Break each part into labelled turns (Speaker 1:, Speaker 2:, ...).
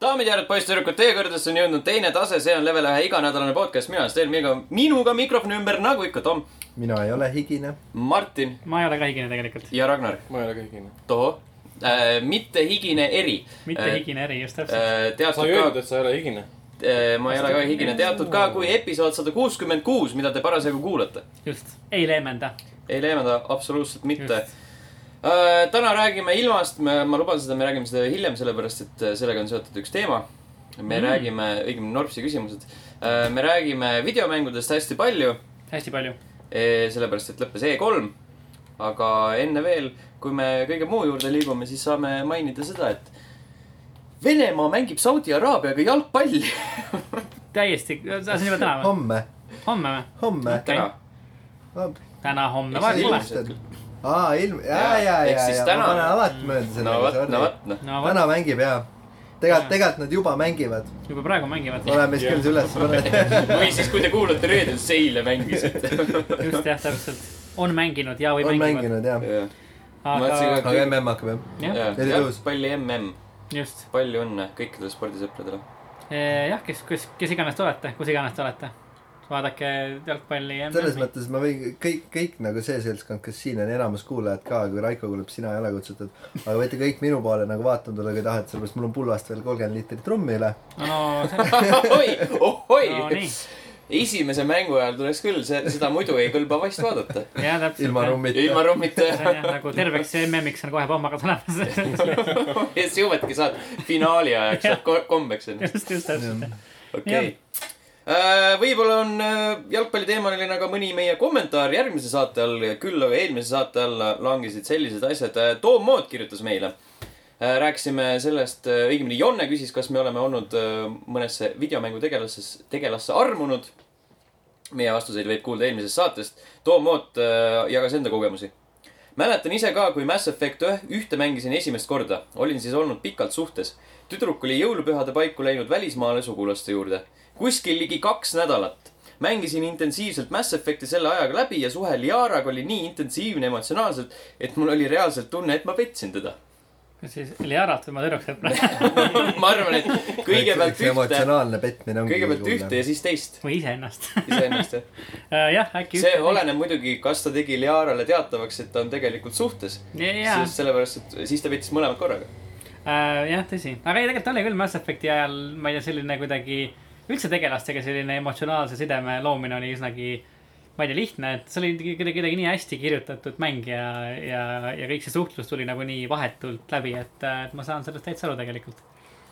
Speaker 1: daamid ja härrad , poisssüdrukud , teie kõrgedesse on jõudnud teine tase , see on level ühe iganädalane podcast , mina olen Sten Miigo , minuga mikrofoni ümber , nagu ikka , Tom ,
Speaker 2: mina ei ole higine .
Speaker 1: Martin
Speaker 3: ma ei ole ka higine tegelikult ,
Speaker 1: ja Ragnar .
Speaker 4: ma ei ole kõigine .
Speaker 1: Toho äh, , mitte higine eri
Speaker 3: mitte
Speaker 1: Äh,
Speaker 3: higine eri , just täpselt .
Speaker 1: äh, .
Speaker 4: sa
Speaker 1: teatud
Speaker 4: ei öelnud ,
Speaker 1: ka ,
Speaker 4: et sa ei ole higine .
Speaker 1: ma ei ole ka higine , teatud ka kui episood sada kuuskümmend kuus , mida te parasjagu kuulate .
Speaker 3: just , ei leemenda .
Speaker 1: ei leevenda absoluutselt mitte . Äh, täna räägime ilmast , ma luban seda , me räägime seda hiljem , sellepärast et äh, sellega on seotud üks teema . me
Speaker 3: Mm.
Speaker 1: mm. räägime , õigemini Norpsi küsimused . me räägime videomängudest hästi palju ,
Speaker 3: hästi palju .
Speaker 1: sellepärast et lõppes E3 . aga enne veel , kui me kõige muu juurde liigume , siis saame mainida seda , et Venemaa mängib Saudi Araabiaga jalgpalli
Speaker 3: täiesti , see on juba täna või ?
Speaker 2: homme ,
Speaker 3: homme või ?
Speaker 2: homme .
Speaker 1: täna .
Speaker 3: täna , homme ,
Speaker 1: Eks
Speaker 3: vahet
Speaker 1: see
Speaker 3: pole .
Speaker 1: ilmselt küll.
Speaker 2: aa , ilm , ja , ja ,
Speaker 1: Ehk
Speaker 2: ja ,
Speaker 1: siis
Speaker 2: ja ,
Speaker 1: täna-
Speaker 2: ma panen alati mööda selle .
Speaker 1: no vot , no vot , noh .
Speaker 3: no vot ,
Speaker 2: täna mängib ja .
Speaker 3: Jaa.
Speaker 2: tegelikult , tegelikult nad juba mängivad .
Speaker 3: juba praegu mängivad .
Speaker 2: oleme siis küll see üles pannud .
Speaker 1: või siis , kui te kuulate reedel , siis eile mängisite .
Speaker 3: just jah , täpselt . on mänginud ja või
Speaker 2: on
Speaker 3: mängivad .
Speaker 2: mänginud jah .
Speaker 1: mõtlesin
Speaker 3: aga
Speaker 1: ka-
Speaker 2: aga mm hakkab jah .
Speaker 3: jah ,
Speaker 2: Eri tõus.
Speaker 1: jalgpalli MM
Speaker 3: just .
Speaker 1: palju õnne kõikidele spordisõpradele .
Speaker 3: jah , kes , kes , kes iganes te olete , kus iganes te olete . vaadake jalgpalli .
Speaker 2: selles mõttes ma võin kõik , kõik nagu see seltskond , kes siin on enamus kuulajad ka , kui Raiko kuuleb , sina ei ole kutsutud . aga võite kõik minu poole nagu vaatama tulla , kui tahate , sellepärast mul on pullast veel kolmkümmend liitrit rummi üle .
Speaker 3: no see-
Speaker 1: ohoi , ohoi
Speaker 3: No nii. .
Speaker 1: esimese mängu ajal tuleks küll , see , seda muidu ei kõlba vast vaadata .
Speaker 3: jah , täpselt .
Speaker 2: ilma . rummita .
Speaker 1: ilma
Speaker 3: see on
Speaker 1: rummita
Speaker 3: jah nagu terveks MM-iks on kohe pommaga tulemas .
Speaker 1: ja siis jõuadki saad finaali ajaks , saad ko- kombeks ennast .
Speaker 3: just , just täpselt .
Speaker 1: okei . võib-olla on äh, jalgpalliteemaline ka mõni meie kommentaar järgmise saate all , küll aga eelmise saate alla langesid sellised asjad . Toom Mood kirjutas meile . rääkisime sellest , õigemini Jonne küsis , kas me oleme olnud äh, mõnesse videomängutegelases , tegelasse armunud . meie vastuseid võib kuulda eelmisest saatest . Toom Moot äh, jagas enda kogemusi . mäletan ise ka , kui Mass Effect ühe- ühte mängisin esimest korda . olin siis olnud pikalt suhtes . tüdruk oli jõulupühade paiku läinud välismaale sugulaste juurde . kuskil ligi kaks nädalat . mängisin intensiivselt Mass Effecti selle ajaga läbi ja suhe Liaraga oli nii intensiivne emotsionaalselt , et mul oli reaalselt tunne , et ma petsin teda .
Speaker 3: siis Liarat või ma tüdruksõpra
Speaker 1: ma arvan , et kõigepealt ühte ,
Speaker 2: emotsionaalne petmine ongi .
Speaker 1: kõigepealt ühte ja siis teist
Speaker 3: või iseennast .
Speaker 1: iseennast jah .
Speaker 3: jah , äkki .
Speaker 1: see . oleneb muidugi , kas ta tegi Liarale teatavaks , et ta on tegelikult suhtes .
Speaker 3: jaa
Speaker 1: sest sellepärast , et siis ta pettis mõlemad korraga .
Speaker 3: äh, . jah , tõsi , aga ei , tegelikult oli küll Mass Effecti ajal , ma ei tea , selline kuidagi üldse tegelastega selline emotsionaalse sideme loomine oli üsnagi , ma ei tea , lihtne , et see oli kuidagi- kuidagi , kuidagi nii hästi kirjutatud mäng ja , ja , ja kõik see suhtlus tuli nagu nii vahetult läbi , et , et ma saan sellest täitsa aru tegelikult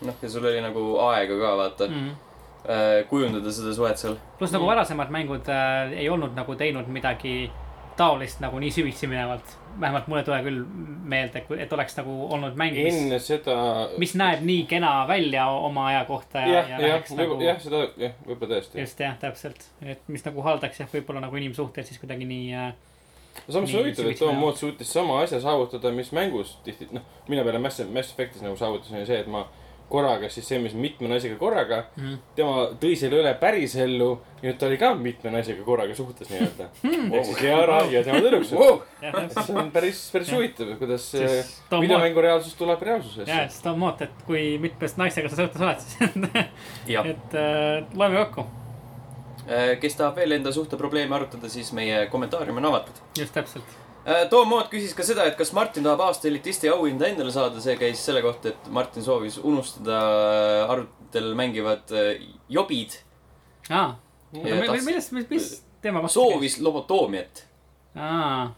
Speaker 1: noh , ja sul oli nagu aega ka vaata mm.
Speaker 3: mm. .
Speaker 1: kujundada seda suhet seal .
Speaker 3: pluss nagu varasemad mängud äh, ei olnud nagu teinud midagi taolist nagu nii süvitsi minevalt , vähemalt mulle ei tule küll meelde , et oleks nagu olnud mäng , mis ,
Speaker 4: enne seda .
Speaker 3: mis näeb nii kena välja oma aja kohta ja ,
Speaker 4: jah , jah , jah , seda , jah , võib-olla tõesti .
Speaker 3: nagu- just jah , täpselt , et mis nagu haldaks jah , võib-olla nagu inimsuhteid siis kuidagi nii äh, .
Speaker 4: samas
Speaker 3: Nii,
Speaker 4: on huvitav , et
Speaker 3: süvitsi
Speaker 4: Tom
Speaker 3: näo.
Speaker 4: Mood suutis sama asja saavutada , mis mängus tihti , noh , mille peale Mass , Mass Effectis nagu saavutasin , oli see , et ma korraga siis sõlmisin mitme naisega korraga
Speaker 3: Mhm.
Speaker 4: mm. . tema tõi selle üle päris ellu ja nüüd ta oli ka mitme naisega korraga suhtes nii-öelda .
Speaker 3: Hmm.
Speaker 4: ehk siis Yara ja tema tüdruksed .
Speaker 1: Wow!
Speaker 3: jah , täpselt .
Speaker 4: see on päris , päris huvitav , kuidas
Speaker 3: Siis
Speaker 4: eh,
Speaker 3: Tom Mood-
Speaker 4: videomängu reaalsus tuleb reaalsusesse
Speaker 3: ja . siis Tom Moot , et kui mitmest naistega sa suhtes oled , siis
Speaker 1: jah ,
Speaker 3: et äh, loeme kokku .
Speaker 1: Äh, kes tahab veel enda suhteprobleeme arutada , siis meie kommentaarium on avatud .
Speaker 3: just täpselt .
Speaker 1: Toom Mood küsis ka seda , et kas Martin tahab aasta elitisti auhinda endale saada , see käis selle kohta , et Martin soovis unustada äh, arvutel mängivad äh, jobid ,
Speaker 3: aa ,
Speaker 1: Ja tas-
Speaker 3: millest , mis , mis teema kohta ?
Speaker 1: soovis lobotoomiat .
Speaker 3: aa ,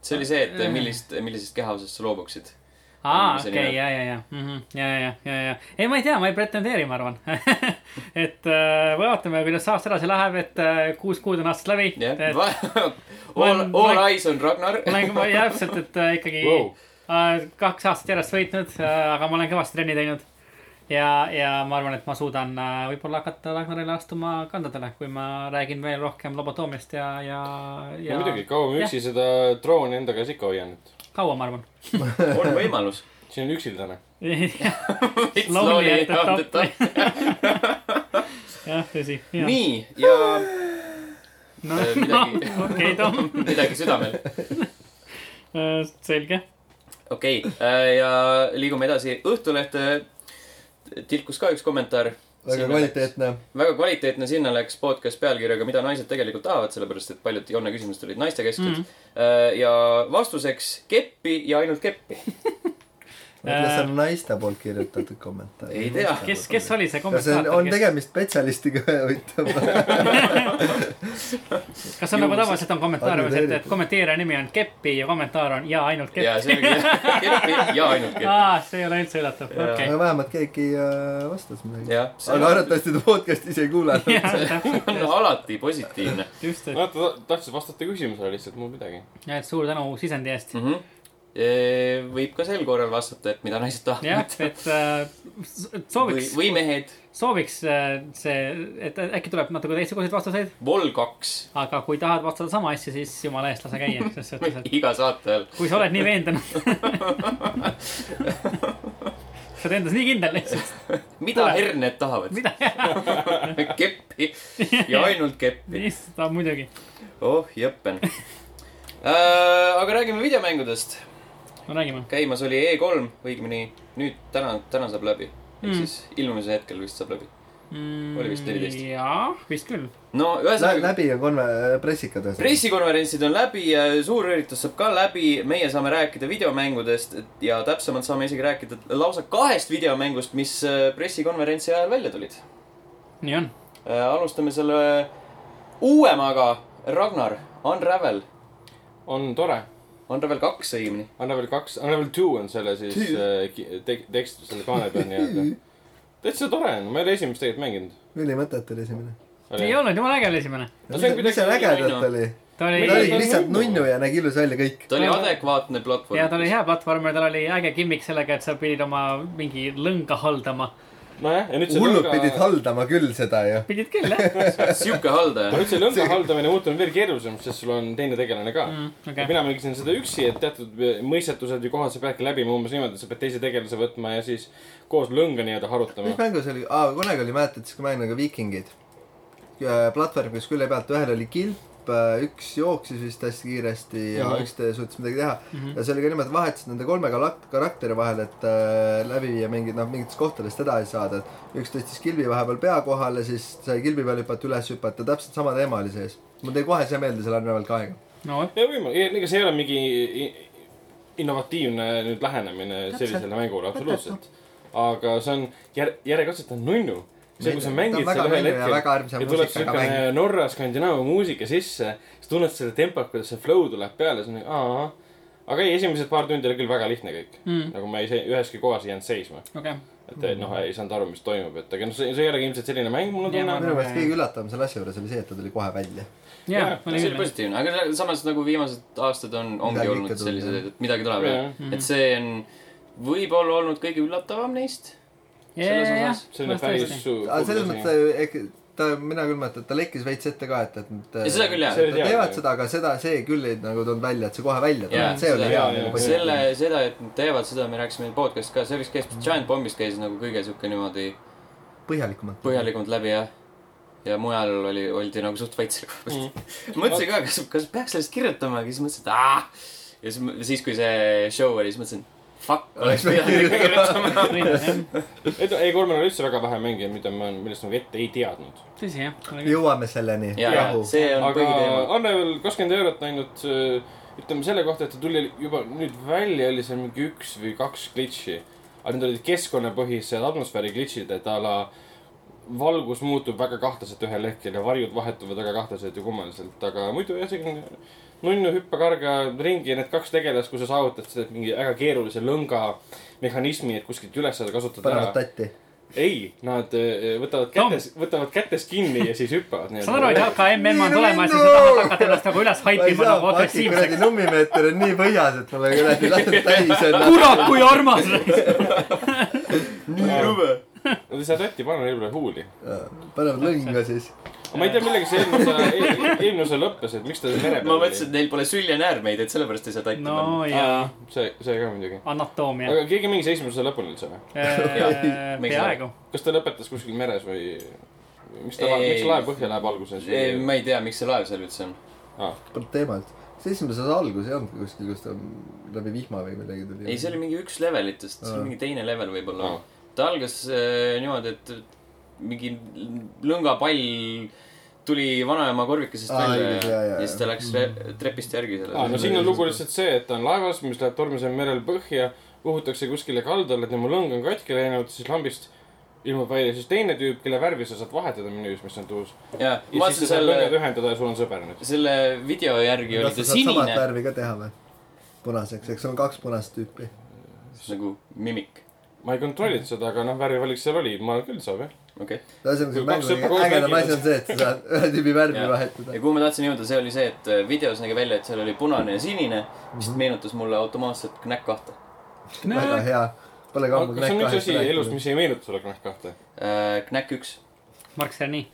Speaker 1: see oli see , et millist , millisest kehaosast sa loobuksid .
Speaker 3: aa ,
Speaker 1: See
Speaker 3: okei ,
Speaker 1: nime.
Speaker 3: ja , ja , ja , ja , ja , ja , ja , ei , ma ei tea , ma ei pretendeeri , ma arvan . et äh, vaatame , kuidas aasta edasi läheb , et äh, kuus kuud on aastast läbi .
Speaker 1: jah
Speaker 3: et ,
Speaker 1: all ,
Speaker 3: olen-
Speaker 1: all
Speaker 3: olen-
Speaker 1: eyes on Ragnar .
Speaker 3: olen ma täpselt , et äh, ikkagi wow.
Speaker 4: Wow.
Speaker 3: äh, kaks aastat järjest võitnud äh, , aga ma olen kõvasti trenni teinud . ja , ja ma arvan , et ma suudan äh, võib-olla hakata Ragnarile astuma kandadele , kui ma räägin veel rohkem lobotoomiast ja , ja , ja
Speaker 4: no muidugi , kaua ma
Speaker 3: Jah.
Speaker 4: üksi seda drooni enda käes ikka hoian , et
Speaker 3: kaua , ma arvan .
Speaker 1: on võimalus .
Speaker 4: see on üksildane .
Speaker 3: Lonely at the top. jah , tõsi .
Speaker 1: nii , ja äh,
Speaker 3: no, no,
Speaker 1: midagi-
Speaker 3: okei , Tom , Äh,
Speaker 1: midagi südamel .
Speaker 3: selge .
Speaker 1: äh, okei okay, , ja liigume edasi Õhtulehte tilkus ka üks kommentaar .
Speaker 2: väga kvaliteetne .
Speaker 1: väga kvaliteetne , sinna läks podcast pealkirjaga , mida naised tegelikult tahavad , sellepärast et paljud Jonna küsimused olid naistekesksed
Speaker 3: Mhm.
Speaker 1: mm . -hmm. ja vastuseks keppi ja ainult keppi .
Speaker 2: mõtle , see on naiste poolt kirjutatud kommentaar .
Speaker 3: Mhm.
Speaker 1: Ei tea.
Speaker 3: kes , kes oli see
Speaker 2: kas on , on
Speaker 3: kommentaator ,
Speaker 2: tegemist spetsialistiga või huvitav ?
Speaker 3: kes , kas on nagu tavaliselt on kommentaar , et , et kommenteerija nimi on Keppi ja kommentaar on ja ainult
Speaker 1: ja
Speaker 3: Kepp .
Speaker 1: see ongi keppi ja ainult keppi .
Speaker 3: aa , see ei ole üldse üllatav , okei
Speaker 2: aga . vähemalt keegi äh, vastas midagi .
Speaker 1: jah , see
Speaker 2: aga arvatavasti ta podcast'i ise ei kuulanud .
Speaker 1: on alati positiivne .
Speaker 3: just ,
Speaker 2: Eh.
Speaker 3: et ,
Speaker 4: no Noh, ta ta- tahtis vastata küsimusele lihtsalt , muud midagi .
Speaker 3: et suur tänu sisendi eest .
Speaker 1: võib ka sel korral vastata , et mida naised
Speaker 3: jah
Speaker 1: tahavad .,
Speaker 3: et äh, s-
Speaker 1: või ,
Speaker 3: sooviks ,
Speaker 1: või mehed ,
Speaker 3: sooviks äh, see , et äkki tuleb natuke teistsuguseid vastuseid ,
Speaker 1: vol kaks
Speaker 3: aga kui tahad vastata sama asja , siis jumala eest lase käia , selles suhtes , et
Speaker 1: iga saate ajal .
Speaker 3: kui sa oled nii veendunud . sa oled endas nii kindel lihtsalt ,
Speaker 1: mida herned tahavad ?
Speaker 3: mida ,
Speaker 1: keppi ja ainult keppi .
Speaker 3: issand , muidugi .
Speaker 1: oh jõppen . aga räägime videomängudest .
Speaker 3: no räägime ,
Speaker 1: käimas oli E3 , õigemini nüüd täna , täna saab läbi . ehk
Speaker 3: Hmm.
Speaker 1: siis ilmumise hetkel vist saab läbi . oli vist neliteist .
Speaker 3: jaa , vist küll .
Speaker 1: no ühesõnaga ,
Speaker 2: läbi äh, on konver- , pressikad ühesõnaga .
Speaker 1: pressikonverentsid on läbi , suur üritus saab ka läbi , meie saame rääkida videomängudest et- ja täpsemalt saame isegi rääkida lausa kahest videomängust , mis äh, pressikonverentsi ajal välja tulid .
Speaker 3: nii on ,
Speaker 1: alustame selle uuemaga , Ragnar , Unravel
Speaker 4: on tore .
Speaker 1: Unravel kaks õigemini .
Speaker 4: Unravel kaks , Unravel two on selle siis
Speaker 2: Two.
Speaker 4: äh, ki- tek- , tekst selle kaane peal nii-öelda . täitsa tore on , ma ei ole esimest tegelikult mänginud .
Speaker 2: ülimõttetu oli esimene .
Speaker 3: ei olnud , jumala äge oli esimene .
Speaker 4: No
Speaker 2: mis
Speaker 4: see on
Speaker 2: see- mis seal
Speaker 4: kuidagi nagu
Speaker 2: ägedat oli ?
Speaker 3: ta
Speaker 2: ta oli
Speaker 4: ta
Speaker 3: oli ,
Speaker 4: oli
Speaker 2: lihtsalt
Speaker 4: nunnu.
Speaker 2: nunnu ja nägi ilus välja kõik .
Speaker 1: ta oli
Speaker 3: Ta-
Speaker 1: adekvaatne platvorm .
Speaker 3: ja ta oli hea platvorm ja tal oli äge gimmick sellega , et sa pidid oma mingi lõnga haldama .
Speaker 4: nojah , ja nüüd see
Speaker 2: hullud pidid
Speaker 4: lõnga ,
Speaker 2: haldama küll seda ju .
Speaker 3: pidid küll , jah .
Speaker 1: sihuke haldaja .
Speaker 4: nüüd see lõnga haldamine muutub veel keerulisemaks , sest sul on teine tegelane ka .
Speaker 2: Mm,
Speaker 3: okei.
Speaker 4: mina mängisin seda üksi , et teatud mõistetused ja kohad sa peadki läbima umbes niimoodi , et sa pead teise tegelase võtma ja siis koos lõnga nii-öelda harutama
Speaker 2: mis . mängus oli , aa , kunagi oli , mäletad , siis kui mängin nagu viikingid . platvorm , kus külje pealt ühel oli kilp , üks jooksis vist hästi kiiresti ja mm
Speaker 4: Mhm.
Speaker 2: -hmm. üks te- suutis midagi teha mm . -hmm. ja see oli ka niimoodi , vahetasid nende kolme galak- , karakteri vahel , et äh, läbi viia mingeid , noh , mingitest kohtadest edasi saada . üks tõstis kilbi vahepeal pea kohale , siis sai kilbi peal hüpata , üles hüpata , täpselt sama teema oli sees . mul tuli kohe see meelde selle Unravel kahega .
Speaker 3: no vot ,
Speaker 4: ja võimalik , ega see ei ole mingi i- innovatiivne nüüd lähenemine sellisele mängule absoluutselt . aga see on jär- , järjekordselt on nunnu . see , kui sa
Speaker 2: Ta on
Speaker 4: mängid
Speaker 2: väga
Speaker 4: seal ühel
Speaker 2: nunnu ja
Speaker 4: hetkel
Speaker 2: väga armsa
Speaker 4: ja tuleb
Speaker 2: muusikaga
Speaker 4: siukene Norra Skandinaavia muusika sisse , sa tunned selle tempot , kuidas see flow tuleb peale , siis on nagu aa . aga ei , esimesed paar tundi oli küll väga lihtne kõik mm. . nagu ma ei see- üheski kohas ei jäänud seisma .
Speaker 3: okei .
Speaker 4: et noh , ei saanud aru , mis toimub , et aga noh , see , see ei olegi ilmselt selline mäng , mul on
Speaker 3: Jaa,
Speaker 4: tunne .
Speaker 2: minu meelest kõige üllatavam selle asja juures oli see , et ta tuli kohe välja .
Speaker 3: jaa , oli
Speaker 1: see oli
Speaker 3: küll .
Speaker 1: positiivne , aga samas nagu viimased aastad on , ongi
Speaker 2: Midagi
Speaker 1: olnud
Speaker 2: ikka tuleb, jah.
Speaker 1: sellised , et midagi tuleb
Speaker 4: Jaa.
Speaker 1: ja et see on võib-olla olnud kõige üllatavam neist . selles osas
Speaker 4: selline päris . suur .
Speaker 2: aga selles mõttes äkki ta , mina küll mäletan , et ta lekkis veits ette ka , et , et nad
Speaker 1: Ja seda küll, jah.
Speaker 2: et
Speaker 4: See oli
Speaker 2: nad
Speaker 4: teada,
Speaker 2: teevad
Speaker 4: jah.
Speaker 2: seda , aga seda , see küll ei nagu tulnud välja , et see kohe välja
Speaker 1: Jaa,
Speaker 2: tuleb , see oli
Speaker 1: seda-
Speaker 2: hea
Speaker 4: jaa, jaa.
Speaker 2: nagu
Speaker 1: selle , seda , et nad teevad seda , me rääkisime podcast'is ka , see vist käis , Giant Bombist käis nagu kõige sihuke niimoodi
Speaker 2: põhjalikumalt .
Speaker 1: põhjalikumalt läbi ja , ja mujal oli , oldi nagu suht vait selle koha pealt . mõtlesin ka , kas , kas peaks sellest kirjutama , aga siis mõtlesin , et aa . ja siis , siis kui see show oli , siis mõtlesin , fuck , oleks pidanud ikka kirjutama .
Speaker 4: et ei , kolmel on üldse väga vähe mänge , mida ma , millest ma ette ei teadnud .
Speaker 3: tõsi jah , oli küll .
Speaker 2: jõuame selleni .
Speaker 1: ja , ja
Speaker 2: rahu .
Speaker 1: see on
Speaker 4: aga
Speaker 1: põhiteema .
Speaker 4: Annevel kakskümmend eurot ainult , ütleme selle kohta , et ta tuli juba nüüd välja , oli seal mingi üks või kaks glitch'i . aga need olid keskkonnapõhised atmosfääri glitch'id , et a la valgus muutub väga kahtlaselt ühel hetkel ja varjud vahetuvad väga kahtlaselt ja kummaliselt , aga muidu jah , selline nunnu hüppekarga ringi ja need kaks tegelast , kui sa saavutad seda mingi väga keerulise lõnga mehhanismi , et kuskilt üles saada kasutada
Speaker 2: panevad tatti .
Speaker 4: ei , nad öö, võtavad
Speaker 3: Tom.
Speaker 4: kätes , võtavad kätes kinni ja siis hüppavad
Speaker 3: saan aru , et
Speaker 4: nii-öelda .
Speaker 3: HKMM on
Speaker 2: Minu
Speaker 3: tulemas ja sa
Speaker 2: minu!
Speaker 3: tahad hakata ennast nagu üles
Speaker 2: ma ei
Speaker 3: haipima
Speaker 2: saa ,
Speaker 3: nagu
Speaker 2: paki kuradi
Speaker 3: agressiivseks .
Speaker 2: nummimeeter on nii põhjas , et mul on kuradi latud täis noh, enne .
Speaker 3: kurat , kui armas .
Speaker 1: nii rõve .
Speaker 4: Nad ei saa tatti panna neile huuli .
Speaker 2: panevad lõnga siis .
Speaker 4: ma ei tea , millega see eelmise , eelmine osa lõppes , et miks ta seal mere
Speaker 1: ma mõtlesin , et neil pole süljenäärmeid , et sellepärast ei saa tatti
Speaker 3: no
Speaker 1: panna .
Speaker 3: jaa ,
Speaker 4: see , see ka muidugi .
Speaker 3: anatoomia .
Speaker 4: aga keegi mängis esimese osa lõpuni üldse või ?
Speaker 1: miks
Speaker 3: peaaegu .
Speaker 4: kas ta lõpetas kuskil meres või ? miks ta ,
Speaker 1: Ei.
Speaker 4: miks laev põhja läheb alguses
Speaker 1: ei ,
Speaker 4: või ?
Speaker 1: ma ei tea , miks see laev seal üldse on .
Speaker 2: polnud teemalt . see esimese osa algus ei olnudki kuskil , kus ta läbi vihma või midagi tuli .
Speaker 1: ei , see oli mingi üks levelitest , see
Speaker 2: Aa.
Speaker 1: oli mingi teine level võib-olla
Speaker 4: Aa. .
Speaker 1: ta ta algas äh, niimoodi , et mingi lõngapall tuli vanaema korvikesest
Speaker 2: Aa,
Speaker 1: välja
Speaker 2: õigus,
Speaker 1: ja,
Speaker 2: jaa, Mm. jaa,
Speaker 1: ja siis ta läks re- trepist järgi
Speaker 4: aa , Ah, no
Speaker 1: sellele .
Speaker 4: siin on lugu lihtsalt see , et ta on laevas , mis läheb tormisel merel põhja , uhutakse kuskile kaldale , tema lõng on katki läinud , siis lambist ilmub välja siis teine tüüp , kelle värvi sa saad vahetada menüüs , mis on tuus .
Speaker 1: ja ma
Speaker 4: ja siis
Speaker 1: vaatasin
Speaker 4: sa saad lõngad
Speaker 1: selle ,
Speaker 4: ühendada ja sul on sõber nüüd .
Speaker 1: selle video järgi oli
Speaker 2: kas sa
Speaker 1: ta
Speaker 2: saad samat
Speaker 1: sinine
Speaker 2: värvi ka teha või ? punaseks , eks on kaks punast tüüpi .
Speaker 1: nagu mimik ,
Speaker 4: ma ei kontrollinud seda , aga noh , värvivalik seal oli , ma küll saab jah .
Speaker 1: okei .
Speaker 2: ühesõnaga , see
Speaker 4: Kui kaks
Speaker 2: mängu
Speaker 4: sõpra koos
Speaker 2: ägedam
Speaker 4: mängivad.
Speaker 2: asi on see , et sa saad ühe tüübi värvi
Speaker 1: Jaa.
Speaker 2: vahetada
Speaker 1: ja . kuhu ma tahtsin jõuda , see oli see , et äh, videos nägi välja , et seal oli punane ja sinine , mis
Speaker 2: Mhm.
Speaker 1: meenutas mulle automaatselt Knack kahte .
Speaker 2: väga hea . Pole
Speaker 4: kas
Speaker 2: kaugel
Speaker 4: on üks asi elus , mis ei meenuta sulle Knähk kahte ?
Speaker 1: Äh, Knack üks ,
Speaker 3: Mark Cerny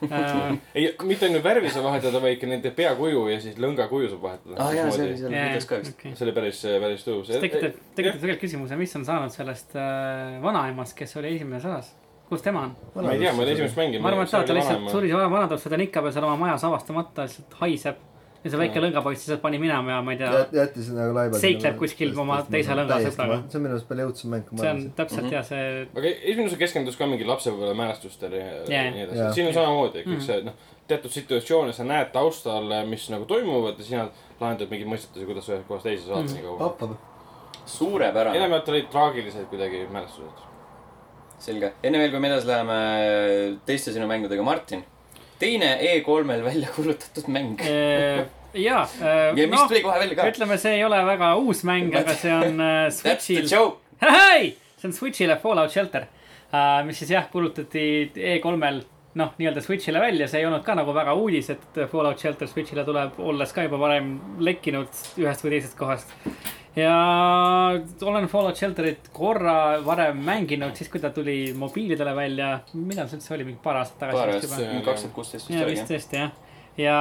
Speaker 3: uh, .
Speaker 4: ei , mitte ainult värvi sa vahetada , vaid ka nende peakuju ja siis lõnga kuju saab vahetada .
Speaker 1: ah jaa , see oli seal videos ka vist .
Speaker 4: see oli päris , päris tõus .
Speaker 3: see tekitab , tekitab tegelikult küsimuse , mis on saanud sellest äh, vanaemast , kes oli esimeses osas , kus tema on ?
Speaker 4: ma ei tea , ma ei ole esimest mänginud .
Speaker 3: ma arvan , et sa oled ta lihtsalt suri see vana , vanadus , ta on ikka veel seal oma majas avastamata , lihtsalt haiseb . ja see väike lõngapoiss lihtsalt pani minema ja ma ei tea ,
Speaker 2: jättis nagu laiba .
Speaker 3: Seikleb kuskil oma teise lõnga sõbraga.
Speaker 2: see on minu arust palju õudsem mäng , kui ma
Speaker 3: see on
Speaker 1: Mhm.
Speaker 2: arvasin .
Speaker 3: täpselt ja see ,
Speaker 4: aga esimene osa keskendus ka mingi lapsepõlve mälestustele ja
Speaker 3: Jaa. Mm.
Speaker 4: yeah. nii edasi
Speaker 2: Jaa.
Speaker 4: yeah. . siin on samamoodi , kõik see noh , teatud situatsioone sa näed taustal , mis nagu toimuvad ja sina lahendad mingeid mõistetusi , kuidas ühest kohast teise saad mm. nii kaua .
Speaker 2: papab .
Speaker 1: suurepärane ,
Speaker 4: enamjaolt olid traagilised kuidagi mälestused .
Speaker 1: selge . enne veel , kui me edasi läheme teiste sinu mängudega , Martin . teine E3-l välja kuulutatud mäng .
Speaker 3: eh, jaa .
Speaker 1: ja
Speaker 3: noh,
Speaker 1: mis tuli kohe välja ka .
Speaker 3: ütleme , see ei ole väga uus mäng , aga see on äh,
Speaker 1: That's the
Speaker 3: Switch'il .
Speaker 1: joke .
Speaker 3: Hei-hei! see on Switch'ile Fallout Shelter , mis siis jah , kuulutati E3-l noh , nii-öelda Switch'ile välja , see ei olnud ka nagu väga uudis , et Fallout Shelter Switch'ile tuleb , olles ka juba varem lekkinud ühest või teisest kohast . ja olen Fallout Shelterit korra varem mänginud , siis kui ta tuli mobiilidele välja , millal see üldse oli , mingi paar aastat tagasi
Speaker 1: paar
Speaker 3: vist
Speaker 1: aastat
Speaker 3: juba ?,
Speaker 1: kaks tuhat kuusteist vist
Speaker 3: ja
Speaker 1: oli
Speaker 3: vist
Speaker 1: jah .
Speaker 3: tõesti jah , ja ,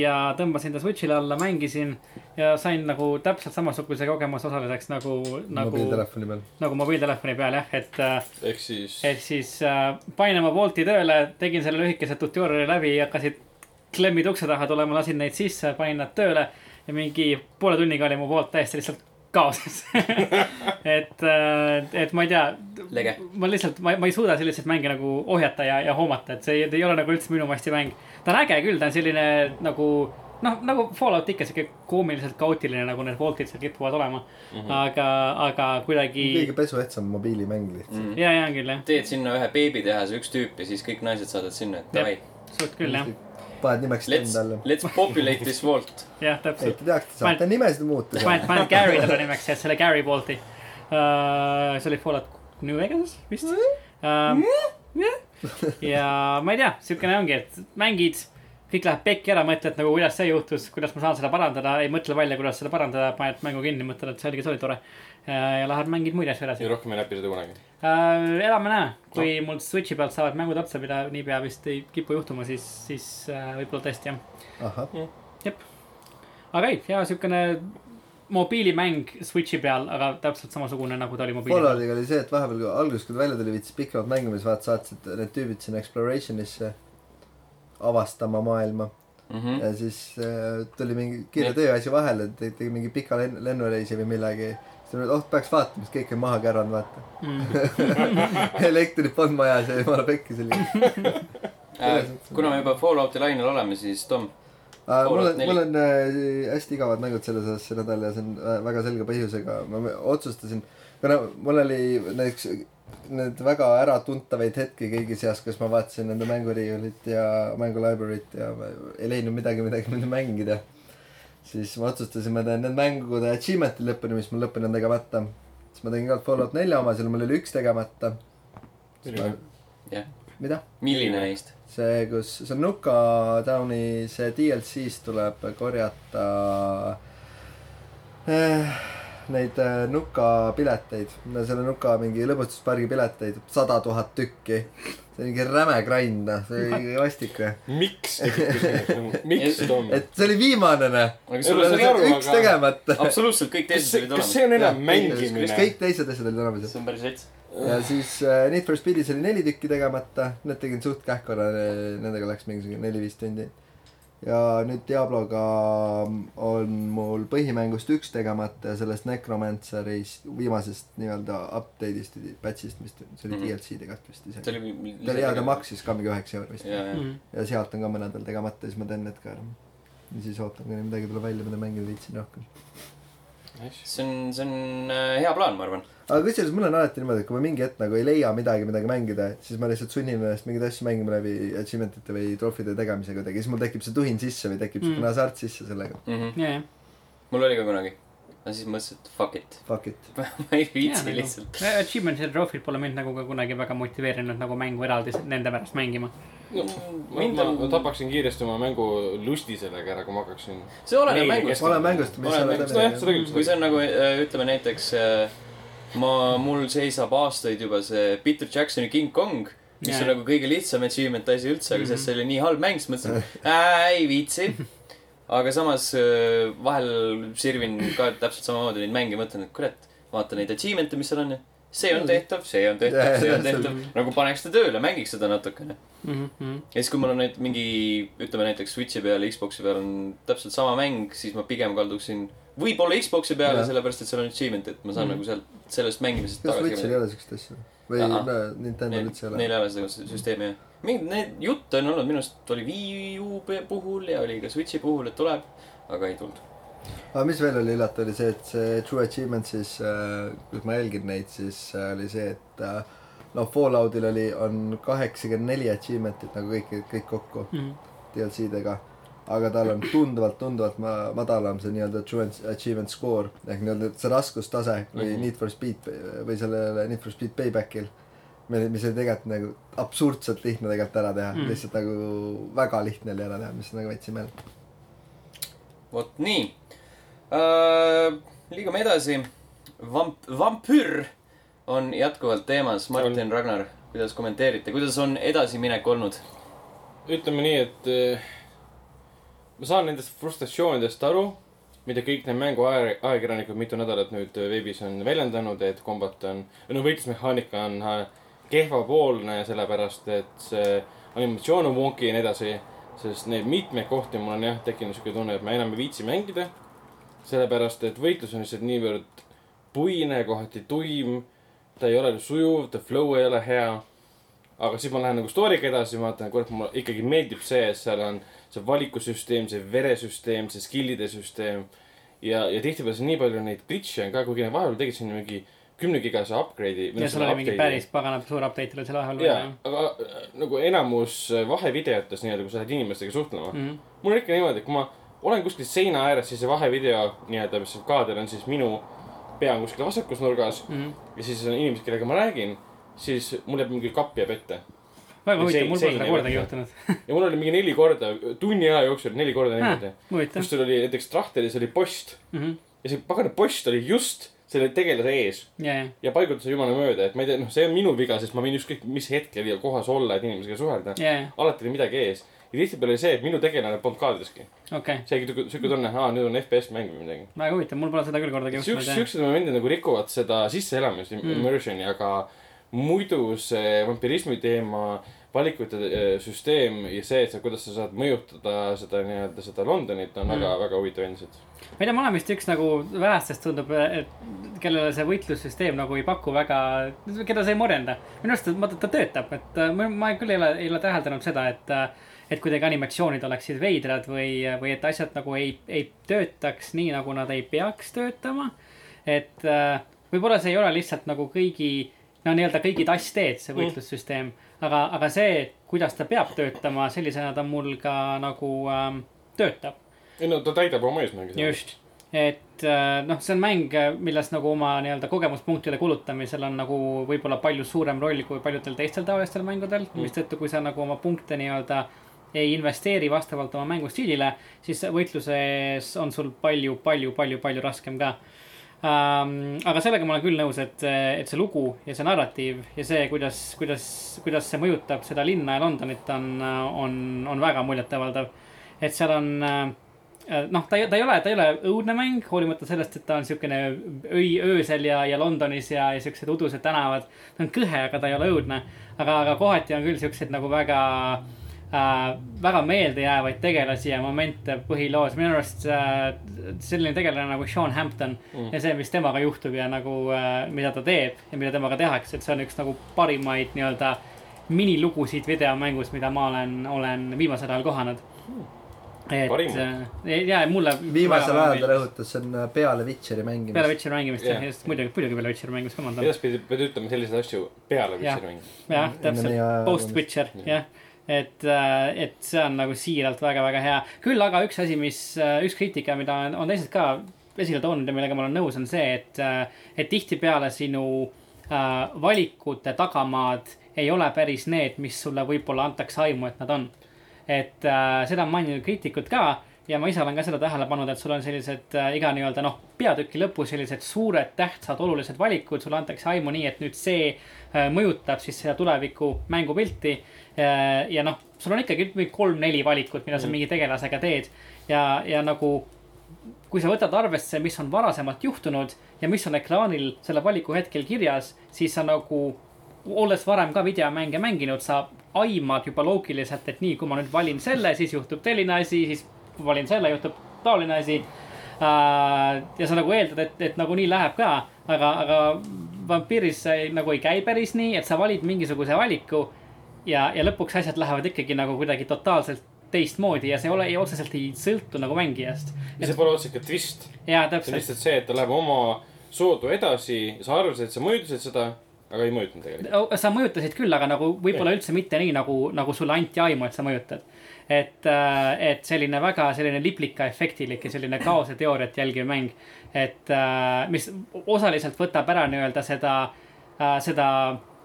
Speaker 3: ja tõmbasin ta Switch'ile alla , mängisin ja sain nagu täpselt samasuguse kogemuse osaliseks nagu , nagu ,
Speaker 2: mobiiltelefoni peal .
Speaker 3: nagu mobiiltelefoni peal jah , et äh,
Speaker 4: ehk siis
Speaker 3: ehk siis äh, panin oma Bolti tööle , tegin selle lühikese tutorial'i läbi , hakkasid klemmid ukse taha tulema , lasin neid sisse , panin nad tööle ja mingi poole tunniga oli mu Bolt täiesti lihtsalt kaoses . et , et ma ei tea ,
Speaker 1: lege .
Speaker 3: ma lihtsalt , ma , ma ei suuda selliseid mänge nagu ohjata ja , ja hoomata , et see ei, ei ole nagu üldse minu masti mäng . ta on äge küll , ta on selline nagu noh , nagu Fallout ikka sihuke koomiliselt kaootiline , nagu need Boltid seal kipuvad olema mm . -hmm. aga , aga kuidagi
Speaker 2: kõige pesuehtsam mobiilimäng lihtsalt .
Speaker 3: ja , ja on küll jah ,
Speaker 1: teed sinna ühe beebitehase , üks tüüp ja siis kõik naised saadad sinna , et davai .
Speaker 3: suht küll jah ,
Speaker 2: paned nimeks
Speaker 1: Let's
Speaker 2: enda alla .,
Speaker 1: let's populate this vault .
Speaker 3: jah
Speaker 2: ei ,
Speaker 3: täpselt .
Speaker 2: te teaksite , saate nimesid muuta .
Speaker 3: panen , panen Gary talle nimeks , jah , selle Gary Bolti uh, . see oli Fallout New Vegas vist uh, . ja ma ei tea , siukene ongi , et mängid , kõik läheb pekki ära , mõtled nagu , kuidas see juhtus , kuidas ma saan seda parandada , ei mõtle välja , kuidas seda parandada , paned mängu kinni , mõtled , et see oligi , see oli tore uh, . ja lähed mängid muid asju edasi
Speaker 4: ja
Speaker 3: uh, .
Speaker 4: rohkem ei läbi seda kunagi .
Speaker 3: elame-näe , kui mul Switch'i pealt saavad mängud otsa , mida niipea vist ei kipu juhtuma , siis , siis uh, võib-olla tõesti jah
Speaker 2: ahah ,
Speaker 3: jep , aga ei , hea siukene mobiilimäng Switchi peal , aga täpselt samasugune nagu ta oli mobiili .
Speaker 2: Falloutiga oli see , et vahepeal kui alguses , kui ta välja tuli , viitsis pikemalt mängima , siis vaata saatsid need tüübid sinna exploration'isse avastama maailma
Speaker 1: Mhm.
Speaker 2: ja siis äh, tuli mingi kiire
Speaker 1: Nii.
Speaker 2: tööasi vahele , tegi mingi pika lenn- lennureisi või millegi . siis tuli , et oh , peaks vaatama , siis kõik on maha käranud , vaata . elektrit polnud majas ja jumala pekki selline .
Speaker 1: Äh, kuna me juba Fallouti lainel oleme , siis Tom ,
Speaker 2: mul
Speaker 1: Fallout
Speaker 2: on ,
Speaker 1: neli.
Speaker 2: mul on äh, hästi igavad mängud selles osas see nädal ja see on vä- väga selge põhjusega . ma me- otsustasin , kuna mul oli näiteks need väga äratuntavaid hetki kõigi seas , kus ma vaatasin nende mänguriiulit ja mängulibrary't ja ma ei leidnud midagi , midagi , mida mängida . siis ma otsustasin , ma teen need mängud achievement'i lõpuni , mis mul lõpuni on tegemata . siis ma tegin ka Fallout nelja oma , seal mul oli üks tegemata .
Speaker 1: jah .
Speaker 2: mida ?
Speaker 1: milline neist ?
Speaker 2: see , kus , see on Nuka Downi , see DLC-s tuleb korjata eh, neid eh, Nuka pileteid , selle Nuka mingi lõbustuspargi pileteid , sada tuhat tükki . see on mingi räme grind , noh , see oli vastik , noh .
Speaker 4: miks ? miks , Tom ?
Speaker 2: et see oli viimane , noh .
Speaker 1: Aga
Speaker 4: sul
Speaker 2: sul
Speaker 4: on
Speaker 2: oli
Speaker 4: see aru,
Speaker 2: see üks
Speaker 4: aga-
Speaker 2: tegemata .
Speaker 1: absoluutselt kõik
Speaker 4: kas
Speaker 1: teised
Speaker 4: see ,
Speaker 1: olid
Speaker 4: kas see
Speaker 1: olemas .
Speaker 4: on enam
Speaker 2: kõik
Speaker 4: mängimine ?
Speaker 2: teised asjad olid olemas , jah
Speaker 1: see on päris rets .
Speaker 2: ja siis äh, Need for Speedis äh, oli neli tükki tegemata , need tegin suht kähk korra , nendega läks mingisugune neli-viis tundi . ja nüüd Diabloga on mul põhimängust üks tegemata ja sellest Necromancerist viimasest nii-öelda update'ist , patch'ist , mis ta- see oli
Speaker 1: Mhm.
Speaker 2: DLC tegelikult vist isegi .
Speaker 1: see
Speaker 2: ta
Speaker 1: oli .
Speaker 2: oli hea , ta . maksis ka mingi üheksa eurot vist .
Speaker 1: ja ,
Speaker 3: Mm.
Speaker 1: ja .
Speaker 2: ja sealt on ka mõnedel tegemata , siis ma teen need ka ära . ja siis ootan , kuni midagi tuleb välja , mida mängida viitsin rohkem .
Speaker 1: see on , see on äh, hea plaan , ma arvan .
Speaker 2: aga kusjuures mul on alati niimoodi , et kui ma mingi hetk nagu ei leia midagi , midagi mängida , siis ma lihtsalt sunnin ennast mingeid asju mängima läbi achievement'ite või trofide tegemise kuidagi , siis mul tekib see tuhin sisse või tekib niisugune
Speaker 3: Mm.
Speaker 2: mm. hasart sisse sellega .
Speaker 1: mhmh ,
Speaker 3: ja , ja .
Speaker 1: mul oli ka kunagi . aga siis mõtlesin , et fuck it .
Speaker 2: Fuck it .
Speaker 1: ma ei
Speaker 3: nagu-
Speaker 1: viitsi lihtsalt .
Speaker 3: Äh, Achievement'i trofid pole mind nagu ka kunagi väga motiveerinud nagu mängu eraldi nende pärast mängima .
Speaker 4: no, ma,
Speaker 1: Mind
Speaker 4: ma,
Speaker 1: on-
Speaker 4: ma tapaksin kiiresti oma mängu lusti sellega ära , kui ma hakkaksin .
Speaker 1: see oleneb
Speaker 4: Meile
Speaker 1: mängust
Speaker 4: kestab. .
Speaker 2: ole mängust , mis
Speaker 1: Ole
Speaker 2: sa oled
Speaker 1: mängust,
Speaker 4: nojah , seda
Speaker 2: läbi
Speaker 1: kui
Speaker 4: küll , seda
Speaker 1: see on nagu äh, ütleme näiteks äh, ma , mul seisab aastaid juba see Peter Jacksoni King Kong , mis
Speaker 3: Jaa.
Speaker 1: on nagu kõige lihtsam achievement asi üldse , aga
Speaker 3: Mhm.
Speaker 1: sest see oli nii halb mäng , siis mõtlesin , et äh, ei viitsi . aga samas äh, vahel sirvin ka täpselt samamoodi neid mänge , mõtlen , et kurat , vaata neid achievement'e , mis seal on ja see on tehtav , see on tehtav ,
Speaker 2: Jaa,
Speaker 1: see on
Speaker 2: täpselt.
Speaker 1: tehtav . nagu paneks ta tööle , mängiks seda natukene .
Speaker 3: Mhm,
Speaker 1: ja siis , kui mul on nüüd mingi , ütleme näiteks Switch'i peal , Xbox'i peal on täpselt sama mäng , siis ma pigem kalduksin võib-olla Xbox'i peale ,
Speaker 2: Jah.
Speaker 1: sellepärast et seal on achievement , et ma saan mm.
Speaker 3: Mhm.
Speaker 1: nagu sealt , sellest mängimisest
Speaker 2: kas Switch'il ei
Speaker 1: tagasi .
Speaker 2: ole siukest asja ? või
Speaker 1: Ahah.
Speaker 2: no, Nintendo'l üldse ei
Speaker 1: Neil
Speaker 2: ole ?
Speaker 1: ei ole seda sü- süsteemi jah . mingid need jutte on olnud , minu arust oli Wii U pe- puhul ja oli ka Switch'i puhul , et tuleb , aga ei tulnud .
Speaker 2: aga mis veel oli üllatav , oli see , et see True Achievement siis , kus ma jälgin neid , siis äh, oli see , et äh, noh , Falloutil oli , on kaheksakümmend neli achievement'it nagu kõik , kõik kokku
Speaker 3: mhm.
Speaker 2: DLC-dega . aga tal on tunduvalt , tunduvalt ma- madalam see nii-öelda true achievement score ehk nii-öelda see raskustase kui mm
Speaker 1: Mhm.
Speaker 2: -hmm. Need for Speed või sellele Need for Speed Paybackil . mis oli tegelikult nagu absurdselt lihtne tegelikult ära teha mm ,
Speaker 3: Mhm.
Speaker 2: -hmm. lihtsalt nagu väga lihtne oli ära teha , mis on nagu veits imelik .
Speaker 1: vot nii uh, . liigume edasi . Vamp- , vampüür on jätkuvalt teemas . Martin , Ragnar , kuidas kommenteerite , kuidas on edasiminek olnud ?
Speaker 4: ütleme nii , et eh, ma saan nendest frustratsioonidest aru , mida kõik need mänguajakirjanikud mitu nädalat nüüd veebis on väljendanud , et kombat on , no võitlusmehaanika on eh, kehvapoolne , sellepärast et see animatsioon on wonky ja nii edasi , sest neid mitmeid kohti mul on jah tekkinud siuke tunne , et ma enam ei viitsi mängida . sellepärast , et võitlus on lihtsalt niivõrd puine , kohati tuim , ta ei ole sujuv , ta flow ei ole hea aga siis ma lähen nagu story'ga edasi , vaatan , kurat , mulle ikkagi meeldib see , et seal on see valikusüsteem , see veresüsteem , see skill'ide süsteem . ja , ja tihtipeale seal nii palju neid glitch'e on ka , kuigi nad vahepeal tegid siin mingi kümnegigase upgrade'i .
Speaker 3: ja seal oli mingi päris pagana suur update oli seal vahepeal .
Speaker 4: jaa , aga äh, nagu enamus vahevideotes nii-öelda , kui sa lähed inimestega suhtlema mm. ,
Speaker 3: mm .
Speaker 4: mul on ikka niimoodi , et kui ma olen kuskil seina ääres , siis see vahevideo nii-öelda , mis seal kaadril on , siis minu pea on kuskil vasakus nurgas
Speaker 3: -hmm.
Speaker 4: ja siis on inimesed , kellega ma räägin , siis mul jääb mingi kapp jääb ette
Speaker 3: väga
Speaker 4: Ja
Speaker 3: huvitav ,
Speaker 4: sein-
Speaker 3: mul pole
Speaker 4: sein
Speaker 3: seda
Speaker 4: ei
Speaker 3: kordagi
Speaker 4: võta.
Speaker 3: juhtunud .
Speaker 4: ja mul oli mingi neli korda , tunni aja jooksul neli korda niimoodi .
Speaker 3: huvitav Mhm.
Speaker 4: kus . sul oli näiteks Trahteris oli post
Speaker 3: ja ,
Speaker 4: ja see pagana post oli just selle tegelase ees
Speaker 3: ja ,
Speaker 4: ja paigutas jumala mööda , et ma ei tea , noh , see on minu viga , sest ma võin ükskõik mis hetkel ja kohas olla , et inimesega suhelda .
Speaker 3: ja ,
Speaker 4: alati oli midagi ees ja tihtipeale oli see , et minu tegelane polnud kaadriski .
Speaker 3: okei .
Speaker 4: seegi tükk- siuke tunne , aa , nüüd on FPS mäng või midagi .
Speaker 3: väga huvitav , mul pole seda küll kordagi
Speaker 4: siuksed ,
Speaker 3: juhtunud .
Speaker 4: siuksed momendid nagu rikuvad seda sisseelamist mm. ,
Speaker 3: Mm.
Speaker 4: immersion'i , aga muidu see vampirismi teema , valikute eh, süsteem ja see , et sa , kuidas sa saad mõjutada seda nii-öelda seda Londonit on
Speaker 3: Mm.
Speaker 4: väga , väga huvitav endiselt .
Speaker 3: ma ei tea , ma olen vist üks nagu vähestest tundub , et kellele see võitlussüsteem nagu ei paku väga , keda see ei morjenda . minu arust ma, ta töötab , et äh, ma, ma küll ei ole , ei ole täheldanud seda , et , et kuidagi animatsioonid oleksid veidrad või , või et asjad nagu ei , ei töötaks nii , nagu nad ei peaks töötama . et äh, võib-olla see ei ole lihtsalt nagu kõigi , no nii-öelda kõigi tass-teed , see võitlussüsteem , aga , aga see , kuidas ta peab töötama , sellisena ta mul ka nagu ähm, töötab
Speaker 4: ei no ta täidab oma eesmärgi .
Speaker 3: just , et äh, noh , see on mäng , milles nagu oma nii-öelda kogemuspunktide kulutamisel on nagu võib-olla palju suurem roll kui paljudel teistel taolistel mängudel mm. , mistõttu kui sa nagu oma punkte nii-öelda ei investeeri vastavalt oma mängustiilile , siis võitluses on sul palju , palju , palju , palju raskem ka . Um, aga sellega ma olen küll nõus , et , et see lugu ja see narratiiv ja see , kuidas , kuidas , kuidas see mõjutab seda linna ja Londonit on , on , on väga muljetavaldav . et seal on äh, Äh, noh , ta ei , ta ei ole , ta ei ole õudne mäng , hoolimata sellest , et ta on siukene öi , öösel ja , ja Londonis ja , ja siuksed udused tänavad . ta on kõhe , aga ta ei ole õudne . aga , aga kohati on küll siuksed nagu väga äh, väga meeldejäävaid tegelasi ja momente põhiloos. minu arust äh, selline tegelane nagu Sean Hampton mm. ja see, mis temaga juhtub ja nagu äh,, mida ta teeb ja mida temaga tehakse, et see on üks nagu parimaid nii-öelda minilugusid videomängus, mida ma olen, olen viimasel ajal kohanud et
Speaker 4: Parimaid.
Speaker 3: äh, ja mulle .
Speaker 2: viimasel ajal ta rõhutas , see on peale Witcheri mängimist .
Speaker 3: peale Witcheri mängimist jah
Speaker 4: Jah.
Speaker 3: yeah. , just muidugi , muidugi peale Witcheri mängimist , vabandust .
Speaker 4: edaspidi pead ütlema selliseid asju peale
Speaker 3: Jah.
Speaker 4: Witcheri mängu .
Speaker 3: jah ,
Speaker 2: Enne äh,
Speaker 3: täpselt
Speaker 2: meie ,
Speaker 3: post
Speaker 2: ajakirjandust.
Speaker 3: Witcher , jah . et , et see on nagu siiralt väga-väga hea . küll aga üks asi , mis , üks kriitika , mida on- on teised ka esile toonud ja millega ma olen nõus , on see , et , et tihtipeale sinu äh, valikute tagamaad ei ole päris need , mis sulle võib-olla antakse aimu , et nad on . et äh, seda on maininud kriitikud ka ja ma ise olen ka seda tähele pannud , et sul on sellised äh, iga nii-öelda noh , peatüki lõpus sellised suured tähtsad olulised valikud , sulle antakse aimu nii , et nüüd see äh, mõjutab siis seda tuleviku mängupilti . ja noh , sul on ikkagi mingi kolm-neli valikut , mida sa mingi tegelasega teed ja , ja nagu kui sa võtad arvesse , mis on varasemalt juhtunud ja mis on ekraanil selle valiku hetkel kirjas , siis sa nagu , olles varem ka videomänge mänginud , sa aimad juba loogiliselt , et nii , kui ma nüüd valin selle , siis juhtub selline asi , siis kui valin selle , juhtub taoline asi . ja sa nagu eeldad , et , et nagunii läheb ka , aga , aga vampiiris see nagu ei käi päris nii , et sa valid mingisuguse valiku ja , ja lõpuks asjad lähevad ikkagi nagu kuidagi totaalselt teistmoodi ja see ei ole , otseselt ei sõltu nagu mängijast .
Speaker 4: ja see pole otseselt ka twist ,
Speaker 3: jaa ,
Speaker 4: see on
Speaker 3: täpselt .
Speaker 4: lihtsalt see , et ta läheb oma soodu edasi , sa arvasid , et sa mõjutasid seda , aga ei mõjutanud tegelikult .
Speaker 3: sa mõjutasid küll , aga nagu võib-olla üldse mitte nii nagu , nagu sulle anti aimu , et sa mõjutad . et , et selline väga selline liblika efektilik ja selline kaose teooriat jälgiv mäng . et äh, mis osaliselt võtab ära nii-öelda seda , seda ,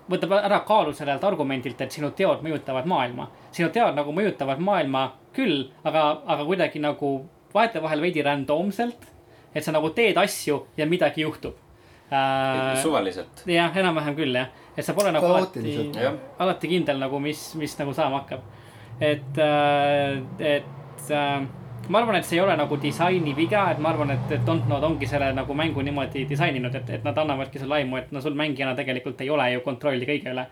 Speaker 3: võtab ära kaalu sellelt argumendilt , et sinu teod mõjutavad maailma . sinu teod nagu mõjutavad maailma küll , aga , aga kuidagi nagu vahetevahel veidi randomselt . et sa nagu teed asju ja midagi juhtub . Äh,
Speaker 1: suvaliselt .
Speaker 3: jah , enam-vähem küll jah , et sa pole nagu alati
Speaker 2: Kaootiliselt. ,
Speaker 1: Jah.
Speaker 3: alati kindel nagu , mis , mis nagu saama hakkab . et , et äh, ma arvan , et see ei ole nagu disaini viga , et ma arvan , et , et Dontnod ongi selle nagu mängu niimoodi disaininud , et , et nad annavadki sulle aimu , et no sul mängijana tegelikult ei ole ju kontrolli kõige üle .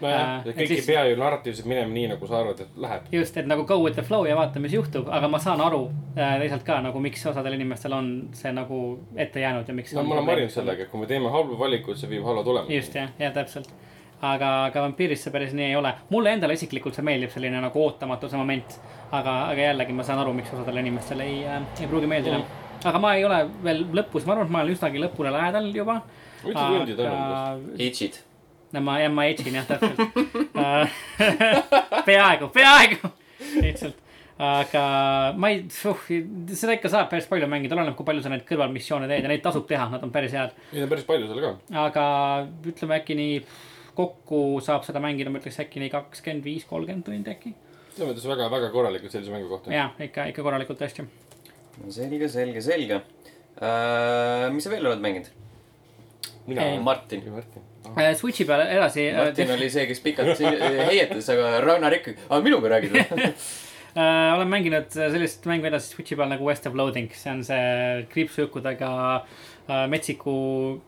Speaker 4: nojah
Speaker 3: Äh, , et
Speaker 4: kõik ei
Speaker 3: lihtsalt-
Speaker 4: pea ju narratiivselt minema nii , nagu sa arvad , et läheb .
Speaker 3: just , et nagu go with the flow ja vaata , mis juhtub , aga ma saan aru äh, teisalt ka nagu , miks osadel inimestel on see nagu ette jäänud ja miks .
Speaker 4: no ma olen harjunud sellega , et kui me teeme halbu valikuid , see viib halva tulemuse .
Speaker 3: just jah , jah täpselt . aga , aga vampiiris see päris nii ei ole . mulle endale isiklikult see meeldib , selline nagu ootamatuse moment . aga , aga jällegi ma saan aru , miks osadele inimestele ei äh, , ei pruugi meeldida mm. . aga ma ei ole veel lõpus , ma arvan , et ma olen üsnagi lõpule lähedal juba .
Speaker 4: mitu tundi ta on umbes ?
Speaker 1: Itch'id .
Speaker 3: no ma , jah , ma etsin jah , täpselt . peaaegu , peaaegu , lihtsalt . aga ma ei , seda ikka saab päris palju mängida , oleneb , kui palju sa neid kõrvalmissioone teed ja neid tasub teha , nad on päris head .
Speaker 4: Neid on päris palju seal ka .
Speaker 3: aga ütleme äkki nii , kokku saab seda mängida , ma ütleks äkki nii kakskümmend viis , kolmkümmend tundi äkki .
Speaker 4: selles mõttes väga , väga korralikud sellise mängu kohta .
Speaker 3: ja ikka , ikka korralikult tõesti .
Speaker 1: selge , selge , selge . mis sa veel oled mänginud ?
Speaker 4: mina
Speaker 3: Ei.
Speaker 4: olen
Speaker 1: Martin .
Speaker 4: Martin .
Speaker 3: Äh, Switch'i peale edasi . äh,
Speaker 1: Martin oli see , kes pikalt siin- heietas , aga Ragnar ikkagi , aa minuga räägid või ?
Speaker 3: Äh, olen mänginud sellist mängu edasi Switch'i peal nagu West of Loading , see on see kriipsujukudega äh, metsiku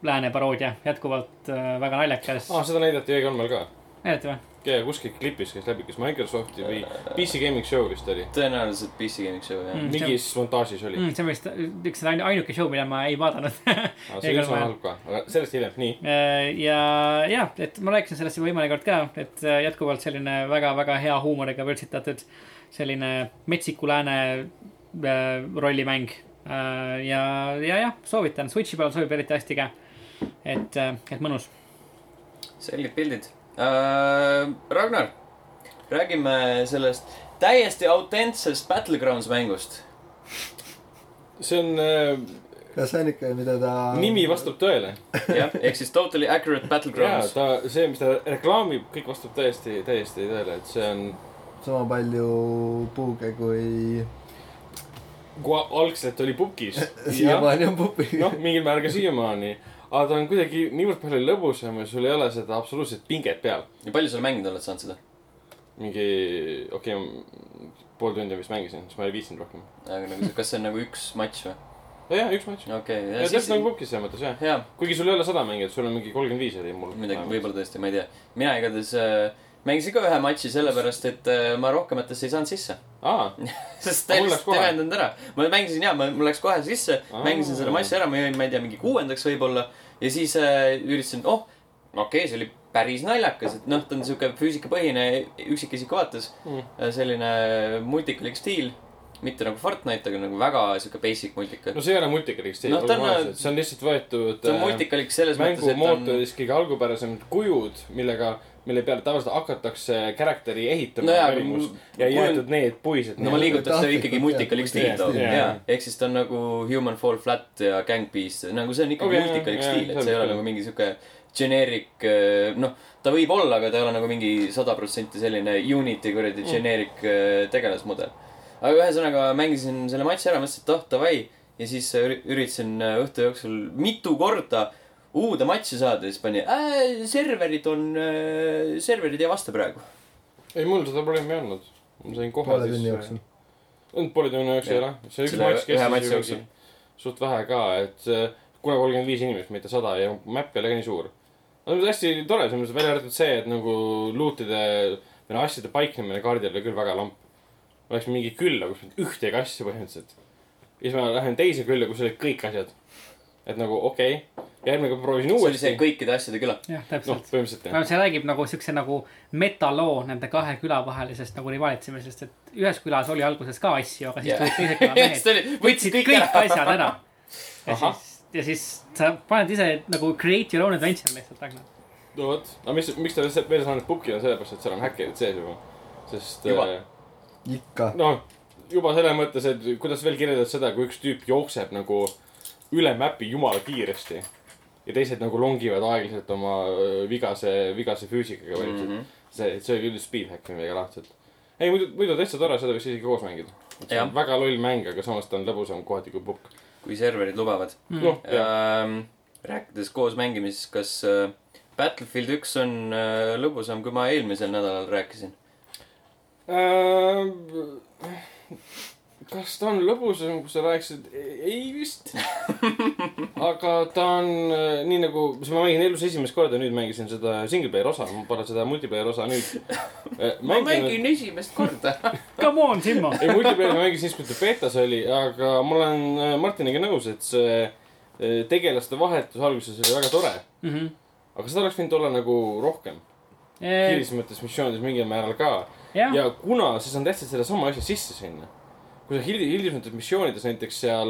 Speaker 3: lääne paroodia , jätkuvalt äh, väga naljakas .
Speaker 4: aa , seda näidati E3-l ka .
Speaker 3: näidati või ?
Speaker 4: ja kuskil klipis käis läbi , kas Microsofti või PC Gaming Show vist oli .
Speaker 1: tõenäoliselt PC Gaming Show jah
Speaker 3: Mm.
Speaker 1: mm. .
Speaker 4: mingis montaažis oli .
Speaker 3: see on vist üks ainu- ainuke show , mida ma ei vaadanud .
Speaker 4: aga Ah, see oli üsna halb ka , aga sellest hiljem , nii .
Speaker 3: Äh, ja , ja , et ma rääkisin sellest juba eelmine kord ka , et äh, jätkuvalt selline väga-väga hea huumoriga vürtsitatud selline metsiku lääne äh, rollimäng . ja , ja jah , soovitan , Switch'i peal sobib eriti hästi ka . et , et mõnus
Speaker 1: selged pildid äh, . Ragnar , räägime sellest täiesti autentsest Battlegrounds mängust .
Speaker 4: see on äh, ,
Speaker 2: kas see on ikka , mida ta .
Speaker 4: nimi vastab tõele .
Speaker 1: jah , ehk siis totally accurate
Speaker 4: jaa ,
Speaker 1: Battlegrounds .
Speaker 4: ta , see , mis ta reklaamib , kõik vastab täiesti , täiesti tõele , et see on
Speaker 2: sama palju puuge kui
Speaker 4: kui algselt oli pukis .
Speaker 2: siiamaani on pupi .
Speaker 4: noh , mingil määral ka siiamaani , aga ta on kuidagi niivõrd palju lõbusam ja sul ei ole seda absoluutset pinget peal .
Speaker 1: ja palju sa mänginud oled saanud seda ?
Speaker 4: mingi , okei okay, , pool tundi vist mängisin , siis ma ei viitsinud rohkem .
Speaker 1: aga nagu see , kas see on nagu üks matš või ?
Speaker 4: jah , üks matš .
Speaker 1: okei , ja siis
Speaker 4: täpselt , nagu pukis selles mõttes jah .
Speaker 1: jaa ,
Speaker 4: kuigi sul ei ole sada mängijat , sul on mingi kolmkümmend viis oli mul .
Speaker 1: midagi ,. võib-olla tõesti , ma ei tea . mina igatahes , mängisin ka ühe matši sellepärast , et äh, ma rohkematesse ei saanud sisse .
Speaker 4: aa ,
Speaker 1: sest
Speaker 4: Aga
Speaker 1: ta
Speaker 4: mul läks
Speaker 1: lihtsalt
Speaker 4: kohe.
Speaker 1: ei vähendanud ära . ma mängisin ja , mul läks kohe sisse ,
Speaker 4: Aa.
Speaker 1: mängisin selle matši ära , ma jõin , ma ei tea , mingi kuuendaks võib-olla . ja siis äh, üritasin , oh , okei okay, , see oli päris naljakas , et noh , ta on sihuke füüsikapõhine üksikisiku vaates
Speaker 4: Mm.
Speaker 1: Äh, selline multikalik stiil . mitte nagu Fortnite , aga nagu väga sihuke basic multika .
Speaker 4: no see ei ole multikaliks , see
Speaker 1: Noh, ta on-
Speaker 4: see on lihtsalt võetud äh,
Speaker 1: ta on multikalik selles mõttes , et on
Speaker 4: mängumootoris kõige algupärasemad kujud , millega , mille peale tavaliselt hakatakse karakteri ehitama
Speaker 1: No jaa,
Speaker 4: no
Speaker 1: aga
Speaker 4: päringus
Speaker 1: mul-
Speaker 4: ja
Speaker 1: mul-
Speaker 4: jäetud need puised .
Speaker 1: no ma liigutan seda ikkagi
Speaker 2: Tahtlikult,
Speaker 1: multikalik
Speaker 2: jah,
Speaker 1: stiil
Speaker 4: multikalik
Speaker 1: toob ,
Speaker 4: stiil.
Speaker 1: jaa
Speaker 4: Jaa. .
Speaker 1: ehk siis ta on nagu Human Fall Flat ja Gang Beast , nagu see on ikkagi
Speaker 4: Okei,
Speaker 1: okay, multikalik
Speaker 4: jaa,
Speaker 1: stiil ,
Speaker 4: jaa,
Speaker 1: et see ei ole
Speaker 4: selge.
Speaker 1: nagu mingi sihuke generic , noh , ta võib olla , aga ta ei ole nagu mingi sada protsenti selline Unity kuradi generic äh, tegelasmudel . aga ühesõnaga mängisin selle matši ära , mõtlesin , et oh davai ja siis eh, üri- üritasin äh, õhtu jooksul mitu korda uude matši saada ja siis pani äh, , serverid on äh, , serverid ei vasta praegu .
Speaker 4: ei , mul seda probleemi ei olnud . ma sain kohe
Speaker 2: poole tunni jooksul .
Speaker 4: olnud poole tunni jooksul jah , see üks
Speaker 1: Selle
Speaker 4: matš
Speaker 1: ühe matši
Speaker 4: kestis ju
Speaker 1: jooksul.
Speaker 4: mingi suht vähe ka , et eh, kuna kolmkümmend viis inimest , mitte sada ja map ei ole ka nii suur . no hästi tore , selles mõttes välja arvatud see , et nagu luutide või noh , asjade paiknemine kaardil oli küll väga lamp . oleks mingi külla , kus polnud ühtegi asja põhimõtteliselt . ja siis ma lähen teise külla , kus olid kõik asjad . et nagu okei okay. , järgmine kord proovisin
Speaker 1: see oli see
Speaker 4: uuesti .
Speaker 1: kõikide asjade küla .
Speaker 3: jah ,
Speaker 4: noh ,
Speaker 3: täpselt .
Speaker 4: põhimõtteliselt jah .
Speaker 3: no see räägib nagu siukse nagu metaloo nende kahe küla vahelisest nagu rivalitsemisest , et ühes külas oli alguses ka asju , aga siis
Speaker 1: Jah.
Speaker 3: yeah. tulid teise küla mehed , võtsid kõik, kõik asjad ära . ja
Speaker 4: Ahah.
Speaker 3: siis , ja siis sa paned ise nagu create your own adventure lihtsalt , Ragnar .
Speaker 4: no vot , aga mis , miks ta lihtsalt veel saanud pukki on sellepärast , et seal on häkkerid sees juba . sest .
Speaker 1: Juba.
Speaker 2: ikka .
Speaker 4: noh , juba selles mõttes , et kuidas veel kirjeldada seda , kui üks tüüp jookseb nagu üle mäpi jumala kiiresti ja teised nagu longivad aeglaselt oma öö, vigase , vigase füüsikaga või
Speaker 1: Mhm.
Speaker 4: mm -hmm. see , see oli küll speedhack või midagi lahtist . ei , muidu , muidu täitsa tore , seda võiks isegi koos mängida . see
Speaker 1: Jah.
Speaker 4: on väga loll mäng , aga samas ta on lõbusam kohati kui pukk .
Speaker 1: kui serverid lubavad
Speaker 4: noh , jah ,
Speaker 1: mm. . rääkides koos mängimisest , kas äh, Battlefield üks on äh, lõbusam , kui ma eelmisel nädalal rääkisin ?
Speaker 4: Ähm, kas ta on lõbusam , kui sa rääkisid , ei vist . aga ta on äh, nii nagu , siis ma mängin elus esimest korda , nüüd mängisin seda single player osa , ma pole seda multiplayer osa nüüd .
Speaker 1: ma . mängin esimest korda .
Speaker 3: Come on , Simmo .
Speaker 4: ei , multiplayer ma mängisin siis , kui ta betas oli , aga ma olen äh, Martiniga nõus , et see äh, tegelaste vahetus alguses oli väga tore . aga seda oleks võinud olla nagu rohkem , hilisemates missioonides mingil määral ka
Speaker 3: Eh, jah ,
Speaker 4: ja kuna siis on tehtud sedasama asja sisse sinna , kui sa hil- , hilisemates missioonides näiteks seal ,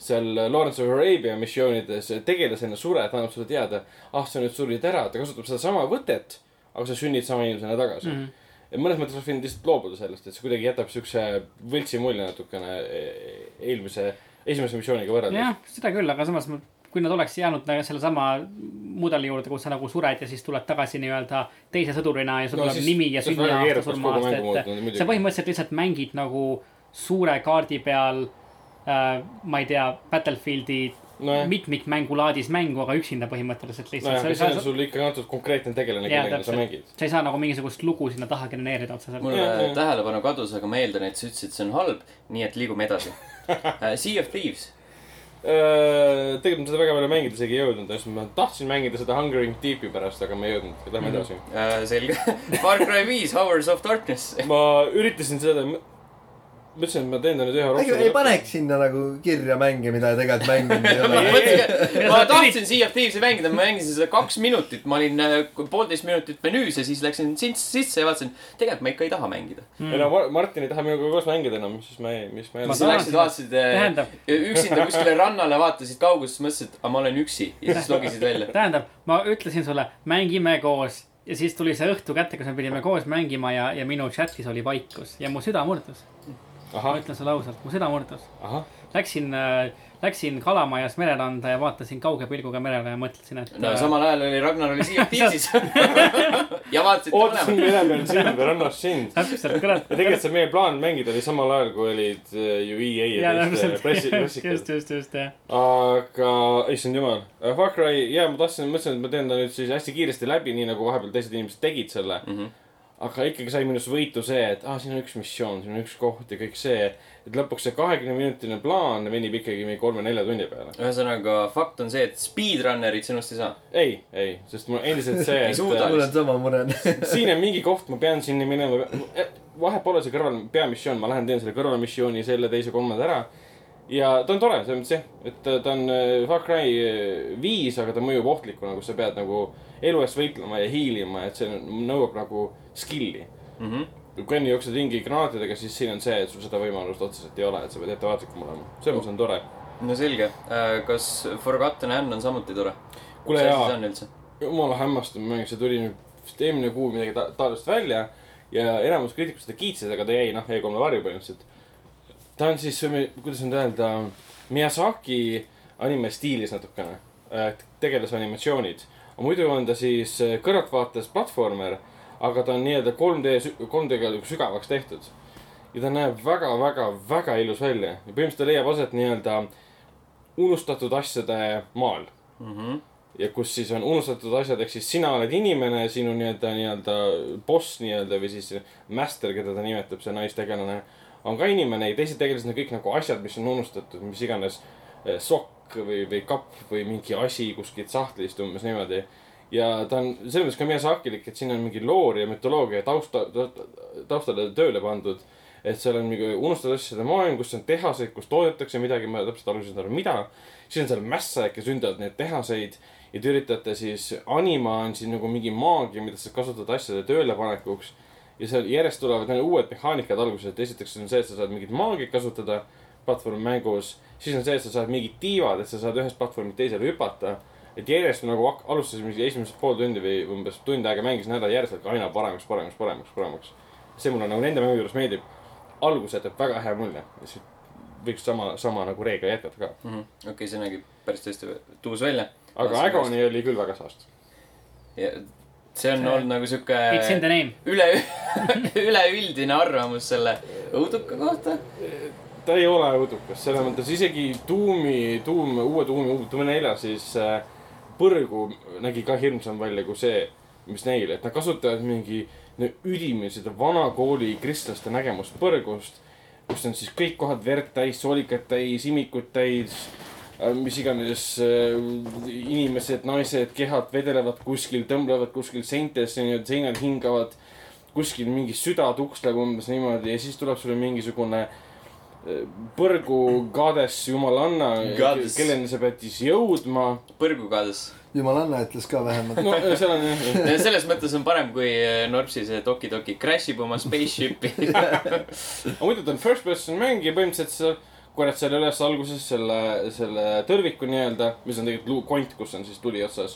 Speaker 4: seal Lawrence of Arabia missioonides äh, tegelasena sured , annab sulle teada , ah , sa nüüd surid ära , ta kasutab sedasama võtet , aga sa sünnid sama inimesena tagasi
Speaker 3: Mhm.
Speaker 4: mm . -hmm. Ja mõnes mõttes oleks võinud lihtsalt loobuda sellest , et see kuidagi jätab siukse võltsi mulje natukene eh, eelmise , esimese missiooniga võrreldes .
Speaker 3: jah , seda küll , aga samas ma- kui nad oleks jäänud nagu sellesama mudeli juurde , kus sa nagu sured ja siis tuled tagasi nii-öelda teise sõdurina ja sul
Speaker 4: No
Speaker 3: tuleb
Speaker 4: siis-
Speaker 3: nimi ja
Speaker 4: siis väga
Speaker 3: sünniaasta
Speaker 4: keerukas kogu mängu
Speaker 3: surmaaasta ,
Speaker 4: muuta,
Speaker 3: et
Speaker 4: muidugi.
Speaker 3: sa põhimõtteliselt lihtsalt mängid nagu suure kaardi peal äh, ma ei tea , Battlefieldi
Speaker 4: Nojah.
Speaker 3: mitmikmängulaadis mängu , aga üksinda põhimõtteliselt lihtsalt .
Speaker 4: nojah , aga siin on sul ikkagi antud konkreetne tegelane ,
Speaker 3: Jaa,
Speaker 4: kellega sa
Speaker 3: täpselt.
Speaker 4: mängid .
Speaker 3: sa ei saa nagu mingisugust lugu sinna taha genereerida otseselt .
Speaker 1: mul
Speaker 4: Jah,
Speaker 1: äh,
Speaker 4: jah.
Speaker 1: tähelepanu kadus , aga ma eeldan , et sa ütlesid , see on halb , nii et liigume edasi äh, . Sea of Thieves .
Speaker 4: Äh, tegelikult ma seda väga palju mängida isegi ei jõudnud , ma tahtsin mängida seda Hungering Deepi pärast , aga ma ei jõudnud , lähme
Speaker 2: Mhm.
Speaker 4: edasi .
Speaker 1: Äh, selge . Far Cry viis , Hours of Darkness .
Speaker 4: ma üritasin seda , ma ütlesin , et ma teen ta nüüd ühe
Speaker 2: äkki ei . paneks sinna nagu kirja mänge , mida tegelikult mänginud ei
Speaker 1: ma
Speaker 2: ole .
Speaker 1: mõtlesin , ma tahtsin Sea of Thieves'i mängida , ma mängisin seda kaks minutit , ma olin äh, poolteist minutit menüüs ja siis läksin sints- sisse ja vaatasin , tegelikult ma ikka ei taha mängida .
Speaker 4: ei no Mar- Martin ei taha minuga koos mängida enam , siis ma ei , mis ma ei
Speaker 1: ja
Speaker 3: Ma
Speaker 4: ole .
Speaker 1: siis
Speaker 3: tahan
Speaker 1: läksid ,
Speaker 3: seda.
Speaker 1: vaatasid äh,
Speaker 3: Tähendab.
Speaker 1: üksinda kuskile rannale , vaatasid kaugusest , mõtlesid , et aga ma olen üksi ja siis logisid välja .
Speaker 3: tähendab , ma ütlesin sulle , mängime koos ja siis tuli see õhtu kätte , kus me pidime koos mängima ja , ja minu chat'is oli vaikus ja mu süda murdus . ma
Speaker 4: ahah ,
Speaker 3: ütlen sulle ausalt , mu süda murdus .
Speaker 4: ahah ,
Speaker 3: Läksin , läksin Kalamajas mereranda ja vaatasin kauge pilguga merele ja mõtlesin , et äh,
Speaker 1: no samal ajal oli Ragnar oli Sea of Thievesis ja vaatasid
Speaker 4: ootasin
Speaker 1: mõlemad .
Speaker 4: Venemaal sind või rannas sind .
Speaker 3: täpselt , kurat .
Speaker 4: ja tegelikult see meie plaan mängida oli samal ajal , kui olid äh, ju EA ja
Speaker 3: ja
Speaker 4: teiste pressi ,
Speaker 3: täpselt , just ,
Speaker 4: pressikad .
Speaker 3: just , just , jah .
Speaker 4: aga , issand jumal , Far
Speaker 1: Mhm.
Speaker 4: Cry , jaa , ma tahtsin , mõtlesin , et ma teen ta nüüd siis hästi kiiresti läbi , nii nagu vahepeal teised inimesed tegid selle . aga ikkagi sai minust võitu see , et aa , siin on üks missioon , siin on üks koht ja kõik see . et lõpuks see kahekümne minutine plaan venib ikkagi mingi kolme-nelja tunni peale .
Speaker 1: ühesõnaga , fakt on see , et speedrunnerit sinust ei saa .
Speaker 4: ei , ei , sest mul on endiselt see ,
Speaker 1: Ei suuda.
Speaker 4: et
Speaker 2: mul on sama mure .
Speaker 4: siin on mingi koht , ma pean sinna minema . vahet pole see kõrval , peamissioon , ma lähen teen selle kõrvalmissiooni , selle , teise , kolmanda ära . ja ta on tore , selles mõttes jah , et ta- ta on äh, Far Cry äh, viis , aga ta mõjub ohtlikuna , kus sa pead nagu elu eest võitlema ja hiilima , et see on- nõuab nagu skill'i .
Speaker 1: Mhm.
Speaker 4: kui enne jooksed ringi granaatidega , siis siin on see , et sul seda võimalust otseselt ei ole , et sa pead ettevaatlikum olema . selles mõttes on tore .
Speaker 1: no selge , kas Forgotten Hand on samuti tore ?
Speaker 4: Kuule, jaa.
Speaker 1: on üldse ?
Speaker 4: jumala hämmastav mäng , see tuli nüüd vist eelmine kuu midagi ta- taolist välja ja enamus kriitikud seda kiitsid , aga ta jäi noh , E3-e varju põhimõtteliselt . ta on siis , kuidas nüüd öelda , Miyazaki anime stiilis natukene , tegelasanimatsioonid . muidu on ta siis äh, kõrvaltvaates platvormer , aga ta on nii-öelda 3D , 3D-ga nagu sügavaks tehtud . ja ta näeb väga-väga , väga ilus välja ja põhimõtteliselt ta leiab aset nii-öelda unustatud asjade maal
Speaker 1: Mhm,
Speaker 4: ja kus siis on unustatud asjad , ehk siis sina oled inimene , sinu nii-öelda , nii-öelda boss nii-öelda või siis master , keda ta nimetab , see naistegelane , on ka inimene ja teised tegelased on kõik nagu asjad , mis on unustatud , mis iganes eh, sokk või , või kapp või mingi asi kuskilt sahtlist umbes niimoodi . ja ta on selles mõttes ka Miyazakilik , et siin on mingi loor ja mütoloogia tausta , taustale tööle pandud et seal on mingi unustatud asjade maailm , kus on tehaseid , kus toodetakse midagi , ma täpselt alguses ei saanud aru , mida . siis on seal mässajaid , kes ründavad neid tehaseid ja te üritate siis , anima on siin nagu mingi maagia , mida sa kasutad asjade töölepanekuks . ja seal järjest tulevad need uued mehaanikad alguses , et esiteks on see , et sa saad mingit maagiat kasutada platvormmängus . siis on see , et sa saad mingid tiivad , et sa saad ühest platvormilt teisele hüpata . et järjest nagu hak- alustasime siis esimesed pool tundi või umbes tund aega mängisin ära , järjest läks aina paremaks , paremaks , paremaks , paremaks . see mulle nagu nende mängude juures meeldib . algus jätab väga hea mulje . võiks sama , sama nagu reegel jätkata ka .
Speaker 1: mhm. okei , see nägi päris tõesti tuus välja .
Speaker 4: aga Agony oli küll väga saast .
Speaker 1: see on
Speaker 3: See-
Speaker 1: olnud nagu sihuke
Speaker 4: Äh,
Speaker 3: It's in the name .
Speaker 1: üle , üleüldine arvamus selle õuduka kohta .
Speaker 4: ta ei ole õudukas , selles mõttes isegi Doom'i , Doom , uue Doom'i , uue Doom'i nelja siis äh, põrgu nägi ka hirmsam välja kui see , mis neil , et nad kasutavad mingi no, üdini seda vana kooli kristlaste nägemust põrgust , kus on siis kõik kohad verd täis , soolikad täis , imikud täis , mis iganes äh, inimesed , naised , kehad vedelevad kuskil , tõmblevad kuskil seintesse , nii-öelda seinal hingavad , kuskil mingi süda tuksleb umbes niimoodi ja siis tuleb sulle mingisugune äh, põrgu goddess jumalanna ,
Speaker 1: Goddess.
Speaker 4: kelleni sa pead siis jõudma .
Speaker 1: põrgukaades .
Speaker 2: jumalanna ütles ka vähemalt .
Speaker 4: no äh, seal on jah ,
Speaker 1: selles mõttes on parem , kui äh, Norpsi see Toki Toki crash ib oma spaceship'i .
Speaker 4: aga muidu ta on first person mäng ja põhimõtteliselt sa korjad selle üles alguses selle , selle tõrviku nii-öelda , mis on tegelikult luukont , kus on siis tuli otsas .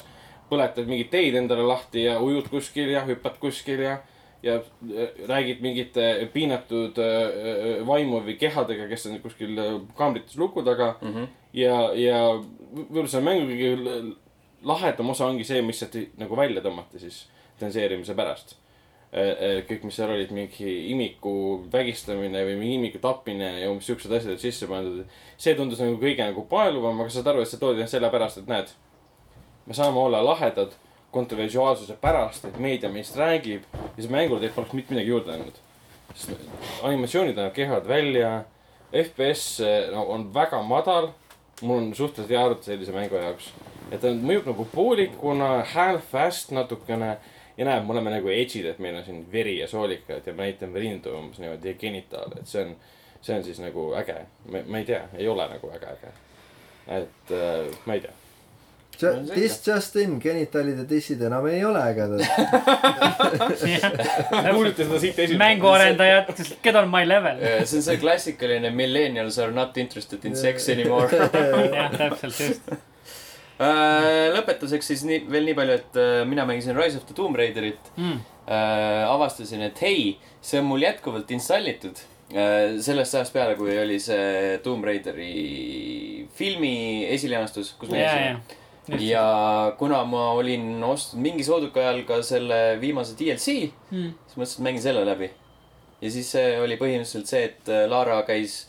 Speaker 4: põletad mingeid teid endale lahti ja ujud kuskil ja hüppad kuskil ja , ja äh, räägid mingite piinatud äh, äh, vaimu või kehadega , kes on kuskil äh, kaamrites luku taga mm . -hmm. ja , ja võib-olla selle mängu kõige l- lahedam osa ongi see , mis sealt nagu välja tõmmati siis tenseerimise pärast Eh, eh, kõik , mis seal olid , mingi imiku vägistamine või mingi imiku tapmine ja umbes siuksed asjad olid sisse pandud . see tundus nagu kõige nagu paeluvam , aga saad aru , et see toodi ainult sellepärast , et näed , me saame olla lahedad kontroversiaalsuse pärast , et meedia meist räägib ja see mängule teeb poleks mitte midagi juurde andnud . sest animatsioonid annavad kehad välja , FPS eh, no, on väga madal , mul on suhteliselt hea arvuti sellise mängu jaoks . et ta mõjub nagu poolikuna , half-fast natukene ja näed , me oleme nagu edžid , et meil on siin veri ja soolikad ja me näitame rindu umbes niimoodi ja genitaale , et see on , see on siis nagu äge . ma ma ei tea , ei ole nagu väga äge . et äh, ma ei tea .
Speaker 1: No selge.
Speaker 2: This just in , genitaalid ja dissid enam ei ole ägedad .
Speaker 4: kuulite seda siit esimest .
Speaker 3: mänguarendajad , get on my level .
Speaker 1: Äh, see on see klassikaline millennials are not interested in sex anymore .
Speaker 3: jah , täpselt , just .
Speaker 1: Äh, lõpetuseks siis nii , veel nii palju , et äh, mina mängisin Rise of the Tomb Raiderit .
Speaker 3: Mm.
Speaker 1: avastasin , et hei , see on mul jätkuvalt installitud . sellest ajast peale , kui oli see Tomb Raideri filmi esilinastus , kus me
Speaker 3: ja , ja
Speaker 1: käisime ., ja kuna ma olin ostnud mingi sooduka ajal ka selle viimase DLC ,
Speaker 3: Mm.
Speaker 1: siis mõtlesin , et mängin selle läbi . ja siis see oli põhimõtteliselt see , et äh, Lara käis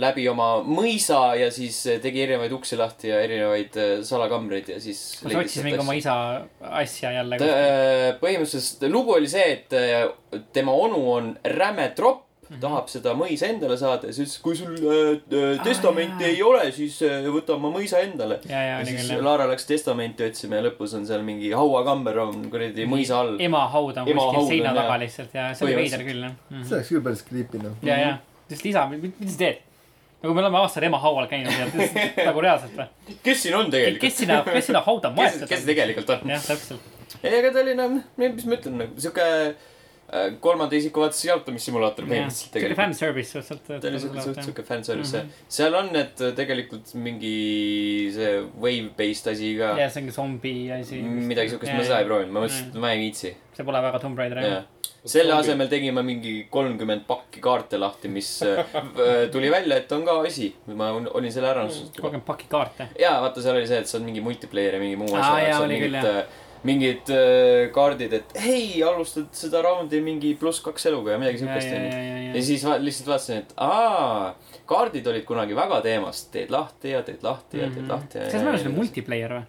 Speaker 1: läbi oma mõisa ja siis äh, tegi erinevaid uksi lahti ja erinevaid äh, salakambreid ja siis .
Speaker 3: kas sa otsisid mingi oma isa asja jälle ?
Speaker 1: ta , Äh, põhimõtteliselt lugu oli see , et äh, tema onu on räme tropp
Speaker 3: Mhm.
Speaker 1: mm , -hmm. tahab seda mõisa endale saada ja siis ütles , kui sul äh, äh, testamenti
Speaker 3: jaa.
Speaker 1: ei ole , siis äh, võta oma mõisa endale .
Speaker 3: ja , ja
Speaker 1: ja
Speaker 3: oli
Speaker 1: siis
Speaker 3: küll jah .
Speaker 1: Laara läks testamenti otsima ja lõpus on seal mingi hauakamber on kuradi mõisa all .
Speaker 3: ema haud on
Speaker 1: Ema haud
Speaker 3: kuskil
Speaker 1: on,
Speaker 3: seina
Speaker 1: jaa.
Speaker 3: taga lihtsalt ja see oli veider
Speaker 1: Põhimõtteliselt. Mhm.
Speaker 3: küll jah Mhm.
Speaker 2: see oleks küll päris creepy noh .
Speaker 3: ja , ja , sest isa , mida sa teed ? nagu me oleme aastaid ema haual käinud ja sest- nagu reaalselt või ?
Speaker 1: kes siin on tegelikult ?
Speaker 3: kes sinna , kes sinna hauda
Speaker 1: kes ,
Speaker 3: maetud
Speaker 1: kes see ? tegelikult on ?
Speaker 3: jah , täpselt .
Speaker 1: ei , aga ta oli noh , mis ma ütlen , nagu sihuke äh, kolmanda isiku vaates jalutamissimulaator põhimõtteliselt
Speaker 3: sihuke
Speaker 1: tegelikult .
Speaker 3: fanservice suhteliselt . nagu
Speaker 1: ta oli sihuke , suht sihuke fanservice mm ,
Speaker 3: Mhm.
Speaker 1: -hmm. seal on need äh, tegelikult mingi see wave-based asi ka
Speaker 3: jah , see on ka zombi asi .
Speaker 1: midagi siukest , ma seda ei . proovinud , ma mõtlesin , et ma ei viitsi .
Speaker 3: see pole väga Tomb Raider jah .
Speaker 1: selle asemel tegin ma mingi kolmkümmend pakki kaarte lahti , mis äh, v- tuli välja , et on ka asi . ma on- olin selle ära unustanud juba .
Speaker 3: kogenud paki kaarte .
Speaker 1: jaa , vaata , seal oli see , et saad mingi multiplayer ja mingi muu
Speaker 3: Aa, jaa,
Speaker 1: asja .
Speaker 3: oli küll,
Speaker 1: mingid , mingid äh, kaardid , et hei , alustad seda raundi mingi pluss kaks eluga ja midagi
Speaker 3: ja ,
Speaker 1: siukest
Speaker 3: ja ,
Speaker 1: onju .
Speaker 3: ja , ja ,
Speaker 1: ja
Speaker 3: ja .
Speaker 1: siis va- lihtsalt vaatasin , et aa , kaardid olid kunagi väga teemas , teed lahti ja teed lahti ja teed lahti ja .
Speaker 3: Mhm. kas meil on selline multiplayer või ?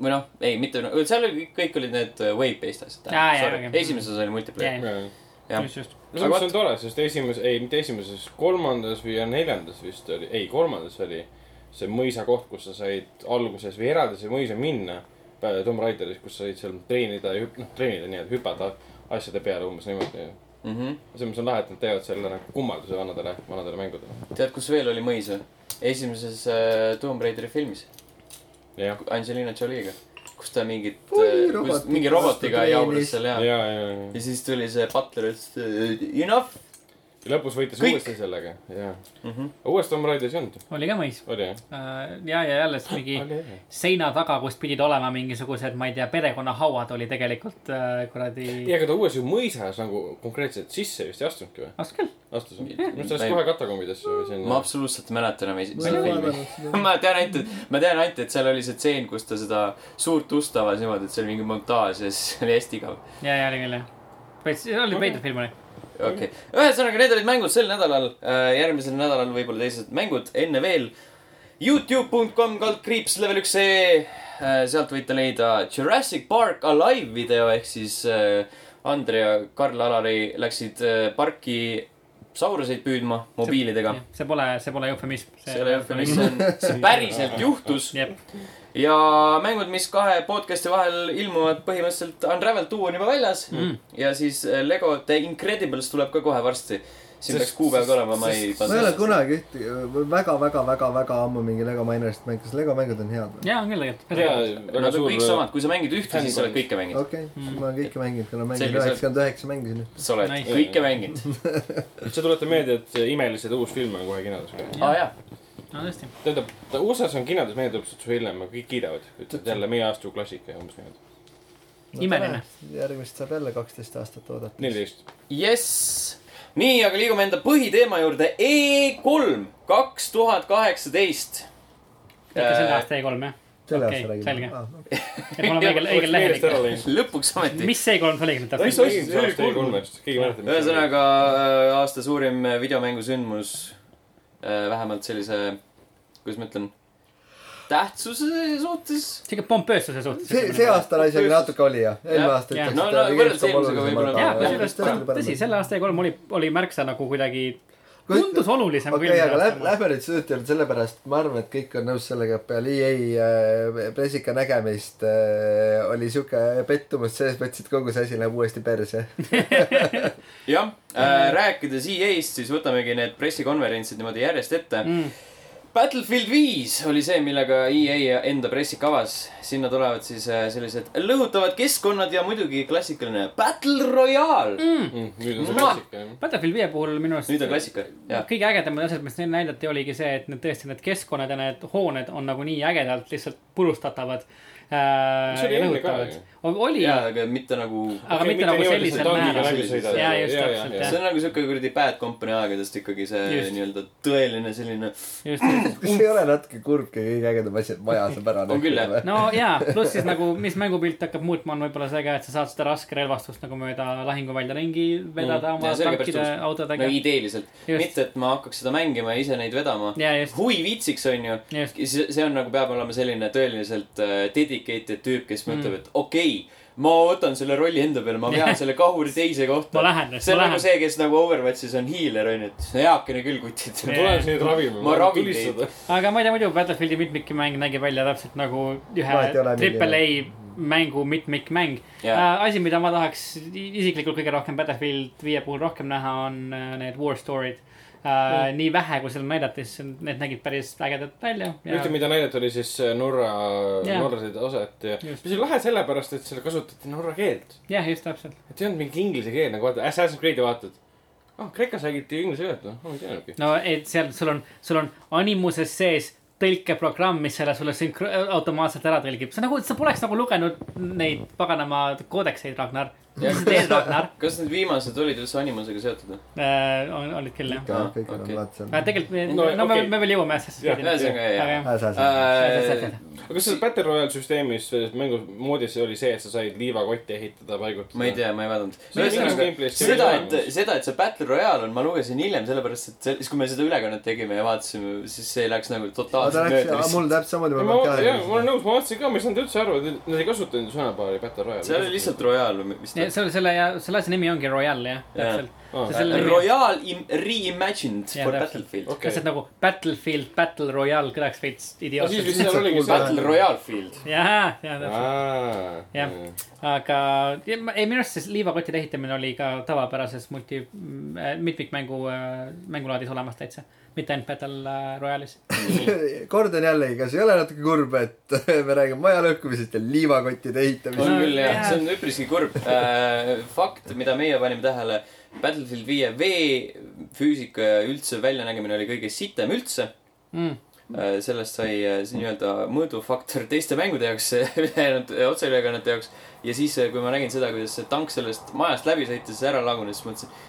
Speaker 1: või noh , ei , mitte , seal oli kõik , kõik olid need äh, wave-based asjad
Speaker 3: Aa, jaa, okei.
Speaker 1: esimeses oli multiplayer .
Speaker 3: Jaa,
Speaker 4: no
Speaker 1: jah ,
Speaker 3: just , just .
Speaker 1: Aga
Speaker 4: see on tore , sest esimeses , ei mitte esimeses , kolmandas või ja neljandas vist oli , ei kolmandas oli see mõisakoht , kus sa said alguses või eraldi sai mõisa minna . Tomb Raideris , kus sa said seal treenida ja hüp- noh , treenida nii-öelda hüpata asjade peale umbes niimoodi .
Speaker 1: mhmh .
Speaker 4: see , mis on lahe , et nad teevad selle nagu kummarduse vanadele , vanadele mängudele .
Speaker 1: tead , kus veel oli mõis või ? esimeses äh, Tomb Raideri filmis
Speaker 4: jah ,
Speaker 1: Angelina Jolie'ga , kus ta mingit ,
Speaker 2: Oi,
Speaker 1: kus
Speaker 2: robotit
Speaker 1: mingi
Speaker 2: vastu
Speaker 1: robotiga
Speaker 2: treenis.
Speaker 1: jauras seal
Speaker 4: ja ,
Speaker 1: ja ,
Speaker 4: ja , ja , ja
Speaker 1: ja siis tuli see butler , ütles et äh, enough
Speaker 4: ja lõpus võitis
Speaker 1: Kõik. Mhm.
Speaker 4: uuesti sellega , jaa .
Speaker 1: mhmh .
Speaker 4: uues Tomb Raideris ei olnud ,
Speaker 3: oli ka mõis .
Speaker 4: oli jah ?
Speaker 3: ja , ja jälle siis mingi
Speaker 4: oli jah .
Speaker 3: seina taga , kust pidid olema mingisugused , ma ei tea , perekonnahauad oli tegelikult äh, kuradi .
Speaker 4: ei , aga ta uues ju mõisas nagu konkreetselt sisse vist ei astunudki või ?
Speaker 3: ausalt küll .
Speaker 4: astus või ?
Speaker 1: Jah.
Speaker 4: minu arust ta
Speaker 1: Ma
Speaker 4: läks
Speaker 1: ei-
Speaker 4: kohe katakombidesse või
Speaker 1: ma
Speaker 4: sinna .
Speaker 1: absoluutselt ei mäleta enam
Speaker 2: ma
Speaker 1: esimest
Speaker 2: ei
Speaker 1: filmi .
Speaker 2: vaadanud seda .
Speaker 1: ma tean ainult , et , ma tean ainult , et seal oli see tseen , kus ta seda suurt ust avas niimoodi , et see oli mingi montaaž ja siis oli hästi igav .
Speaker 3: ja , ja oli küll jah . oli veider film oli .
Speaker 1: okei okay. , ühesõnaga need olid mängud sel nädalal , järgmisel nädalal võib-olla teised mängud , enne veel . Youtube.com kaldkriips level üks ee , sealt võite leida Jurassic Park Alive video ehk siis äh, Andre ja Karl-Alari läksid äh, parki sauruseid püüdma mobiilidega .
Speaker 3: see pole , see pole eufemism .
Speaker 1: selle eufemism , see on , see päriselt juhtus
Speaker 3: jah ,
Speaker 1: ja mängud , mis kahe podcast'i vahel ilmuvad , põhimõtteliselt Unravel two on juba väljas mm. ja siis äh, Lego The Incredibles tuleb ka kohe varsti . siin
Speaker 4: Sest-
Speaker 1: peaks kuupäev ka olema , ma ei
Speaker 4: sest-
Speaker 2: ma ei ole
Speaker 1: pannud .
Speaker 2: kunagi ühtegi , väga-väga-väga-väga ammu mingi Lego Minerist mänginud , kas Lego mängud on head või ?
Speaker 3: ja on küll
Speaker 4: jaa
Speaker 3: tegelikult .,
Speaker 4: väga
Speaker 1: Nad on kõik
Speaker 4: suur .
Speaker 1: samad , kui sa mängid ühte , siis sa oled kõike mänginud .
Speaker 2: okei , ma olen kõike mänginud , kuna mänginud
Speaker 1: Mm. Selge, see-
Speaker 2: üheksakümmend üheksa mängisin .
Speaker 1: sa oled
Speaker 3: Nice.
Speaker 1: kõike mänginud .
Speaker 4: see tuletab meelde , et see Imelised uus film on kohe kinodes ka .
Speaker 1: aa Ah, jaa ,
Speaker 3: no tõesti ,
Speaker 4: tähendab , ta USA-s on kinodes , meie tuleb sealt hiljem , kõik kiidavad , ütlevad jälle meie aasta klassika ja umbes niimoodi .
Speaker 3: Imeline. .
Speaker 2: järgmist saab jälle kaksteist aastat oodata .
Speaker 4: neliteist .
Speaker 1: jess . nii , aga liigume enda põhiteema juurde . E3 kaks tuhat kaheksateist .
Speaker 3: ikka selle aasta E3 jah .
Speaker 2: selle
Speaker 3: Okei,
Speaker 2: aasta räägime Ah.
Speaker 3: selge. .
Speaker 2: selge .
Speaker 3: et mul on õigel , õigel lehel ikka .
Speaker 1: lõpuks ometi .
Speaker 3: mis E E3 oli nüüd
Speaker 1: Mis
Speaker 3: täpselt ?
Speaker 1: asi see
Speaker 4: see
Speaker 1: oli?
Speaker 4: oli kolmest , keegi mäletab .
Speaker 1: ühesõnaga äh, aasta suurim videomängusündmus . vähemalt sellise , kuidas ma ütlen , tähtsuse suhtes .
Speaker 3: sihuke pompeessuse suhtes .
Speaker 2: see , see . aasta isegi natuke oli jah , eelmine
Speaker 1: Jah.
Speaker 2: aasta
Speaker 3: Jah.
Speaker 2: ütleks .
Speaker 1: No, no, võrreldes eelmisega võib-olla-
Speaker 3: jaa ,
Speaker 1: Jaa,
Speaker 3: kusjuures tõsi , selle aasta E3 oli , oli märksa nagu kuidagi ,
Speaker 2: Kui-
Speaker 3: tundus olulisem kui
Speaker 2: okei , aga
Speaker 3: eelmisel
Speaker 2: lähme ,
Speaker 3: aastal .
Speaker 2: lähme nüüd süüdi juurde sellepärast , ma arvan , et kõik on nõus sellega , et peale EA äh, pressika nägemist äh, oli sihuke pettumus selles mõttes , et kogu see asi läheb uuesti perse .
Speaker 1: jah äh, , rääkides EA-st , siis võtamegi need pressikonverentsid niimoodi järjest ette mm. . Battlefield viis oli see , millega EA enda presik avas . sinna tulevad siis äh, sellised lõhutavad keskkonnad ja muidugi klassikaline Battle Royale mm. .
Speaker 4: nüüd on see
Speaker 1: Mua.
Speaker 4: klassika jah .
Speaker 3: Battlefield viie puhul minu arust .
Speaker 1: nüüd on klassika , jah .
Speaker 3: kõige ägedamad asjad , mis neil näidati , oligi see , et need tõesti need keskkonnad ja need hooned on nagu nii ägedalt lihtsalt purustatavad äh, .
Speaker 4: See oli enne ka ju.
Speaker 3: oli ,
Speaker 1: jaa , aga mitte nagu ,
Speaker 3: aga mitte nagu sellisel määral . jaa , just täpselt ,
Speaker 1: see
Speaker 3: jah .
Speaker 1: on nagu siuke kuradi Bad Company aegadest ikkagi see
Speaker 3: Just.
Speaker 1: nii-öelda tõeline selline .
Speaker 3: just , just .
Speaker 2: kas ei ole natuke kurb , kui kõige ägedam asi , et maja saab ära
Speaker 1: On küll, jah.
Speaker 2: nehkida või?
Speaker 3: no jaa , pluss siis nagu , mis mängupilt hakkab muutma , on võib-olla see ka , et sa saad seda raskerelvastust nagu mööda lahinguvälja ringi vedada oma
Speaker 1: jaa, see oli ka päris Nagu
Speaker 3: tankide
Speaker 1: tõus.
Speaker 3: autodega
Speaker 1: no . ideeliselt ,
Speaker 3: Just.
Speaker 1: mitte et ma hakkaks seda mängima ja ise neid vedama .
Speaker 3: ja just ,
Speaker 1: huvi viitsiks , onju .
Speaker 3: just ,
Speaker 1: see see on nagu , peab olema selline tõeliselt äh, dedicated tüüp , kes
Speaker 3: Mm.
Speaker 1: mõtleb , et okei okay, , ma võtan selle rolli enda peale , ma vean selle kahuri teise kohta
Speaker 3: Ma . lähen nüüd,
Speaker 1: see on
Speaker 3: ma
Speaker 1: nagu
Speaker 3: lähen.
Speaker 1: see , kes nagu Overwatchis on hiiler , onju , et heakene küll , kutid .
Speaker 4: ma tulen sind ravima .
Speaker 1: Ma ravin teid.
Speaker 3: aga ma ei tea , muidu Battlefieldi mitmikmäng nägi välja täpselt nagu ühe
Speaker 2: No, et ei ole mingi-
Speaker 3: triple A mängu mitmikmäng .
Speaker 1: Jaa.
Speaker 3: asi , mida ma tahaks i- isiklikult kõige rohkem Battlefield viie puhul rohkem näha , on äh, need war story'd . Mm. nii vähe , kui seal näidati , siis need nägid päris ägedad välja .
Speaker 4: ühte , mida näidati , oli siis äh, Norra ,
Speaker 3: Jaa.
Speaker 4: norrasid osad ja
Speaker 3: Just.
Speaker 4: mis oli lahe sellepärast , et seal kasutati norra keelt .
Speaker 3: jah , just täpselt .
Speaker 4: et ei olnud mingi inglise keel nagu vaata , Assassin's Creed'i vaatad . ah , Kreekas räägiti inglise keelt , noh , ma ei teadnudki .
Speaker 3: no et seal sul on , sul on animuses sees tõlkeprogramm , mis selle sulle sünkro- , automaatselt ära tõlgib . sa nagu , sa poleks nagu lugenud neid paganama koodekseid , Ragnar . mis sa teed , Ragnar ?
Speaker 1: kas need viimased olid üldse animusega seotud või ?
Speaker 3: olid küll jah .
Speaker 2: ikka , kõik on
Speaker 1: okei.
Speaker 3: aga
Speaker 2: vaatasin .
Speaker 3: Ah, tegelikult me ,
Speaker 4: No
Speaker 3: no, no okay.
Speaker 4: okei.
Speaker 3: me , me veel jõuame asjasse .
Speaker 4: Jah,
Speaker 1: ühesõnaga , jaa .
Speaker 3: Äh,
Speaker 1: Äh,
Speaker 4: aga kas seal Battle Royale süsteemis selles mängus moodis oli see , et sa said liivakotti ehitada , paigutada ?
Speaker 1: ma ei . tea , ma ei vaadanud .
Speaker 4: See oli minu gameplay'st see
Speaker 1: seda ,
Speaker 4: oli
Speaker 1: et ,
Speaker 4: olemas.
Speaker 1: seda , et see Battle Royale on , ma lugesin hiljem , sellepärast et see- siis , kui me seda ülekannet tegime ja vaatasime , siis see läks nagu
Speaker 2: ta
Speaker 1: totaalselt
Speaker 2: läks
Speaker 1: mööda , lihtsalt .
Speaker 2: mul täpselt samamoodi ,
Speaker 4: ma
Speaker 2: ma polnud ka
Speaker 4: jah , ma olen nõus , ma vaatasin ka , ma ei saanud üldse aru , nad ei kasutanud ju sõnapaari Battle Royale .
Speaker 1: see oli lihtsalt Royale või mis ta
Speaker 3: see , selle , selle asja nimi ongi Royale jah ,
Speaker 1: Jaa.
Speaker 3: täpselt .
Speaker 4: Aa. äh,
Speaker 3: selle nimi-
Speaker 1: Royale im- reimagined
Speaker 3: Jaa,
Speaker 1: for
Speaker 3: täpselt.
Speaker 1: Battlefield .
Speaker 4: okei
Speaker 3: täpselt . nagu Battlefield , Battle Royale kõlaks veits
Speaker 4: no siis
Speaker 3: idiootselt .
Speaker 4: vist seal oligi see .
Speaker 1: Battle Royale Field .
Speaker 3: jah , jah täpselt . Jah.
Speaker 4: jah .
Speaker 3: aga ja ma- ei , minu arust see liivakottide ehitamine oli ka tavapärases multi , mitmikmängu , mängulaadis olemas täitsa . mitte ainult Battle äh, Royale'is .
Speaker 2: kordan jällegi , kas ei ole natuke kurb , et me räägime maja lõhkumisest ja liivakottide
Speaker 1: on
Speaker 2: ehitamisest ?
Speaker 1: küll jah ,
Speaker 3: jaa.
Speaker 1: see on üpriski kurb äh, . fakt , mida meie panime tähele , Battlefield viie veefüüsika ja üldse väljanägemine oli kõige sitem üldse
Speaker 3: Mm.
Speaker 1: Äh, sellest sai äh, see nii-öelda mõõdufaktor teiste mängude jaoks , ülejäänud äh, otseülekannete jaoks . ja siis , kui ma nägin seda , kuidas see tank sellest majast läbi sõitis , ära lagunes , siis mõtlesin .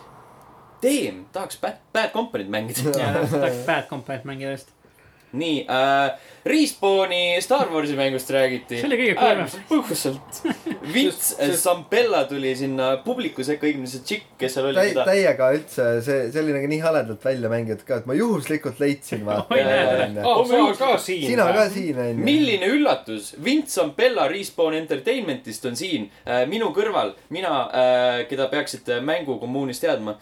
Speaker 1: Damn , tahaks Bad , Bad Company't mängida .
Speaker 3: ja tahaks Bad Company't mängida just .
Speaker 1: nii äh, , Respawni Star Warsi mängust räägiti .
Speaker 3: See oli kõige kurvem.
Speaker 1: põhjuselt . Vints
Speaker 4: Sest- sest-
Speaker 1: Zambella tuli sinna publiku sekka , õigemini see tšikk , kes seal oli
Speaker 2: täi- ,. täiega üldse see , see oli nagu nii haledalt välja mängitud ka , et ma juhuslikult leidsin vaata
Speaker 3: Oi, näed, Oh,
Speaker 2: ja- ja-
Speaker 4: aa , Oh, sina ka siin .
Speaker 2: sina Oh, ka . siin onju .
Speaker 1: milline üllatus , Vince Zampella Respawn Entertainmentist on siin äh, minu kõrval , mina äh, , keda peaksite mängukommuunis teadma ,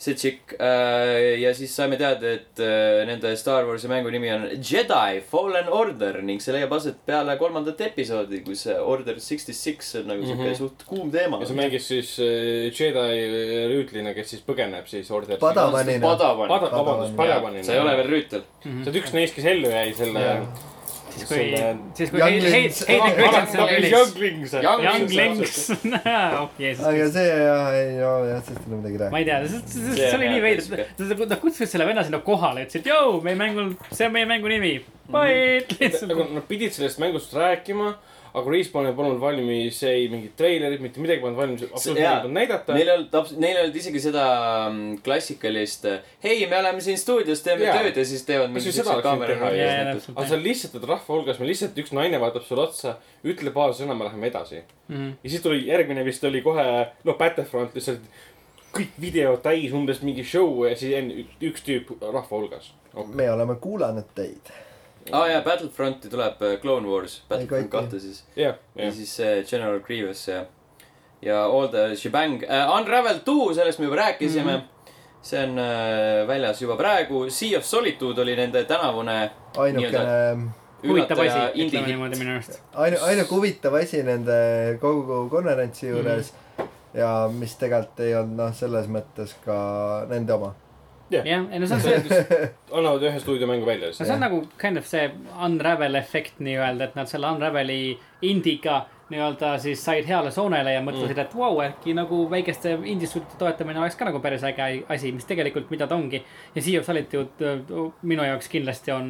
Speaker 1: see tšikk äh, ja siis saime teada , et äh, nende Star Warsi mängu nimi on Jedi Fallen Order ning see leiab aset peale kolmandat episoodi , kus see Order sixty six on nagu siuke mm
Speaker 4: Mhm.
Speaker 1: -hmm. suht kuum teema
Speaker 4: ja . see mängis siis äh, Jedi rüütlina , kes siis põgeneb siis order .
Speaker 2: Padawan. Padavanina.
Speaker 1: Padavan ,
Speaker 4: Pada- , vabandust , Padavanina .
Speaker 1: sa ei ole . veel rüütel .
Speaker 4: sa oled üks neist , kes ellu jäi selle
Speaker 2: Jaa. .
Speaker 3: siis kui , siis kui
Speaker 2: Young
Speaker 3: Hayden
Speaker 2: Links-
Speaker 4: Oh,
Speaker 3: Hayden Christensen oli ülis .
Speaker 4: Younglings .
Speaker 1: Young
Speaker 3: Young Oh, Links . okei , siis
Speaker 2: aga see jah , ei no jah , sellest ei ole midagi
Speaker 3: ma
Speaker 2: rääkida .
Speaker 3: ei tea , see , see ,
Speaker 1: See
Speaker 3: see
Speaker 1: on
Speaker 3: oli nii
Speaker 1: jah,
Speaker 3: veider
Speaker 1: sihuke. ,
Speaker 3: ta kutsus selle venna sinna kohale , ütles , et jõu , meie mängul , see on meie mängu nimi . Bye ,
Speaker 1: Mhm.
Speaker 3: lihtsalt .
Speaker 4: nagu nad pidid sellest mängust rääkima , aga Respawn ei polnud valmis ei mingit treilerit , mitte midagi polnud valmis , absoluutselt
Speaker 1: jaa.
Speaker 4: midagi polnud näidata .
Speaker 1: Neil ei olnud , neil ei olnud isegi seda mm, klassikalist , hei , me oleme siin stuudios , teeme
Speaker 4: Jaa.
Speaker 1: tööd ja siis teevad
Speaker 4: Kas
Speaker 1: mingi
Speaker 4: või seda
Speaker 1: siukse
Speaker 4: oleks võinud
Speaker 1: kaamera
Speaker 4: teha?
Speaker 1: rolli
Speaker 3: Jaa, jaa,
Speaker 1: näiteks .
Speaker 3: täpselt.
Speaker 4: aga seal lihtsalt , et rahva hulgas me lihtsalt , üks naine vaatab sulle otsa , ütle paar sõna , me läheme edasi .
Speaker 3: Mhm.
Speaker 4: ja siis tuli järgmine vist oli kohe , noh , Battlefront lihtsalt kõik videod täis , umbes mingi show ja siis enne ük- üks tüüp rahva hulgas . Oh,
Speaker 2: me oleme kuulanud teid .
Speaker 1: aa jaa , Battlefronti tuleb äh, Clone Wars , Battlefront
Speaker 2: Ei, kõik,
Speaker 1: kahte siis .
Speaker 4: jah ,
Speaker 1: ja
Speaker 4: jah .
Speaker 1: siis äh, General Grievous ja , ja All the Shebang uh, . Unravel two , sellest me juba rääkisime
Speaker 3: Mhm.
Speaker 1: mm . -hmm. see on uh, väljas juba praegu . Sea of Solitude oli nende tänavune
Speaker 2: ainukene ,
Speaker 3: huvitav asi
Speaker 1: üllataja , indie
Speaker 3: ütleme niimoodi
Speaker 1: hitt .
Speaker 3: minu arust .
Speaker 2: ainu- , ainuke huvitav asi nende kogu konverentsi juures
Speaker 3: Mhm.
Speaker 2: ja mis tegelikult ei olnud noh , selles mõttes ka nende oma .
Speaker 3: jah , ei no see on see ,
Speaker 4: annavad ühe stuudiomängu välja
Speaker 3: no
Speaker 4: lihtsalt .
Speaker 3: see on nagu kind of see Unravel efekt nii-öelda , et nad selle Unraveli indiga nii-öelda siis said heale soonele ja mõtlesid mm. , et vau wow, , äkki nagu väikeste indie-stuudiote toetamine oleks ka nagu päris äge asi , mis tegelikult , mida ta ongi . ja Sea of Solitude öö, minu jaoks kindlasti on ,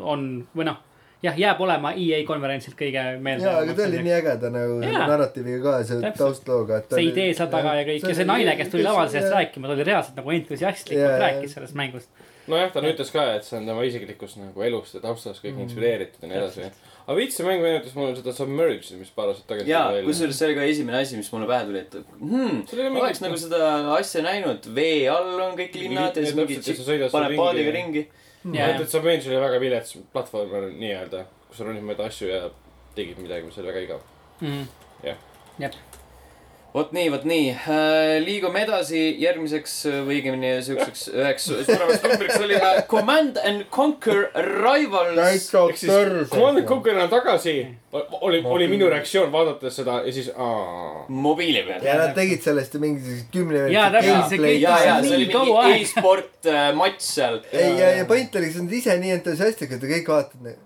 Speaker 3: on või noh , jah , jääb olema EA konverentsilt kõige meelde .
Speaker 2: jaa , aga ta oli nii ägeda nagu
Speaker 3: Jaa.
Speaker 2: narratiiviga ka , see
Speaker 3: Täpselt.
Speaker 2: taustlooga .
Speaker 3: see idee seal taga ja kõik ja see naine , kes tuli lavale sellest . rääkima , ta oli reaalselt nagu
Speaker 2: Jaa,
Speaker 3: entusiastlikult
Speaker 2: jaa.
Speaker 3: rääkis sellest mängust .
Speaker 4: nojah , ta on ütles ka , et see on tema isiklikust nagu elust ja taustast kõik mm. inspireeritud ja nii edasi . aga viits see mäng meenutas mulle seda Submerge'i , mis paar aastat tagasi
Speaker 1: jaa , kusjuures see oli ka esimene asi , mis mulle pähe tuli , et hmm,
Speaker 4: Sul ei ole
Speaker 1: oleks
Speaker 4: mingit-
Speaker 1: nagu seda asja näinud , vee all on kõik linnad ja siis
Speaker 4: Täpselt,
Speaker 1: mingi
Speaker 4: ja sa
Speaker 1: tšipp
Speaker 4: sõidad seal
Speaker 1: paneb
Speaker 4: ringi
Speaker 1: paadiga
Speaker 4: ja-
Speaker 1: ringi .
Speaker 2: Mm.
Speaker 4: ainult , et Submerge oli väga vilets platvormer nii-öelda , kus sa ronid mööda asju ja tegid midagi , mis oli väga igav .
Speaker 3: mm.
Speaker 4: Jah.
Speaker 3: jah ,
Speaker 1: vot nii , vot nii . liigume edasi järgmiseks või õigemini siukseks üheks suuremaks numbriks oli äh, Command and Conquer Rivals .
Speaker 4: ehk siis , kui ma nüüd . kukun tagasi , oli , oli minu reaktsioon vaadates seda ja siis aa .
Speaker 1: mobiili peal .
Speaker 2: ja nad tegid sellest ju mingi kümne
Speaker 3: Jaa, täpselt, see kõik-
Speaker 1: ja , ja see
Speaker 3: Nii
Speaker 1: oli
Speaker 3: kaua
Speaker 1: mingi
Speaker 3: aega.
Speaker 1: e-sport äh, matš seal .
Speaker 2: ei , ja , ja point oli , sa oled ise nii entusiastlik , et te kõik nagu- vaatate .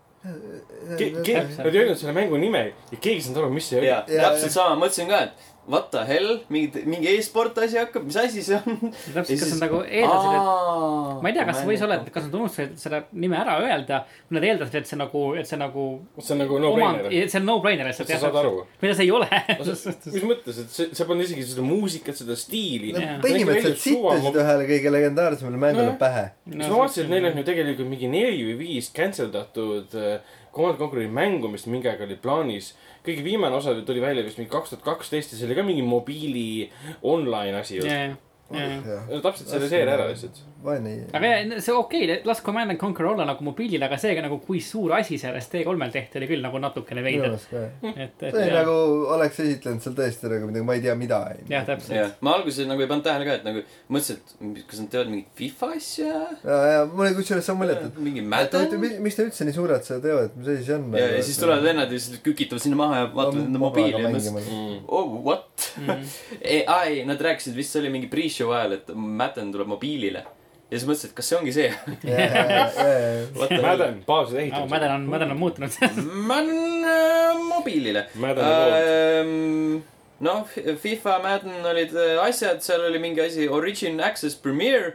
Speaker 3: Täpselt.
Speaker 4: Nad ei öelnud selle mängu nime ja keegi ei saanud aru , mis see oli
Speaker 1: ja . täpselt sama , mõtlesin ka , et what the hell , mingi , mingi e-sport asi hakkab , mis asi see on ?
Speaker 3: täpselt , kas on nagu eeldasid , et ma ei tea , kas võis olla , et kas nad unustasid seda nime ära öelda , või nad eeldasid , et see nagu , et see nagu
Speaker 4: see on nagu
Speaker 3: omand ,
Speaker 4: no-brainer .
Speaker 3: see on no-brainer
Speaker 4: Kas
Speaker 3: lihtsalt
Speaker 4: sa saad aru?
Speaker 3: mida see ei ole .
Speaker 4: mis mõttes , et see , see polnud isegi seda muusikat , seda stiili .
Speaker 3: No, Jaa.
Speaker 2: põhimõtteliselt sittisid ühele kõige legendaarsemale mängule
Speaker 4: Nojah.
Speaker 2: pähe .
Speaker 4: no, . siis ma vaatasin , et neil on ju tegelikult mingi neli või viis cancel datud äh, Command Conquer'i mängu , mis mingi aeg oli plaanis . kõige viimane osa tuli välja vist mingi kaks tuhat kaksteist ja see oli ka mingi mobiili online asi ju .
Speaker 3: aga
Speaker 4: no täpselt selle seeria ära lihtsalt .
Speaker 2: vaene .
Speaker 3: ja- see okei okay, , las Command and Conquer olla nagu mobiilil , aga see ka nagu , kui suur asi sellest E3-l tehti , oli küll nagu natukene veider .
Speaker 2: see
Speaker 3: et , et
Speaker 2: oli
Speaker 3: jah ,
Speaker 2: nagu oleks esitlenud seal tõesti nagu midagi , ma ei tea , mida .
Speaker 3: jah , täpselt .
Speaker 1: jah , ma alguses nagu ei pannud tähele ka , et nagu mõtlesin , et kas nad teevad mingit FIFA asja ,
Speaker 2: ja , ja mul oli kusjuures sama mulje , et
Speaker 1: mingi
Speaker 2: et
Speaker 1: Madden
Speaker 2: oota , miks nad üldse nii suured seda teevad , mis asi see on ?
Speaker 1: ja , ja siis tulevad vennad ja siis kükitavad sinna maha ja vaatavad enda mobiili ja mõtlesid , oh what mm. . ei , ei , nad rääkisid vist , see oli mingi pre-show ajal , et Madden tuleb mobiilile . ja siis mõtlesin , et kas see ongi see .
Speaker 2: mõtlesid .
Speaker 1: What the hell .
Speaker 4: Madden , baaside ehitamine .
Speaker 3: Mäden on , Mäden on muutunud .
Speaker 1: Madden äh, mobiilile .
Speaker 4: Maddeni poolt.
Speaker 1: Äh, noh , FIFA , Madden olid äh, asjad , seal oli mingi asi Origin Access Premier .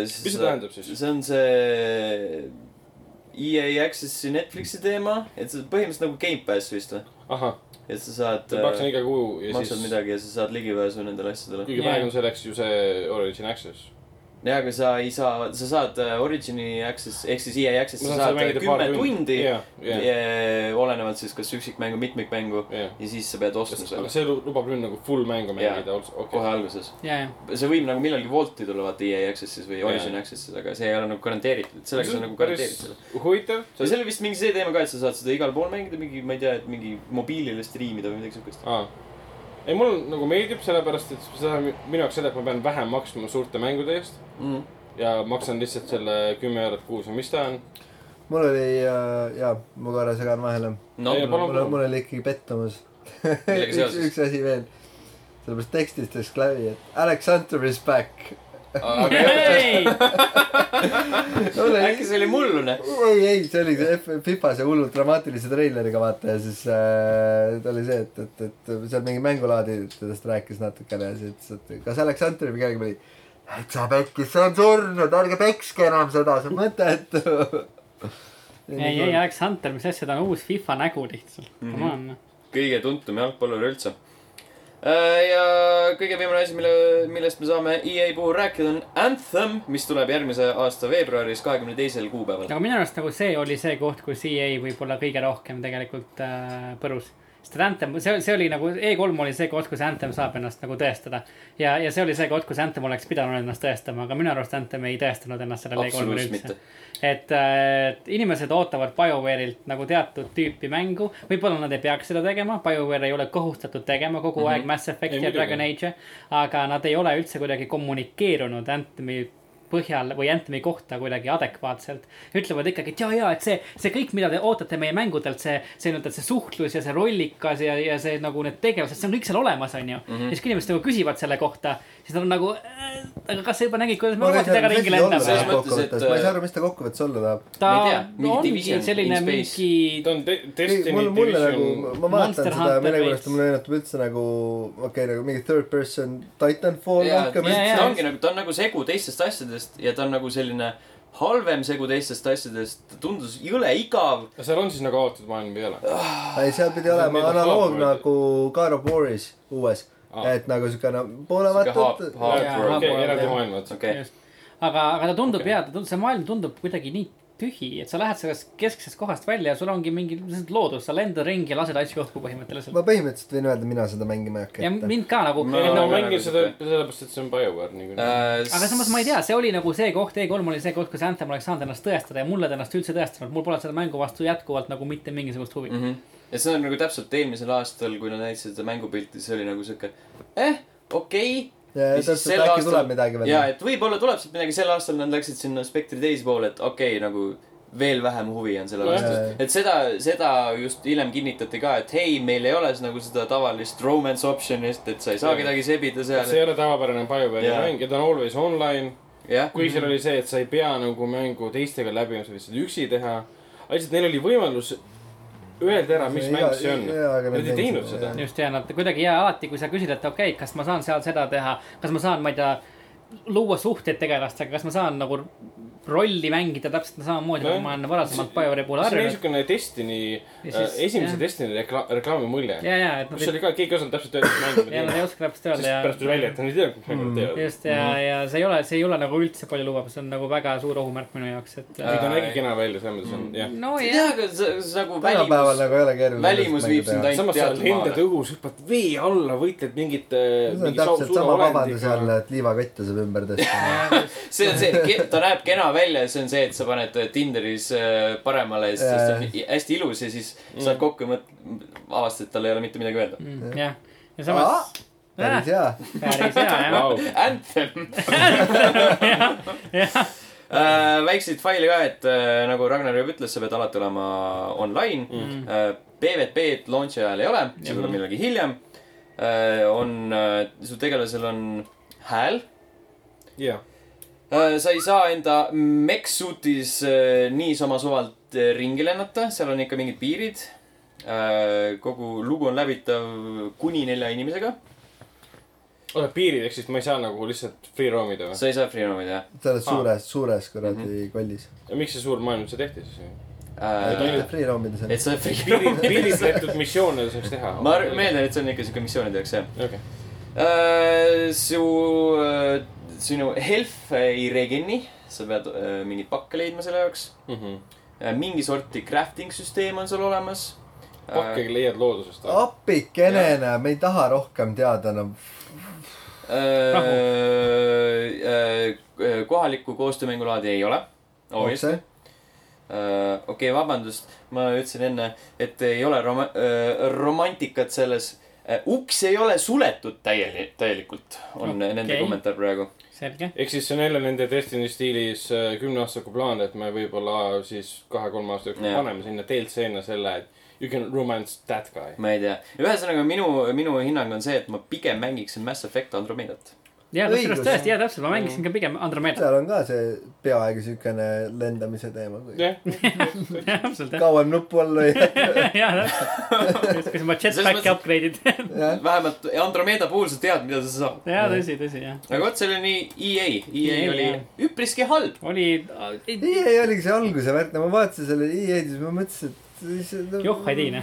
Speaker 1: mis
Speaker 4: mis see tähendab siis ?
Speaker 1: see on see EA Accessi Netflixi teema , et see on põhimõtteliselt nagu Gamepass vist või ?
Speaker 4: ahah ,
Speaker 1: et sa saad ,
Speaker 4: ma maksan iga kuu ja
Speaker 1: maksad
Speaker 4: siis .
Speaker 1: midagi ja sa saad ligipääsu nendele asjadele .
Speaker 4: kõige praegu selleks ju see Origin Access .
Speaker 1: jaa , aga sa ei saa , sa saad äh, Origini Access ehk siis EA Access , sa
Speaker 4: Ma saan seda
Speaker 1: saad äh,
Speaker 4: mängida
Speaker 1: kümme
Speaker 4: paar tundi.
Speaker 1: tundi
Speaker 4: Jah, jah.
Speaker 1: Ja olenevalt siis kas üksikmängu , mitmikmängu
Speaker 4: Jah.
Speaker 1: ja siis sa pead ostma
Speaker 4: aga
Speaker 1: selle
Speaker 4: see lu- lubab nüüd nagu full mängu
Speaker 1: Jaa.
Speaker 4: mängida , okei
Speaker 1: kohe . alguses .
Speaker 3: ja , ja ,
Speaker 1: see võib nagu millalgi Wolti tulla , vaata EA Accessis või Origin Accessis , aga see ei ole nagu garanteeritud , et sellega sa nagu garanteerid selle .
Speaker 4: huvitav .
Speaker 1: ja see oli vist mingi see teema ka , et sa saad seda igal pool mängida , mingi , ma ei tea , et mingi mobiilile striimida või midagi siukest .
Speaker 4: aa . ei , mul nagu meeldib , sellepärast et seda , minu jaoks seda , et ma pean vähem maksma suurte mängude eest ja maksan lihtsalt selle kümme eurot kuus või mis ta on .
Speaker 2: mul oli , jaa , ma korra segan vahele
Speaker 1: no
Speaker 4: Ei, , palun.
Speaker 2: mul , mul oli ikkagi pettumus .
Speaker 1: Millega
Speaker 2: üks ,
Speaker 1: seoses?
Speaker 2: üks asi veel . sellepärast tekstist läks läbi , et Alexander is back .
Speaker 3: ei ,
Speaker 1: äkki see oli noh. mullune ?
Speaker 2: ei , ei , see oli see F- Fifa see hullult dramaatilise treileriga vaata ja siis äh, ta oli see , et , et , et seal mingi mängulaadi sellest rääkis natukene ja siis ütles , et kas Alexander või kellegi pidi . et sa pekkis , see on surnud , ärge pekske enam seda , see on mõttetu .
Speaker 3: ei , ei , Alex Hunter , mis asja , ta on uus FIFA nägu lihtsalt .
Speaker 4: Mhm.
Speaker 3: Come on .
Speaker 1: kõige tuntum jalgpallur üldse . ja kõige viimane asi , mille , millest me saame EA puhul rääkida , on Anthem , mis tuleb järgmise aasta veebruaris , kahekümne teisel kuupäeval .
Speaker 3: aga minu arust nagu see oli see koht , kus E EA võib-olla kõige rohkem tegelikult äh, põrus . sest et Anthem , see , see oli nagu E3 oli see koht , kus Anthem saab ennast nagu tõestada . ja , ja see oli see koht , kus Anthem oleks pidanud ennast tõestama , aga minu arust Anthem ei tõestanud ennast sellel E3-l
Speaker 1: Absoluutselt
Speaker 3: üldse . et äh, et inimesed ootavad BioWare'ilt nagu teatud tüüpi mängu , võib-olla nad ei peaks seda tegema , BioWare ei ole kohustatud tegema kogu mm -hmm. aeg Mass
Speaker 4: Mhm. Ei,
Speaker 3: Effect'i ja
Speaker 4: muidugi.
Speaker 3: Dragon Age'e , aga nad ei ole üldse kuidagi kommunikeerunud Anthemi põhjal või Anthemi kohta kuidagi adekvaatselt . ütlevad ikkagi , et ja , ja , et see , see kõik , mida te ootate meie mängudelt , see , see nii-öelda see suhtlus ja see rollikas ja , ja see nagu need tegevused , see on kõik seal olemas , onju .
Speaker 4: Mhm.
Speaker 3: ja siis kui inimesed nagu küsivad selle kohta , siis nad on nagu äh, , aga kas sa juba nägid , kuidas me oma temaga ringi lendame
Speaker 1: Selles ? mõttes, et, äh,
Speaker 2: kokkuvõttes , ma ei saa aru , mis ta kokkuvõttes olla tahab .
Speaker 3: ta
Speaker 1: Ma ei tea, mingi
Speaker 3: ongi
Speaker 1: Division
Speaker 3: selline
Speaker 1: in space.
Speaker 3: mingi ,
Speaker 4: ta on te-
Speaker 2: ei ,
Speaker 4: Destiny
Speaker 2: mul , mulle nagu , ma vaatan
Speaker 3: Monster
Speaker 2: seda
Speaker 3: Hunter
Speaker 2: millegipärast ,
Speaker 3: veits.
Speaker 2: mulle meenutab üldse nagu , okei okay, , nagu mingi third person Titanfall rohkem
Speaker 3: jaa,
Speaker 2: üldse .
Speaker 1: ta ongi nagu , ta on nagu segu teistest asjadest ja ta on nagu selline halvem segu teistest asjadest , ta tundus jõle igav .
Speaker 4: kas seal on siis nagu avatud maailm või ei ole ?
Speaker 2: ei , seal pidi olema
Speaker 4: Made of
Speaker 2: analoog
Speaker 4: Love,
Speaker 2: nagu God of War'is uues
Speaker 4: Aa.
Speaker 2: ah. , et nagu siukene poole
Speaker 1: Siuke
Speaker 2: vaata
Speaker 1: hub- hub-
Speaker 3: Jaa,
Speaker 4: okei ,
Speaker 3: hub-
Speaker 4: eraldi
Speaker 3: jah.
Speaker 4: maailmad .
Speaker 1: okei ,
Speaker 3: just , aga , aga ta tundub
Speaker 4: Okei.
Speaker 3: okay. hea , ta tundub , see maailm tundub kuidagi nii tühi , et sa lähed sellest kesksest kohast välja ja sul ongi mingi lihtsalt loodus , sa lendad ringi ja lased asju õhku põhimõtteliselt .
Speaker 2: ma põhimõtteliselt võin öelda , mina seda mängima ei hakka
Speaker 3: ja
Speaker 2: ette .
Speaker 3: mind ka nagu
Speaker 1: Ma-
Speaker 4: ei
Speaker 3: no, ,
Speaker 4: no
Speaker 1: aga-
Speaker 4: mängin seda sellepärast , et see on BioWare
Speaker 1: Äh,
Speaker 4: niikuinii .
Speaker 3: aga samas ma ei tea , see oli nagu see koht , E3 oli see koht , kus Anthem oleks saanud ennast tõestada ja mulle ta ennast üldse tõestanud , mul pole selle mängu vastu jätkuvalt nagu mitte mingisugust huvi mm .
Speaker 1: mm . -hmm. ja see on nagu täpselt eelmisel aastal , kui nad näitasid seda mängupilti , see oli nagu siuke eh , okei
Speaker 2: ja
Speaker 1: Ja siis
Speaker 2: täpselt ,
Speaker 1: sel
Speaker 2: äkki aastal...
Speaker 1: aastal-
Speaker 2: tuleb midagi
Speaker 1: ja
Speaker 2: veel .
Speaker 1: et võib-olla tuleb sealt midagi , sel aastal nad läksid sinna Spectri teise poole , et okei okay, , nagu veel vähem huvi on selle
Speaker 4: Nojah.
Speaker 1: vastu , et seda , seda just hiljem kinnitati ka , et hei , meil ei ole s- nagu seda tavalist romance option'ist , et sa ei saa
Speaker 4: Jah.
Speaker 1: kedagi sebida
Speaker 4: see ei
Speaker 1: seal ,
Speaker 4: ole tavapärane BioWare'i
Speaker 1: Jaa.
Speaker 4: mäng ja ta on always online
Speaker 1: jah .
Speaker 4: kui seal oli see , et sa ei pea nagu mängu teistega läbi , sa võid seda üksi teha . aga lihtsalt neil oli võimalus öelda ära , mis
Speaker 2: See
Speaker 4: mäng
Speaker 2: iga-
Speaker 4: see on .
Speaker 2: jaa, aga
Speaker 4: Nad
Speaker 2: nad
Speaker 4: ei teinud
Speaker 2: tegid
Speaker 4: seda
Speaker 2: seda, .
Speaker 3: just ja nad kuidagi ja alati , kui sa küsid , et okei okay, , kas ma saan seal seda teha , kas ma saan , ma ei tea , luua suhteid tegelastega , kas ma saan nagu rolli mängida täpselt samamoodi , nagu
Speaker 4: Nojah.
Speaker 3: ma olen varasemalt BioWare'i puhul
Speaker 4: see oli
Speaker 3: harjunud .
Speaker 4: niisugune Destiny ,
Speaker 3: Ja siis-
Speaker 4: esimese
Speaker 3: jah.
Speaker 4: Destiny rekla- , reklaami mulje .
Speaker 3: ja , ja , et nad
Speaker 4: kus
Speaker 3: ei ,
Speaker 4: oli ka , keegi ei osanud täpselt öelda , mis mängu me
Speaker 3: ja nad ei
Speaker 4: teeme .
Speaker 3: oska täpselt
Speaker 4: siis
Speaker 3: öelda ja .
Speaker 4: pärast tuli välja , et Mhm. nad ei tea ,
Speaker 2: Mm.
Speaker 4: mis mängu nad teevad .
Speaker 3: just ja , ja see ei ole , see ei ole nagu üldse palju lubav , see on nagu väga suur ohumärk minu jaoks , et .
Speaker 1: Äh,
Speaker 4: ei , ta nägi kena välja , selles mõttes
Speaker 3: Mm.
Speaker 4: on ,
Speaker 1: sa
Speaker 4: jah .
Speaker 1: ei
Speaker 3: nojah
Speaker 1: tea , aga see , see nagu välimus ,
Speaker 2: tänapäeval nagu ei ole keeruline .
Speaker 1: välimus viib sind ainult
Speaker 4: samas sa
Speaker 1: teatud
Speaker 4: lendad
Speaker 1: maale.
Speaker 4: õhus , hüppad vee alla , võitled mingit . äh,
Speaker 2: see on täpselt sama vabandus jälle , et liivakette saab ümber tõsta .
Speaker 1: see on see , ta näeb kena välja ja see on see , et sa paned Tinderis äh, paremale ja siis ta on hi- hästi ilus ja siis saad kokku ja mõt- , avastad , et tal ei ole mitte midagi öelda .
Speaker 3: Mm, jah , ja samas . Äh.
Speaker 2: päris hea .
Speaker 3: päris hea jah ,
Speaker 4: Vau ,
Speaker 1: Anthem . Äh, väikseid faile ka , et äh, nagu Ragnar juba ütles , sa pead alati olema online mm. . Äh, PVP-d launch'i ajal ei ole , see tuleb millalgi hiljem äh, . on äh, , su tegelasel on hääl
Speaker 4: jah .
Speaker 1: äh, . sa ei saa enda mech-suitis äh, niisama suvalt äh, ringi lennata , seal on ikka mingid piirid äh, . kogu lugu on läbitav kuni nelja inimesega .
Speaker 4: oota , piirid , ehk siis ma ei saa nagu lihtsalt free roam ida või ?
Speaker 1: sa ei saa free roam'ida , jah
Speaker 2: sa oled suures , suures
Speaker 3: Mhm.
Speaker 2: kuradi kollis .
Speaker 4: ja miks see suur maailm üldse tehti siis ?
Speaker 1: äh, .
Speaker 4: ainult-
Speaker 2: Free roam'ide seal
Speaker 1: et . sa free
Speaker 4: piirid , piiritletud missioone saaks teha .
Speaker 1: ma ar- meeldan , et see on ikka siuke missioonide jaoks jah .
Speaker 4: okei ,
Speaker 1: su , sinu health ei regen'i , sa pead äh, mingeid pakke leidma selle jaoks .
Speaker 4: Mhm.
Speaker 1: mingi sorti crafting süsteem on sul olemas . Äh,
Speaker 4: pakke leiad loodusest .
Speaker 2: apikenene , me ei taha rohkem teada enam .
Speaker 1: Äh, kohalikku koostöömängulaadi ei ole .
Speaker 3: Oh,
Speaker 1: obviously . okei , vabandust , ma ütlesin enne , et ei ole rom- , romantikat selles . uks ei ole suletud täieli- , täielikult , on okay. nende
Speaker 3: Okei.
Speaker 1: kommentaar praegu .
Speaker 3: selge .
Speaker 4: ehk siis see on jälle nende Destiny stiilis äh, kümneaastaku plaan , et me võib-olla siis kahe-kolme aasta jooksul
Speaker 1: Jah.
Speaker 4: paneme sinna DLC-na selle , et you can romance that guy .
Speaker 1: ma ei tea , ühesõnaga minu , minu hinnang on see , et ma pigem mängiksin Mass Effect Andromedat .
Speaker 3: ja kusjuures
Speaker 2: Õigus.
Speaker 3: tõesti , ja täpselt , ma mängisin ka pigem Andromedat .
Speaker 2: seal on ka see peaaegu siukene lendamise teema .
Speaker 4: jah ,
Speaker 3: täpselt jah ,
Speaker 2: kauem nupu all või ?
Speaker 3: ja täpselt . kas ma
Speaker 1: Selles
Speaker 3: jetpack'i
Speaker 1: mõttes-
Speaker 3: upgrade'id .
Speaker 1: vähemalt Andromeda puhul sa tead , mida sa saad .
Speaker 3: ja tõsi , tõsi jah .
Speaker 1: aga vot , see oli nii E EA , EA
Speaker 3: EA,
Speaker 1: oli
Speaker 3: E jah.
Speaker 1: üpriski halb .
Speaker 3: oli ,
Speaker 2: EA oligi see alguse värk , no ma vaatasin selle EA-d ja siis ma mõtlesin , et see- no,
Speaker 3: joh , ei teine .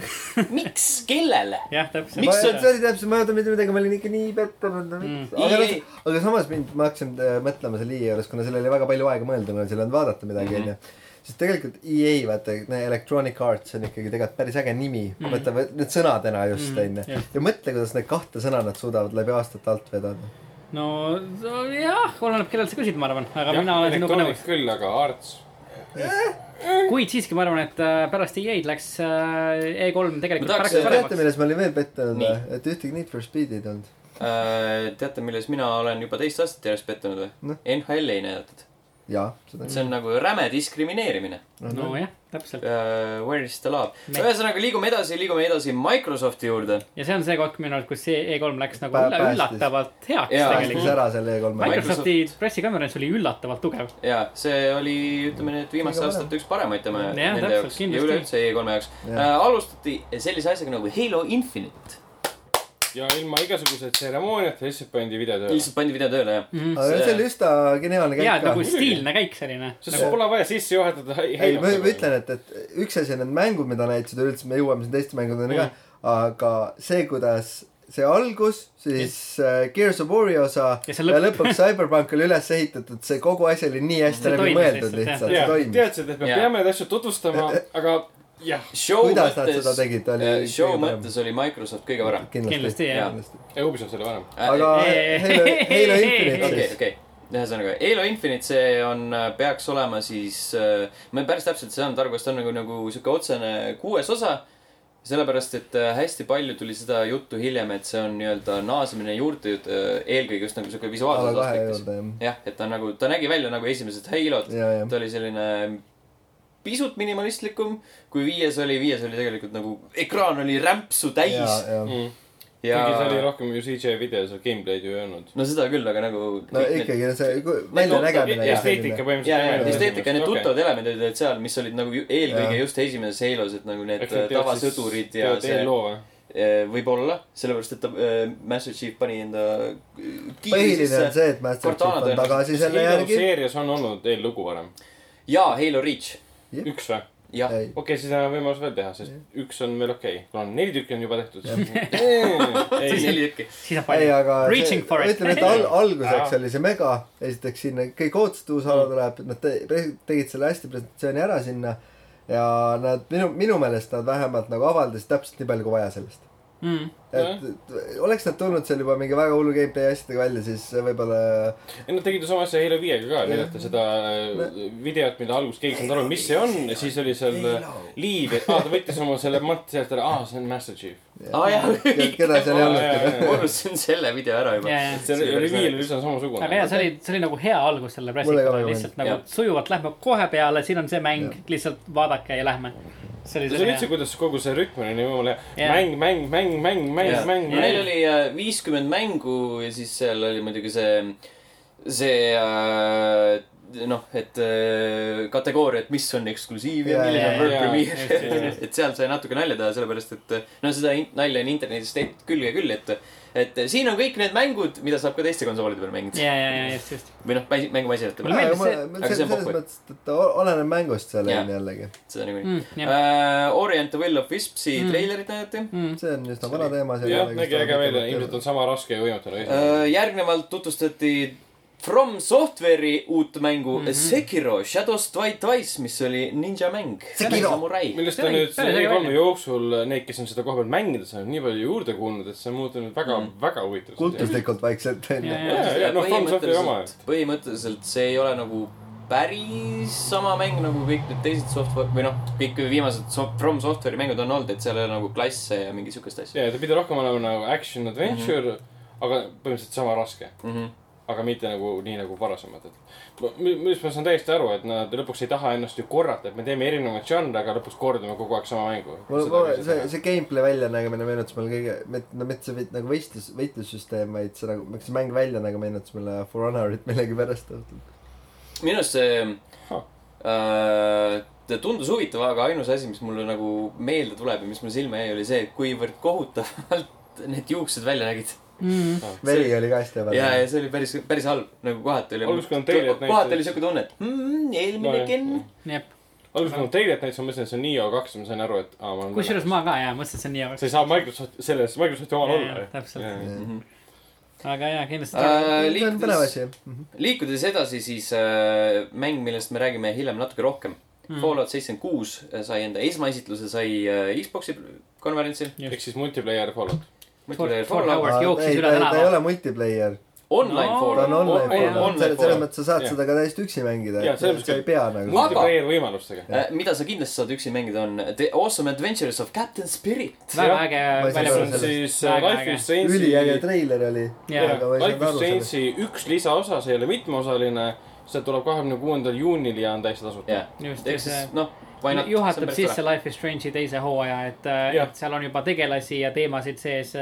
Speaker 1: miks , kellele ?
Speaker 3: jah , täpselt .
Speaker 1: Miks
Speaker 2: ma,
Speaker 1: see-
Speaker 2: see oli täpselt , ma ei oota mitte midagi , ma olin ikka nii pettunud
Speaker 3: Mm.
Speaker 2: mm. . aga,
Speaker 1: EA
Speaker 2: aga samas mind , ma hakkasin äh, mõtlema selle EA juures , kuna sellel oli väga palju aega mõelda , mul oli seal olnud vaadata midagi onju . siis tegelikult EA vaata , Electronic Arts on ikkagi tegelikult päris äge nimi mm. , vaata võ- need sõnadena just onju
Speaker 3: jah.
Speaker 2: mm. . ja mõtle , kuidas need kahte sõna nad suudavad läbi aastate alt vedada .
Speaker 3: no so- jah , oleneb , kellelt sa küsid , ma arvan , aga mina olen sinuga nõus
Speaker 4: elektroonik . küll , aga arts .
Speaker 3: kuid siiski , ma arvan , et äh, pärast EA-d läks äh, E3 tegelikult
Speaker 1: Ma tahaks-
Speaker 3: märksa
Speaker 2: teate ,
Speaker 3: paremaks .
Speaker 2: milles ma olin veel pettunud
Speaker 1: Nii.
Speaker 2: või ? et ühtegi Need for Speed'i ei tulnud .
Speaker 1: Äh, teate , milles mina olen juba teist aastat järjest pettunud või
Speaker 2: Noh. ?
Speaker 1: NHL-i ei näidatud .
Speaker 2: jaa , seda
Speaker 1: see on nagu räme diskrimineerimine .
Speaker 3: nojah , täpselt .
Speaker 1: Where is the love ?
Speaker 3: Me-
Speaker 1: ühesõnaga , liigume edasi , liigume edasi Microsofti juurde .
Speaker 3: ja see on see koht minu arust , kus see E3 läks nagu
Speaker 2: Pä-
Speaker 3: ülla-
Speaker 2: päästis.
Speaker 3: üllatavalt heaks
Speaker 1: Jaa.
Speaker 2: päästis
Speaker 3: tegelikult .
Speaker 2: ära selle E E3-e .
Speaker 3: Microsofti pressikonverents oli üllatavalt tugev .
Speaker 1: ja see oli , ütleme nii , et viimaste
Speaker 2: Kõige
Speaker 1: aastate üks paremaid tema ,
Speaker 3: Jah,
Speaker 1: nende
Speaker 3: täpselt,
Speaker 1: jaoks Äh, ja
Speaker 3: kindlasti.
Speaker 1: üleüldse E3-e jaoks .
Speaker 2: Jah.
Speaker 1: alustati sellise asjaga nagu Halo Infinite .
Speaker 4: ja ilma igasuguse tseremooniata lihtsalt pandi video tööle .
Speaker 1: lihtsalt pandi video tööle ja
Speaker 3: Mhm.
Speaker 1: mm.
Speaker 2: aga see oli üsna geniaalne
Speaker 3: hea
Speaker 2: käik ka
Speaker 3: nagu . stiilne käik selline .
Speaker 4: sest sul pole vaja sisse juhatada . nagu-
Speaker 2: ei ,
Speaker 3: noh,
Speaker 2: ma
Speaker 3: nagu-
Speaker 2: ma ütlen , et , et üks asi on need mängud , mida näitasid , üleüldse me jõuame siin teiste mängudeni ka ,
Speaker 3: Mm.
Speaker 2: aga see , kuidas see algus , siis äh, Gears of War'i osa
Speaker 3: Ja
Speaker 2: ja,
Speaker 3: see lõpp.
Speaker 2: lõpuks Cyberpunk oli üles ehitatud , see kogu asi oli nii hästi
Speaker 3: See
Speaker 2: läbi
Speaker 3: toimis
Speaker 2: mõeldud
Speaker 3: lihtsalt,
Speaker 2: lihtsalt , see
Speaker 4: jah ,
Speaker 2: toimis .
Speaker 4: teadsid , et me
Speaker 1: Jaa.
Speaker 4: peame asju tutvustama , aga jah ,
Speaker 1: show
Speaker 2: kuidas nad seda
Speaker 1: mõttes ,
Speaker 2: tegid , oli
Speaker 1: show mõttes oli Microsoft kõige parem .
Speaker 3: Kindlasti, jah.
Speaker 2: kindlasti .
Speaker 4: Ubisoft oli vanem .
Speaker 2: aga
Speaker 3: Ei, ei,
Speaker 2: Halo ,
Speaker 3: ei,
Speaker 2: Halo
Speaker 3: ei,
Speaker 2: Infinite
Speaker 1: okei ,
Speaker 2: siis .
Speaker 1: okei , ühesõnaga Halo Infinite , see on , peaks olema siis , ma päris täpselt ei saanud aru , kas ta on nagu , nagu sihuke otsene kuues osa . sellepärast , et äh, hästi palju tuli seda juttu hiljem , et see on nii-öelda naasmine juurde , eelkõige just nagu sihuke
Speaker 2: alla
Speaker 1: visuaalses
Speaker 2: kahe
Speaker 1: aspektis .
Speaker 2: juurde jah .
Speaker 1: jah , et ta nagu , ta nägi välja nagu esimesed Halod ,
Speaker 2: ja , ja
Speaker 1: ta oli selline pisut minimalistlikum , kui viies oli , viies oli tegelikult nagu ekraan oli rämpsu
Speaker 2: ja ,
Speaker 1: täis
Speaker 2: ja .
Speaker 1: ja,
Speaker 4: kuigi see oli
Speaker 1: ja...
Speaker 4: rohkem ju CJ videos , gameplay'd ju ei olnud .
Speaker 1: no seda küll , aga nagu .
Speaker 2: no ikkagi see ku- väljanägemine oli
Speaker 4: esteetika
Speaker 1: ja ,
Speaker 2: selline .
Speaker 1: ja
Speaker 4: põhimõtteliselt .
Speaker 1: esteetika , need tuttavad elemendid olid seal , mis olid nagu ju- eelkõige just esimeses Halos , et nagu need äh, tavasõdurid ja see
Speaker 4: see . loo või ?
Speaker 1: eh, võib-olla , sellepärast et ta , Master Chief pani enda .
Speaker 2: põhiline on see , et Master Chief
Speaker 1: Cortana
Speaker 2: on tagasi
Speaker 4: kas
Speaker 2: selle
Speaker 4: Halo
Speaker 2: järgi .
Speaker 4: seerias on olnud eellugu varem ?
Speaker 1: jaa , Halo Reach ,
Speaker 4: üks või ?
Speaker 1: jah .
Speaker 2: ei ,
Speaker 4: okei okay, , siis on võimalus veel teha , sest üks on veel okei okay. . mul on neli tükki on juba tehtud .
Speaker 1: see oli
Speaker 4: ei ,
Speaker 1: neli tükki .
Speaker 3: siis on
Speaker 2: ei ,
Speaker 3: palju .
Speaker 2: aga
Speaker 3: Reaching for it.
Speaker 2: ütleme , et al- , alguseks
Speaker 4: Jaa.
Speaker 2: oli see mega , esiteks sinna kõik ootasid uus ala tuleb , nad te- pre- tegid selle hästi presentatsiooni ära sinna ja nad minu , minu meelest nad vähemalt nagu avaldasid täpselt nii palju kui vaja sellest .
Speaker 3: Mm.
Speaker 2: et et oleks nad tulnud seal juba mingi väga hullu gameplay asjadega välja , siis võib-olla
Speaker 4: nad tegid ju sama asja Halo viiega ka , näidati seda äh, videot , mida alguses keegi ei saanud aru , mis see on , siis oli seal äh, liiv , et aa , ta võttis oma selle matti sealt ära , aa , see on Master Chief .
Speaker 1: aa jaa ,
Speaker 2: ke- keda seal ei
Speaker 4: Aa, jaa,
Speaker 2: olnudki .
Speaker 4: jaa.
Speaker 1: ma unustasin selle video ära juba .
Speaker 3: ja , ja .
Speaker 4: see
Speaker 1: See oli
Speaker 4: oli
Speaker 1: päris
Speaker 4: viiel
Speaker 1: naljakas.
Speaker 4: üsna samasugune .
Speaker 3: aga jaa , see oli , see oli nagu hea algus sellele
Speaker 2: Mulle ka
Speaker 3: pressikule ,
Speaker 2: väga
Speaker 3: lihtsalt
Speaker 1: meeldis.
Speaker 3: nagu
Speaker 1: Jah.
Speaker 3: sujuvalt lähme kohe peale , siin on see mäng , lihtsalt vaadake ja lähme . see oli
Speaker 4: see oli üldse ,
Speaker 3: selline ,
Speaker 4: kuidas kogu see rütm oli nii võimalik .
Speaker 3: Jaa.
Speaker 4: mäng , mäng , mäng , mäng , mäng ,
Speaker 1: ja
Speaker 4: mäng ,
Speaker 1: meil
Speaker 4: mäng .
Speaker 1: oli äh, viiskümmend mängu ja siis seal oli muidugi see , see äh, noh , et äh, kategooria , et mis on eksklusiiv ja
Speaker 2: Jaa,
Speaker 1: milline
Speaker 3: jaa,
Speaker 1: on world
Speaker 4: jaa,
Speaker 3: just, just,
Speaker 1: premiere
Speaker 3: just. .
Speaker 1: et seal sai natuke nalja teha , sellepärast et äh, no seda in- nalja on internetis tehtud küll ja küll , et et siin on kõik need mängud , mida saab ka teiste konsoolide peal mängida .
Speaker 3: ja , ja , ja just , just .
Speaker 1: või noh , mängumasinate
Speaker 3: Mulle
Speaker 1: peal ,
Speaker 3: meeldis see-
Speaker 2: selles
Speaker 1: aga see on popper.
Speaker 2: mõttes , et o- oleneb mängust seal
Speaker 1: Jaa.
Speaker 2: on jällegi .
Speaker 1: seda
Speaker 3: Mm,
Speaker 1: niikuinii .
Speaker 3: jah.
Speaker 1: Orient the Will of Wispsi
Speaker 3: Mm.
Speaker 1: treilerit näidati
Speaker 2: see on üsna vana teema .
Speaker 4: jah , nägi äge välja , ilmselt on sama raske ja võimatu nagu esimene .
Speaker 1: Äh, järgnevalt tutvustati From Software'i uut mängu mm -hmm. Sekiro Shadows Die Twice , mis oli ninja mäng .
Speaker 2: Sekiro.
Speaker 1: samurai .
Speaker 4: millest
Speaker 3: See
Speaker 4: on
Speaker 3: nägi-
Speaker 4: nüüd
Speaker 3: see nägi
Speaker 4: selle
Speaker 3: välja.
Speaker 4: kolme jooksul äh, need , kes on seda koha peal mänginud , on nii palju juurde kuulnud , et see on muutunud väga mm. , väga huvitavaks .
Speaker 2: kultuslikult vaikselt onju
Speaker 3: ja , ja ,
Speaker 4: Jaa, jaa, noh, From Software'i oma ju.
Speaker 1: põhimõtteliselt see ei ole nagu päris sama mäng nagu kõik need teised software või noh , kõik viimased so From Software'i mängud on olnud , et seal ei ole nagu klasse ja mingi siukest asja
Speaker 4: ja ta pidi rohkem olema nagu action adventure mm , -hmm. aga põhimõtteliselt sama raske ,
Speaker 1: mm .
Speaker 2: Mhm.
Speaker 1: -hmm.
Speaker 4: aga mitte nagu nii nagu varasemad , et . millest ma saan täiesti aru , et nad lõpuks ei taha ennast ju korrata , et me teeme erinevaid žanre , aga lõpuks kordame kogu aeg sama mängu .
Speaker 2: mul , mul see , see gameplay väljanägemine meenutas mulle kõige , no mitte see võit- nagu võistlus , võitlussüsteem , vaid see nagu , miks see mäng väljanägemine meenutas mulle For Honorit millegipärast .
Speaker 1: minu arust see
Speaker 4: Huh.
Speaker 1: äh, ta tundus huvitav , aga ainus asi , mis mulle nagu meelde tuleb ja mis mul silma jäi , oli see , kuivõrd kohutavalt need juuksed välja nägid .
Speaker 2: veri oli ka hästi
Speaker 1: ja ,
Speaker 2: häbene .
Speaker 1: ja see oli päris , päris halb , nagu kohati oli .
Speaker 4: Alguses, kui nad teljed
Speaker 1: kohati
Speaker 4: näitasid-
Speaker 1: oli siuke tunne , et mm, eelmine no,
Speaker 4: Nojah.
Speaker 1: Ken .
Speaker 3: jep .
Speaker 4: alguses ma teilet näitasin , ma mõtlesin , et see on Nio kaks , ma sain aru , et aa , ma olen .
Speaker 3: kusjuures ma ka jaa , mõtlesin , et see on nii
Speaker 4: sa
Speaker 3: jaoks .
Speaker 4: ei saa Microsoft , selles , Microsofti omal
Speaker 3: Jaa,
Speaker 4: olla
Speaker 3: jaa, . täpselt.
Speaker 1: Mhm.
Speaker 3: aga jaa , kindlasti tore .
Speaker 1: Äh,
Speaker 2: see on põnev
Speaker 1: liikudes ,
Speaker 2: asi .
Speaker 1: liikudes edasi , siis äh, mäng , millest me räägime hiljem natuke rohkem
Speaker 3: Hmm.
Speaker 1: mm. . Fallout seitsekümmend kuus sai enda esmaesitluse , sai äh, Xbox'i konverentsil .
Speaker 3: Just.
Speaker 4: ehk siis multiplayer Fallout .
Speaker 1: multiplayer
Speaker 3: For- for
Speaker 1: Fallout ,
Speaker 3: hours. jooksis
Speaker 2: ei ,
Speaker 3: üle
Speaker 2: ta ei- ta ei
Speaker 3: tänava.
Speaker 2: ole multiplayer ,
Speaker 1: online
Speaker 3: No.
Speaker 2: ta on
Speaker 1: Fallout .
Speaker 2: online
Speaker 4: on-
Speaker 2: Fallout .
Speaker 1: online
Speaker 2: selles selles
Speaker 1: Fallout.
Speaker 2: mõttes sa saad
Speaker 4: Jah.
Speaker 2: seda ka täiesti üksi mängida
Speaker 4: Jah, , selles
Speaker 2: et sa ei pea nagu .
Speaker 1: Aga-
Speaker 4: multiplayer võimalustega .
Speaker 1: Äh, mida sa kindlasti saad üksi mängida , on The Awesome Adventures of Captain Spirit .
Speaker 3: väga
Speaker 4: jah.
Speaker 3: äge
Speaker 2: Ma ei saa
Speaker 4: see
Speaker 2: aru
Speaker 4: on
Speaker 3: väljakujutus .
Speaker 2: sellest.
Speaker 4: siis
Speaker 3: Väga
Speaker 4: äh, Life
Speaker 3: äge.
Speaker 4: is Strange'i .
Speaker 2: üliäge treiler oli .
Speaker 3: Jaa.
Speaker 2: aga ma ei saanud
Speaker 4: Life is
Speaker 2: aru sellest .
Speaker 4: Strange'i üks lisaosa , see ei ole mitmeosaline , see tuleb kahekümne kuuendal juunil ja on täiesti tasuta .
Speaker 1: jah ,
Speaker 3: just ,
Speaker 1: ehk
Speaker 3: just see
Speaker 1: siis noh , why not?
Speaker 3: juhatab sisse Life is Strange'i teise hooaja , et ,
Speaker 4: Jah.
Speaker 3: et seal on juba tegelasi ja teemasid sees ,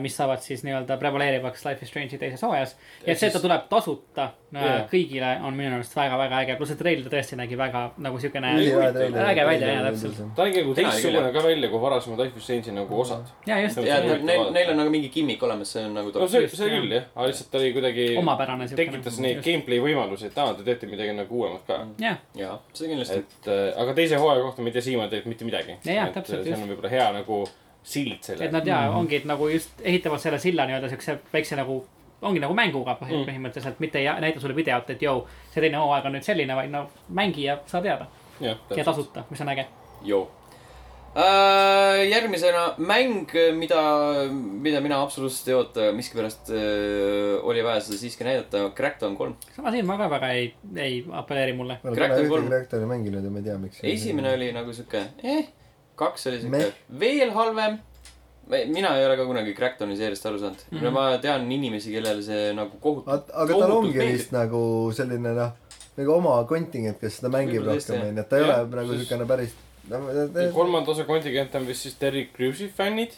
Speaker 3: mis saavad siis nii-öelda prevaleerivaks Life is Strange'i teises hooajas . ja
Speaker 4: Ehk
Speaker 3: see , et ta
Speaker 4: siis-
Speaker 3: tuleb tasuta äh,
Speaker 4: Jah.
Speaker 3: kõigile , on minu arust väga-väga äge , pluss et Rail ta tõesti nägi väga nagu siukene
Speaker 4: Üliväe
Speaker 2: treiler.
Speaker 3: äge välja
Speaker 2: Treiler
Speaker 3: ja
Speaker 2: oli
Speaker 3: täpselt .
Speaker 2: lihtsalt.
Speaker 4: ta nägi nagu
Speaker 1: Hea
Speaker 4: teistsugune
Speaker 1: küll,
Speaker 4: ka välja kui varasemad Life is Strange'i nagu osad .
Speaker 3: ja just ,
Speaker 1: ja
Speaker 4: Huvitav
Speaker 1: neil ,
Speaker 4: vaadata.
Speaker 1: neil on nagu mingi gimmick olemas , see on nagu
Speaker 4: no
Speaker 1: tore .
Speaker 4: Oh, see ,
Speaker 3: Just,
Speaker 4: see
Speaker 3: jah.
Speaker 4: küll jah , aga lihtsalt ta oli kuidagi .
Speaker 3: Omapärane siukene.
Speaker 4: tekitas neid
Speaker 3: Just.
Speaker 4: gameplay võimalusi , et aa , te teete midagi nagu uuemat ka .
Speaker 3: jah ,
Speaker 1: jaa , seda kindlasti .
Speaker 4: et äh, aga teise hooaja kohta me ei tea siiamaani tegelikult mitte midagi .
Speaker 3: Ja, jah, täpselt,
Speaker 4: see on
Speaker 3: just.
Speaker 4: võib-olla hea nagu sild
Speaker 3: et
Speaker 4: selle .
Speaker 3: nad
Speaker 2: Mm.
Speaker 3: ja ongi et nagu just ehitavad selle silla nii-öelda siukse väikse nagu ongi nagu mänguga põhi-
Speaker 4: Mm.
Speaker 3: põhimõtteliselt , mitte ei näita sulle videot , et jõu , see teine hooaeg on nüüd selline , vaid no mängi ja saa teada
Speaker 4: jah ,
Speaker 3: ja
Speaker 4: täpselt .
Speaker 3: tasuta , mis on äge .
Speaker 1: Joo . järgmisena mäng , mida , mida mina absoluutselt ei oota , miskipärast äh, oli vaja seda siiski näidata , Crackdown kolm .
Speaker 4: Mhm.
Speaker 3: sama siin , ma ka väga ei , ei apelleeri mulle .
Speaker 2: me
Speaker 1: Crackdown
Speaker 2: oleme ühtegi
Speaker 1: kolm.
Speaker 2: reaktori mänginud ja me ei tea , miks .
Speaker 1: esimene oli nagu sihuke eh, , kaks oli sihuke
Speaker 2: Meh.
Speaker 1: veel halvem . mina ei ole ka kunagi Cracktowni seeriast aru saanud
Speaker 4: Mhm.
Speaker 1: mm . -hmm. ma tean inimesi , kellele see nagu kohutav .
Speaker 2: aga tal ongi vist nagu selline noh , nagu oma kontingent , kes seda mängib
Speaker 1: Võib-olla tõesti,
Speaker 2: rohkem
Speaker 1: jah.
Speaker 2: onju , et ta ei ole
Speaker 4: Jah,
Speaker 2: nagu
Speaker 4: siis-
Speaker 2: siukene päris .
Speaker 4: kolmanda osa kontingent on vist siis Terry Crews'i fännid .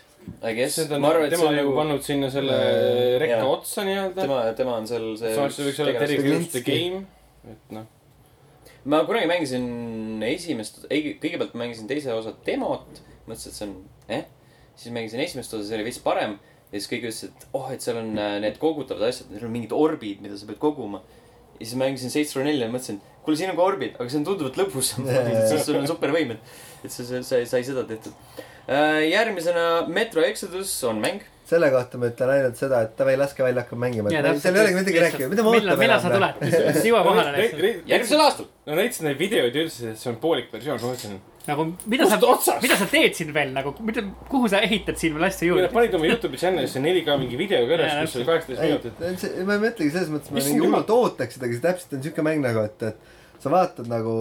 Speaker 1: I guess ,
Speaker 4: seda
Speaker 1: ma arvan , et see
Speaker 4: tema
Speaker 1: on
Speaker 4: nagu
Speaker 1: nagu ,
Speaker 4: pannud sinna selle
Speaker 2: Äh,
Speaker 4: rekka
Speaker 1: jah.
Speaker 4: otsa nii-öelda .
Speaker 1: tema , tema on seal see .
Speaker 4: samas see võiks olla Terry Crews The
Speaker 2: Stelinski.
Speaker 4: Game , et noh .
Speaker 1: ma kunagi mängisin esimest , ei , kõigepealt ma mängisin teise osa demot , mõtlesin , et see on eh . siis mängisin esimest osa , see oli veits parem ja siis kõik ütlesid , et oh , et seal on äh, need kogutavad asjad , neil on mingid orbid , mida sa pead koguma . ja siis mängisin seitse kuni nelja ja mõtlesin , kuule , siin on ka orbid , aga see on tunduvalt lõbusam yeah. , sest sul on supervõimed . et sa , sa , sa sai seda tehtud . järgmisena Metro Exodus on mäng .
Speaker 2: selle kohta ma ütlen ainult seda , et davai , laske välja , hakkame mängima . seal ei olegi midagi rääkida , mida me
Speaker 3: millal ,
Speaker 2: ootame
Speaker 3: millal sa tuled ? jõua kohale näiteks .
Speaker 1: järgmisel aastal .
Speaker 4: no näitasid neid videoid ja ütlesid , et see on poolik versioon , ma mõtlesin ,
Speaker 3: nagu , mida
Speaker 4: kust
Speaker 3: sa ,
Speaker 4: otsast .
Speaker 3: mida sa teed siin veel nagu , mida , kuhu sa ehitad siin veel asju
Speaker 4: kui nad
Speaker 3: juurde ?
Speaker 4: panid oma Youtube'i channel'isse 4K mingi video ka üles ,
Speaker 3: Jaa,
Speaker 4: kus oli kaheksateist minutit .
Speaker 2: ei , see , ma ei mõtlegi selles mõttes , ma
Speaker 4: Issand
Speaker 2: nagu
Speaker 4: jumal.
Speaker 2: hullult ootaks seda , aga see täpselt on siuke mäng nagu , et , et sa vaatad nagu ,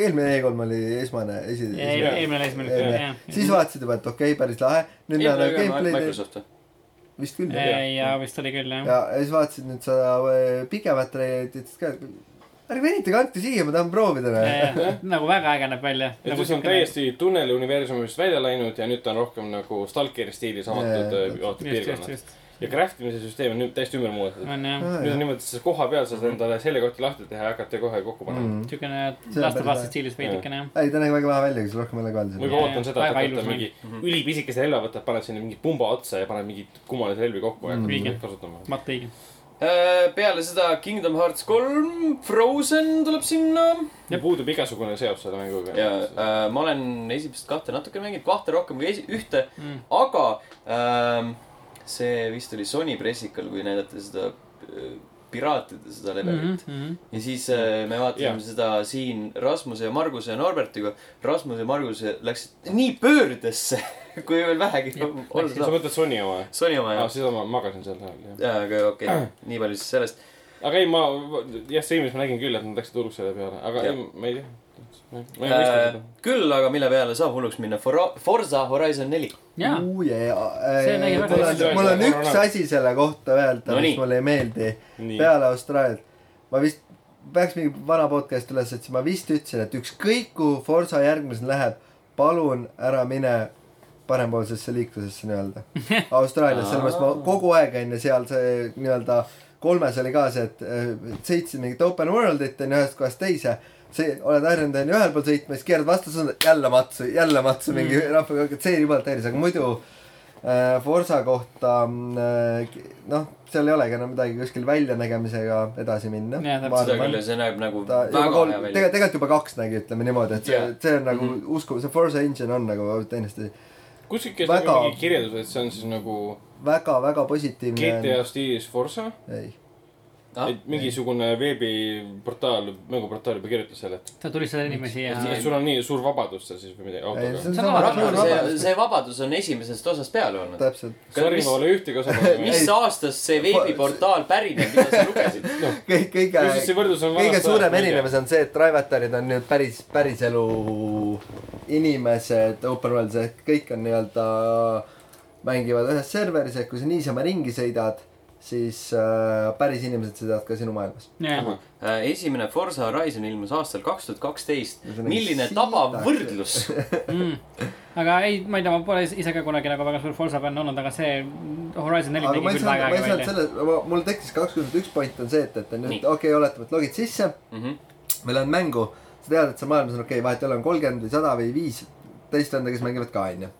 Speaker 2: eelmine E3 oli esmane , esi- , esimene .
Speaker 3: eelmine , esimene ,
Speaker 2: eelmine
Speaker 3: jah .,
Speaker 2: siis vaatasid juba , et okei okay, , päris lahe . nüüd näeme gameplay'd ,
Speaker 1: Microsoft või ?
Speaker 2: vist küll . ja
Speaker 3: ja vist oli küll , jah .
Speaker 2: ja siis vaatasid nüüd seda äh, pikemat reilit , ütlesid ka , et ärge venitage , andke siia , ma tahan proovida .
Speaker 3: nagu väga äge näeb välja . Nagu
Speaker 4: et siis on täiesti tunneli universumist välja läinud ja nüüd ta on rohkem nagu Stalkeri stiilis avatud
Speaker 2: Jaa,
Speaker 4: äh,
Speaker 2: just,
Speaker 4: avatud
Speaker 3: just , just ,
Speaker 4: piirkonnad .
Speaker 3: just .
Speaker 4: ja craft imise süsteem on nüüd täiesti ümber muudetud .
Speaker 3: on
Speaker 2: Hmm.
Speaker 3: jah ,
Speaker 4: nüüd on niimoodi , et sa koha peal saad endale seljakotti lahti teha ja hakata kohe kokku panema .
Speaker 2: Mm.
Speaker 3: siukene
Speaker 2: päris
Speaker 3: laste vastu
Speaker 2: lahe.
Speaker 3: stiilis veidikene , jah .
Speaker 2: ei , ta nägi väga lahe välja , kui sa rohkem ei ole
Speaker 4: ma
Speaker 2: kuulnud .
Speaker 4: juba
Speaker 3: Jaa,
Speaker 4: ootan seda , et
Speaker 3: väga
Speaker 4: hakata
Speaker 3: ilus mäng.
Speaker 4: mingi ülipisikese relva võtad , paned sinna mingi pumba otsa ja paned mingeid kummalisi relvi kokku ja hakkad
Speaker 3: Õige.
Speaker 4: neid kasutama .
Speaker 3: Matt Õige .
Speaker 1: Äh, peale seda Kingdom Hearts kolm , Frozen tuleb sinna
Speaker 4: ja puudub igasugune seos selle mänguga .
Speaker 1: ja äh, ma olen esimest kahte natuke mänginud , kahte rohkem kui esi- , ühte mm. , aga ähm, see vist oli Sony pressikal , kui näidati seda äh, piraatide seda
Speaker 3: Mhm,
Speaker 1: levelit mm . -hmm. ja siis äh, me vaatasime
Speaker 4: Jah.
Speaker 1: yeah. seda siin Rasmuse ja Marguse ja Norbertiga . Rasmus ja Margus läksid nii pöördesse , kui veel vähegi olla
Speaker 4: sa
Speaker 1: saab .
Speaker 4: mõtled Sony oma ?
Speaker 1: Sony oma
Speaker 4: aa ,
Speaker 1: jaoks .
Speaker 4: seda ma magasin seal ajal , jah .
Speaker 1: jaa , aga okei okay, , nii palju siis sellest .
Speaker 4: aga ei , ma , jah , stream'is ma nägin küll , et nad läksid hulluks selle peale , aga
Speaker 1: Jah.
Speaker 4: ei , ma ei tea . ma ei mõista
Speaker 1: Äh,
Speaker 4: seda .
Speaker 1: küll aga mille peale saab hulluks minna , Forza Horizon neli .
Speaker 3: jaa , See nägi väga
Speaker 2: mul on
Speaker 4: hästi ,
Speaker 2: mul on
Speaker 4: välja.
Speaker 2: üks asi selle kohta öelda
Speaker 1: No
Speaker 2: no , mis
Speaker 1: nii.
Speaker 2: mulle ei meeldi .
Speaker 4: Nii.
Speaker 2: peale Austraaliat , ma vist , peaks mingi vana podcast'i üles otsima , ma vist ütlesin , et ükskõik kuhu Forsa järgmisena läheb , palun ära mine parempoolsesse liiklusesse nii-öelda . Austraalias , sellepärast ma kogu aeg onju seal see nii-öelda kolmes oli ka see , et äh, sõitsid mingit open world'it onju ühest kohast teise . see , oled harjunud onju ühel pool sõitma , siis keerad vastu , jälle matsu , jälle matsu mingi mm. rahvaga , see jumalt häiris , aga muidu äh, Forsa kohta mm, äh, noh , seal ei olegi enam midagi kuskil väljanägemisega edasi minna .
Speaker 3: Jaa, täpselt.
Speaker 1: seda küll ja see näeb nagu
Speaker 2: ta
Speaker 1: väga
Speaker 2: juba kolm ,
Speaker 1: hea Mhm. välja .
Speaker 2: tegelikult , tegelikult juba kaks nägi , ütleme niimoodi , et see
Speaker 1: Jah.
Speaker 2: yeah. , see on nagu mm -hmm. usku , see Forsa engine on nagu teenesti
Speaker 4: kuskil käis
Speaker 2: väga-
Speaker 4: väga... mingi kirjeldus , et see on siis nagu
Speaker 2: väga-väga positiivne .
Speaker 4: GTA stiilis Forsa .
Speaker 2: ei ,
Speaker 1: Ah,
Speaker 4: et mingisugune veebiportaal , mänguportaal juba kirjutas selle , et
Speaker 3: ta tuli selle inimesi ja
Speaker 4: et et sul on nii suur vabadus seal siis või midagi
Speaker 2: ei , see
Speaker 4: autoga .
Speaker 2: on
Speaker 3: See on
Speaker 2: sama
Speaker 3: vabadus.
Speaker 2: suur
Speaker 1: see ,
Speaker 2: vabadus ,
Speaker 1: see vabadus on esimesest osast peale olnud .
Speaker 2: täpselt .
Speaker 4: Sorry ,
Speaker 1: mis-
Speaker 4: ma pole ühtegi osa pannud .
Speaker 1: mis
Speaker 2: Ei.
Speaker 1: aastast see veebiportaal pärineb , mida sa lugesid ?
Speaker 2: kõik , kõige ,
Speaker 4: Kusjuures see võrdlus on
Speaker 2: kõige
Speaker 4: vanast
Speaker 2: suurem
Speaker 4: ajast, ma ei
Speaker 2: erinevus on see , et Driveterid on nüüd päris , päriselu inimesed open world'is ehk kõik on nii-öelda , mängivad ühes serveris , ehk kui sa niisama ringi sõidad , siis äh, päris inimesed sõidavad ka sinu maailmas .
Speaker 3: jah ,
Speaker 1: Äh, esimene Forsa Horizon ilmus aastal kaks tuhat kaksteist
Speaker 2: See on . nagu
Speaker 1: milline
Speaker 2: siit
Speaker 1: tabav
Speaker 2: asja.
Speaker 1: võrdlus .
Speaker 3: aga ei , ma ei tea , ma pole ise ka kunagi nagu väga suur Forsa fänn olnud , aga see Horizon neli
Speaker 2: aga ma
Speaker 3: nägi
Speaker 2: ei
Speaker 3: küll
Speaker 2: saanud ,
Speaker 3: väga
Speaker 2: ma ei
Speaker 3: äge
Speaker 2: saanud
Speaker 3: välja .
Speaker 2: selle , mul tekkis kakskümmend üks point on see , et , et on
Speaker 1: Nii.
Speaker 2: nüüd okei , oletame , et logid sisse ,
Speaker 3: Mhm.
Speaker 2: ma lähen mängu , sa tead , et seal maailmas on okei okay, , vahet ei ole , on kolmkümmend või sada või viis teist venda , kes mängivad ka , onju .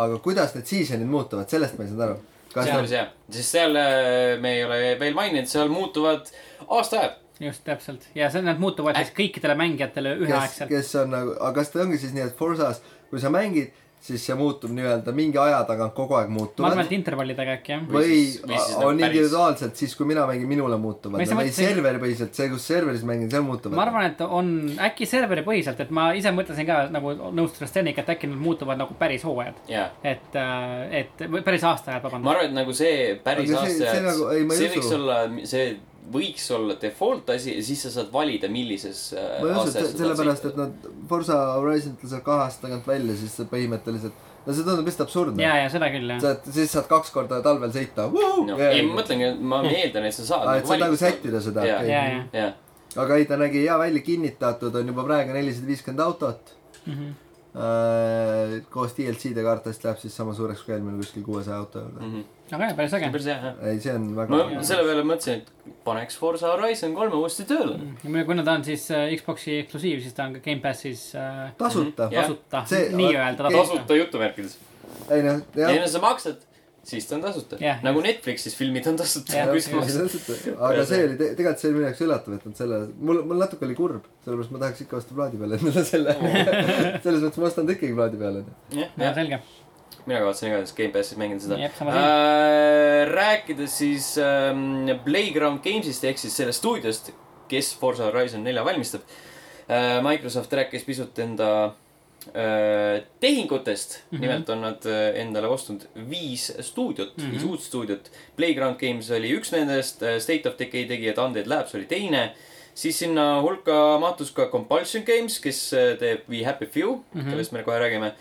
Speaker 2: aga kuidas need season'id muutuvad , sellest ma ei saanud aru . kas nad
Speaker 1: kusjuures jah , sest seal äh, me ei ole veel maininud , seal muutuvad aastaajad .
Speaker 3: just , täpselt . ja see , need muutuvad siis kõikidele mängijatele
Speaker 2: kes ,
Speaker 3: üheaegselt .
Speaker 2: kes on nagu , aga kas ta ongi siis nii , et Forsas , kui sa mängid , siis see muutub nii-öelda mingi aja tagant kogu aeg
Speaker 3: ma arvan ,
Speaker 2: muutuvad
Speaker 3: et intervallidega äkki jah .
Speaker 1: või
Speaker 2: või
Speaker 1: siis- või siis
Speaker 2: on
Speaker 1: nagu päris-
Speaker 2: individuaalselt , siis kui mina mängin , minule muutuvad
Speaker 3: Ma ei saa
Speaker 2: või
Speaker 3: mõtlesin-
Speaker 2: serveripõhiselt , see , kus serveris mängin , seal muutuvad .
Speaker 3: ma arvan , et on äkki serveripõhiselt , et ma ise mõtlesin ka nagu nõustudes Steniga , et äkki nad muutuvad nagu päris hooajad .
Speaker 1: jaa ,
Speaker 3: et , et või päris aastaajad ,
Speaker 1: ma
Speaker 3: vabandust .
Speaker 1: arvan , et nagu see päris
Speaker 2: Aga see- see
Speaker 1: aastaajad ,
Speaker 2: nagu- ei, ma ei
Speaker 1: see võiks
Speaker 2: usu.
Speaker 1: olla , see võiks olla default asi ja siis sa saad valida , millises äh,
Speaker 2: ma ei usu ,
Speaker 1: aastajas
Speaker 2: et
Speaker 1: sa
Speaker 2: se- sellepärast ,
Speaker 1: tahad
Speaker 2: et nad Forsa Horizonit laseb kahe aasta tagant välja , siis see põhimõtteliselt , no see tundub lihtsalt absurdne
Speaker 3: ja ., ja seda küll jah .
Speaker 2: sa , siis saad kaks korda talvel sõita .
Speaker 1: sõita. no, . ei , ma mõtlengi , ma eeldan , et sa saad .
Speaker 2: et saad nagu sättida seda .
Speaker 1: Jaa.
Speaker 3: ja , ja .
Speaker 1: jah ,
Speaker 2: aga ei , ta nägi hea välja , kinnitatud on juba praegu nelisada viiskümmend autot .
Speaker 1: Mhm.
Speaker 2: koos DLC-de kaartest läheb siis sama suureks kui eelmine kuskil kuuesaja auto juurde .
Speaker 3: aga jah , päris äge .
Speaker 1: päris hea , jah .
Speaker 2: ei , see on väga
Speaker 1: Mhm. ma . selle peale mõtlesin , et paneks Forsa Horizon kolme uuesti tööle .
Speaker 3: ja muidugi , kuna ta on siis äh, Xbox'i eksklusiiv , siis ta on ka Gamepassis äh,
Speaker 2: tasuta .
Speaker 1: Jah.
Speaker 3: tasuta
Speaker 2: See- ,
Speaker 3: nii-öelda
Speaker 2: Ei,
Speaker 1: tasuta . jutumärkides .
Speaker 2: ei noh ,
Speaker 1: ja
Speaker 2: jah
Speaker 1: no sa maksad , siis ta on tasuta
Speaker 3: Jah. .
Speaker 1: nagu Netflixis filmid on tasuta
Speaker 3: Jah, .
Speaker 1: kui sa
Speaker 3: jah.
Speaker 1: maksad .
Speaker 2: aga see oli , tegelikult see oli minu jaoks üllatav , et nad selle , mul , mul natuke oli kurb , sellepärast ma tahaks ikka osta plaadi peale endale selle . selles mõttes ma ostan ta ikkagi plaadi peale .
Speaker 1: jah ,
Speaker 3: no
Speaker 1: jah .
Speaker 3: selge ,
Speaker 1: mina kavatsen igatahes Gamepassis mängida seda Äh,
Speaker 3: Jep, sama .
Speaker 1: rääkides siis ähm, Playground Games'ist ehk siis sellest stuudiost , kes Forza Horizon nelja valmistab äh, . Microsoft rääkis pisut enda äh, tehingutest mm , -hmm. nimelt on nad äh, endale ostnud viis stuudiot mm , -hmm. viis uut stuudiot . Playground Games oli üks nendest , State of Decay tegijad Undead Labs oli teine siis sinna hulka mahtus ka Compulsion Games , kes äh, teeb We Happy Few mm , -hmm. kellest me kohe räägime .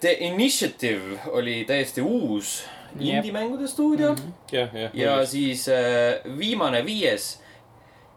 Speaker 1: The Initiative oli täiesti uus
Speaker 3: Jep.
Speaker 1: indie-mängude stuudio mm . -hmm.
Speaker 4: jah , jah .
Speaker 1: ja siis äh, viimane viies ,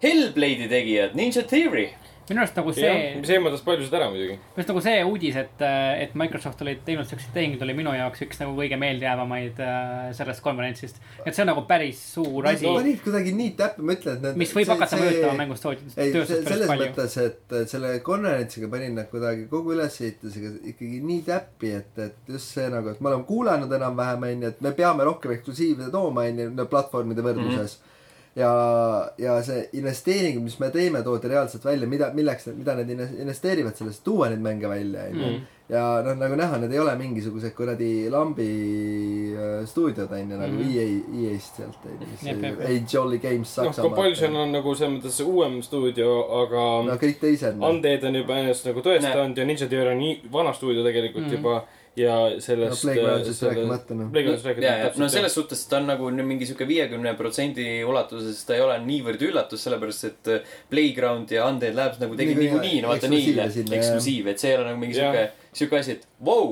Speaker 1: Hellblade'i tegijad , Ninja Theory .
Speaker 3: minu arust nagu see ,
Speaker 4: see , see eemaldas paljusid ära muidugi . Noh,
Speaker 3: minu arust nagu see uudis , et , et Microsoft oli teinud siukseid tehinguid , oli minu jaoks üks nagu kõige meeldejäävamaid äh, sellest konverentsist . et see on nagu päris suur asi ,
Speaker 2: panid kuidagi nii täppi , ma ütlen , et need .
Speaker 3: mis võib hakata mõjutama mängustuudiot ,
Speaker 2: ei ,
Speaker 3: tööstust
Speaker 2: selles
Speaker 3: päris palju .
Speaker 2: mõttes , et selle konverentsiga panin nad kuidagi kogu ülesehitusega ikkagi nii täppi , et , et just see nagu , et me oleme kuulanud enam-vähem , onju , et me peame rohkem eksklusiive tooma , onju , platvormide võrdluses
Speaker 3: Mhm.
Speaker 2: mm . -hmm. ja , ja see investeering , mis me teeme , toodi reaalselt välja , mida , milleks , mida nad inves- investeerivad sellesse , tuua neid mänge välja , onju .
Speaker 3: Mhm.
Speaker 2: ja noh , nagu näha , need ei ole mingisugused kuradi lambi äh, stuudiod , onju , nagu
Speaker 3: Mhm.
Speaker 2: EA , EA-st sealt , onju , mis
Speaker 3: Jep, jep, jep.
Speaker 2: ei , Jolly Games
Speaker 4: noh , Compulsion
Speaker 2: Saksamaalt .
Speaker 4: on nagu selles mõttes uuem stuudio , aga
Speaker 2: no kõik teised . noh.
Speaker 4: Undead on juba ennast nagu tõestanud ja Ninja Theory on nii vana stuudio tegelikult
Speaker 1: Mhm.
Speaker 4: mm -hmm. juba ja
Speaker 2: no
Speaker 4: sellest .
Speaker 2: Playgroundsist rääkimata noh .
Speaker 4: Playgroundist
Speaker 1: ja , ja
Speaker 4: rääkida .
Speaker 1: no selles suhtes ta on nagu nüüd mingi sihuke viiekümne protsendi ulatuses , ta ei ole niivõrd üllatus , sellepärast et äh, Playground ja Undead Labs nagu tegid
Speaker 2: Niikuinii
Speaker 1: niikuinii , no vaata
Speaker 2: eksklusiive
Speaker 1: neile
Speaker 2: sinna, jah.
Speaker 1: eksklusiive , et see ei ole nagu mingi
Speaker 4: Jah.
Speaker 1: sihuke , sihuke asi , et vau .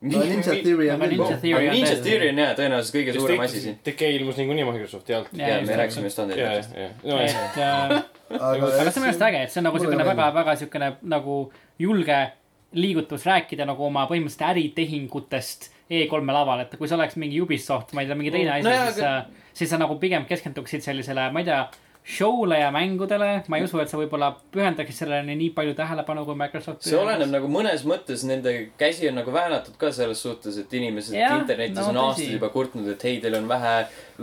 Speaker 2: no Ninja Theory on
Speaker 3: Aga
Speaker 2: küll
Speaker 3: Ninja
Speaker 2: vau.
Speaker 3: Theory
Speaker 1: aga
Speaker 3: on
Speaker 1: Ninja
Speaker 3: täiesti-
Speaker 1: Theory on jaa , tõenäoliselt kõige suurem asi siin .
Speaker 4: Decay ilmus niikuinii Microsofti alt .
Speaker 3: Jaa,
Speaker 1: ja
Speaker 3: just
Speaker 1: me
Speaker 3: täpselt.
Speaker 1: rääkisime just Undead
Speaker 4: ja ,
Speaker 1: Labsist .
Speaker 4: ja , ja .
Speaker 3: et äh,
Speaker 2: aga
Speaker 3: aga see on minu arust äge , et see on nagu
Speaker 2: Mulle
Speaker 3: siukene
Speaker 2: ka
Speaker 3: väga , väga siukene nagu julge liigutus rääkida nagu oma põhimõtteliselt äritehingutest E3-e laval , et kui see oleks mingi Ubisoft , ma ei tea , mingi teine asi
Speaker 1: No
Speaker 3: no, ,
Speaker 1: jaa,
Speaker 3: siis aga... , siis sa nagu pigem keskenduksid sellisele , ma ei tea , show'le ja mängudele . ma ei usu , et sa võib-olla pühendaksid sellele nii palju tähelepanu kui Microsoft .
Speaker 1: see oleneb . nagu mõnes mõttes nende käsi on nagu väänatud ka selles suhtes , et inimesed ja,
Speaker 3: Jah,
Speaker 1: internetis no,
Speaker 3: no
Speaker 1: on aastaid
Speaker 3: tõsi.
Speaker 1: juba kurtnud , et hei , teil on vähe ,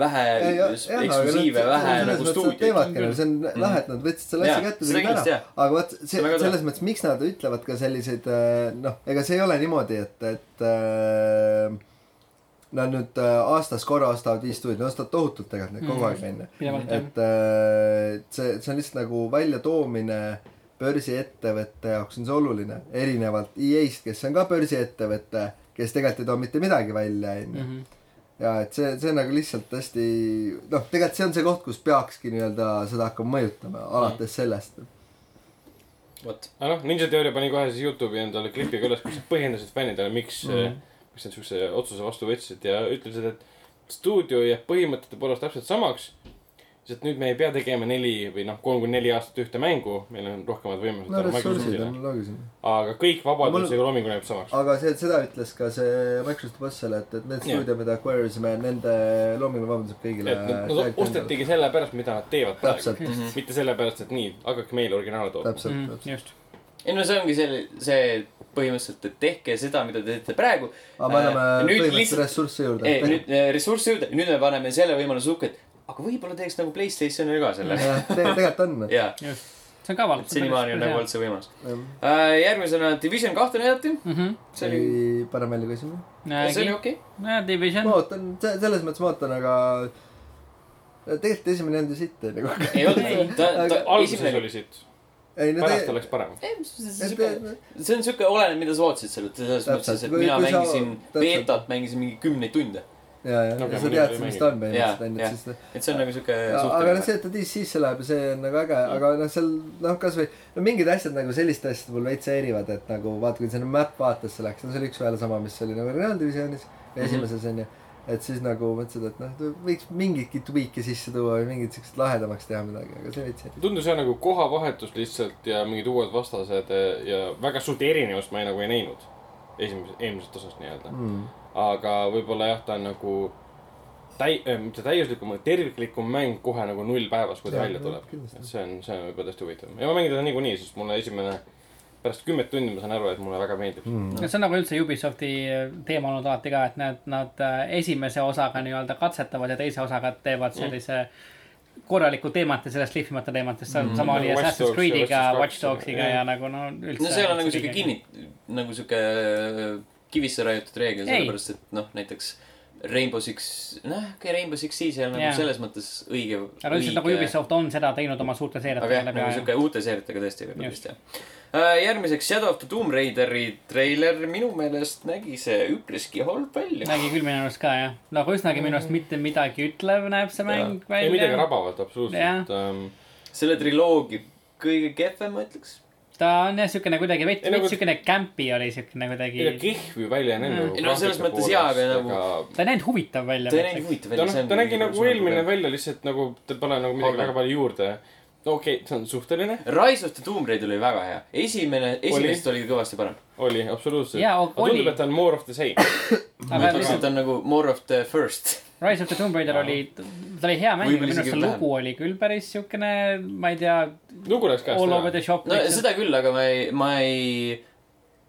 Speaker 1: vähe
Speaker 2: Ei, jah, jah,
Speaker 1: eksklusiive ,
Speaker 2: aga nad-
Speaker 1: vähe
Speaker 2: selles
Speaker 1: nagu
Speaker 2: mõttes nad
Speaker 1: stuudioid .
Speaker 2: teevadki nagu , see on lahe , et nad võtsid selle
Speaker 1: Jaa,
Speaker 2: asja kätte ,
Speaker 1: seda
Speaker 2: tegid
Speaker 1: kindlasti,
Speaker 2: ära
Speaker 1: jah. .
Speaker 2: aga vot see
Speaker 1: See on , väga tore.
Speaker 2: selles mõttes , miks nad ütlevad ka selliseid äh, noh , ega see ei ole niimoodi , et , et äh, nad nüüd äh, aastas korra ostavad viis stuudiot , nad ostavad tohutult tegelikult
Speaker 1: Mm.
Speaker 2: neid kogu aeg onju .
Speaker 3: pidevalt jah .
Speaker 2: et äh, see , see on lihtsalt nagu väljatoomine börsiettevõtte jaoks on see oluline , erinevalt EA-st , kes on ka börsiettevõte , kes tegelikult ei too mitte midagi välja ,
Speaker 1: nagu-
Speaker 3: Mhm,
Speaker 2: onju . ja et see , see on nagu lihtsalt hästi , noh , tegelikult see on see koht , kus peakski nii-öelda seda hakkama mõjutama ,
Speaker 1: Mm.
Speaker 2: alates sellest .
Speaker 1: vot ,
Speaker 4: aga noh , Ninja Theory pani kohe siis Youtube'i endale
Speaker 1: Mhm.
Speaker 4: äh, klipiga üles , kus nad põhjendasid fännidele , miks mm , -hmm. miks nad siukse otsuse vastu võtsid ja ütlesid , et stuudio jääb põhimõtete poolest täpselt samaks . sest nüüd me ei pea tegema neli või noh , kolm kuni neli aastat ühte mängu , meil on rohkemad võimalused
Speaker 2: no
Speaker 4: tänu
Speaker 2: ressursid
Speaker 4: Microsoftile.
Speaker 2: on loogiline .
Speaker 4: aga kõik vabadusega looming jääb samaks .
Speaker 2: aga see , seda ütles ka see Microsofti boss seal , et , et need
Speaker 4: Jah.
Speaker 2: stuudio , mida acquire'isime , nende loominguline vabandus jääb kõigile
Speaker 4: et nad- nad . ostetigi selle pärast , mida nad teevad
Speaker 2: Äh, täpselt ,
Speaker 4: praegu . mitte selle pärast , et nii , hakake meile originaale tooma .
Speaker 2: täpselt , täpselt .
Speaker 3: mhm, just .
Speaker 1: ei no see ongi see , see põhimõtteliselt , et tehke seda , mida te teete praegu .
Speaker 2: aga me
Speaker 1: Äh,
Speaker 2: anname
Speaker 1: nüüd
Speaker 2: põhimõtteliselt
Speaker 1: lihtsalt-
Speaker 2: ressursse
Speaker 1: ei ,
Speaker 2: juurde .
Speaker 1: nüüd eh, ressurssi juurde , nüüd me paneme selle võimaluse hukka , et aga võib-olla teeks nagu Playstationile ka selle .
Speaker 2: tegelikult on .
Speaker 1: jaa ,
Speaker 3: just , see on kaval .
Speaker 1: senimaani on nagu olnud see võimalus . järgmisena Division kahte näidati ,
Speaker 3: Mhm.
Speaker 1: see oli ,
Speaker 2: ei , parem välja kui esimene .
Speaker 1: see oli
Speaker 3: olnud .
Speaker 1: okei .
Speaker 3: nojah , Division
Speaker 2: ma . ootan , selles mõttes ma ootan , aga tegelikult esimene ei olnud ju sitt , onju .
Speaker 1: ei olnud , ta , ta
Speaker 4: alguses
Speaker 1: esimene
Speaker 4: oli siit ,
Speaker 2: ei , no
Speaker 4: pärast
Speaker 2: tegelikult
Speaker 4: oleks parem .
Speaker 1: Ei, see on
Speaker 2: et-
Speaker 1: siuke- see on siuke , oleneb , mida sa ootasid sellelt , selles
Speaker 2: Täpselt.
Speaker 1: mõttes , et
Speaker 2: Kui-
Speaker 1: mina
Speaker 2: kui sa-
Speaker 1: mängisin
Speaker 2: täpselt.
Speaker 1: beetat , mängisin mingi kümneid tunde .
Speaker 2: ja , ja , ja
Speaker 4: No aga
Speaker 2: sa
Speaker 4: muidu
Speaker 2: tead
Speaker 4: ei ,
Speaker 2: mis
Speaker 4: mängi.
Speaker 2: ta on
Speaker 1: Jaa,
Speaker 2: põhimõtteliselt , onju ,
Speaker 1: jah.
Speaker 2: et siis
Speaker 1: et see on nagu siuke
Speaker 2: Ja, aga noh , see ,
Speaker 1: suhteline .
Speaker 2: et ta DC-sse läheb , see on nagu äge , aga noh , seal noh , kasvõi no mingid asjad nagu selliste asjade mul veits häirivad , et nagu vaata , kui sinna map vaatesse läks , no see oli üks-ühele sama , mis oli nagu Reaaldivisionis esimeses onju . et siis nagu mõtlesid , et noh , võiks mingitki tweak'i sisse tuua või mingit siukest lahedamaks teha midagi , aga see veits
Speaker 4: tundus jah nagu kohavahetus lihtsalt ja mingid uued vastased eh, ja väga suurt erinevust ma ei, nagu ei näinud esimese , eelmisest osast nii-öelda .
Speaker 2: mm. .
Speaker 4: aga võib-olla jah , ta on nagu täi- , mitte täiuslikum , vaid terviklikum mäng kohe nagu null päevas , kui ta
Speaker 2: Jaa,
Speaker 4: välja
Speaker 2: no,
Speaker 4: tuleb .
Speaker 2: kindlasti.
Speaker 4: et see on , see on võib-olla täiesti huvitav ja ma mängin teda niikuinii , sest mulle esimene , pärast kümmet tundi ma saan aru , et mulle väga meeldib .
Speaker 2: Mm.
Speaker 3: no see on nagu üldse Ubisofti teema olnud alati ka , et nad , nad äh, esimese osaga nii-öelda katsetavad ja teise osaga teevad sellise korralikku teemat ja sellest lihvimata teemat , sest mm. sama oli
Speaker 4: Nagu Watch
Speaker 3: Assassin's
Speaker 4: Dogs ja
Speaker 3: Creed'iga ,
Speaker 4: Watch Dogs
Speaker 3: Watch Dogsiga ja,
Speaker 4: ja-
Speaker 3: ja nagu no üldse .
Speaker 1: no seal on nagu siuke . kinni , nagu siuke kivisse raiutud reegel ,
Speaker 3: Ei.
Speaker 1: sellepärast et noh , näiteks Rainbow Six , noh , okei , Rainbow Six Siege ei ole
Speaker 3: Jaa.
Speaker 1: nagu selles mõttes õige .
Speaker 3: aga üldiselt nagu Ubisoft on seda teinud oma suurte
Speaker 1: aga
Speaker 3: seeriatega
Speaker 1: jah ,
Speaker 3: läbi
Speaker 1: nagu
Speaker 3: aja .
Speaker 1: siuke uute seeriatega tõesti võib-olla
Speaker 3: Just.
Speaker 1: vist jah . järgmiseks Shadow of the Tomb Raideri treiler , minu meelest nägi see üpriski halb välja .
Speaker 3: nägi küll minu arust ka jah , nagu üsnagi minu arust mitte midagi ütlev näeb see mäng
Speaker 4: ei midagi
Speaker 3: välja .
Speaker 4: rabavat absoluutselt . Ehm, ei
Speaker 1: selle triloogia kõige kehvem , ma ütleks .
Speaker 3: ta on jah siukene kuidagi veits ,
Speaker 4: Ei, nagu-
Speaker 3: veits siukene kämpi oli siukene
Speaker 4: ta
Speaker 3: kuidagi .
Speaker 4: kihv ju välja ei näinud .
Speaker 1: Ei no selles mõttes jaa, aga nagu-
Speaker 3: ta ei näinud huvitav välja .
Speaker 1: ta ei näinud huvitav
Speaker 4: ta
Speaker 1: välja .
Speaker 4: noh , ta nägi nagu eelmine . välja lihtsalt nagu , ta pole nagu midagi
Speaker 1: Halvem.
Speaker 4: väga palju juurde . no okei okay, , see on suhteline ,
Speaker 1: Rise of the Tomb Raid oli väga hea . esimene , esimesest oli kõvasti parem .
Speaker 4: oli absoluutselt .
Speaker 3: Jaa, o-
Speaker 4: aga tundub ,
Speaker 3: oli.
Speaker 4: et ta on more of the same .
Speaker 3: aga
Speaker 1: nüüd lihtsalt
Speaker 3: lihtsalt
Speaker 1: on nagu more of the first .
Speaker 3: Rise of the Tomb Raider oli , ta oli hea mäng ,
Speaker 1: Võib-olla
Speaker 3: minu arust
Speaker 1: isegi
Speaker 3: see
Speaker 1: vähem.
Speaker 3: lugu oli küll päris siukene , ma ei tea ,
Speaker 4: lugu läks käest
Speaker 3: all over
Speaker 4: ära .
Speaker 3: the shop .
Speaker 1: no seda küll , aga ma ei , ma ei ,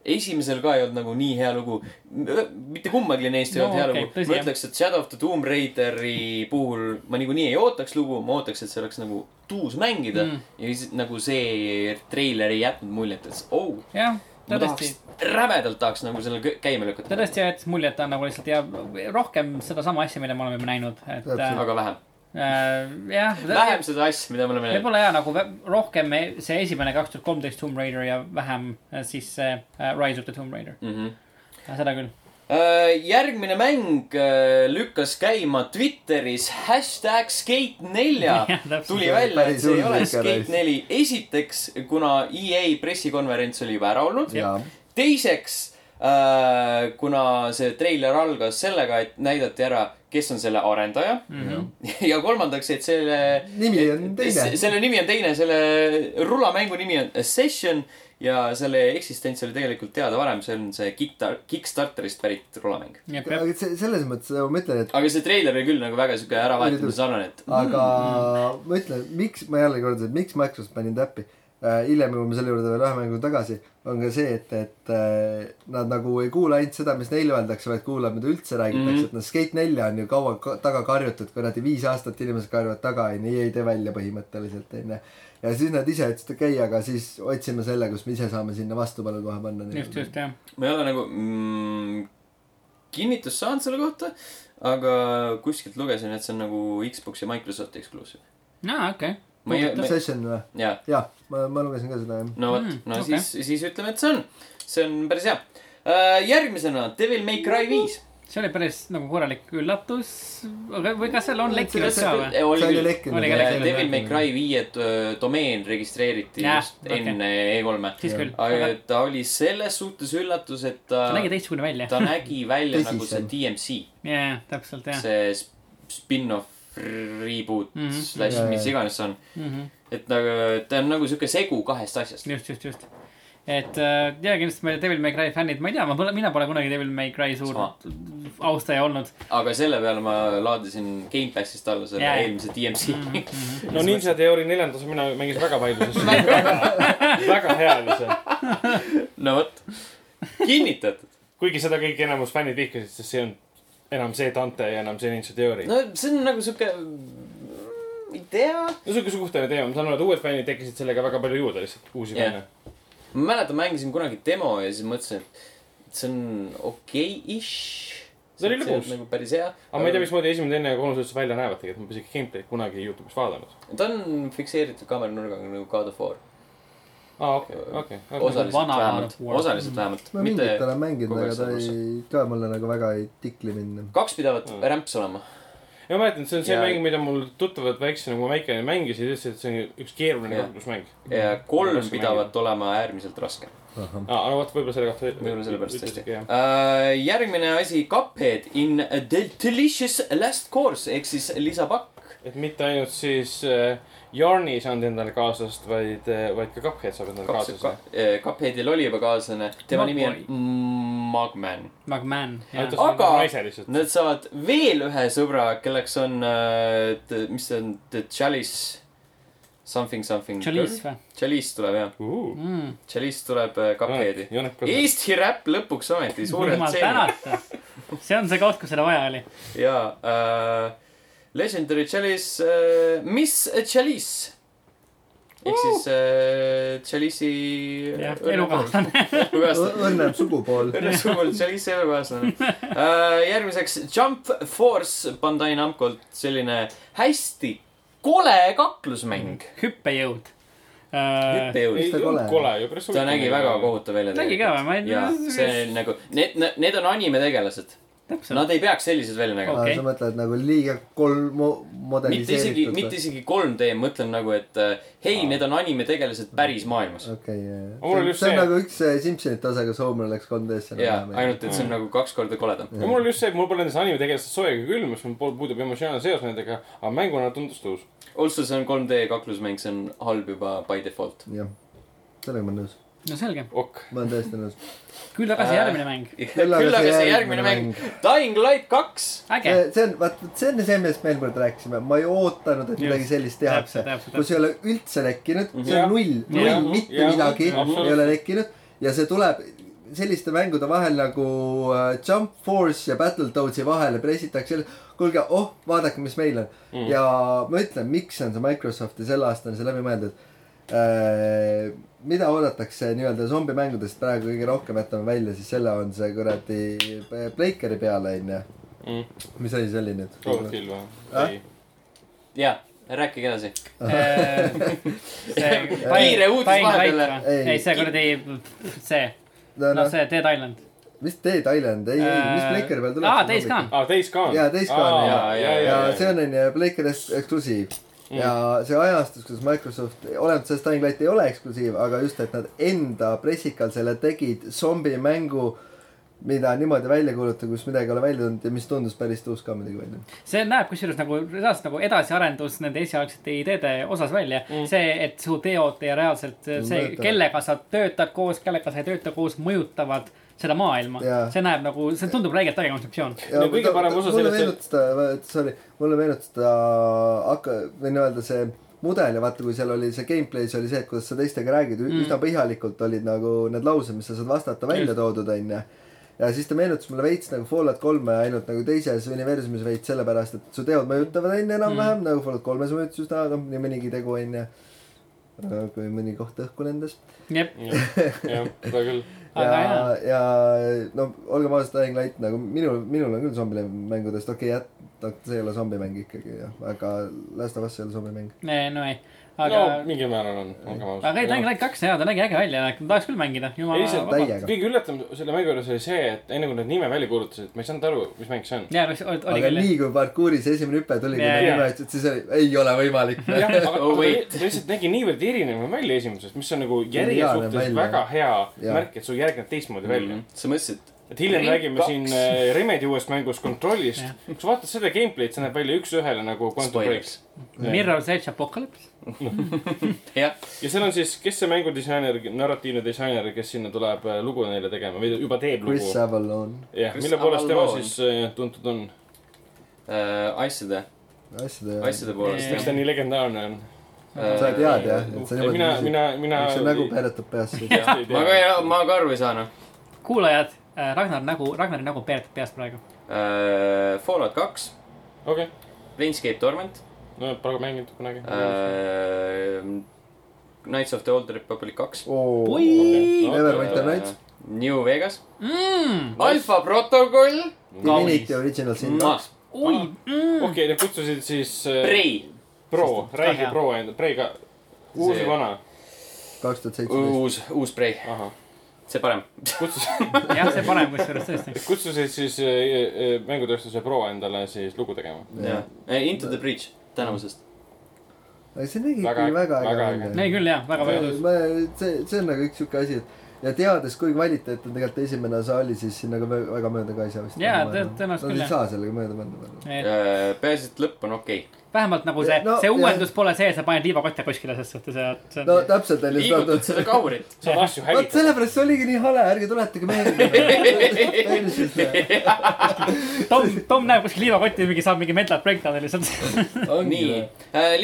Speaker 1: esimesel ka ei olnud nagu nii hea lugu . mitte kummalgi neist ei
Speaker 3: No
Speaker 1: no, olnud hea
Speaker 3: okei,
Speaker 1: okay, lugu .
Speaker 3: tõsi,
Speaker 1: ma
Speaker 3: jah.
Speaker 1: ütleks , et Shadow of the Tomb Raideri puhul ma niikuinii ei ootaks lugu , ma ootaks , et see oleks nagu tuus mängida
Speaker 3: Mm.
Speaker 1: mm. . ja siis nagu see treiler ei jätnud muljet , et oh ,
Speaker 3: jah ,
Speaker 1: ma
Speaker 3: ta tõesti
Speaker 1: tahaks , rämedalt tahaks nagu selle kõ- käima lükata .
Speaker 3: ta tõesti jättis mulje , et ta on nagu lihtsalt ja rohkem sedasama asja , mida me oleme juba näinud , et äh,
Speaker 1: aga vähem ,
Speaker 3: äh, jah .
Speaker 1: vähem seda asja , mida me oleme näinud .
Speaker 3: võib-olla jaa , nagu vä- rohkem see esimene kaks tuhat kolmteist Tomb Raider ja vähem äh, siis see äh, Rise of the Tomb Raider ,
Speaker 1: Mm -hmm.
Speaker 3: seda küll .
Speaker 1: Äh, järgmine mäng äh, lükkas käima Twitteris hashtag Skate nelja
Speaker 3: Jah, täpselt.
Speaker 1: tuli
Speaker 2: See oli
Speaker 1: välja , et
Speaker 2: päris
Speaker 1: see ei
Speaker 2: hull
Speaker 1: ole
Speaker 2: lükk,
Speaker 1: Skate
Speaker 2: guys.
Speaker 1: neli . esiteks , kuna EA pressikonverents oli juba ära olnud .
Speaker 2: jaa ,
Speaker 1: teiseks äh, , kuna see treiler algas sellega , et näidati ära , kes on selle arendaja mm .
Speaker 3: Mhm.
Speaker 1: -hmm. ja kolmandaks , et selle
Speaker 2: nimi on teine
Speaker 1: se- . selle nimi on teine , selle rulamängu nimi on A Session ja selle eksistents oli tegelikult teada varem , see on see Kickstar- , Kickstarterist pärit rulamäng .
Speaker 3: ja peab
Speaker 2: aga see , selles mõttes nagu ma ütlen , et
Speaker 1: aga see treiler oli küll nagu väga siuke
Speaker 2: Oli
Speaker 1: äravaetamise
Speaker 2: tõus-
Speaker 1: sarnane , et
Speaker 2: aga ma ütlen , miks , ma jälle kordan , et miks Microsoft pani täppi . hiljem jõuame selle juurde veel ühe mängu tagasi , on ka see , et , et äh, nad nagu ei kuula ainult seda , mis neile öeldakse , vaid kuulab , mida üldse räägitakse
Speaker 1: Mhm.
Speaker 2: mm , -hmm. et noh , Skate nelja on ju kaua ka taga karjutud , kuradi viis aastat inimesed karjuvad taga , onju , ei tee välja põhimõtteliselt , onju . ja siis nad ise ütlesid , okei okay, , aga siis otsime selle , kus me ise saame sinna vastupanu kohe panna .
Speaker 3: just , just jah .
Speaker 1: ma ei ole nagu mm, kinnitust saanud selle kohta , aga kuskilt lugesin , et see on nagu Xbox ja Microsofti eksklusiiv .
Speaker 3: aa , okei .
Speaker 1: ma ei , ma ei ,
Speaker 2: Session või ?
Speaker 1: jaa ,
Speaker 2: jah , ma , ma lugesin ka seda jah .
Speaker 1: no vot
Speaker 3: Mm, ,
Speaker 1: no
Speaker 3: okei.
Speaker 1: siis , siis ütleme , et see on , see on päris hea . järgmisena Devil Äh, May Cry viis .
Speaker 3: see oli päris nagu korralik üllatus , aga või kas seal on lekkinud ka või ?
Speaker 2: see oli
Speaker 1: oli
Speaker 2: lekkinud.
Speaker 3: Oli ka
Speaker 1: küll .
Speaker 3: lekkinud,
Speaker 1: Devil
Speaker 3: jah.
Speaker 1: May Cry viie öö, domeen registreeriti
Speaker 3: Jah,
Speaker 1: just
Speaker 3: okei.
Speaker 1: enne E3-e .
Speaker 3: siis küll ,
Speaker 1: aga
Speaker 3: aga
Speaker 1: ta oli selles suhtes üllatus , et ta
Speaker 3: ta nägi teistsugune välja .
Speaker 1: Äh, ta nägi välja nagu see
Speaker 2: Tõsisem.
Speaker 1: DMC ,
Speaker 3: jaa , täpselt jah .
Speaker 1: see sp- spin-off , reboot mm
Speaker 3: Mhm.
Speaker 1: -hmm. , slash
Speaker 2: Jajah.
Speaker 1: mis iganes see on .
Speaker 3: just ,
Speaker 1: et nagu ta on nagu sihuke segu kahest asjast .
Speaker 3: Mhm. just , just . et äh, ja kindlasti me Devil May Cry fännid , ma ei tea , ma pole , mina pole kunagi Devil May Cry suur
Speaker 1: Sama.
Speaker 3: austaja olnud .
Speaker 1: aga selle peale ma laadisin Gamepassist alla selle
Speaker 3: Jajah.
Speaker 1: eelmise
Speaker 3: Mhm.
Speaker 1: DMC .
Speaker 4: no Ninja Theory neljandas mina mängisin väga palju , sest väga hea oli see .
Speaker 1: no vot , kinnitatud .
Speaker 4: kuigi seda kõik enamus fännid vihkasid , sest see on enam see Dante ja enam see Ninja Theory . no
Speaker 1: no see on nagu sihuke , ei tea .
Speaker 4: sihuke suhteline teema , ma saan aru , et uued fännid tekkisid sellega väga palju juurde lihtsalt , uusi
Speaker 1: Jah.
Speaker 4: fänne .
Speaker 1: ma mäletan , mängisin kunagi demo ja siis mõtlesin , et see on okei-ish .
Speaker 4: See oli lõbus.
Speaker 1: nagu päris hea .
Speaker 4: aga ma ei tea , mismoodi esimene , teine ja kolmas üldse välja näevad tegelikult , ma pole isegi gameplay'd kunagi Youtube'is vaadanud .
Speaker 1: ta on fikseeritud kaameranurgaga nagu God of War .
Speaker 4: aa , Ah, okei , okei , okei .
Speaker 1: osaliselt
Speaker 3: Vana
Speaker 1: vähemalt ,
Speaker 3: God
Speaker 4: Mm.
Speaker 3: of War.
Speaker 1: osaliselt vähemalt ,
Speaker 2: ma
Speaker 1: mitte
Speaker 2: mingit olen mänginud ,
Speaker 1: kogu aeg
Speaker 2: aga ta
Speaker 1: sõbrus.
Speaker 2: ei , ka mulle nagu väga ei tikli minna .
Speaker 1: kaks pidavat
Speaker 4: Mm.
Speaker 1: rämps olema .
Speaker 4: ja ma mäletan , see on see
Speaker 1: Ja-
Speaker 4: mäng , mida mul tuttavad väiksena , kui ma väike olin , mängisid , ütlesid , et see on üks keeruline
Speaker 1: Jah.
Speaker 4: kaklusmäng .
Speaker 1: ja kolm
Speaker 4: Kas
Speaker 1: pidavat olema äärmiselt raske .
Speaker 4: aa , no vot , Ah, võib-olla selle kohta .
Speaker 1: võib-olla sellepärast hästi . järgmine asi , Cuphead in a del- delicious last course ehk siis lisapakk .
Speaker 4: et mitte ainult siis äh, Jarni ei saanud endale kaasast , vaid , vaid ka Cuphead saab endale kaasast .
Speaker 1: äh, Cupheadil oli juba kaaslane , tema nimi on
Speaker 3: Mogwai.
Speaker 1: Magman .
Speaker 3: Magman , jah .
Speaker 1: Aga-
Speaker 4: naise lihtsalt .
Speaker 1: Nad saavad veel ühe sõbra , kelleks on , mis see on , The Chalice , something something .
Speaker 3: Jolice või ? Mm.
Speaker 1: Chalice tuleb jah , Chalice tuleb äh, Cupheadi .
Speaker 4: Ah, Cupheadi .
Speaker 1: Eesti räpp lõpuks ometi , suurelt
Speaker 3: jumal
Speaker 1: seenil
Speaker 3: tänatud . see on see koht , kus seda vaja oli .
Speaker 1: ja äh, Legendary Chalice äh, , Miss Chalice . ehk siis äh, Chalice'i .
Speaker 3: jah , elukaaslane .
Speaker 2: õnnem sugupool .
Speaker 1: õnnesugune Chalice'i elukaaslane äh, . järgmiseks Jump Force Bandai Namcolt selline hästi kole kaklusmäng .
Speaker 3: Äh, hüppejõud . Äh,
Speaker 1: hüppejõud .
Speaker 4: ei
Speaker 2: ta
Speaker 4: olnud
Speaker 2: kole?
Speaker 4: kole ju , päris
Speaker 1: ta nägi väga . kohutav välja .
Speaker 3: Nägi ka või? Ma ei-
Speaker 1: jaa , see nagu , need , need on animetegelased .
Speaker 3: täpselt .
Speaker 1: Nad ei peaks sellised välja nägema .
Speaker 3: Okei.
Speaker 2: sa mõtled nagu liiga kolm mo-
Speaker 3: Oh,
Speaker 1: mitte isegi ,
Speaker 2: moderniseeritud
Speaker 1: mitte isegi 3D , mõtlen nagu , et äh, hei , need on animetegelased päris maailmas .
Speaker 2: okei ,
Speaker 4: Mul
Speaker 2: see
Speaker 4: oli just
Speaker 2: see on
Speaker 4: see-
Speaker 2: nagu üks see Simpsonite osa , kus Homer läks 3D-sse .
Speaker 1: jaa , ainult et see on nagu kaks korda koledam .
Speaker 4: ja mul oli just see , et mul pole nendes animetegelastes sooja ega külm , sest mul pol- puudub emotsionaalne seos nendega , aga mänguna tundus tõus .
Speaker 1: Also see on 3D kaklusmäng , see on halb juba by default .
Speaker 2: jah , sellega ma olen nõus ,
Speaker 3: no selge .
Speaker 4: ok .
Speaker 2: ma olen täiesti nõus .
Speaker 3: küll tagasi
Speaker 1: Äh.
Speaker 3: järgmine mäng .
Speaker 1: küll aga see järgmine mäng ,. Dying Light kaks .
Speaker 3: äge
Speaker 2: see , see on , vaat see on see , millest me eelmine kord rääkisime , ma ei ootanud , et
Speaker 3: Just.
Speaker 2: midagi sellist tehakse
Speaker 3: Täpselt, täpselt, ,
Speaker 2: kus ei ole üldse lekkinud , see
Speaker 4: Jah.
Speaker 2: on null ,
Speaker 4: Jah.
Speaker 2: null , mitte
Speaker 4: Jah.
Speaker 2: midagi
Speaker 4: Absoluutselt.
Speaker 2: ei ole lekkinud ja see tuleb selliste mängude vahel nagu äh, Jump Force ja Battletoadsi vahele pressitakse jälle , kuulge , oh , vaadake , mis meil on mm. . ja ma ütlen , miks on see Microsofti sel aastal see läbi mõeldud . mida oodatakse nii-öelda zombimängudest praegu kõige rohkem , jätame välja , siis selle on see kuradi Breakeri peale onju . mis asi see oli nüüd ?
Speaker 4: Cloverfield või ?
Speaker 2: Äh?
Speaker 4: ei .
Speaker 1: jaa , rääkige edasi .
Speaker 3: kiire
Speaker 1: Äh. Kiire uudis äh. vahepeale.
Speaker 2: Ei.
Speaker 3: ei , see kuradi , see ,
Speaker 2: no,
Speaker 3: noh , see Dead Island .
Speaker 2: mis Dead Island , ei , ei , mis Breakeri peal tuleb ?
Speaker 3: aa , Days . Gone .
Speaker 4: aa , Ah, Days Gone .
Speaker 2: Jaa, Days Gone,
Speaker 1: jaa, jaa,
Speaker 2: ja see on onju Breakeri eksklusiiv mm. ja see ajastus , kus Microsoft , olenemata sellest , Dying Light ei ole eksklusiiv , aga just , et nad enda pressikal selle tegid zombimängu , mida niimoodi välja kuulutada , kus midagi ei ole välja tulnud ja mis tundus päris tõus ka muidugi välja .
Speaker 3: see näeb kusjuures nagu reaalselt nagu edasiarendus nende esialgsete ideede osas välja mm. . see , et su teod ja reaalselt see ,
Speaker 2: Mõjutavad.
Speaker 3: kellega sa töötad koos , kellega sa ei tööta koos , mõjutavad seda maailma
Speaker 2: Jaa. .
Speaker 3: see näeb nagu , see tundub räigelt äge kontseptsioon .
Speaker 2: ja
Speaker 4: No kõige
Speaker 2: ta-
Speaker 4: parem osa
Speaker 2: mulle
Speaker 4: sellest-
Speaker 2: meenutas ta , sorry , mulle meenutas ta hakka- , või nii-öelda see mudel ja vaata , kui seal oli see gameplay's oli see , et kuidas sa teistega räägid mm. , üsna põhjalikult olid nagu need laused , mis sa saad vastata , välja toodud , onju . ja siis ta meenutas mulle veits nagu Fallout kolme ainult nagu teises universumis veits sellepärast , et su teod mõjutavad onju enam-vähem mm. nagu Fallout kolmes mõjutas üsna noh , nii mõnigi tegu onju . kui mõni koht õhku lendas .
Speaker 3: jep ,
Speaker 4: jah , seda küll .
Speaker 3: aga
Speaker 2: ja
Speaker 3: jaa ,,
Speaker 2: ja no olgem ausad , Dying Light nagu minul , minul on küll zombimängudest okei okay, , ta , see ei ole zombimäng ikkagi jah , aga Last of Us ei ole zombimäng .
Speaker 3: Eh, no ei , aga
Speaker 4: no , mingil määral on , olgem ausad .
Speaker 3: aga ei , Dying Light kaks , jaa , ta nägi äge välja , tahaks küll mängida ,
Speaker 4: lihtsalt
Speaker 3: jumala .
Speaker 2: Täiega.
Speaker 4: kõige üllatavamad selle mängu juures oli see , et enne kui nad nime välja kuulutasid , ma ei saanud aru , mis mäng see on .
Speaker 3: jaa , oli
Speaker 2: aga
Speaker 3: küll jah .
Speaker 2: nii kui parkuuris esimene hüpe tuli , kui
Speaker 3: Jaa,
Speaker 2: ta
Speaker 4: jaa.
Speaker 2: nime ütles , siis oli , ei ole võimalik .
Speaker 4: jah , aga
Speaker 1: Oh,
Speaker 4: aga
Speaker 1: wait.
Speaker 4: ta lihtsalt nägi niivõrd erinev välja esimesest , mis on nagu järje
Speaker 2: Geniaalne
Speaker 4: suhtes
Speaker 2: välja, Mhm.
Speaker 4: väga
Speaker 2: jah.
Speaker 4: hea
Speaker 2: Jah.
Speaker 4: märk , et sul järgneb teistmoodi välja .
Speaker 1: sa mõtlesid ,
Speaker 4: et hiljem
Speaker 1: Ring
Speaker 4: räägime
Speaker 1: kaks.
Speaker 4: siin äh, Remedi uuest mängust Controlist
Speaker 3: Jah. .
Speaker 4: kui sa vaatad seda gameplay'd , see näeb välja üks-ühele nagu Quantum Break .
Speaker 1: Spoilers.
Speaker 3: Mirror's Edge Apocalypse .
Speaker 1: jah ,
Speaker 4: ja seal on siis , kes see mängudisainer , narratiivne disainer , kes sinna tuleb äh, lugu neile tegema või juba teeb
Speaker 2: Chris
Speaker 4: lugu .
Speaker 2: Avalon ,
Speaker 4: jah ,
Speaker 1: Chris
Speaker 4: mille poolest tema
Speaker 1: Avallone.
Speaker 4: siis äh, tuntud on ,
Speaker 1: Äh, asjade ,
Speaker 2: asjade .
Speaker 1: asjade poolest
Speaker 4: miks ta
Speaker 1: jah .
Speaker 4: nii legendaarne on ?
Speaker 2: sa tead jah , et sa niimoodi
Speaker 4: mina , mina , mina .
Speaker 2: miks see nägu peeretab peas sul ?
Speaker 4: peab
Speaker 1: ma ka ei , ma ka aru ei saa noh .
Speaker 3: kuulajad , Ragnar nägu , Ragnari nägu peeretab peast praegu .
Speaker 1: Äh, Fallout kaks ,
Speaker 4: okei ,
Speaker 1: Planescape Torment ,
Speaker 4: no praegu mänginud kunagi .
Speaker 1: Äh. Knights of the Old Republic kaks ,
Speaker 3: oi ,
Speaker 2: Neverwinter Nights ,
Speaker 1: New Vegas ,
Speaker 4: Mm.
Speaker 1: Alfa protokoll ,
Speaker 2: Divinity Original Sin kaks ,
Speaker 3: oi ,
Speaker 4: okei , nad kutsusid siis äh,
Speaker 1: Prei ,
Speaker 4: Pro , räägi
Speaker 3: hea.
Speaker 4: Pro enda , Prei ka , uus
Speaker 1: See-
Speaker 4: ja vana ,
Speaker 2: kaks tuhat seitseteist .
Speaker 1: uus , uus Prei ,
Speaker 4: ahah ,
Speaker 1: see parem .
Speaker 4: kutsusid ,
Speaker 3: jah , see parem kusjuures tõesti .
Speaker 4: kutsusid siis äh, äh, mängutööstuse Pro endale siis lugu tegema .
Speaker 1: jah , Äh, Into the Breach tänavusest .
Speaker 2: aga see nägi
Speaker 4: Väga-
Speaker 2: ikkagi väga äge
Speaker 4: väga
Speaker 2: välja .
Speaker 3: ei küll jah , väga palju .
Speaker 2: ma , see , see on nagu üks sihuke asi , et ja teades , kui kvaliteetne tegelikult esimene osa oli , siis sinna ka vä- väga mööda ka ei saa vist .
Speaker 3: Jaa, tõ- tõenäoliselt
Speaker 2: küll .
Speaker 3: küll,
Speaker 2: Nad ei
Speaker 3: jah.
Speaker 2: saa sellega mööda panna .
Speaker 3: Eh,
Speaker 1: Äh, peaasi , et lõpp on okei okay. .
Speaker 3: vähemalt nagu see
Speaker 2: No, ,
Speaker 3: see
Speaker 2: jah.
Speaker 3: uuendus pole see , et sa paned liivakotte kuskile selles suhtes ja see
Speaker 2: no
Speaker 3: on .
Speaker 2: täpselt on ju
Speaker 1: liigutad seda . kaurit .
Speaker 4: saad asju
Speaker 2: vot
Speaker 4: hävitada .
Speaker 2: sellepärast see oligi nii hale , ärge tuletage meelde .
Speaker 3: Tom , Tom näeb kuskil liivakotti ja mingi saab mingi mental breakdown'i lihtsalt .
Speaker 1: nii ,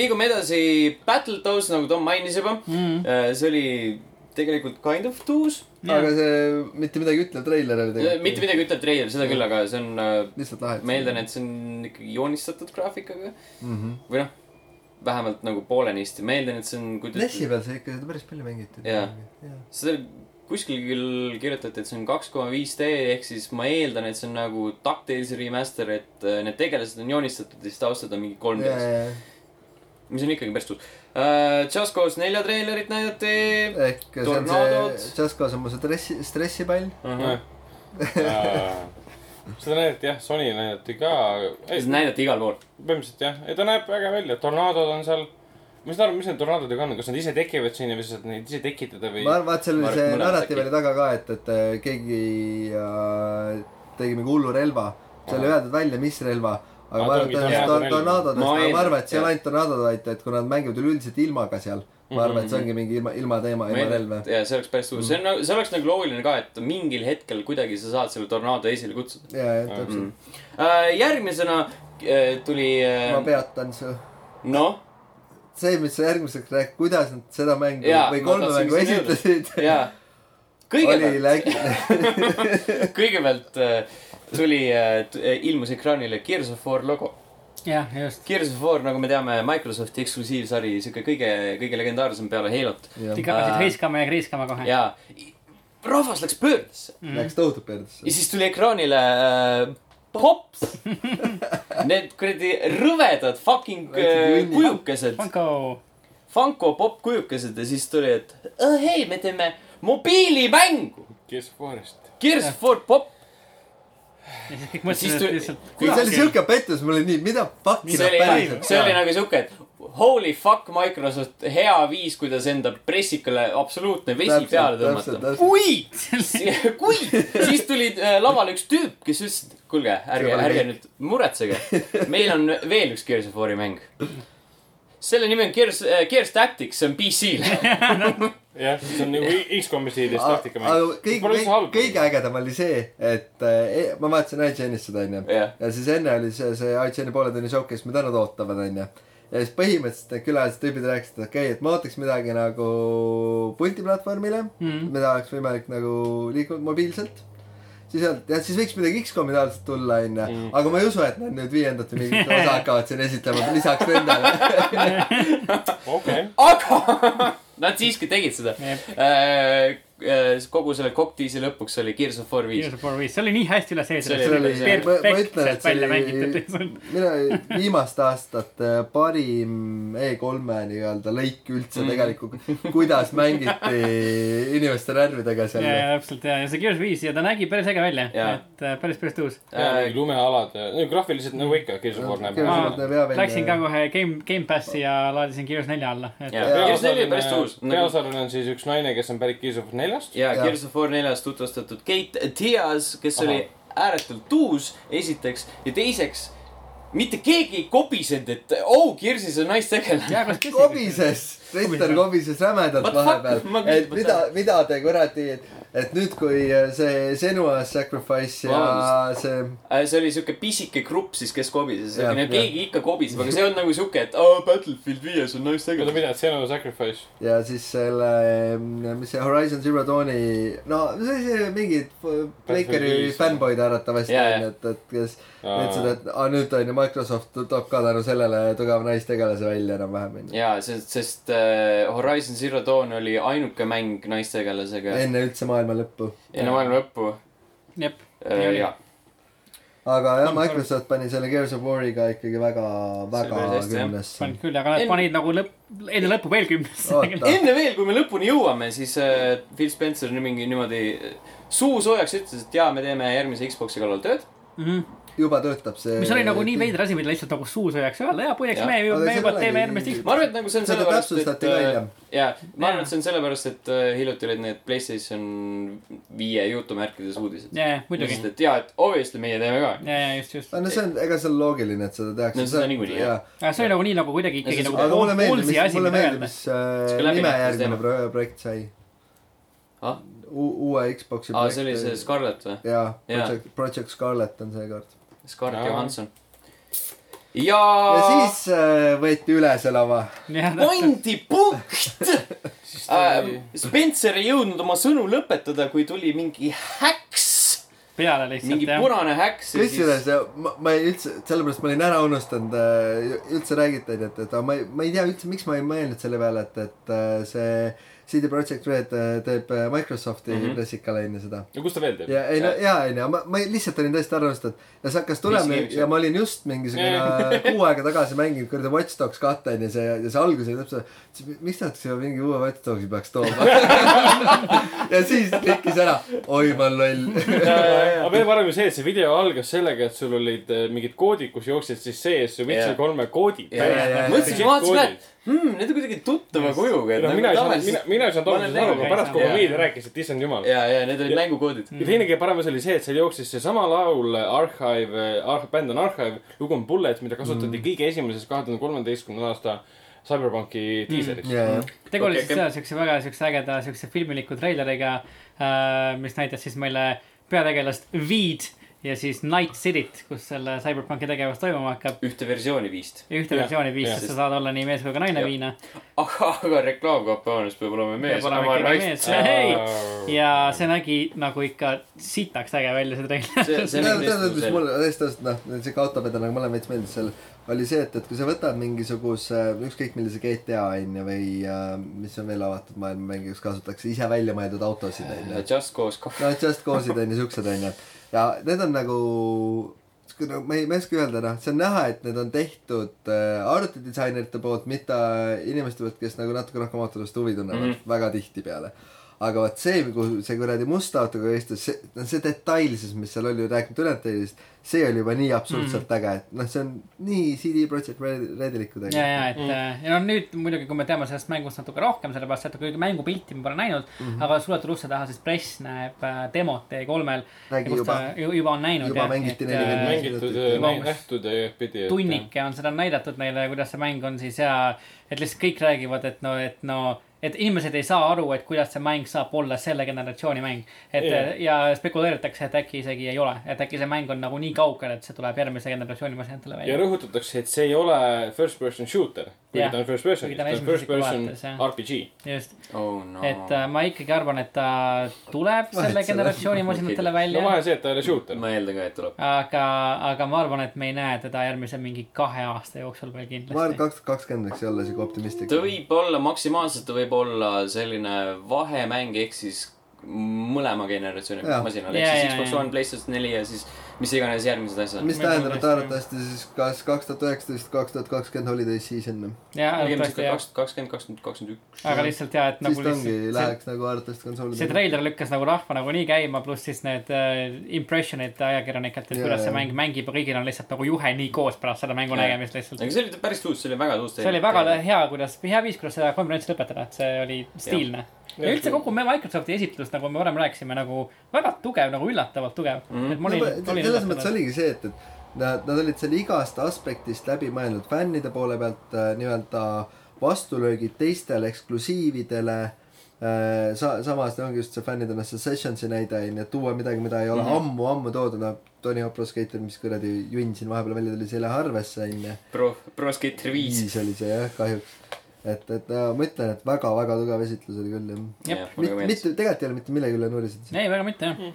Speaker 1: liigume edasi Battletoads , nagu Tom mainis juba . see oli tegelikult kind of tuus .
Speaker 2: aga see mitte midagi ütlev treiler oli tegelikult .
Speaker 1: mitte midagi ütleb treiler , seda küll , aga see on ,
Speaker 2: lihtsalt lahe .
Speaker 1: ma eeldan , et see on ikkagi joonistatud graafikaga
Speaker 2: et .
Speaker 1: või noh , vähemalt nagu poolenisti , ma eeldan , et see on
Speaker 2: Nessi
Speaker 1: kuidagi ,
Speaker 2: peal sai ikka seda päris palju mängiti .
Speaker 1: Jaa. seda kuskil küll kirjutati , et see on kaks koma viis D ehk siis ma eeldan , et see on nagu DuckTalesi remaster , et äh, need tegelased on joonistatud ja siis taustad on mingi 3D-s . mis on ikkagi päris tuus uh, . Just Cause nelja treilerit näidati .
Speaker 2: ehk see on
Speaker 1: Tornaadod.
Speaker 2: see Just Cause on mu see stressi , stressipall .
Speaker 4: seda näidati jah , Sony näidati ka .
Speaker 1: seda näidati igal pool .
Speaker 4: põhimõtteliselt jah , ei ta näeb väga välja , tornaadod on seal . ma ei saa aru , mis need tornaadodega on , kas nad ise tekivad siin ja või sa saad neid ise tekitada või
Speaker 2: ma ? arvan , vaat seal
Speaker 1: Ma
Speaker 2: oli
Speaker 1: arvan, et
Speaker 2: see
Speaker 1: mõlemad
Speaker 2: narratiiv
Speaker 1: äkki.
Speaker 2: oli taga ka , et , et äh, keegi äh, tegi mingi hullu relva . seal ei öeldud välja , mis relva . aga
Speaker 4: Aa,
Speaker 2: ma
Speaker 4: ta
Speaker 2: arvan , et
Speaker 4: ongi tornaado
Speaker 2: tõenäoliselt
Speaker 4: relv.
Speaker 2: tornaadod ,
Speaker 1: Ma
Speaker 2: ma
Speaker 1: eeldan,
Speaker 2: arvan , et see ei
Speaker 1: jah.
Speaker 2: ole ainult tornaadod , vaid et kuna nad mängivad üleüldiselt ilmaga seal . ma arvan , et see
Speaker 1: Mhm.
Speaker 2: ongi mingi ilma , ilmateema , ilma relva .
Speaker 1: ja see oleks päris tuus , see
Speaker 2: Mhm.
Speaker 1: on , see oleks nagu loogiline ka , et mingil hetkel kuidagi sa saad selle tornaado esile kutsuda
Speaker 2: ja , ja täpselt .
Speaker 1: uh, . järgmisena uh, tuli
Speaker 2: ma
Speaker 1: uh, ,
Speaker 2: peatan su .
Speaker 1: noh ,
Speaker 2: see , mis sa järgmiseks räägid , kuidas nad seda mängu
Speaker 1: Jaa,
Speaker 2: või
Speaker 1: ma
Speaker 2: kolme
Speaker 1: tahtsin
Speaker 2: nagu mängu
Speaker 1: just öelda.
Speaker 2: esitlesid .
Speaker 1: jaa .
Speaker 2: oli
Speaker 1: kõigepealt ,
Speaker 2: lägi- ,
Speaker 1: kõigepealt uh, tuli uh, , ilmus ekraanile Gears of War logo .
Speaker 3: jah , just .
Speaker 1: Gears of War , nagu me teame , Microsofti eksklusiivsari , sihuke kõige , kõige legendaarsem peale Halo't .
Speaker 2: jah ,
Speaker 3: ikka hakkasid hõiskama ja kriiskama kohe .
Speaker 1: ja rahvas läks pöördesse .
Speaker 2: läks tohutult
Speaker 1: ja
Speaker 2: perdesse .
Speaker 1: siis tuli ekraanile äh, pops . Need kuradi rõvedad fucking äh,
Speaker 2: Väiksed junnid.
Speaker 1: kujukesed ,
Speaker 3: Funko .
Speaker 1: Funko pop kujukesed ja siis tuli , et "Oh, hei , me teeme mobiilimängu .
Speaker 4: kes koerist ?
Speaker 1: Gears of War pop .
Speaker 3: ja siis kõik
Speaker 1: siis
Speaker 3: mõtlesid , et
Speaker 1: tuli ,
Speaker 3: lihtsalt .
Speaker 2: see oli siuke pettus , mul oli nii , mida fuck'i
Speaker 1: see
Speaker 2: nad
Speaker 1: oli
Speaker 2: päriselt ,
Speaker 1: see oli nagu siuke , et holy fuck Microsoft , hea viis , kuidas enda pressikale absoluutne vesi
Speaker 2: Täpselt,
Speaker 1: nagu peale
Speaker 2: täpselt,
Speaker 1: tõmmata .
Speaker 2: täpselt.
Speaker 1: kuid , kuid , siis tuli äh, lavale üks tüüp , kes ütles , et kuulge , ärge ,
Speaker 2: See pole
Speaker 1: ärge
Speaker 2: kõik.
Speaker 1: nüüd muretsege . meil on veel üks Gears of War'i mäng . selle nimi on Gears , Gears Tactics , see on PC-l .
Speaker 4: jah , see on nagu X-komi stiilis taktika
Speaker 2: aga
Speaker 4: mäng .
Speaker 2: kõige ,
Speaker 4: Pole üldse
Speaker 2: kõige,
Speaker 4: halb .
Speaker 2: kõige ägedam oli see , et eh, ma vaatasin IGN-ist seda onju .
Speaker 1: Jah.
Speaker 2: ja siis enne oli see , see IGN-i pooletunni showcase , mida nad ootavad onju . ja siis põhimõtteliselt need külalised tüübid rääkisid , et okei okay, , et ma ootaks midagi nagu multiplatvormile mm. , mida oleks võimalik nagu liikuda mobiilselt siis öeldi , et siis võiks midagi X-komi taoliselt tulla onju ,
Speaker 4: Hmm.
Speaker 2: aga ma ei usu , et nad nüüd viiendat või mingit osa hakkavad siin esitlema lisaks nendele .
Speaker 4: okei ,
Speaker 1: aga nad siiski tegid seda Äh,
Speaker 3: Jep. .
Speaker 1: kogu selle koktiisi lõpuks oli Gears of War viis .
Speaker 3: Gears of War viis , see oli nii hästi üles
Speaker 1: See oli-
Speaker 3: ehitatud .
Speaker 1: see oli-
Speaker 2: ma ma ütlen ,
Speaker 3: perfektselt
Speaker 2: et see
Speaker 3: välja
Speaker 2: oli
Speaker 3: mängitud .
Speaker 2: mille viimaste aastate parim E3-e nii-öelda lõik üldse mm. tegelikult , kuidas mängiti inimeste närvidega
Speaker 3: ja ,
Speaker 2: seal .
Speaker 3: ja täpselt ja , ja see Gears viis ja ta nägi päris äge välja ,
Speaker 1: Jaa.
Speaker 3: et äh, päris , päris tõus .
Speaker 1: Äh,
Speaker 4: lumealad , no graafiliselt nagu ikka , Gears of War näeb .
Speaker 2: Gears
Speaker 3: ma
Speaker 2: of War näeb hea välja,
Speaker 3: läksin ka
Speaker 2: jah.
Speaker 3: kohe Game , Gamepassi ja laadisin Gears nelja alla , et
Speaker 1: Jaa. Gears neli oli
Speaker 4: peaosaline
Speaker 1: päris nagu- tõus. ,
Speaker 4: peaosaline on siis üks naine , kes on pärit Gears of neljast .
Speaker 1: ja
Speaker 2: Jaa.
Speaker 1: Gears of War neljas tutvustatud Kate Diaz , kes Aha.
Speaker 4: Ahah.
Speaker 1: oli ääretult uus , esiteks , ja teiseks , mitte keegi ei kobisenud , et oh , Gearsis on naistegelane .
Speaker 3: kas kes
Speaker 2: kobises , Twitter kobises rämedalt
Speaker 1: What the fuck? Ma
Speaker 2: vahepeal , et
Speaker 1: küsin,
Speaker 2: mida
Speaker 1: mõtlen. ,
Speaker 2: mida te kuradi , et nüüd , kui see Senua Sacrifice ja
Speaker 1: Vabandust.
Speaker 2: see
Speaker 1: Äh, see oli siuke pisike grupp siis , kes kobises ,
Speaker 2: Jah,
Speaker 1: no
Speaker 2: jah.
Speaker 1: keegi ikka kobiseb , aga see on nagu siuke , et oh, Battlefield viies on
Speaker 4: oota ,
Speaker 1: naistegelane .
Speaker 4: mida , et see on nagu Sacrifice ?
Speaker 2: ja siis selle , mis see Horizon Zero Dawni , no see , see mingid Blakeri
Speaker 4: viis.
Speaker 2: fännboid arvatavasti
Speaker 1: Jaa,
Speaker 2: on , et , et kes
Speaker 4: Aa.
Speaker 2: ütlesid , et aa, nüüd on ju Microsoft toob ka tänu sellele tugeva naistegelase välja enam-vähem onju .
Speaker 1: ja , sest , sest äh, Horizon Zero Dawn oli ainuke mäng naistegelasega
Speaker 2: enne üldse maailma lõppu .
Speaker 1: enne maailma lõppu
Speaker 3: jep ,
Speaker 1: äh, . ja ,
Speaker 2: aga jah , Microsoft pani selle Gears of War'iga ikkagi väga , väga
Speaker 1: päris hästi, jah.
Speaker 2: kümnesse .
Speaker 3: panid küll , aga nad
Speaker 1: En-
Speaker 3: panid nagu lõpp , enne lõppu veel kümnesse .
Speaker 2: oota ,
Speaker 1: enne veel , kui me lõpuni jõuame , siis äh, Phil Spencer nii- mingi niimoodi äh, suu soojaks ütles , et jaa , me teeme järgmise Xbox'i kallal tööd .
Speaker 2: juba töötab see .
Speaker 3: mis oli nagu nii . veider asi , mida lihtsalt nagu suu sööjaks öelda , jaa , puideks
Speaker 1: Jah.
Speaker 3: me ju ,
Speaker 2: Aga
Speaker 3: me
Speaker 2: see
Speaker 3: juba
Speaker 2: ei
Speaker 3: teeme
Speaker 2: olegi-
Speaker 3: järgmist
Speaker 1: ma arvan , et nagu see on
Speaker 2: Seda
Speaker 1: sellepärast , et
Speaker 2: täpsustati välja.
Speaker 1: äh, jaa , ma
Speaker 3: Jaa.
Speaker 1: arvan , et see on sellepärast , et äh, hiljuti olid need Playstation viie jutumärkides uudised .
Speaker 3: jaa , muidugi .
Speaker 1: lihtsalt , et jaa , et obviously meie teeme ka .
Speaker 3: jaa , jaa , just , just .
Speaker 2: no see on , ega see on loogiline , et seda tehakse .
Speaker 1: No seda niikuinii, jah.
Speaker 3: aga see oli nagu nii nagu kuidagi ikkagi
Speaker 1: Ja siis-
Speaker 3: nagu
Speaker 2: aga mulle meeldib ,
Speaker 3: Ballsy
Speaker 2: mis ,
Speaker 3: asi ,
Speaker 2: mulle
Speaker 3: mida
Speaker 2: meeldib ,
Speaker 3: öelda .
Speaker 2: mis äh,
Speaker 1: Sihuke läbi-
Speaker 2: nime
Speaker 1: mis
Speaker 2: järgmine
Speaker 1: teema?
Speaker 2: pro- projekt sai
Speaker 1: ah ,
Speaker 2: U . uue Xbox'i
Speaker 1: aa , see oli see Scarlett või ?
Speaker 2: jaa ,
Speaker 1: Jaa.
Speaker 2: Project , Project Scarlet on seekord .
Speaker 1: Scarlett
Speaker 4: Jaa.
Speaker 1: Johanson . ja
Speaker 2: ja siis äh, võeti üle see lava .
Speaker 1: pandi punkt
Speaker 4: siis ta oli
Speaker 1: Ähm, . Spencer ei jõudnud oma sõnu lõpetada , kui tuli mingi häks ,
Speaker 3: peale lihtsalt
Speaker 1: mingi
Speaker 3: jah.
Speaker 1: punane häks ja
Speaker 2: kusjuures
Speaker 1: siis
Speaker 2: ja ma , ma ei üldse , sellepärast ma olin ära unustanud äh, , üldse räägiti , et , et aga ma ei , ma ei tea üldse , miks ma ei mõelnud selle peale , et , et äh, see CD Projekt Red äh, teeb äh, Microsofti mm
Speaker 1: Mhm.
Speaker 2: -hmm. pressikale enne seda .
Speaker 4: no kus ta veel teeb ?
Speaker 2: ja ei no ja ei no ma , ma lihtsalt olin tõesti arvestanud ja see hakkas tulema
Speaker 1: Mis nimi see
Speaker 2: ja
Speaker 1: on?
Speaker 2: ma olin just mingisugune
Speaker 4: Jaa.
Speaker 2: kuu aega tagasi mänginud kuradi Watch Dogs kahte onju see ja see algus oli täpselt , miks nad siia mingi uue Watch Dogsi peaks tooma . ja siis klikkis ära , oi ma olen loll .
Speaker 4: aga veel parem kui see , et see video algas sellega , et sul olid äh, mingid koodid , kus jooksid siis sees see Witcher
Speaker 1: Jaa.
Speaker 4: kolme koodid .
Speaker 1: ja , ja , ja
Speaker 2: Jaa,
Speaker 1: mõtlesin ,
Speaker 4: jaa.
Speaker 1: vaatasin , et hmm, need on kuidagi tuttava kujuga , et
Speaker 3: Noh,
Speaker 1: nagu
Speaker 4: no Noh, mina ei
Speaker 1: tavaliselt .
Speaker 4: saanud , mina , mina ei saanud
Speaker 1: Ma olen
Speaker 4: alguses aru ,
Speaker 1: näinud
Speaker 4: aga
Speaker 3: ka
Speaker 4: pärast ,
Speaker 3: ei
Speaker 4: kui ma
Speaker 1: saanud.
Speaker 4: meile rääkisin , et issand jumal .
Speaker 1: ja , ja need olid
Speaker 4: Ja-
Speaker 1: mängukoodid .
Speaker 4: ja teine kõige parem asi oli see , et seal jooksis seesama laul äh, Archive , Arch- , bänd on Archive , lugu on Bullet , mida kasutati mm. kõige esimeses kahe tuhande kolmeteistkümnenda aasta Cyberpunki diiseliks mm. .
Speaker 2: jajah ,
Speaker 3: tegu oli
Speaker 1: Okei,
Speaker 3: siis
Speaker 1: okei.
Speaker 3: jah siukse väga siukse ägeda siukse filmiliku treileriga , mis näitas siis meile peategelast Veed ja siis Night City't , kus selle CyberPunki tegevus toimuma hakkab .
Speaker 1: ühte versiooni viist .
Speaker 3: ja ühte
Speaker 4: Jah,
Speaker 3: versiooni viis ,
Speaker 4: jah.
Speaker 3: sest sa saad olla nii mees kui ka naine
Speaker 1: Jah.
Speaker 3: viina .
Speaker 1: ahah , aga reklaamkampaanias peab olema mees ,
Speaker 3: Peab olema
Speaker 1: oma
Speaker 3: ikkagi
Speaker 1: naist .
Speaker 3: mees. Hei! ja see nägi nagu ikka sitaks äge välja , see
Speaker 1: See- see-
Speaker 3: treiler .
Speaker 1: on
Speaker 2: tead , mis
Speaker 1: teistsugusel.
Speaker 2: mulle täiesti ausalt , noh , siuke autopeda nagu mulle veits meeldis seal , oli see , et , et kui sa võtad mingisuguse , ükskõik millise GTA onju või äh, mis on veel avatud maailma mängijaks kasutatakse , ise välja mõeldud autosid onju .
Speaker 1: Just Cause kaks .
Speaker 2: no Just Cause'id on ju siuksed onju ja need on nagu siuke no ma ei , ma ei oska öelda noh , see on näha , et need on tehtud äh, arvutidisainerite poolt , mitte inimeste poolt , kes nagu natuke rohkem autodest huvi tunnevad mm
Speaker 1: Mhm.
Speaker 2: -hmm. väga tihtipeale . aga vot see , kuhu see kuradi musta autoga istus , see , no see detailsus , mis seal oli , rääkimata ületeelist , see oli juba nii absurdselt mm -hmm. äge , et noh , see on nii CD Projekt Red , Rediliku
Speaker 3: ja ,
Speaker 2: tegelikult .
Speaker 3: ja , et mm. ja no nüüd muidugi , kui me teame sellest mängust natuke rohkem , sellepärast et kuigi mängupilti me pole näinud mm ,
Speaker 2: Mhm.
Speaker 3: -hmm. aga suletud uste taha siis press näeb äh, demot E3-l .
Speaker 2: Nägi
Speaker 3: juba
Speaker 2: juba. .
Speaker 3: juba on näinud .
Speaker 2: Juba mängiti nelikümmend
Speaker 3: äh,
Speaker 2: minutit.
Speaker 4: mängitud ,
Speaker 3: Vabandust.
Speaker 4: nähtud ja pidi .
Speaker 3: tunnike on seda näidatud neile , kuidas see mäng on siis ja , et lihtsalt kõik räägivad , et no , et no , et inimesed ei saa aru , et kuidas see mäng saab olla selle generatsiooni mäng . et
Speaker 4: Jah.
Speaker 3: yeah. ja spekuleeritakse , et äkki isegi ei ole , et äkki see mäng on nagu nii kaugel , et see tuleb järgmise generatsiooni masinatele
Speaker 4: ja
Speaker 3: välja .
Speaker 4: rõhutatakse , et see ei ole first person shooter , kuigi
Speaker 3: Jah.
Speaker 4: ta on first person ,
Speaker 3: Kuigi ta
Speaker 4: ta
Speaker 3: on
Speaker 4: on first
Speaker 3: esimese isiku
Speaker 4: person
Speaker 3: vaates, jah.
Speaker 4: RPG .
Speaker 3: just ,
Speaker 1: oh no .
Speaker 3: et äh, ma ikkagi arvan , et ta tuleb selle
Speaker 2: Vahet selle-
Speaker 3: generatsiooni masinatele
Speaker 4: no
Speaker 3: välja
Speaker 4: vahe . on see , et ta ei ole shooter .
Speaker 1: ma eeldan ka , et tuleb .
Speaker 3: aga , aga ma arvan , et me ei näe teda järgmise mingi kahe aasta jooksul veel
Speaker 2: ma arvan , et
Speaker 3: kindlasti .
Speaker 2: kaks , kakskümmend võiks olla siuke optimistlik .
Speaker 1: ta võib olla , maksimaalselt ta võib olla selline vahemäng , ehk siis mõlema generatsiooni
Speaker 2: Jaa.
Speaker 1: masinale , ehk
Speaker 3: Jaa,
Speaker 1: siis
Speaker 3: jaa,
Speaker 1: Xbox
Speaker 3: jaa.
Speaker 1: One , PlayStation neli ja siis mis iganes järgmised asjad .
Speaker 2: mis
Speaker 3: Meil on
Speaker 2: tähendab , et
Speaker 3: tõesti, jah.
Speaker 2: arvatavasti siis kas kaks tuhat üheksateist , kaks tuhat kakskümmend holiday season .
Speaker 3: jah ,
Speaker 1: pigem sihuke
Speaker 3: arvatavasti jah ,
Speaker 1: kaks , kakskümmend , kakskümmend , kakskümmend üks .
Speaker 3: aga lihtsalt ja , et
Speaker 2: siis
Speaker 3: nagu
Speaker 2: ta ongi ,
Speaker 3: lihtsalt
Speaker 2: läheks nagu arvatavasti konsoolidele .
Speaker 3: see treiler lükkas nagu rahva nagunii käima , pluss siis need äh, impressionid ajakirjanikelt , et
Speaker 2: Jaa,
Speaker 3: kuidas see
Speaker 2: jaa.
Speaker 3: mäng mängib , kõigil on lihtsalt nagu juhe nii koos pärast selle mängu
Speaker 1: Jaa.
Speaker 3: nägemist lihtsalt
Speaker 1: aga . see oli päris tuus , see oli väga tuus .
Speaker 3: see oli väga hea , kuidas , hea viis , kuidas seda konverentsi lõpetada , et see oli stiilne . ja üldse kogu me Microsofti esitlus , nagu me varem rääkisime , nagu väga tugev , nagu üllatavalt tugev
Speaker 1: Mhm.
Speaker 3: mm. . et ma olin ,
Speaker 2: No,
Speaker 3: olin
Speaker 2: selles mõttes
Speaker 3: üllatunud .
Speaker 2: oligi see , et , et nad , nad olid selle igast aspektist läbi mõelnud fännide poole pealt äh, nii-öelda vastulöögid teistele eksklusiividele äh, . sa- , samas ongi just see fännide noh , see sessionsi näide on ju , et tuua midagi , mida ei ole
Speaker 1: Mhm.
Speaker 2: mm -hmm. ammu-ammu toodud , noh . Tony Hopro skater , mis kuradi junn siin vahepeal välja tuli , see ei lähe arvesse on ju .
Speaker 1: Pro , Pro Skater viis .
Speaker 2: viis oli see jah , kahjuks . et , et äh, ma ütlen , et väga-väga tugev esitlus oli küll jah .
Speaker 3: jah ,
Speaker 2: mitte , mitte , tegelikult ei ole mitte millegi üle nurisenud .
Speaker 3: ei väga mitte jah
Speaker 2: Mhm.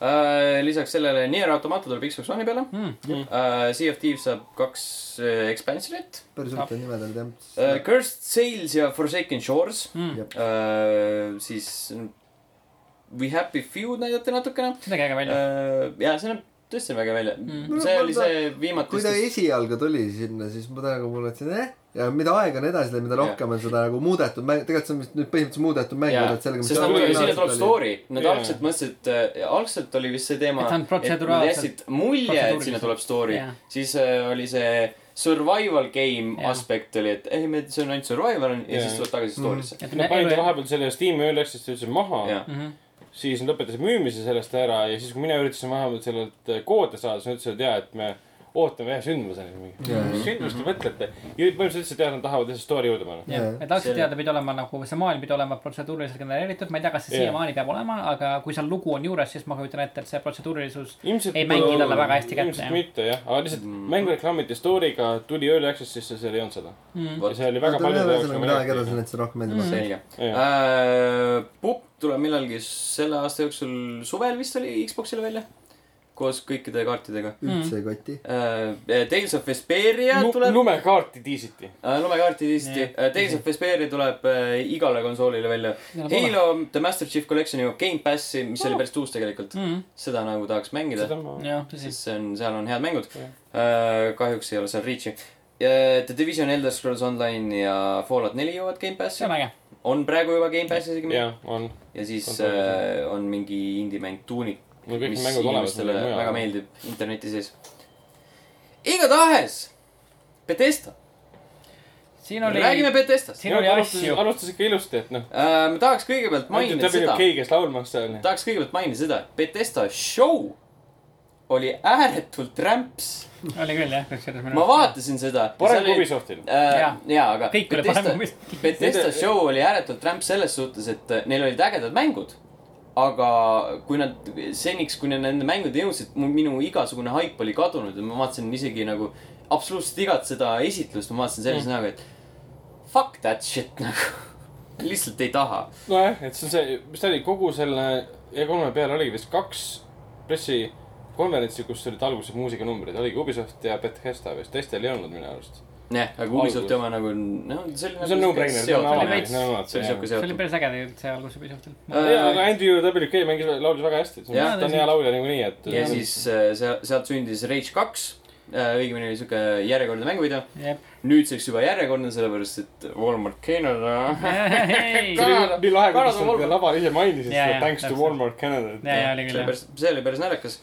Speaker 1: Äh, lisaks sellele Nier Automata tuleb Xbox One'i peale
Speaker 3: mm. .
Speaker 1: uh, . Sea of Thieves saab kaks uh, expansionit
Speaker 2: päris huvitavad nimed olid
Speaker 1: uh, .
Speaker 2: jah .
Speaker 1: Cursed Sales ja Forsaken Shores
Speaker 3: Mm.
Speaker 1: uh, . siis We Happy Few näidati natukene
Speaker 3: see nägi äge välja .
Speaker 1: uh, . ja see näeb tõesti väga välja
Speaker 3: Mm.
Speaker 1: mm. . see oli see viimati
Speaker 2: kui ta . esialgu tuli sinna , siis ma ta nagu mõtlesin , eh . ja mida aeg on edasi läinud , mida
Speaker 1: Jah.
Speaker 2: rohkem on seda nagu muudetud mäng , tegelikult see on vist nüüd põhimõtteliselt muudetud mäng ,
Speaker 1: jaa ,
Speaker 2: et sellega ,
Speaker 1: sest nad muidugi , sinna tuleb
Speaker 2: oli .
Speaker 1: story , nad
Speaker 4: Jaa.
Speaker 1: algselt mõtlesid , algselt oli vist see teema ,
Speaker 3: Et ta on
Speaker 1: et nad
Speaker 3: protseduraalselt-
Speaker 1: jätsid mulje , et sinna
Speaker 3: protseduuriliselt.
Speaker 1: tuleb story
Speaker 3: Jaa. ,
Speaker 1: siis äh, oli see survival game
Speaker 3: Jaa.
Speaker 1: aspekt oli , et ei , me , see on ainult survival on ja
Speaker 4: Jaa.
Speaker 1: siis tuleb tagasi story'sse .
Speaker 3: Mm-hmm. et
Speaker 4: Nad panid vahepeal selle Steam'i Early Access'i üldse maha ,
Speaker 1: jah ,
Speaker 3: Mhm.
Speaker 4: siis nad lõpetasid müümise sellest ära ja siis , kui mina üritasin vahepeal sellelt eh, koode saada , siis nad ütlesid , et jaa , et me ootame ühe sündmuseni .
Speaker 2: Jaa.
Speaker 4: mis sündmust te mõtlete ? ja põhimõtteliselt ütlesid , et jah , nad tahavad lihtsalt story juurde panna .
Speaker 3: jah , et algselt
Speaker 1: Selle-
Speaker 3: teada pidi olema nagu see maailm pidi olema protseduuriliselt genereeritud , ma ei tea , kas see
Speaker 4: Jaa.
Speaker 3: siiamaani peab olema , aga kui seal lugu on juures , siis ma kujutan ette , et see protseduurilisus
Speaker 4: ilmselt
Speaker 3: Ei mängi talle väga hästi kätte, jah.
Speaker 4: ilmselt mitte jah , aga lihtsalt mm. mängu reklaamiti story'ga tuli Early Access'isse , seal ei olnud seda .
Speaker 3: mm. .
Speaker 1: Vot.
Speaker 4: ja see oli väga
Speaker 2: ta oli
Speaker 4: paljude
Speaker 2: ühesõnaga ,
Speaker 1: nagu
Speaker 2: mida aeg edasi . läinud , seda rohkem meeldib mm. .
Speaker 1: selge .
Speaker 4: Jaa.
Speaker 1: Pupp tuleb millalgi selle aasta jooksul , suvel vist oli Xbox'ile välja , koos kõikide kaartidega .
Speaker 2: üldse ei koti .
Speaker 1: Tales of Vesperia tuleb .
Speaker 4: lumekaarti diisiti .
Speaker 1: Äh, lumekaarti listi
Speaker 3: Nii. ,
Speaker 1: Tales Äh, of Vesperia tuleb äh, igale konsoolile välja .
Speaker 3: Ja pole.
Speaker 1: Halo The Master Chief Collection jõuab Gamepassi , mis oli päris tuus tegelikult .
Speaker 3: Mm.
Speaker 1: seda nagu tahaks mängida ,
Speaker 4: seda ma .
Speaker 3: jah , tõsi .
Speaker 1: sest see on , seal on head mängud Äh,
Speaker 4: Jah. .
Speaker 1: kahjuks ei ole seal Reach'i . The Division , Elder Scrolls Online ja Fallout neli jõuavad
Speaker 3: see
Speaker 1: Gamepassi
Speaker 3: on . äge .
Speaker 1: on praegu juba Gamepassis isegi .
Speaker 4: jah , on .
Speaker 1: ja siis
Speaker 4: On
Speaker 1: äh, on mingi indie-mäng Tunic ,
Speaker 4: mul kõik
Speaker 1: mis
Speaker 4: mängud olemas .
Speaker 1: inimestele väga meeldib interneti sees . igatahes , Bethesda ,
Speaker 3: siin oli .
Speaker 1: räägime Bethestast .
Speaker 3: siin oli asju .
Speaker 4: alustas ikka ilusti , et noh .
Speaker 1: Äh, ma tahaks kõigepealt mainida seda ,
Speaker 4: WK , kes laulmas seal .
Speaker 1: tahaks kõigepealt mainida seda , et Betesta show oli ääretult rämps .
Speaker 3: oli küll jah , kusjuures minu
Speaker 1: ma . vaatasin seda .
Speaker 4: Mm. parem kui . Ubisoftil .
Speaker 1: Äh, jaa
Speaker 3: Jaa. ,
Speaker 1: aga
Speaker 3: Kõik oli
Speaker 1: Bethesda-
Speaker 3: parem kui Ubisoftil.
Speaker 1: Bethesda
Speaker 4: Nende-
Speaker 1: show oli ääretult rämps selles suhtes , et äh, neil olid ägedad mängud . aga kui nad seniks , kui nad nende mängudeni jõudsid , minu igasugune haip oli kadunud ja ma vaatasin isegi nagu absoluutselt igat seda esitlust , ma vaatasin
Speaker 3: Mm.
Speaker 1: sellise näoga , et fuck that shit nagu lihtsalt ei taha
Speaker 4: nojah , et see on see , mis ta oli , kogu selle E3-e peale oligi vist kaks pressikonverentsi , kus olid alguses muusikanumbrid , oligi Ubisoft ja Bethesda vist , teistel ei olnud minu arust .
Speaker 1: jah , aga Ubisofti
Speaker 4: Algus.
Speaker 1: oma nagu , noh , see oli
Speaker 4: see on no-brainer , see on
Speaker 3: avalik.
Speaker 1: seotud .
Speaker 4: avalik , no
Speaker 1: see oli siuke
Speaker 4: vot .
Speaker 3: see oli
Speaker 1: seotud .
Speaker 3: päris äge tegelikult see algus Ubisoftil .
Speaker 4: jaa , aga Andrew WK mängis , laulis väga hästi , ta
Speaker 1: Jaa,
Speaker 4: on hea laulja niikuinii , et .
Speaker 1: ja siis äh, seal , sealt sündis Rage kaks , õigemini oli siuke järjekordne mänguvideo .
Speaker 3: jep .
Speaker 1: nüüdseks juba järjekordne , sellepärast et Walmart Canada .
Speaker 4: see
Speaker 3: ja ,
Speaker 4: oli nii
Speaker 1: Kanada
Speaker 4: lahe , kuidas sa seda
Speaker 1: Walmart-
Speaker 4: lava ise mainisid ,
Speaker 3: Jaa,
Speaker 4: seda
Speaker 3: jaa,
Speaker 4: Thanks to
Speaker 3: täpselt.
Speaker 4: Walmart Canada .
Speaker 3: ja oli küll jah .
Speaker 1: see oli päris naljakas .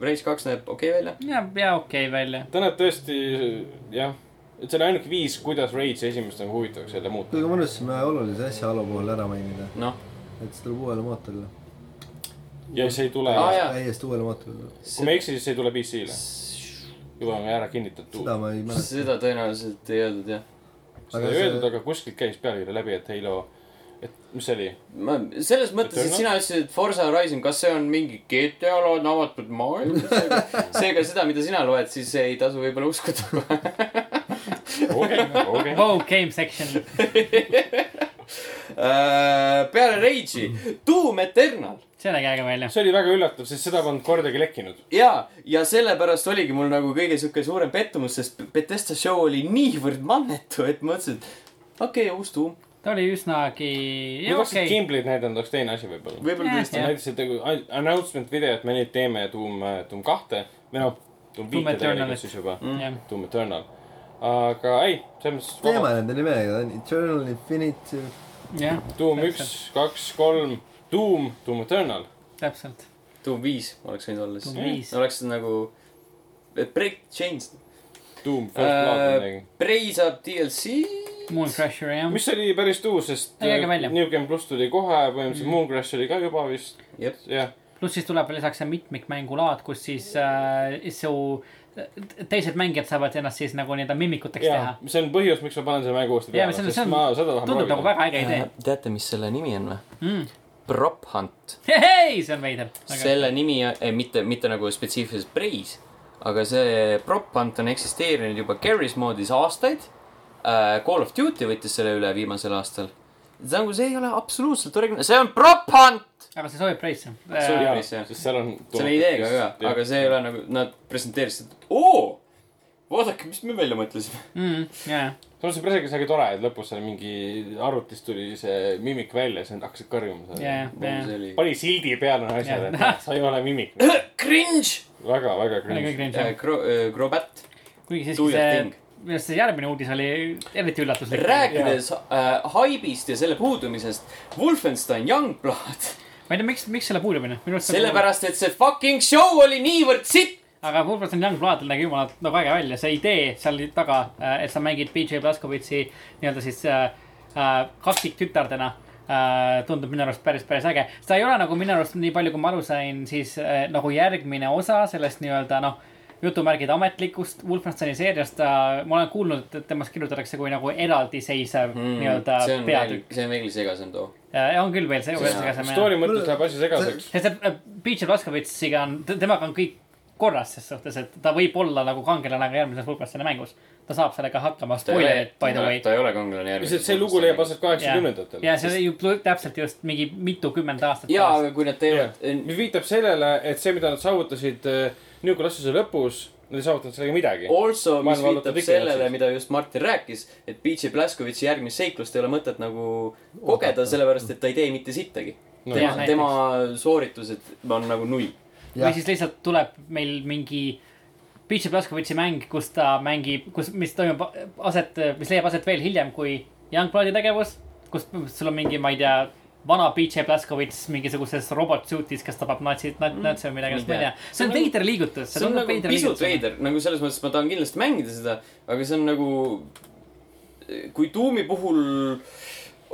Speaker 1: Rage kaks näeb okei välja .
Speaker 3: ja , ja okei okay, välja .
Speaker 4: ta näeb tõesti , jah , et see on ainuke viis , kuidas Rage esimest nagu huvitavaks jälle muuta
Speaker 2: kuigi . ma unustasin ühe olulise asja Halo puhul ära mainida ,
Speaker 1: noh ,
Speaker 2: et see tuleb uuele mootorile .
Speaker 4: ja see ei tule ,
Speaker 3: Ah,
Speaker 1: Aa, jaa.
Speaker 2: täiesti uuele mootorile .
Speaker 4: kui ma ei eksi , siis see ei tule PC-le .
Speaker 1: seda
Speaker 4: juba on ära kinnitatud .
Speaker 2: seda ma ei mäleta .
Speaker 1: tõenäoliselt ei öeldud jah .
Speaker 4: seda
Speaker 2: Aga
Speaker 4: ei
Speaker 2: see-
Speaker 4: öeldud , aga kuskilt käis pealkiri läbi , et Halo , et mis see oli ?
Speaker 1: ma selles mõttes , et sina ütlesid , et Forsa Horizon , kas see on mingi GTA laadne avatud maailm ? seega seda , mida sina loed , siis ei tasu võib-olla uskuda .
Speaker 4: okei , okei .
Speaker 3: Wow , Oh, game section .
Speaker 1: Äh, peale Rage'i , Doom Eternal
Speaker 3: see nägi äge välja .
Speaker 4: see oli väga üllatav , sest seda polnud kordagi lekkinud .
Speaker 1: ja , ja sellepärast oligi mul nagu kõige sihuke suurem pettumus , sest Bethesda show oli niivõrd mannetu , et ma mõtlesin , et okei okay, , uus Doom ,
Speaker 3: ta oli üsnagi ,
Speaker 4: kui
Speaker 3: jah
Speaker 4: oleks okay.
Speaker 3: okei ,
Speaker 4: Gimblid näidanud , oleks teine asi võib-olla .
Speaker 1: võib-olla
Speaker 3: Jah.
Speaker 1: tõesti .
Speaker 3: Jah.
Speaker 4: näiteks , et nagu an- announcement videot me nüüd teeme Doom , Doom kahte või noh , Doom
Speaker 3: Doom
Speaker 4: viite
Speaker 3: Eternalit. Mm.
Speaker 4: tegelikult siis juba ,
Speaker 3: jah .
Speaker 4: Doom Eternal . aga ei , selles
Speaker 2: teeme
Speaker 4: mõttes .
Speaker 2: nende nimega , ta on Eternal Infinity .
Speaker 3: jah ,
Speaker 4: Doom üks , kaks , kolm , Doom , Doom Eternal .
Speaker 3: täpselt .
Speaker 1: Doom viis oleks võinud olla
Speaker 3: Doom viis.
Speaker 1: siis . oleks nagu , et Break Chains .
Speaker 4: Doom First
Speaker 1: Äh,
Speaker 4: Blood või midagi .
Speaker 1: Prey saab DLC .
Speaker 3: Mooncrasher jah .
Speaker 4: mis oli päris uus , sest äh,
Speaker 3: Ei, jääge välja.
Speaker 4: New Game pluss tuli kohe , põhimõtteliselt mm. Mooncrash oli ka juba vist ,
Speaker 1: jah ,
Speaker 4: jah .
Speaker 3: pluss siis tuleb lisaks see mitmikmängulaad , kus siis äh, su teised mängijad saavad ennast siis nagu nii-öelda mimikuteks
Speaker 4: ja
Speaker 3: teha .
Speaker 4: see on põhjus , miks ma panen selle mängu uuesti
Speaker 3: Jaa,
Speaker 4: peale ,
Speaker 3: see on-
Speaker 4: sest
Speaker 3: see on-
Speaker 4: ma seda tahan
Speaker 3: tundub nagu väga äge idee .
Speaker 5: Äh, teate , mis selle nimi on või
Speaker 3: Mm. ?
Speaker 5: Prop Hunt .
Speaker 3: hei , see on veider .
Speaker 5: selle nimi , mitte , mitte nagu spetsiifiliselt preis , aga see Prop Hunt on eksisteerinud juba Garry's moodis aastaid . Call of Duty võttis selle üle viimasel aastal . see on , see ei ole absoluutselt originaalne , see on Prop Hunt .
Speaker 3: aga see sobib Preisse .
Speaker 1: See oli-
Speaker 4: jaa ,
Speaker 1: päris hea.
Speaker 4: sest seal on .
Speaker 1: selle ideega ka , aga see ei ole nagu , nad presenteerisid , et oo , vaadake , mis me välja mõtlesime .
Speaker 3: Mm, jajah ,
Speaker 4: samas see pressekas oli tore , et lõpus seal mingi arvutis tuli see mimik välja , siis nad hakkasid karjuma seal .
Speaker 5: Nagu
Speaker 3: jajah , jajah .
Speaker 4: pani sildi peale asjale
Speaker 3: Jah. ,
Speaker 4: sa ei ole mimik .
Speaker 1: Cringe . Äh,
Speaker 4: väga , väga
Speaker 3: oli kõik
Speaker 4: cringe .
Speaker 3: cringe jah .
Speaker 1: Crobat ,
Speaker 3: kuigi
Speaker 1: do
Speaker 3: siiski
Speaker 1: your
Speaker 3: see
Speaker 1: thing. ,
Speaker 3: minu arust see järgmine uudis oli eriti üllatuslik .
Speaker 1: rääkides äh, haibist ja selle puudumisest , Wolfenstein Youngblood ,
Speaker 3: ma ei tea , miks , miks selle puudumine ?
Speaker 1: sellepärast et see fucking show oli niivõrd sitt .
Speaker 3: aga Wolfenstein Young Bloodil nägi jumala nagu äge välja , see idee seal taga , et sa mängid BJ Blazkowiczi nii-öelda siis äh, äh, kaksiktütardena äh, . tundub minu arust päris , päris äge . ta ei ole nagu minu arust nii palju , kui ma aru sain , siis äh, nagu järgmine osa sellest nii-öelda noh , jutumärgid ametlikust Wolfensteini seeriast äh, . ma olen kuulnud , et temast kirjutatakse kui nagu eraldiseisev mm, nii-öelda
Speaker 1: see on veel
Speaker 3: peatükk ,.
Speaker 1: see on veel segasem too .
Speaker 3: Äh, on küll veel see , see on
Speaker 4: story mõttes läheb asi segaseks .
Speaker 3: sest see äh, Peach Blaskovitsiga on , temaga on kõik korras ses suhtes , et ta võib olla nagu kangelane ka järgmises hulgas selle mängus . ta saab sellega hakkama , spoilerid by the way .
Speaker 1: ta ei ole kangelane järgmine .
Speaker 4: lihtsalt see lugu leiab aset kaheksakümnendatel .
Speaker 3: ja see oli ju plu- täpselt just mingi mitukümmend aastat
Speaker 1: jaa , aga kui nad teevad
Speaker 4: Jah. mis viitab sellele , et see , mida nad saavutasid New Colossuse lõpus , nad ei saavutanud sellega midagi .
Speaker 1: Also , mis
Speaker 4: Maailma vallutab
Speaker 1: viitab
Speaker 4: ikka
Speaker 1: sellele ,
Speaker 4: Rootsis.
Speaker 1: mida just Martin rääkis , et Beatsi Blaskovitši järgmist seiklust ei ole mõtet nagu kogeda , sellepärast et ta ei tee mitte sittagi
Speaker 4: No
Speaker 1: no, .
Speaker 3: jah,
Speaker 1: tema ,
Speaker 3: näiteks.
Speaker 1: tema sooritused on nagu null .
Speaker 3: või siis lihtsalt tuleb meil mingi Peach Blaskovitši mäng , kus ta mängib , kus , mis toimub aset , mis leiab aset veel hiljem kui Youngbloodi tegevus , kus sul on mingi , ma ei tea , vana Peach Blaskovitš mingisuguses robot suit'is , kes tapab natsid ,
Speaker 1: Mm.
Speaker 3: natse või midagi , ma ei tea . see on
Speaker 1: nagu-
Speaker 3: veider liigutus , see
Speaker 1: see on
Speaker 3: tundub
Speaker 1: nagu
Speaker 3: veider
Speaker 1: pisut
Speaker 3: liigutus .
Speaker 1: veider , nagu selles mõttes , et ma tahan kindlasti mängida seda , aga see on nagu , kui Doom'i puhul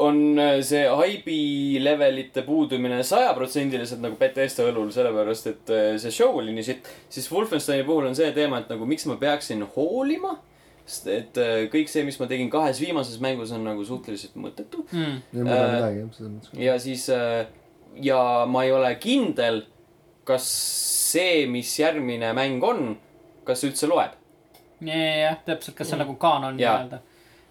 Speaker 1: on see haibi levelite puudumine sajaprotsendiliselt nagu Betesta õlul , sellepärast et äh, see show oli nii sitt , siis Wolfensteini puhul on see teema , et nagu miks ma peaksin hoolima , sest et äh, kõik see , mis ma tegin kahes viimases mängus , on nagu suhteliselt mõttetu .
Speaker 3: mm. .
Speaker 2: ei muuda midagi , selles mõttes .
Speaker 1: ja siis äh, ja ma ei ole kindel , kas see , mis järgmine mäng on , kas see üldse loeb .
Speaker 3: ja , ja , jah , täpselt , kas see on nagu kaanon
Speaker 1: Mm. Jaa.
Speaker 3: nii-öelda .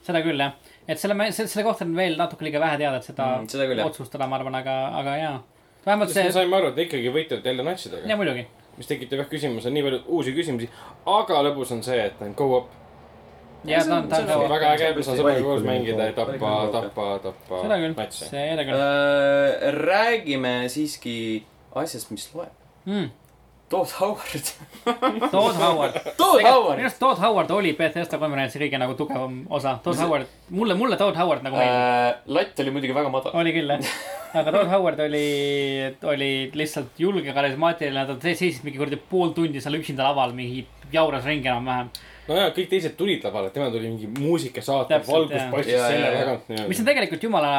Speaker 3: seda küll jah , et selle , selle kohta on veel natuke liiga vähe teada , et seda,
Speaker 1: Mm, seda küll, jah.
Speaker 3: otsustada , ma arvan , aga , aga jaa . vähemalt
Speaker 4: sest me
Speaker 3: see ,
Speaker 4: saime aru , et ikkagi võitlevad jälle natsidega ,
Speaker 3: ja muidugi ,
Speaker 4: mis tekitab jah küsimuse , nii palju uusi küsimusi , aga lõbus on see , et on go-up .
Speaker 3: ja ta on , ta
Speaker 4: see on
Speaker 3: on ka ,
Speaker 4: väga äge , sa saad
Speaker 2: Valikuline
Speaker 4: koos mängida ja tappa
Speaker 1: go-up, , jah.
Speaker 4: tappa , tappa
Speaker 3: seda küll ,
Speaker 4: natse .
Speaker 3: see ei ole küll
Speaker 1: Äh, räägime siiski asjast , mis loeb .
Speaker 3: mm. .
Speaker 1: Todd Howard .
Speaker 3: Todd Howard .
Speaker 1: Todd
Speaker 3: minu
Speaker 1: Howard .
Speaker 3: arust Todd Howard oli BTS-ta konverentsi kõige nagu tugevam osa , Todd Howard , mulle , mulle Todd Howard nagu meeldis .
Speaker 1: Äh, latt oli muidugi väga madal .
Speaker 3: oli küll jah , aga Todd Howard oli , oli lihtsalt julge , karismaatiline , ta seisis mingi kuradi pool tundi seal üksinda laval mingi jauras ringi enam-vähem .
Speaker 4: nojah , kõik teised tulid lavale , tema tuli mingi muusikasaate ,
Speaker 3: Täpselt,
Speaker 4: valgus
Speaker 3: jah.
Speaker 4: paistis
Speaker 1: Jaa,
Speaker 4: selle
Speaker 1: jaa, jaa.
Speaker 4: tagant
Speaker 3: mis on
Speaker 4: nii-öelda .
Speaker 3: tegelikult jumala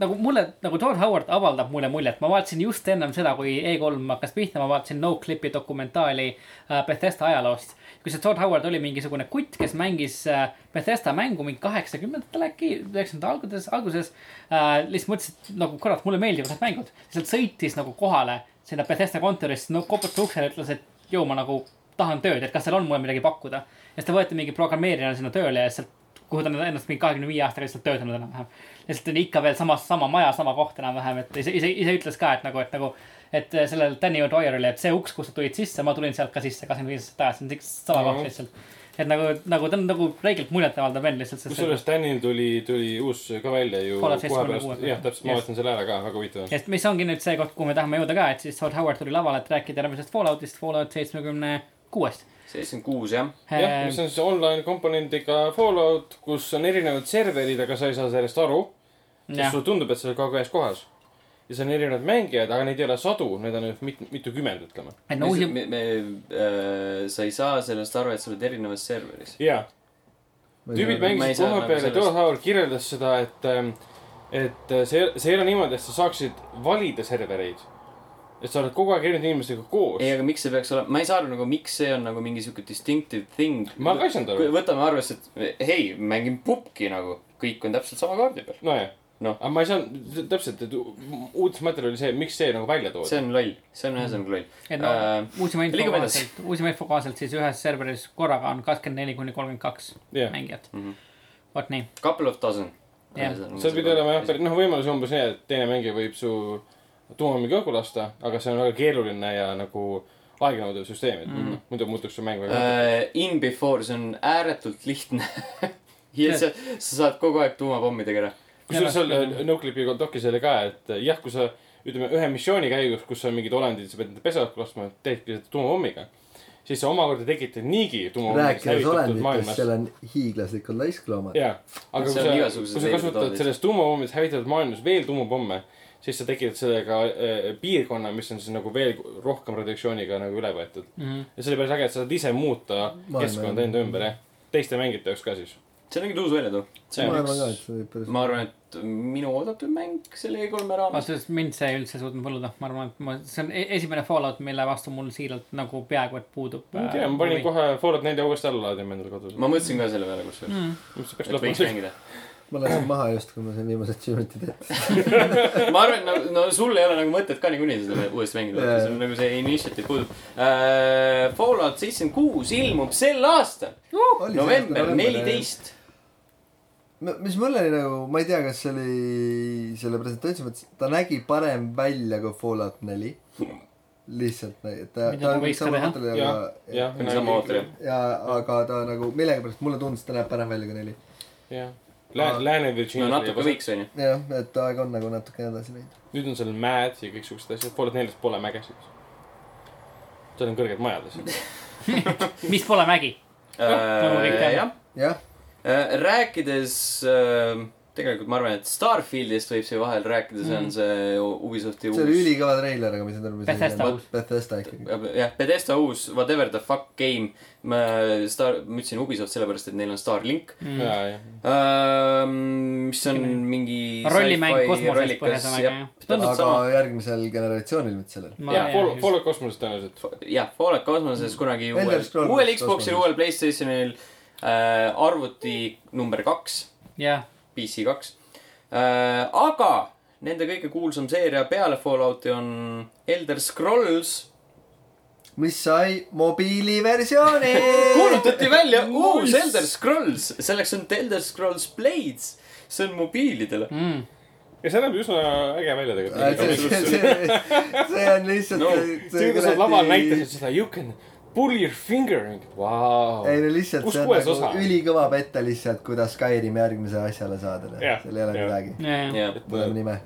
Speaker 3: nagu mulle , nagu Todd Howard avaldab mulle muljet , ma vaatasin just ennem seda , kui E3 hakkas pihta , ma vaatasin no-clip'i dokumentaali äh, Bethesda ajaloost . kus see Todd Howard oli mingisugune kutt , kes mängis äh, Bethesda mängu mingi kaheksakümnendatel äkki , üheksakümnendate alguses , alguses äh, . lihtsalt mõtles , et nagu kurat , mulle meeldivad need mängud . lihtsalt sõitis nagu kohale sinna Bethesda kontorisse , no koputas uksele , ütles , et joo , ma nagu tahan tööd , et kas seal on mulle midagi pakkuda . ja siis ta võeti mingi programmeerijana sinna tööle ja sealt kuhu ta on ennast mingi kahekümne viie aastaga lihtsalt töötanud enam-vähem . lihtsalt oli ikka veel samas , sama maja , sama koht enam-vähem , et ise , ise , ise ütles ka , et nagu , et nagu , et sellel Danny O'Dwyer'il , et see uks , kust sa tulid sisse , ma tulin sealt ka sisse kakskümmend viis aastat tagasi , see on ikka sama koht lihtsalt . et nagu , nagu ta on nagu räigelt muljetavaldav veel lihtsalt .
Speaker 4: kusjuures Danil tuli , tuli uus ka välja ju .
Speaker 3: Fallout 76 peal.
Speaker 4: jah , täpselt , ma
Speaker 3: Just.
Speaker 4: vaatasin selle ära ka , väga huvitav on .
Speaker 3: ja mis ongi nüüd see koht , kuhu me tahame jõuda ka , et siis Todd Howard tuli lavale , et rääkida järgmisest Falloutist , Fallout seitsmekümne kuuest . Ehm,
Speaker 1: seitsekümmend kuus , jah .
Speaker 4: jah , mis on siis online komponendiga Fallout , kus on erinevad serverid , aga sa ei saa sellest aru . sest sulle tundub , et sa oled kogu aeg ühes kohas . ja seal on erinevad mängijad , aga neid ei ole sadu , neid on nüüd mit- , mitukümmend , ütleme .
Speaker 3: et no
Speaker 1: me ,
Speaker 3: uusi ,
Speaker 1: me, me , äh, sa ei saa sellest aru , et sa oled erinevas serveris .
Speaker 4: jaa , tüübid
Speaker 1: ma ei
Speaker 4: mängisid
Speaker 1: saa
Speaker 4: koha
Speaker 1: nagu
Speaker 4: peal ja
Speaker 1: sellest-
Speaker 4: Todd Howard kirjeldas seda , et , et see , see ei ole niimoodi , et sa saaksid valida servereid . et sa oled kogu aeg erinevate inimestega koos
Speaker 1: ei , aga miks see peaks olema , ma ei saa aru nagu , miks see on nagu mingi sihuke distinctive thing .
Speaker 4: Ma ka ei saanud aru.
Speaker 1: võtame arvesse , et hei , mängin pubki nagu , kõik on täpselt sama kaardi peal .
Speaker 4: nojah no.
Speaker 1: Noh. ,
Speaker 4: aga ma ei saanud t- täpselt , et u- uudismaterjal oli see , miks see nagu välja toodi .
Speaker 1: see on loll , see on ühesõnaga loll .
Speaker 3: et no
Speaker 1: Äh,
Speaker 3: uusima info
Speaker 1: liigume edasi.
Speaker 3: kohaselt , uusima info kohaselt siis ühes serveris korraga on kakskümmend neli kuni kolmkümmend kaks
Speaker 4: jah , Mhm.
Speaker 3: mängijat . vot nii ,
Speaker 1: Couple of dozen .
Speaker 3: Jah.
Speaker 4: seal pidi olema jah , noh , võimalus on umbes nii , et teine mängija võib su tuumammingi õhku lasta , aga see on väga keeruline ja nagu aeganõudev süsteem , et mm. muidu muutuks su mäng väga äh, .
Speaker 1: uh, . In before , see on ääretult lihtne . ja sa , sa saad kogu aeg tuumapommidega ära .
Speaker 4: kusjuures seal
Speaker 3: jah.
Speaker 4: äh, Noclipi dokis oli ka , et äh, jah , kui sa ütleme ühe missiooni käigus , kus on mingid olendid , sa pead nende pesa õhku laskma , teedki seda tuumapommiga . siis sa omakorda tekitad niigi tuumapommist
Speaker 2: rääkides
Speaker 4: hävitatud
Speaker 2: olenditest ,
Speaker 4: maailmas
Speaker 2: seal on hiiglaslikud laiskloomad .
Speaker 4: jaa , aga kui
Speaker 1: Seal
Speaker 4: sa
Speaker 1: on , igasugused
Speaker 4: kui sa kasutad
Speaker 1: veidritoodid.
Speaker 4: selles tuumapommist hävitatud maailmas veel tuumapomme , siis sa tekitad sellega äh, piirkonna , mis on siis nagu veel rohkem radiatsiooniga nagu üle võetud mm .
Speaker 1: Mhm.
Speaker 4: -hmm. ja see oli päris äge , et sa saad ise muuta
Speaker 2: Maailma
Speaker 4: keskkonda enda ümber , jah . teiste mängijate jaoks ka siis .
Speaker 1: see on nagu mingi uus väljatoo .
Speaker 4: see
Speaker 2: ma
Speaker 4: on
Speaker 2: arvan ka ,
Speaker 4: üks
Speaker 2: et , see võib päris .
Speaker 1: ma arvan , et minu oodatud mäng selle E3-e raames .
Speaker 3: ausalt öeldes mind see üldse ei suutnud võluda , ma arvan , et ma , see on e- esimene Fallout , mille vastu mul siiralt nagu peaaegu et puudub . äh,
Speaker 4: ma ei tea , ma panin . kohe Fallout nelja uuesti alla laadima endale kodus .
Speaker 1: ma mõtlesin ka selle peale kusjuures mm. ,
Speaker 4: mis see peaks
Speaker 1: et võiks
Speaker 4: lõpema .
Speaker 1: mängida .
Speaker 2: ma lasin maha just , kui ma sain viimase achievement'i tehtud .
Speaker 1: ma arvan , no , no sul ei ole nagu mõtet ka niikuinii seda uuesti mängida yeah. ,
Speaker 2: Jaa.
Speaker 1: see on nagu see initiative puudub uh, . Fallout seitsekümmend kuus ilmub sel aastal ,
Speaker 4: Oh,
Speaker 1: november neliteist .
Speaker 2: no mis mul oli nagu , ma ei tea , kas see oli selle presentatsiooni mõttes , ta nägi parem välja kui Fallout neli . lihtsalt , et ta ,
Speaker 3: Mida
Speaker 2: ta
Speaker 3: ta
Speaker 2: on
Speaker 3: võiks ka
Speaker 2: sama
Speaker 3: teha.
Speaker 2: hotell , aga
Speaker 4: jah ,
Speaker 2: ja,
Speaker 4: jah .
Speaker 1: Sama ootel, jah.
Speaker 2: ja , aga ta nagu millegipärast mulle tundus , et ta näeb parem välja kui neli .
Speaker 4: jah . Lääne , Lääne
Speaker 1: no
Speaker 4: Virginia .
Speaker 1: natuke . võiks , onju .
Speaker 2: jah , et aeg on nagu natuke edasi läinud .
Speaker 4: nüüd on seal mäed ja kõiksugused asjad . Fallout neljas pole mägesid . seal on kõrged majad ja asjad .
Speaker 3: mis pole mägi . nagu kõik teame.
Speaker 1: jah ,
Speaker 2: jah ,
Speaker 1: Äh, rääkides äh, , tegelikult ma arvan , et Starfieldist võib siin vahel rääkida , see on see Ubisofti
Speaker 2: Mm. see oli
Speaker 1: uus .
Speaker 2: ülikõva treiler , aga mis see tuleb .
Speaker 3: Bethesda uus.
Speaker 2: Bethesda ikkagi .
Speaker 1: jah , Pedesta uus Whatever the fuck game . ma , Star , ma ütlesin Ubisoft sellepärast , et neil on Starlink
Speaker 4: ja , jah .
Speaker 1: ähm, . mis on
Speaker 3: Sihuke
Speaker 1: mingi .
Speaker 3: rollimäng kosmoses põhjusõnaga, jah.
Speaker 1: täpselt
Speaker 2: aga
Speaker 1: sama .
Speaker 2: järgmisel generatsioonil nüüd sellel .
Speaker 4: jaa , Fallout , Fallout kosmoses tõenäoliselt .
Speaker 1: jah , Fallout kosmoses kunagi
Speaker 2: Elder
Speaker 1: uuel ,
Speaker 2: Scrolls
Speaker 1: uuel Xboxil ,
Speaker 2: kosmoses.
Speaker 1: uuel Playstationil äh, arvuti number kaks
Speaker 3: jah ,
Speaker 1: PC kaks äh, . aga nende kõige kuulsam seeria peale Fallouti on Elder Scrolls .
Speaker 2: mis sai mobiiliversiooni
Speaker 1: kuulutati välja uus Elder Scrolls , selleks on Elder Scrolls Blades , see on mobiilidele .
Speaker 3: Mm.
Speaker 4: ja see näeb üsna äge välja
Speaker 2: Äh, see , see ,
Speaker 4: tegelikult .
Speaker 2: see , see on lihtsalt
Speaker 1: No,
Speaker 4: see , kuidas nad laval näitasid seda you can pull your finger and vau .
Speaker 2: ei no lihtsalt
Speaker 4: kus
Speaker 2: see on
Speaker 4: kuues
Speaker 2: nagu
Speaker 4: osa ?
Speaker 2: ülikõva petta lihtsalt , kuidas Skyrim järgmise asjale saada .
Speaker 4: Jah,
Speaker 2: seal ei ole
Speaker 4: jah.
Speaker 2: midagi .
Speaker 3: jah ,
Speaker 1: jah ,
Speaker 2: võtame nime .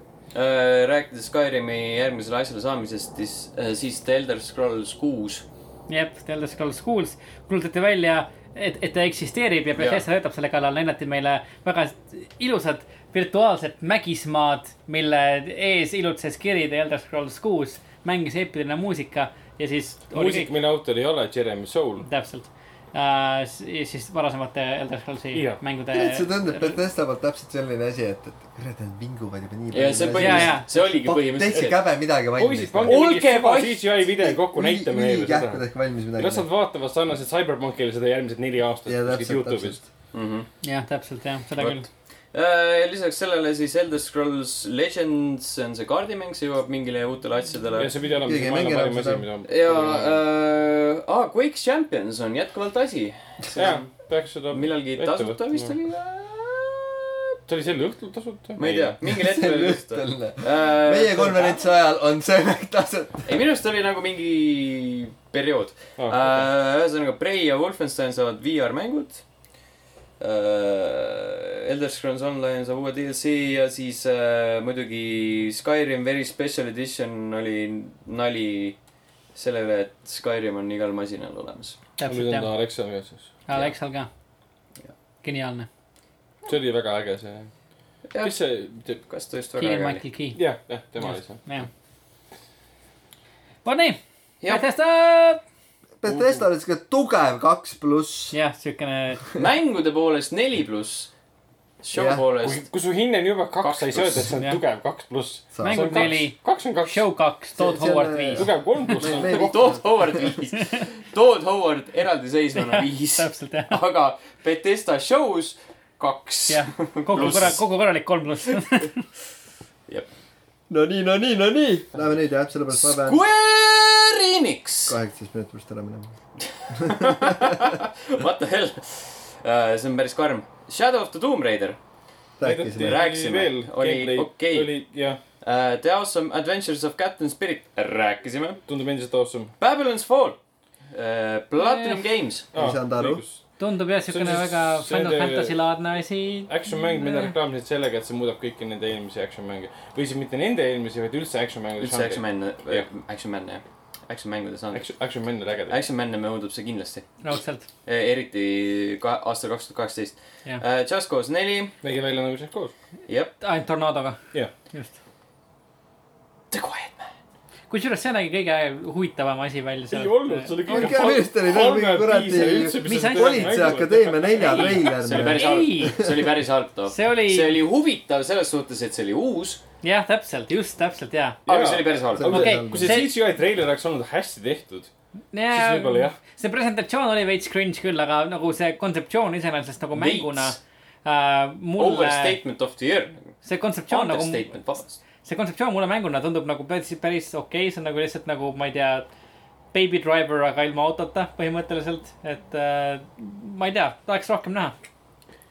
Speaker 1: rääkides Äh, Skyrimi järgmisele asjale saamisest , siis , siis The Elder Scrolls kuus .
Speaker 3: jep , The Elder Scrolls Schools kuulutati välja , et , et ta eksisteerib ja Bethesda töötab selle kallal , näidati meile väga ilusad virtuaalsed mägismaad , mille ees ilutses kiri The Elder Scrolls kuus , mängis eepiline muusika ja siis .
Speaker 4: muusik , mille autor ei ole Jeremy Soul .
Speaker 3: täpselt uh, , siis varasemate Elder Scrollsi
Speaker 4: Jah.
Speaker 3: mängude .
Speaker 2: tegelikult see tundub Bethesda poolt täpselt selline asi , et , et kurat , nad vinguvad juba nii
Speaker 1: ja see
Speaker 3: Jaa,
Speaker 1: põhimõtteliselt
Speaker 3: jaa. ,
Speaker 1: see oligi
Speaker 2: täitsa
Speaker 1: põhimõtteliselt .
Speaker 2: käbe midagi
Speaker 4: poisid ,
Speaker 2: valmis . nagu
Speaker 4: pange mingi
Speaker 1: Olge
Speaker 4: suva
Speaker 1: vait!
Speaker 4: CGI video kokku , näitame neile seda .
Speaker 2: kähkudega valmis
Speaker 4: las nad
Speaker 2: midagi .
Speaker 4: vaatavad sarnaselt Cyberpunkile seda järgmised neli aastat
Speaker 2: ja
Speaker 4: kuskilt
Speaker 2: täpselt ,
Speaker 4: Youtube'ist
Speaker 2: täpselt ..
Speaker 3: jah , täpselt jah , seda
Speaker 1: Vot.
Speaker 3: küll .
Speaker 1: Äh, lisaks sellele siis Elder Scrolls Legends , see on see kaardimäng , see jõuab mingile uutele asjadele
Speaker 4: ja . see pidi olema
Speaker 2: Keegi
Speaker 4: see
Speaker 2: ei
Speaker 4: maailma
Speaker 2: mängi
Speaker 4: parim
Speaker 2: enam
Speaker 4: asi ,
Speaker 2: seda.
Speaker 4: mida .
Speaker 1: ja äh, ah, , Quake Champions on jätkuvalt asi .
Speaker 4: jaa , peaks seda .
Speaker 1: millalgi tasuta vist oli .
Speaker 4: see oli sel õhtul tasuta ?
Speaker 1: äh, ma ei tea , mingil hetkel oli just .
Speaker 2: meie
Speaker 1: meie
Speaker 2: konverentsi ajal on see mäng tasuta .
Speaker 1: ei , minu arust oli nagu mingi periood
Speaker 4: Ah,
Speaker 1: oh, .
Speaker 4: okei.
Speaker 1: Okay. ühesõnaga , Prey ja Wolfenstein saavad VR-mängud . Äh, Elder Scrolls Online saab uue DLC ja siis äh, muidugi Skyrim Very Special Edition oli nali selle üle , et Skyrim on igal masinal olemas .
Speaker 3: täpselt
Speaker 4: nüüd on
Speaker 3: jah ,
Speaker 4: ta Alexa versus .
Speaker 3: Alexal ka . geniaalne ,
Speaker 4: see oli väga äge see .
Speaker 1: Jah.
Speaker 4: kes see teeb ?
Speaker 1: kas ta just väga
Speaker 3: Keegan
Speaker 1: äge oli ?
Speaker 3: Michael Key ,
Speaker 4: jah , jah , tema oli see .
Speaker 3: jah . vot nii ,
Speaker 1: Jah.
Speaker 3: Bethesda ,
Speaker 2: Bethesda oli siuke tugev kaks pluss .
Speaker 3: jah , siukene ,
Speaker 1: mängude poolest neli pluss , show
Speaker 2: Jah.
Speaker 1: poolest
Speaker 4: kui su hinne on juba kaks ,
Speaker 1: Kaks
Speaker 4: sa ei saa öelda , et see on
Speaker 3: pluss.
Speaker 4: tugev kaks pluss .
Speaker 3: Mäng- Mängud neli.
Speaker 4: kaks on kaks .
Speaker 3: show kaks , Todd
Speaker 2: See- see on-
Speaker 3: Howard viis .
Speaker 4: tugev kolm pluss
Speaker 2: Me-
Speaker 4: on
Speaker 2: me-
Speaker 4: koht-
Speaker 1: Todd Howard viis , Todd Howard eraldiseisvana viis ,
Speaker 3: täpselt jah ,
Speaker 1: aga Betesta shows kaks .
Speaker 3: jah , kogu
Speaker 1: Pluss.
Speaker 3: korra , kogu korralik kolm pluss .
Speaker 2: no nii , no nii , no nii . Läheme nüüd jah , sellepärast ma pean
Speaker 1: Square Enix ,
Speaker 2: kaheksateist minuti pärast ära minema .
Speaker 1: what the hell , see on päris karm . Shadow of the Tomb Raider ,
Speaker 4: näidati
Speaker 2: rääkisime .
Speaker 1: Rääkisime.
Speaker 4: veel
Speaker 1: Oli
Speaker 4: gameplay'd.
Speaker 1: okei.
Speaker 4: oli jah ,
Speaker 1: Äh, The Awesome Adventures of Captain Spirit , rääkisime .
Speaker 4: tundub endiselt awesome .
Speaker 1: Babylon's Fall , Platinum Games ,
Speaker 2: Ei saanud aru. .
Speaker 3: tundub jah ,
Speaker 4: See on
Speaker 3: siukene
Speaker 4: siis
Speaker 3: väga
Speaker 4: see-
Speaker 3: Final Fantasy laadne asi .
Speaker 4: action mäng , mida reklaamisid sellega , et see muudab kõiki nende eelmisi action mänge või siis mitte nende eelmisi , vaid üldse action mängude
Speaker 1: üldse Action . Man ,
Speaker 4: Jah.
Speaker 1: Action Man jah , Action mängude saanud .
Speaker 4: Action , action mäng on äge .
Speaker 1: Action Man muudab see kindlasti ,
Speaker 3: raudselt ,
Speaker 1: eriti ka aastal kaks tuhat kaheksateist .
Speaker 3: jah ,
Speaker 1: Just Cause neli ,
Speaker 4: nägi välja nagu see koos .
Speaker 1: jah .
Speaker 3: ainult tornadoga ,
Speaker 4: jah ,
Speaker 3: just .
Speaker 1: The Quiet Man .
Speaker 3: kusjuures see nägi kõige huvitavam asi välja
Speaker 4: ei
Speaker 3: seal .
Speaker 4: olnud , see oli
Speaker 2: Oli
Speaker 4: kõige
Speaker 2: ka vist oli veel mingi kuradi-
Speaker 3: Mis asi?
Speaker 2: politseiakadeemia nelja
Speaker 1: see oli
Speaker 2: treiler .
Speaker 1: päris halb
Speaker 3: Ei. ,
Speaker 1: see oli päris halb too .
Speaker 3: see oli ,
Speaker 1: see oli huvitav selles suhtes , et see oli uus ,
Speaker 3: jah , täpselt , just täpselt ja .
Speaker 1: aga see oli päris halb .
Speaker 2: Aga-
Speaker 3: okei ,
Speaker 4: kui see CGI treiler oleks olnud hästi tehtud , siis võib-olla
Speaker 3: see
Speaker 4: jah .,
Speaker 3: see presentatsioon oli veits cringe küll , aga nagu see kontseptsioon iseenesest nagu mänguna
Speaker 1: Veits.
Speaker 3: äh, mulle ,
Speaker 1: Overstatement of the year .
Speaker 3: see kontseptsioon nagu ,
Speaker 1: Understatement , vabandust .
Speaker 3: see kontseptsioon mulle mänguna tundub nagu päris , päris okei okay. , see on nagu lihtsalt nagu , ma ei tea , Baby Driver , aga ilma autota põhimõtteliselt , et äh, ma ei tea , tahaks rohkem näha .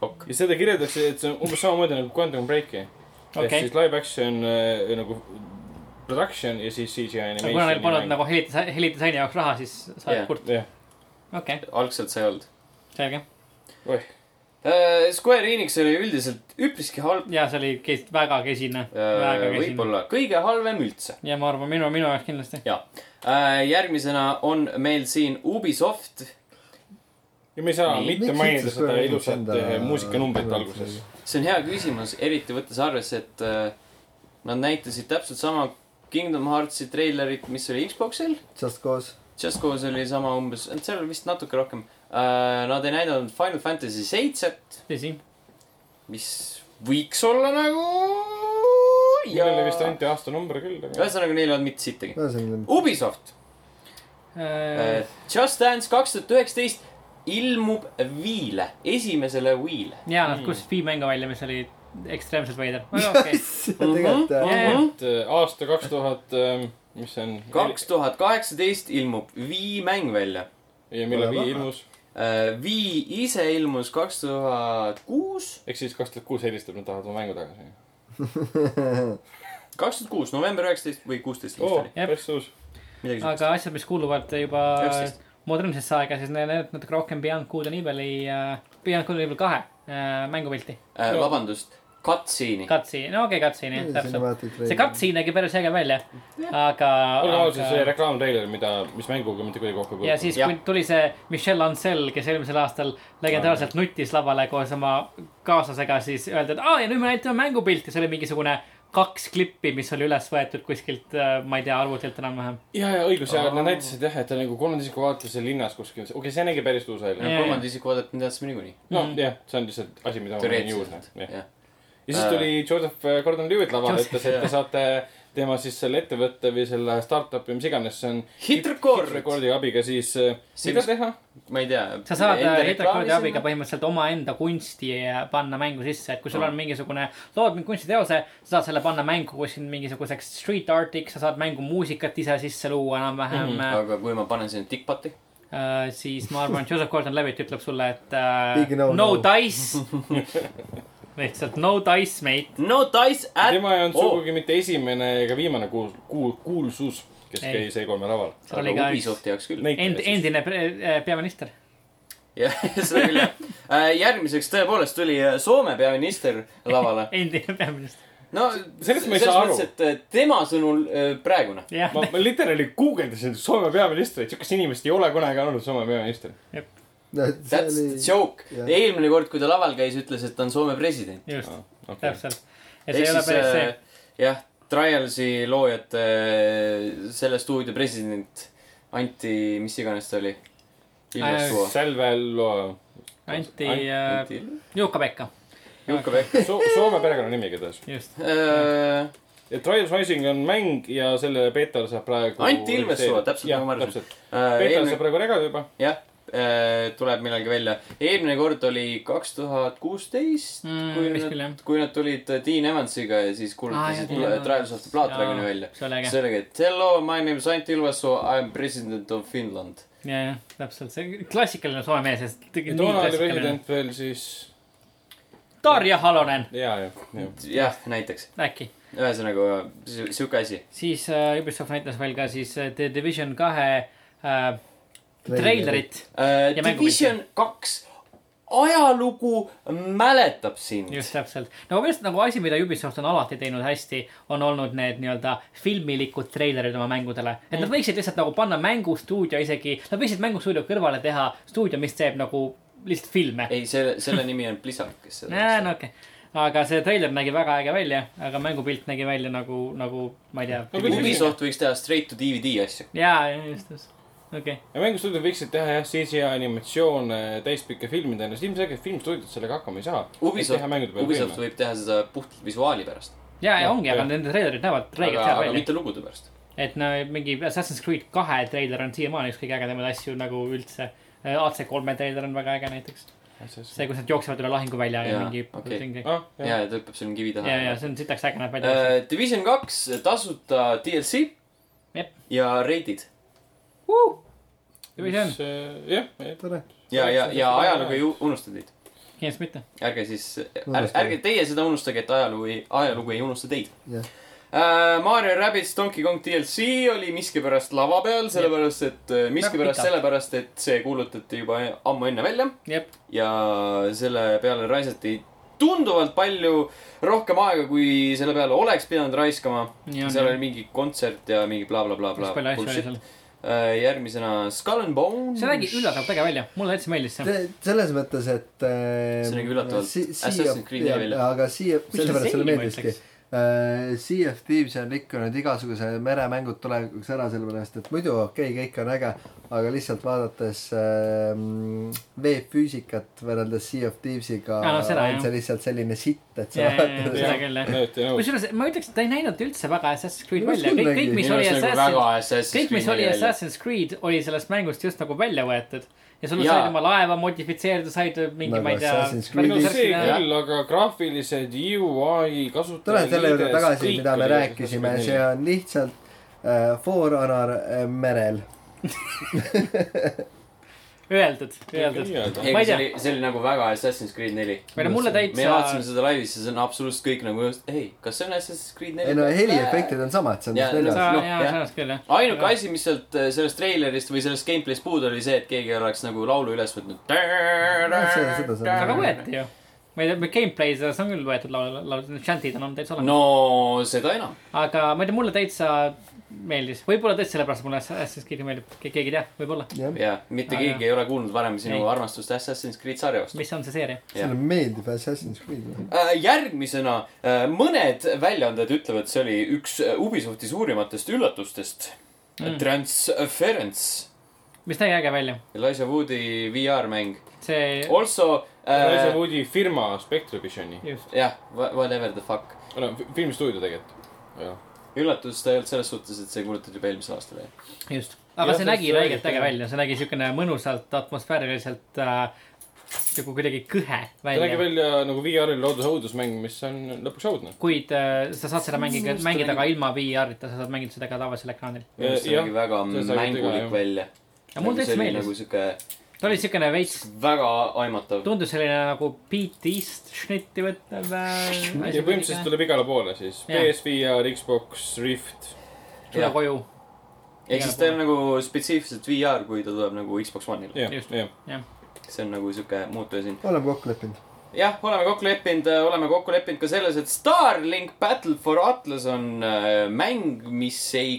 Speaker 1: ok .
Speaker 4: ja seda kirjeldatakse , et see on umbes samamoodi nagu Quantum Breaki . ehk
Speaker 3: Okei.
Speaker 4: siis live action äh, nagu production ja siis CGI
Speaker 3: aga kuna neil polnud
Speaker 4: animation .
Speaker 3: nagu helidise- , helidisaini jaoks raha , siis sa oled
Speaker 1: Jah.
Speaker 3: yeah. kurt ,
Speaker 4: jah ,
Speaker 3: okei okay, ,
Speaker 1: algselt see ei olnud .
Speaker 3: selge .
Speaker 4: oih ,
Speaker 1: Square Enix oli üldiselt üpriski halb .
Speaker 3: ja see oli kes, väga kesine , väga kesine .
Speaker 1: Äh, võib-olla kõige halvem üldse .
Speaker 3: ja ma arvan , minu , minu jaoks kindlasti .
Speaker 1: ja , järgmisena on meil siin Ubisoft .
Speaker 4: ja me ei saa
Speaker 1: Nii.
Speaker 4: mitte
Speaker 2: Miks
Speaker 4: mainida
Speaker 2: üldse
Speaker 4: seda
Speaker 2: Square Enix
Speaker 4: ilusat
Speaker 2: enda-
Speaker 4: äh, muusikanumbrit alguses .
Speaker 1: see on hea küsimus , eriti võttes arvesse , et äh, nad näitasid täpselt sama Kingdom Heartsi treilerit , mis oli Xboxil .
Speaker 2: Just Cause .
Speaker 1: Just Cause oli sama umbes , seal oli vist natuke rohkem uh, . Nad ei näidanud Final Fantasy seitset ,
Speaker 3: tõsi ,
Speaker 1: mis võiks olla nagu .
Speaker 4: millele vist anti aastanumber küll , aga
Speaker 1: ühesõnaga , neil ei olnud mitte sittagi .
Speaker 2: ühesõnaga ,
Speaker 1: Ubisoft uh,
Speaker 3: Äh, ,
Speaker 1: Just Dance kaks tuhat üheksateist ilmub Wii'le , esimesele Wii'le .
Speaker 3: ja nad kustusid Wii mängu välja , mis oli ekstreemselt veider . väga okei ,
Speaker 2: tegelikult jah .
Speaker 3: Mhm.
Speaker 4: et äh, aasta kaks tuhat , mis see on ?
Speaker 1: kaks tuhat kaheksateist ilmub Wii mäng välja
Speaker 4: ja millal
Speaker 2: Pole
Speaker 4: Wii
Speaker 2: väga.
Speaker 4: ilmus ,
Speaker 1: uh, . Wii ise ilmus kaks tuhat kuus ,
Speaker 4: ehk siis kaks tuhat kuus helistab , nad tahavad oma mängu tagasi .
Speaker 1: kaks tuhat kuus , november üheksateist või kuusteist vist
Speaker 4: oo
Speaker 1: oli ,.
Speaker 3: Jep.
Speaker 4: päris uus .
Speaker 1: midagi sellist .
Speaker 3: Oh. aga asjad , mis kuuluvad juba
Speaker 1: 19.
Speaker 3: modernsesse aega , siis need need natuke rohkem Beyond Good and Evil'i , Beyond Good and Evil kahe äh, mängupilti .
Speaker 1: Äh, vabandust , cutscene'i .
Speaker 3: Cutscene , no okei okay, , cutscene jah , täpselt . see . cutscene nägi päris äge välja , aga .
Speaker 4: olgem ausad , see reklaamtreiler , mida , mis mänguga mitte kuidagi kokku ei
Speaker 3: ja siis , kui
Speaker 1: Jah.
Speaker 3: tuli see Michelle Ancel , kes eelmisel aastal legendaarselt nuttis lavale koos oma kaaslasega , siis öeldi , et aa ja nüüd me näitame mängupilti , see oli mingisugune kaks klippi , mis oli üles võetud kuskilt , ma ei tea , arvutilt enam-vähem .
Speaker 4: ja , ja õigus , ja nad näitasid jah , et ta nagu kolmanda isiku vaates seal linnas kuskil , okei okay, , see nägi päris uus välja .
Speaker 3: Jah.
Speaker 1: kolmanda isiku vaadet me teadsime niikuinii .
Speaker 4: no
Speaker 3: Mhm.
Speaker 4: jah , see on lihtsalt asi , mida ma võin juurde .
Speaker 1: teoreetiliselt ,
Speaker 4: ja
Speaker 1: jah .
Speaker 4: siis tuli Joseph Gordon-Lewitt lavale ,
Speaker 3: Joseph,
Speaker 4: ütles , et te saate tema siis selle ettevõtte või selle startup'i , mis iganes see on .
Speaker 1: Hitrecord.
Speaker 4: Hitrekordi abiga siis ,
Speaker 1: See,
Speaker 4: mida
Speaker 1: mis-
Speaker 4: teha ?
Speaker 1: ma ei tea .
Speaker 3: sa saad äh, reklaami abiga . põhimõtteliselt omaenda kunsti äh, panna mängu sisse , et kui sul on mingisugune , lood mingi kunstiteose , sa saad selle panna mängu kuskil mingisuguseks street art'iks , sa saad mängu muusikat ise sisse luua enam-vähem mm . -hmm.
Speaker 1: Mhm. aga kui ma panen sinna tikkpati ,
Speaker 3: Uh, siis ma arvan , et Joseph Gordon-Levitt ütleb sulle , et uh,
Speaker 2: Big no,
Speaker 3: no
Speaker 2: no.
Speaker 3: dice äh, lihtsalt no dice , mate .
Speaker 1: no dice at Oh.
Speaker 4: tema ei olnud
Speaker 1: all.
Speaker 4: sugugi mitte esimene ega viimane kuul- , kuul- , kuulsus , kes
Speaker 3: Ei.
Speaker 4: käis E3-e laval .
Speaker 3: Seal Oh, oli ka
Speaker 1: aga
Speaker 3: üks
Speaker 1: Ubisofti jaoks küll .
Speaker 4: Näitleja
Speaker 3: end- ,
Speaker 4: siis.
Speaker 3: endine pre- eh, peaminister .
Speaker 1: jah , seda küll jah . järgmiseks tõepoolest tuli äh, Soome peaminister lavale .
Speaker 3: endine peaminister .
Speaker 1: no
Speaker 4: Sellest ma ei saa aru.
Speaker 1: et äh, tema sõnul äh, praegune .
Speaker 3: jah ,
Speaker 4: ma , ma literaali guugeldasin Soome peaministrit , siukest inimest ei ole kunagi olnud Soome peaminister .
Speaker 1: That's the joke .
Speaker 2: jah.
Speaker 1: eelmine kord , kui ta laval käis , ütles , et ta on Soome president .
Speaker 3: just ,
Speaker 4: Okay.
Speaker 3: täpselt .
Speaker 1: Ah,
Speaker 3: ja see
Speaker 1: ehk
Speaker 3: ei ole
Speaker 1: siis
Speaker 3: päris see
Speaker 1: äh, . jah , Trialsi loojate äh, selle stuudio president Anti , mis iganes ta oli . Ilves
Speaker 3: Äh,
Speaker 1: Suo .
Speaker 4: Salvello ,
Speaker 3: anti
Speaker 4: Anti-
Speaker 3: äh, Juuka-Pekka ,
Speaker 1: Juka-Pekk .
Speaker 4: so, Soome perekonnanimi igatahes .
Speaker 3: just .
Speaker 1: Äh,
Speaker 4: ja Trials Rising on mäng ja selle beetal saab praegu .
Speaker 1: Anti Ilvesoo, täpselt nagu ma arvasin.
Speaker 4: beetal saab praegu regada juba .
Speaker 1: jah , tuleb millalgi välja . eelmine kord oli kaks tuhat kuusteist ,
Speaker 3: Mm,
Speaker 1: kui
Speaker 3: vist küll, jah.
Speaker 1: nad , kui nad tulid äh, Dean Evansiga ja siis kuulutasid
Speaker 3: Aa, jah,
Speaker 1: ah,
Speaker 3: Dean
Speaker 1: Trials of the Blood
Speaker 3: Jaa,
Speaker 1: Dragoni välja .
Speaker 3: see oli äge.
Speaker 1: see oli äge . Hello , my name is Anti Ilvesoo , I am president of Finland .
Speaker 3: ja , jah , täpselt , see klassikaline soome mees , sest tegi nii
Speaker 4: toona oli
Speaker 3: klassikaline .
Speaker 4: president veel siis ,
Speaker 3: Darja Halonen
Speaker 4: ja , ja , ja .
Speaker 1: jah , näiteks .
Speaker 3: äkki ,
Speaker 1: ühesõnaga , sihuke asi .
Speaker 3: siis äh, Ubisoft näitas veel ka siis äh, The Division kahe äh, treilerit .
Speaker 1: Äh,
Speaker 3: Ja
Speaker 1: Division kaks , ajalugu mäletab sind .
Speaker 3: just täpselt , no minu arust nagu asi , mida Ubisoft on alati teinud hästi , on olnud need nii-öelda filmilikud treilerid oma mängudele . et
Speaker 4: Mhm.
Speaker 3: nad võiksid lihtsalt nagu panna mängustuudio isegi , nad võiksid mängustuudio kõrvale teha stuudio , mis teeb nagu lihtsalt filme .
Speaker 1: ei , selle , selle nimi on Blizzard , kes seda
Speaker 3: jaa , no okei okay. aga see treiler nägi väga äge välja , aga mängupilt nägi välja nagu , nagu ma ei
Speaker 4: No
Speaker 3: tea .
Speaker 4: küll.
Speaker 1: Ubisoft võiks teha straight to DVD asju .
Speaker 3: jaa , just , just , okei okay. .
Speaker 4: ja mängustuudiod võiksid teha jah , CGI animatsioone täispikka filmidena , sest ilmselgelt filmstuudiod sellega hakkama ei saa .
Speaker 1: Ubisoft
Speaker 4: teha mängude , peale
Speaker 1: Ubisoft
Speaker 4: filme .
Speaker 1: võib teha seda puhtalt visuaali pärast ,
Speaker 3: jaa , ja
Speaker 4: Jah,
Speaker 3: ongi , aga
Speaker 4: jah.
Speaker 3: nende treilerid näevad
Speaker 1: aga
Speaker 3: reeglid , hea
Speaker 1: aga
Speaker 3: välja .
Speaker 1: mitte lugude pärast .
Speaker 3: et no mingi Assassin's Creed kahe treiler on siiamaani üks kõige ägedamaid asju nagu üldse . AC3 treiler on väga äge näiteks . see , kus nad jooksevad üle lahinguvälja ja
Speaker 1: Jaa,
Speaker 3: mingi
Speaker 1: okei.
Speaker 3: mingi-
Speaker 4: ah ,
Speaker 1: ja
Speaker 4: jah ,,
Speaker 1: ja ta hüppab sinna kivi taha .
Speaker 3: ja , ja see on sitaks äge , näeb välja .
Speaker 1: Äh, Division kaks , tasuta DLC
Speaker 3: Jep.
Speaker 1: ja reidid
Speaker 3: või see on ,
Speaker 4: jah ,
Speaker 2: tere .
Speaker 1: ja , ja , ja
Speaker 4: Väga
Speaker 1: ajalugu
Speaker 4: hea.
Speaker 1: ei u- unusta teid .
Speaker 3: kindlasti mitte .
Speaker 1: ärge siis ,
Speaker 2: Unustage.
Speaker 1: ärge teie seda unustage , et ajalugu ei , ajalugu ei unusta teid
Speaker 2: Jah.
Speaker 1: Äh, Mario Rabbids Donkey Kong DLC oli miskipärast lava peal , sellepärast et , miskipärast
Speaker 3: pikalt.
Speaker 1: sellepärast , et see kuulutati juba ammu enne välja
Speaker 3: jep ,
Speaker 1: ja selle peale raisati tunduvalt palju rohkem aega , kui selle peale oleks pidanud raiskama .
Speaker 3: Nii on,
Speaker 1: seal
Speaker 3: jah.
Speaker 1: oli mingi kontsert ja mingi blablabla
Speaker 3: päris . palju asju oli seal .
Speaker 1: Äh, järgmisena Skull and Bones .
Speaker 3: see nägi üllatavalt äge välja , mulle täitsa meeldis see .
Speaker 2: selles mõttes , et äh, .
Speaker 1: See nägi üllatavalt Assassin's Creed'i välja.
Speaker 2: aga Sea of ,
Speaker 3: Mis ta
Speaker 2: sellepärast
Speaker 3: selline
Speaker 2: sulle meeldiski Äh,
Speaker 3: ütleks? .
Speaker 2: Sea of Thieves on rikkunud igasuguse meremängud tulevikuks ära , sellepärast et muidu okei okay, , kõik on äge , aga lihtsalt vaadates äh, veefüüsikat võrreldes Sea of Thievesiga
Speaker 3: Aa, no seda,
Speaker 2: on
Speaker 3: jah.
Speaker 2: see lihtsalt selline sitt , et sa
Speaker 3: Jaa, jaa, jaa,
Speaker 2: vaatad
Speaker 3: seda küll, jah.
Speaker 4: nõuti nõus .
Speaker 3: kusjuures ma ütleks , et ta ei näinud üldse väga Assassin's Creed
Speaker 2: Minu arust
Speaker 3: välja ,
Speaker 2: küll
Speaker 3: kõik ,
Speaker 2: nägi.
Speaker 3: kõik , mis
Speaker 1: Minu
Speaker 3: oli
Speaker 1: arust nagu väga
Speaker 3: Assassin's ,
Speaker 1: Assassin's
Speaker 3: kõik , mis
Speaker 1: Creed'i
Speaker 3: oli
Speaker 1: välja.
Speaker 3: Assassin's Creed , oli sellest mängust just nagu välja võetud . ja sul
Speaker 1: Jaa.
Speaker 3: said oma laeva modifitseerida , said mingi ,
Speaker 2: Nagu
Speaker 3: ma ei
Speaker 2: Assassin's
Speaker 4: no
Speaker 2: Creed'is.
Speaker 4: see
Speaker 3: tea .
Speaker 4: küll , aga graafilised UI
Speaker 2: tulen
Speaker 4: kasutajad .
Speaker 2: selle juurde tagasi , mida me rääkisime , see on lihtsalt äh, For Honor äh, merel .
Speaker 3: öeldud , öeldud .
Speaker 1: ei ,
Speaker 3: Ma ei
Speaker 1: see
Speaker 3: tea.
Speaker 1: oli , see oli nagu väga Assassin's Creed neli .
Speaker 3: või no mulle
Speaker 1: me vaatasime
Speaker 3: täitsa ,
Speaker 1: seda laivis ja see on absoluutselt kõik nagu , ei , kas see on Assassin's Creed neli ?
Speaker 2: ei no heliefektid on samad , see on
Speaker 1: Jaa,
Speaker 2: just
Speaker 1: no
Speaker 2: neljas
Speaker 3: sa ,
Speaker 1: Noh,
Speaker 3: jaa ,
Speaker 1: jah.
Speaker 3: samas küll jah .
Speaker 1: ainuke asi , mis sealt äh, sellest treilerist või sellest gameplay'st puudu oli see , et keegi oleks nagu laulu üles võtnud .
Speaker 2: seda- seda saab.
Speaker 3: aga võeti ju . ma ei tea , gameplay , selles on küll võetud laul , laul , chant'id on olnud täitsa olemas .
Speaker 1: no seda enam .
Speaker 3: aga ma ei tea , mulle täitsa meeldis , võib-olla tõesti sellepärast mulle Assassin's Creed meeldib , keegi ei tea , võib-olla .
Speaker 2: jah ,
Speaker 1: ja mitte
Speaker 3: Aga-
Speaker 1: keegi ei ole kuulnud varem sinu
Speaker 3: Ei.
Speaker 1: armastust Assassin's Creed sarja vastu .
Speaker 3: mis on see seeria ?
Speaker 2: sulle meeldib Assassin's Creed .
Speaker 1: järgmisena äh, mõned väljaanded ütlevad , see oli üks äh, Ubisofti suurimatest üllatustest mm. . Transference ,
Speaker 3: mis nägi äge välja ,
Speaker 1: Elijah Woodi VR-mäng .
Speaker 3: see ,
Speaker 1: Also
Speaker 4: Raisa
Speaker 1: äh, ,
Speaker 4: Woodi firma Spectre Visioni ,
Speaker 3: just ,
Speaker 1: jah , whatever the fuck .
Speaker 4: filmistuudio tegelikult . jah ,
Speaker 1: üllatus ta ei olnud selles suhtes , et see kuulutati juba eelmisel aastal välja .
Speaker 3: just . aga
Speaker 4: Jah,
Speaker 3: see
Speaker 4: see-
Speaker 3: nägi
Speaker 4: see oli
Speaker 3: väigelt äge
Speaker 4: äge.
Speaker 3: välja , see nägi siukene mõnusalt atmosfääriliselt äh, nagu kuidagi kõhe
Speaker 4: ta nägi
Speaker 3: välja .
Speaker 4: välja nagu VR-il loodud õudusmäng , mis on lõpuks õudne .
Speaker 3: kuid äh, sa saad seda mängida , mängida ka ilma VR-ita , sa saad mängida seda ka tavalisel ekraanil .
Speaker 1: see nägi väga
Speaker 4: see sai
Speaker 1: mängulik
Speaker 4: tüga, jah.
Speaker 1: välja .
Speaker 3: Ja mulle täitsa meeldis.
Speaker 1: nagu sihuke
Speaker 3: ta oli siukene veits ,
Speaker 1: väga aimatav .
Speaker 3: tundus selline nagu beat'ist šnitti võttev äh,
Speaker 4: ja põhimõtteliselt tuleb igale poole siis .
Speaker 3: Jah.
Speaker 4: PS5-r , Xbox , Rift .
Speaker 3: tule koju .
Speaker 1: ehk siis ta on nagu spetsiifiliselt VR , kui ta tuleb nagu Xbox One'ile .
Speaker 4: jah ,
Speaker 3: Just.
Speaker 4: jah .
Speaker 1: see on nagu sihuke muutuja siin .
Speaker 2: oleme kokku leppinud .
Speaker 1: jah , oleme kokku leppinud , oleme kokku leppinud ka selles , et Starlink Battle for Atlas on äh, mäng , mis ei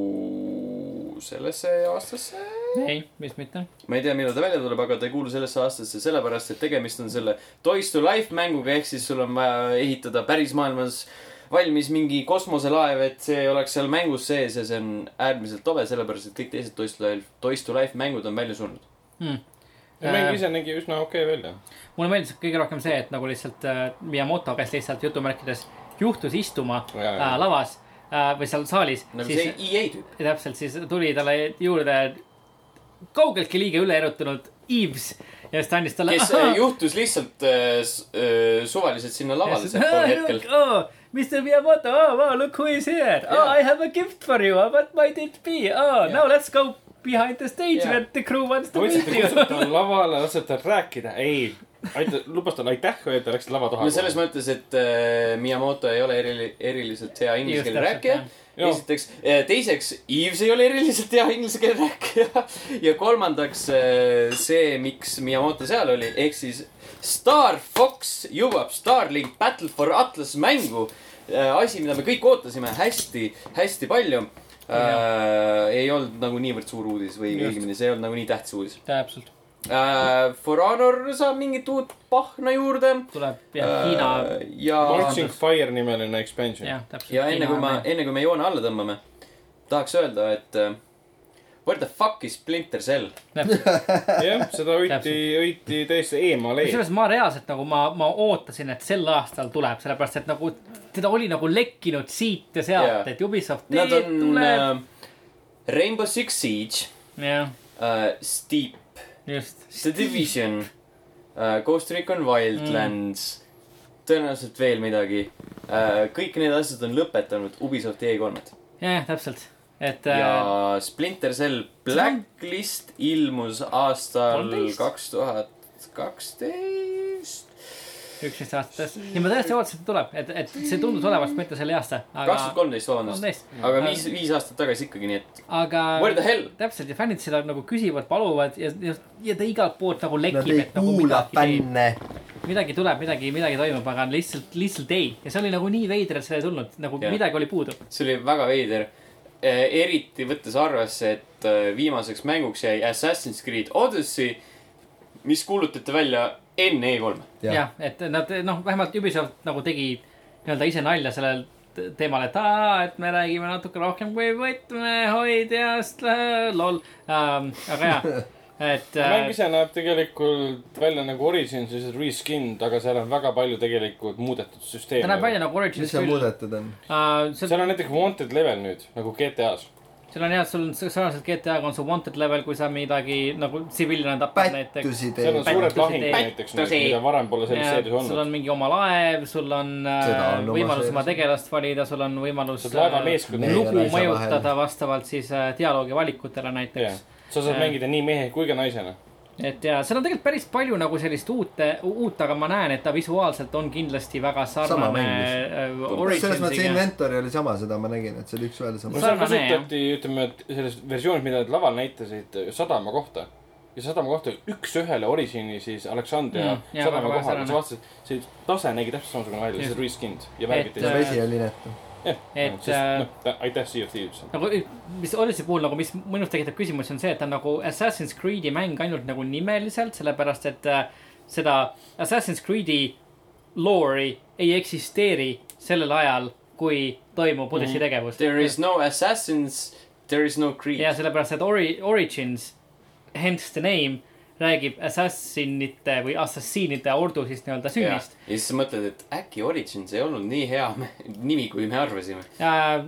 Speaker 1: kuulu sellesse aastasse .
Speaker 3: ei , vist mitte .
Speaker 1: ma ei tea , millal ta välja tuleb , aga ta ei kuulu sellesse aastasse sellepärast , et tegemist on selle Toys to Life mänguga , ehk siis sul on vaja ehitada päris maailmas valmis mingi kosmoselaev , et see oleks seal mängus sees ja see on äärmiselt tobe , sellepärast et kõik teised Toys to Life , Toys to Life mängud on välja surnud .
Speaker 4: mäng ise nägi üsna okei välja .
Speaker 3: Äh, mulle meeldis kõige rohkem see , et nagu lihtsalt äh, Miyamoto , kes lihtsalt jutumärkides juhtus istuma
Speaker 4: Jaa, jaa.
Speaker 3: äh, lavas äh, või seal saalis .
Speaker 1: nagu siis... see EA tüüp .
Speaker 3: ja täpselt , siis tuli talle juurde kaugeltki liiga üle erutunud Eves ja siis ta andis talle .
Speaker 1: kes äh, juhtus lihtsalt äh, s- äh, suvaliselt sinna lavale sel hetkel .
Speaker 3: Oh, Mr. Miyamoto , oh wow, look who is here yeah. . Oh,
Speaker 1: Yeah.
Speaker 3: I have a gift for you , what might it be ? Oh yeah. , now let's go behind the stage
Speaker 1: Yeah.
Speaker 3: yeah. where the crew wants to
Speaker 4: ma
Speaker 3: meet
Speaker 4: mõtlesin , et
Speaker 3: you
Speaker 4: te . kutsute tal lavale , lasete tal rääkida . ei , aita , lubas talle aitäh öelda , läks lava taha .
Speaker 1: no selles mõttes , et äh, Miyamoto ei ole erili- , eriliselt hea inglise
Speaker 3: Just
Speaker 1: keele
Speaker 3: täpselt,
Speaker 1: rääkija
Speaker 3: jah. .
Speaker 4: Joo.
Speaker 1: esiteks , teiseks , Yves ei ole eriliselt hea inglise keele rääkija . ja kolmandaks äh, see , miks Miyamoto seal oli , ehk siis Star Fox jõuab Starlink Battle for Atlas mängu . asi , mida me kõik ootasime hästi , hästi palju . Äh, ei olnud nagu niivõrd suur uudis või
Speaker 4: Just.
Speaker 1: õigemini see ei olnud nagu nii tähtis uudis
Speaker 3: täpselt ,
Speaker 1: äh, . For Honor saab mingit uut pahna juurde .
Speaker 3: tuleb jah , Hiina ,
Speaker 1: Äh, ja ,
Speaker 4: Marching Fire nimeline expansion .
Speaker 3: jah , täpselt .
Speaker 1: ja enne kui ma , enne kui me joone alla tõmbame , tahaks öelda , et äh, what the fuck is Splinter Cell ?
Speaker 4: jah , seda hoiti
Speaker 3: Täpselt. ,
Speaker 4: hoiti täiesti eemale .
Speaker 3: kusjuures ma reaalselt nagu ma , ma ootasin , et sel aastal tuleb , sellepärast et nagu teda oli nagu lekkinud siit ja sealt
Speaker 1: Jaa.
Speaker 3: yeah. , et Ubisoft
Speaker 1: Nad
Speaker 3: teeb ,
Speaker 1: on
Speaker 3: tuleb
Speaker 1: äh, . Rainbow Six Siege
Speaker 3: jah ,
Speaker 1: äh, , Steep ,
Speaker 3: just .
Speaker 1: The Division äh, , Ghost Recon Wildlands mm. , tõenäoliselt veel midagi äh, . kõik need asjad on lõpetanud Ubisofti E3-t
Speaker 3: jah , täpselt , et äh,
Speaker 1: ja Splinter Cell Blacklist ilmus aastal
Speaker 3: 13?
Speaker 1: kaks tuhat kaksteist .
Speaker 3: üksteist aastat , ja ma tõesti ootasin , et ta tuleb , et , et see tundus olevat mitte selle aasta , aga
Speaker 1: kaks tuhat kolmteist , vabandust .
Speaker 3: kolmteist ,
Speaker 1: aga viis , viis aastat tagasi ikkagi , nii et
Speaker 3: aga
Speaker 1: where the hell ?
Speaker 3: täpselt ja fännid seda nagu küsivad , paluvad ja , ja , ja ta igalt poolt nagu
Speaker 2: Nad
Speaker 3: lekib ,
Speaker 2: ei
Speaker 3: et nagu
Speaker 2: kuula
Speaker 3: midagi teeb ,
Speaker 2: fänne .
Speaker 3: midagi tuleb , midagi , midagi toimub , aga lihtsalt , lihtsalt ei ja see oli nagu nii veider , et see ei tulnud , nagu
Speaker 1: Jah.
Speaker 3: yeah. midagi oli puudu .
Speaker 1: see oli väga veider . eriti võttes arvesse , et eh, viimaseks mänguks jäi Assassin's Creed Odyssey , mis kuulutati välja enne E E3-e .
Speaker 2: Jah.
Speaker 3: jah , et nad noh , vähemalt Ubisoft nagu tegi nii-öelda ise nalja sellel t- teemal , et aa , et me räägime natuke rohkem kui võtmehoidjast , lol um, . aga jaa , et
Speaker 4: mäng
Speaker 3: äh,
Speaker 4: ise näeb tegelikult välja nagu Origins ja siis reskind , aga seal on väga palju tegelikult muudetud
Speaker 3: ta näeb välja
Speaker 4: süsteeme .
Speaker 3: nagu
Speaker 2: mis
Speaker 3: Origins
Speaker 2: seal
Speaker 3: küll uh, .
Speaker 2: muudetud on ?
Speaker 3: seal ,
Speaker 4: seal on näiteks wanted level nüüd nagu GTA-s .
Speaker 3: seal on jah , sul on s- sarnaselt GTA-ga on su wanted level , kui sa midagi nagu tsiviilina tapad näiteks .
Speaker 2: pättusi
Speaker 4: seal
Speaker 2: teeb
Speaker 4: on . suured
Speaker 3: Pättusi
Speaker 4: lahingud
Speaker 3: tee-
Speaker 4: näiteks ,
Speaker 1: pättusi.
Speaker 4: mida varem pole selles seeris
Speaker 3: sul on
Speaker 4: olnud .
Speaker 3: mingi oma laev , sul on,
Speaker 2: Seda
Speaker 3: äh,
Speaker 2: on oma
Speaker 3: võimalus oma
Speaker 2: sees.
Speaker 3: tegelast valida , sul on võimalus äh,
Speaker 4: saad laeva meeskonna
Speaker 2: Meie
Speaker 3: lugu
Speaker 2: ja naise
Speaker 3: mõjutada
Speaker 2: vahel.
Speaker 3: vastavalt siis äh, dialoogi valikutele näiteks
Speaker 4: jah , sa saad
Speaker 3: Jah.
Speaker 4: mängida nii mehe kui ka naisena .
Speaker 3: et ja seal on tegelikult päris palju nagu sellist uut , uut , aga ma näen , et ta visuaalselt on kindlasti väga
Speaker 2: Sama
Speaker 3: sarnane
Speaker 2: mäng
Speaker 3: äh,
Speaker 2: selles mõttes
Speaker 3: Originsiga .
Speaker 2: inventory oli sama , seda ma nägin , et see oli üks-ühele
Speaker 4: no
Speaker 2: sama .
Speaker 4: seal
Speaker 3: Sarnane,
Speaker 4: kasutati , ütleme , et selles versioonis , mida nad laval näitasid , sadama kohta . ja sadama kohta üks-ühele Origini siis Aleksandria
Speaker 3: Mm,
Speaker 4: mm,
Speaker 3: jaa,
Speaker 4: sadama
Speaker 3: väga
Speaker 4: kohal ,
Speaker 3: sarnane.
Speaker 4: sa vaatasid , see tase nägi täpselt samasugune välja , see
Speaker 3: Just.
Speaker 4: oli reskind ja värvid
Speaker 3: Et, äh,
Speaker 2: ja
Speaker 4: teised .
Speaker 2: vesi oli inetu .
Speaker 3: et,
Speaker 4: et
Speaker 3: äh,
Speaker 4: noh , aitäh , Sea of Thieves .
Speaker 3: nagu , mis Odyssey puhul nagu , mis minu arust tekitab küsimusi , on see , et ta on nagu Assassin's Creed'i mäng ainult nagu nimeliselt , sellepärast et äh, seda Assassin's Creed'i lore'i ei eksisteeri sellel ajal , kui toimub Odyssey
Speaker 1: Mhm.
Speaker 3: tegevus .
Speaker 1: There is no assassins , there is no creed
Speaker 3: ja . sellepärast , et ori- , Origins , hence the name , räägib assassinite või assassiinide ordu siis nii-öelda
Speaker 1: ja
Speaker 3: sünnist .
Speaker 1: ja siis sa mõtled , et äkki Origins ei olnud nii hea me- nimi , kui me arvasime .
Speaker 3: Äh,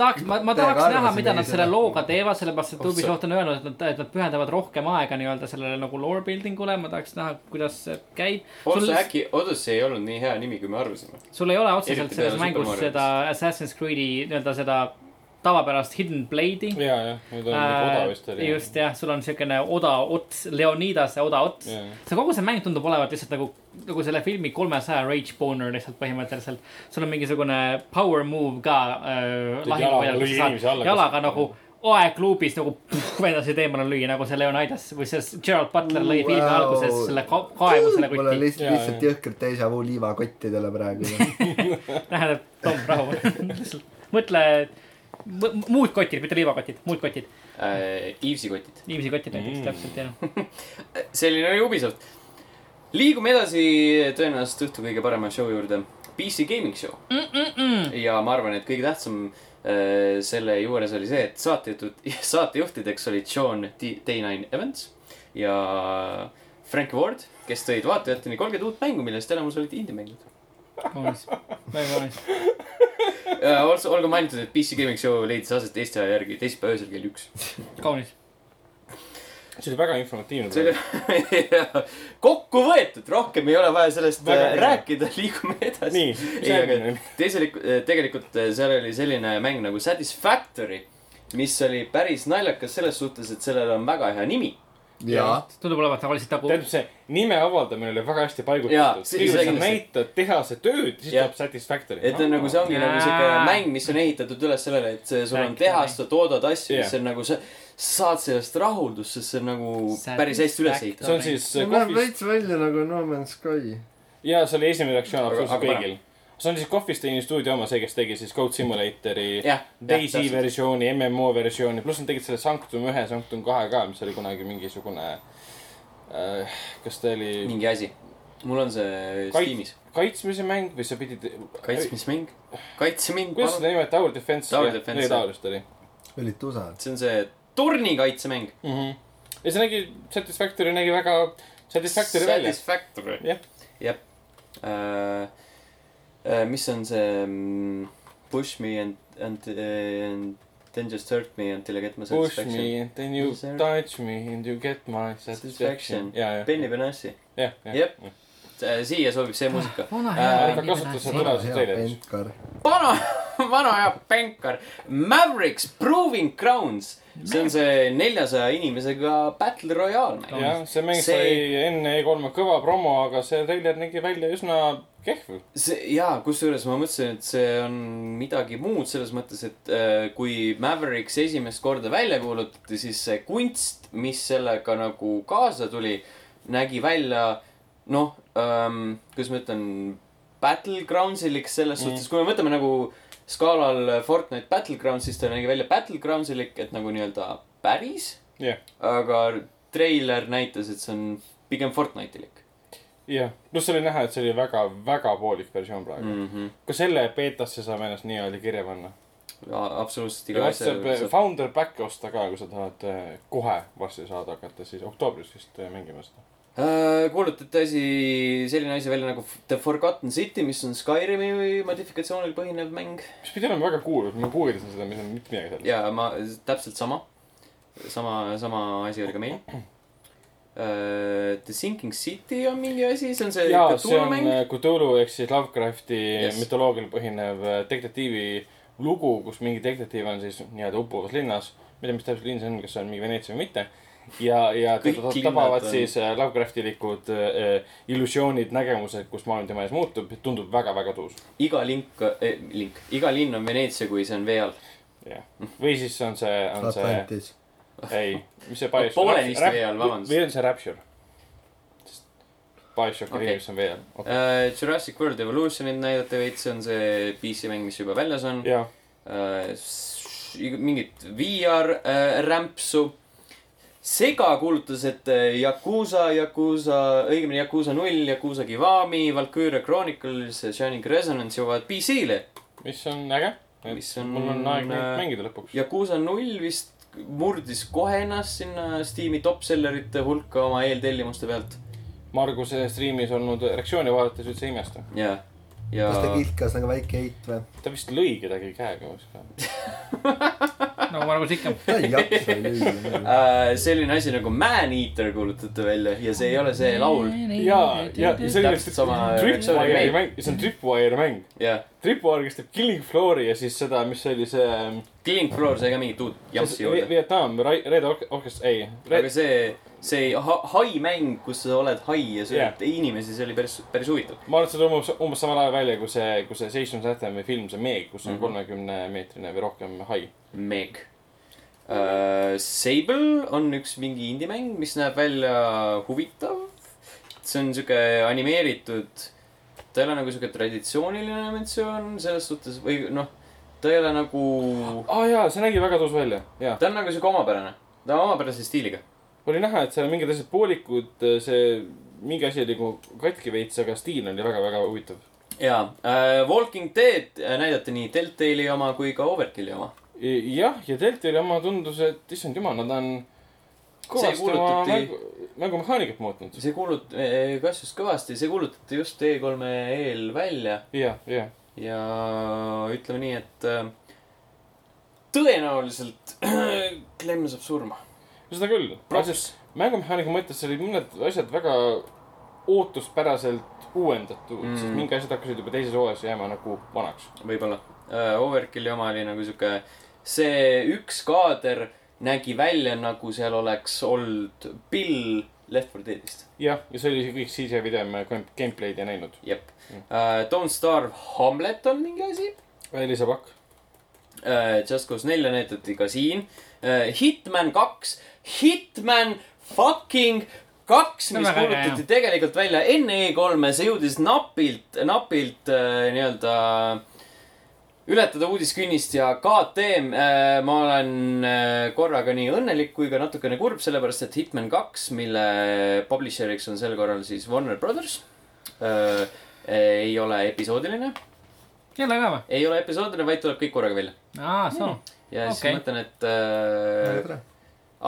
Speaker 3: tahaks , ma , ma
Speaker 2: Täiega
Speaker 3: tahaks näha ,
Speaker 2: arvasin
Speaker 3: mida nad
Speaker 2: seda.
Speaker 3: selle looga teevad , sellepärast et
Speaker 1: Otse.
Speaker 3: Ubisoft on öelnud , et nad , et nad pühendavad rohkem aega nii-öelda sellele nagu lore building ule , ma tahaks näha , kuidas see käib .
Speaker 1: otse
Speaker 3: sul ,
Speaker 1: äkki Odyssey ei olnud nii hea nimi , kui me arvasime .
Speaker 3: sul ei ole otseselt
Speaker 1: eriti
Speaker 3: selles
Speaker 1: peale Super
Speaker 3: mängus
Speaker 1: Mario'st.
Speaker 3: seda Assassin's Creed'i nii-öelda seda tavapärast hidden blade'i .
Speaker 4: ja , jah , nüüd on äh, oda vist oli .
Speaker 3: just jah , sul on siukene oda ots , Leonidase oda ots
Speaker 4: Jaa.
Speaker 3: see kogu see mäng tundub olevat lihtsalt nagu , nagu selle filmi kolmesaja Rage Boner lihtsalt põhimõtteliselt . sul on mingisugune power move ka äh,
Speaker 4: Teed
Speaker 3: lahinguväljal , kus
Speaker 4: jalaga lüüa
Speaker 3: sa
Speaker 4: inimese alla,
Speaker 3: saad
Speaker 4: kas-
Speaker 3: jalaga nagu oekluubis nagu puh, edasi teemale lüüa , nagu see Leonidas või see Gerald Butler lõi
Speaker 2: Wow.
Speaker 3: filmi alguses selle ka- kaevu selle
Speaker 2: mul on
Speaker 3: kuti .
Speaker 2: lihtsalt ,
Speaker 4: Jaa,
Speaker 2: lihtsalt
Speaker 4: jaa.
Speaker 2: jõhkralt deja vu liivakottidele praegu .
Speaker 3: tähendab , Tom , rahu . mõtle , muud kotid , mitte liivakotid , muud kotid .
Speaker 1: äh, Eaves'i kotid .
Speaker 3: inimesi kotid näiteks
Speaker 4: Mm.
Speaker 3: mm. , täpselt jah .
Speaker 1: selline oli Ubisoft . liigume edasi tõenäoliselt õhtu kõige parema show juurde , PC Gaming Show mm . -mm. ja ma arvan , et kõige tähtsam äh, selle juures oli see , et saatejuhtud , saatejuhtideks olid Sean T- T9 Evans ja Frank Ward , kes tõid vaatajateni kolmkümmend uut mängu , millest enamus olid indie-mängud .
Speaker 3: kaunis , väga kaunis .
Speaker 1: Also , Äh, olgu mainitud , et PC Gaming Show leidis aset Eesti aja järgi teisipäeva öösel kell üks .
Speaker 3: kaunis .
Speaker 4: see oli väga informatiivne .
Speaker 1: see oli kokku võetud , rohkem ei ole vaja sellest
Speaker 4: Väga
Speaker 1: äh,
Speaker 4: hea.
Speaker 1: rääkida , liigume edasi .
Speaker 4: nii ,
Speaker 1: ei , aga
Speaker 4: järgmine .
Speaker 1: teiselikult , tegelikult eh, seal oli selline mäng nagu Satisfactory , mis oli päris naljakas selles suhtes , et sellel on väga hea nimi .
Speaker 2: jaa .
Speaker 3: tundub olevat tavaliselt nagu
Speaker 4: tähendab , see nime avaldamine oli väga hästi
Speaker 1: Jaa, see-
Speaker 4: paigutatud . kõigepealt
Speaker 1: see
Speaker 4: sa
Speaker 1: kindlasti.
Speaker 4: näitad tehase tööd , siis
Speaker 1: Jah.
Speaker 4: tuleb satisfactory .
Speaker 1: et on nagu see ongi nagu siuke
Speaker 3: Jaa.
Speaker 1: mäng , mis on ehitatud üles sellele , et see- sul on
Speaker 3: Factory.
Speaker 1: tehas , sa toodad asju , mis
Speaker 4: Jah.
Speaker 1: on nagu sa saad sellest rahuldust , sest see on nagu päris hästi üles ehitatud .
Speaker 4: see on siis äh,
Speaker 2: see näeb
Speaker 4: kohvis ,
Speaker 2: veits välja nagu No Man's Sky .
Speaker 4: jaa , see oli esimene reaktsioon absoluutselt
Speaker 1: aga parem.
Speaker 4: kõigil . see on siis Coffee Staini stuudio oma , see , kes tegi siis Code Simulatori
Speaker 1: jah ,
Speaker 4: Daisy . versiooni , MMO versiooni , pluss nad tegid selle Sanctum ühe , Sanctum kahe ka , mis oli kunagi mingisugune äh, , kas ta oli
Speaker 1: mingi asi . mul on see
Speaker 4: Kait-
Speaker 1: Steamis .
Speaker 4: kaitsmise mäng või sa pidid ,
Speaker 1: kaitsmismäng , kaitsemäng ,
Speaker 4: kuidas
Speaker 1: palun .
Speaker 4: seda nimetatakse , Tower Defense ?
Speaker 1: Tower Defense, jah.
Speaker 4: taolist oli
Speaker 2: olid tusad .
Speaker 1: see on see tornikaitsemäng .
Speaker 4: mm . -hmm. ja see nägi , Satisfactory nägi väga Satisfactory välja .
Speaker 1: Satisfactory .
Speaker 4: Jah.
Speaker 1: jah uh, . Uh, mis on see mm, Push me and , and uh, , and then just hurt me until I get my
Speaker 4: Push
Speaker 1: satisfaction .
Speaker 4: me and then you
Speaker 1: Sir.
Speaker 4: touch me and you get my satisfaction
Speaker 1: Satisfaction. .
Speaker 4: ja , ja ,
Speaker 1: Benny Benassi
Speaker 4: jah , jah
Speaker 1: Jep. . siia sobib see muusika .
Speaker 3: vana
Speaker 1: Äh,
Speaker 4: ta kasutas seda tulevases treileris .
Speaker 1: vana , vana aja pänkar . Mavericks Proving Grounds . see on see neljasaja inimesega Battle Royale mäng .
Speaker 4: jah , see mäng
Speaker 1: See-
Speaker 4: sai enne E3-e kõva promo , aga see treiler nägi välja üsna kehv .
Speaker 1: see jaa , kusjuures ma mõtlesin , et see on midagi muud selles mõttes , et äh, kui Mavericks esimest korda välja kuulutati , siis see kunst , mis sellega nagu kaasa tuli , nägi välja noh ähm, , kuidas ma ütlen , battlegrounds'ilik selles
Speaker 4: Mm.
Speaker 1: suhtes mm. , kui me võtame nagu skaalal Fortnite Battlegrounds , siis ta nägi välja battlegrounds'ilik , et nagu nii-öelda päris
Speaker 4: Jah. .
Speaker 1: aga treiler näitas , et see on pigem Fortnite'ilik
Speaker 4: jah , pluss oli näha , et see oli väga , väga poolik versioon praegu .
Speaker 1: mm . -hmm.
Speaker 4: ka selle beetasse saame ennast nii-öelda kirja panna .
Speaker 1: absoluutselt
Speaker 4: ja
Speaker 1: iga
Speaker 4: varsti
Speaker 1: asja
Speaker 4: saab Founder Back osta ka , kui sa tahad eh, kohe varsti saada hakata , siis oktoobris vist eh, mängima seda .
Speaker 1: Äh, kuulutati asi , selline asi välja nagu The Forgotten City , mis on Skyrimi modifikatsioonil põhinev mäng
Speaker 4: mis pidi olema väga kuulus , ma guugeldasin seda , mis on mitte midagi seal .
Speaker 1: ja ma , täpselt sama , sama , sama asi oli ka meil äh, . The Sinking City on mingi asi , see on see
Speaker 4: jaa , see
Speaker 1: Cthulhu
Speaker 4: on
Speaker 1: mäng .
Speaker 4: äh, Cthulhu ehk siis Lovecrafti
Speaker 1: Yes.
Speaker 4: yes. mütoloogial põhinev äh, detektiivi lugu , kus mingi detektiiv on siis nii-öelda uppuvas linnas . ma ei tea , mis täpselt linn see on , kas see on mingi Veneetsia või mitte . ja , ja
Speaker 1: Kõik
Speaker 4: teda
Speaker 1: linnad
Speaker 4: tabavad
Speaker 1: on-
Speaker 4: siis äh, Lovecraftilikud äh, äh, illusioonid , nägemused , kus maailm tema ees muutub , tundub väga-väga tuus .
Speaker 1: iga link eh, , link , iga linn on Veneetsia , kui see on vee all .
Speaker 4: jah , või siis on see , on see ,
Speaker 2: Atlantis .
Speaker 4: ei , mis see Bioshock .
Speaker 1: poolenisti vee all, vabandust.
Speaker 4: või on see Rapture ?
Speaker 1: Okei.
Speaker 4: Bioshocki okay. viirus on vee all okay. .
Speaker 1: Äh, Jurassic World Evolutionit näidati veits , see on see PC mäng , mis juba väljas on .
Speaker 4: jah ,
Speaker 1: äh, s- ig- mingit VR äh, rämpsu . sega kuulutas , et äh, Yakuusa , Yakuusa , õigemini Yakuusa null , Yakuusa Kiwami , Valkyria Chronicles ja Shining Resonance jõuavad PC-le .
Speaker 4: mis on äge .
Speaker 1: Mis on,
Speaker 4: mul on aeg neid
Speaker 1: äh,
Speaker 4: mängida lõpuks .
Speaker 1: Yakuusa null vist murdis kohe ennast sinna Steam'i topsellerite hulka oma eeltellimuste pealt
Speaker 4: Marguse striimis olnud reaktsiooni vaadates üldse ei imesta .
Speaker 1: ja , ja
Speaker 2: kas ta kilkas nagu väike heit või ?
Speaker 4: ta vist lõi kedagi käega kuskil .
Speaker 3: nagu Margus ikka .
Speaker 2: ta ei jaksa lüüa .
Speaker 1: Äh, selline asi nagu Maneater kuulutati välja ja see ei ole see laul .
Speaker 4: ja , ja see oli
Speaker 1: Täpselt sama
Speaker 4: Tripwire'i
Speaker 1: remake.
Speaker 4: mäng , see on Tripwire mäng .
Speaker 1: jah ,
Speaker 4: Tripwire , kes teeb Killing Floor'i ja siis seda , mis see oli see .
Speaker 1: Killing Floor sai ka mingit uut jamsi juurde .
Speaker 4: Vietnam , Red Orchestra , ei .
Speaker 1: aga see , see ha- hai mäng , kus sa oled hai ja sööd
Speaker 4: Jah.
Speaker 1: yeah. inimesi , see oli päris , päris huvitav .
Speaker 4: ma arvan , et see tuleb umbes , umbes samal ajal välja , kui see , kui see Seisund Athami film , see Meeg , kus
Speaker 1: Mhm.
Speaker 4: on kolmekümne mm -hmm. meetrine või rohkem hai .
Speaker 1: Meg uh, . Sable on üks mingi indie-mäng , mis näeb välja huvitav . see on sihuke animeeritud , ta ei ole nagu sihuke traditsiooniline animatsioon selles suhtes või noh , ta ei ole nagu ,
Speaker 4: aa ah, jaa , see nägi väga tõus välja , jaa .
Speaker 1: ta on nagu sihuke omapärane , ta on omapärase stiiliga .
Speaker 4: oli näha , et seal on mingid asjad poolikud , see , mingi asi oli nagu katki veits , aga stiil oli väga-väga huvitav .
Speaker 1: ja uh, Walking Dead äh, näidati nii Deltali oma kui ka Overkilli oma .
Speaker 4: jah , ja Deltali oma tundus , et issand jumal , nad on kõvasti oma
Speaker 1: kuulutati-
Speaker 4: mängu , mängumehaanikat muutnud .
Speaker 1: see kuulut- , kasvas kõvasti , see kuulutati just E3-e eel välja
Speaker 4: jah , jah .
Speaker 1: ja ütleme nii , et äh, tõenäoliselt Klemm saab surma .
Speaker 4: seda küll . mängumehaaniku mõttes olid mõned asjad väga ootuspäraselt uuendatud mm. , sest mingi asjad hakkasid juba teises hooajas jääma nagu vanaks .
Speaker 1: võib-olla . Overkilli oma oli nagu sihuke , see üks kaader nägi välja nagu seal oleks olnud pill Left 4 Deadist .
Speaker 4: jah , ja see oli kõik siis ja video , me gameplay'd ei näinud .
Speaker 1: jep . Don't Starve Hamlet on mingi asi .
Speaker 4: Elisa Pakk .
Speaker 1: Äh, Just Cause nelja näidati ka siin . Hitman kaks , Hitman fucking kaks ,
Speaker 3: See on
Speaker 1: mis
Speaker 3: väga äge,
Speaker 1: kuulutati tegelikult välja enne E3-e , see jõudis napilt , napilt äh, nii-öelda ületada uudiskünnist ja KTM , ma olen äh, korraga nii õnnelik kui ka natukene kurb , sellepärast et Hitman kaks , mille publisher'iks on sel korral siis Warner Brothers , ei ole episoodiline ,
Speaker 3: kella ka või ?
Speaker 1: ei ole episoodiline , vaid tuleb kõik korraga välja
Speaker 3: aa , soo .
Speaker 1: ja siis okay.
Speaker 3: Okei.
Speaker 1: mõtlen , et
Speaker 2: väga
Speaker 1: äh,
Speaker 2: tore ,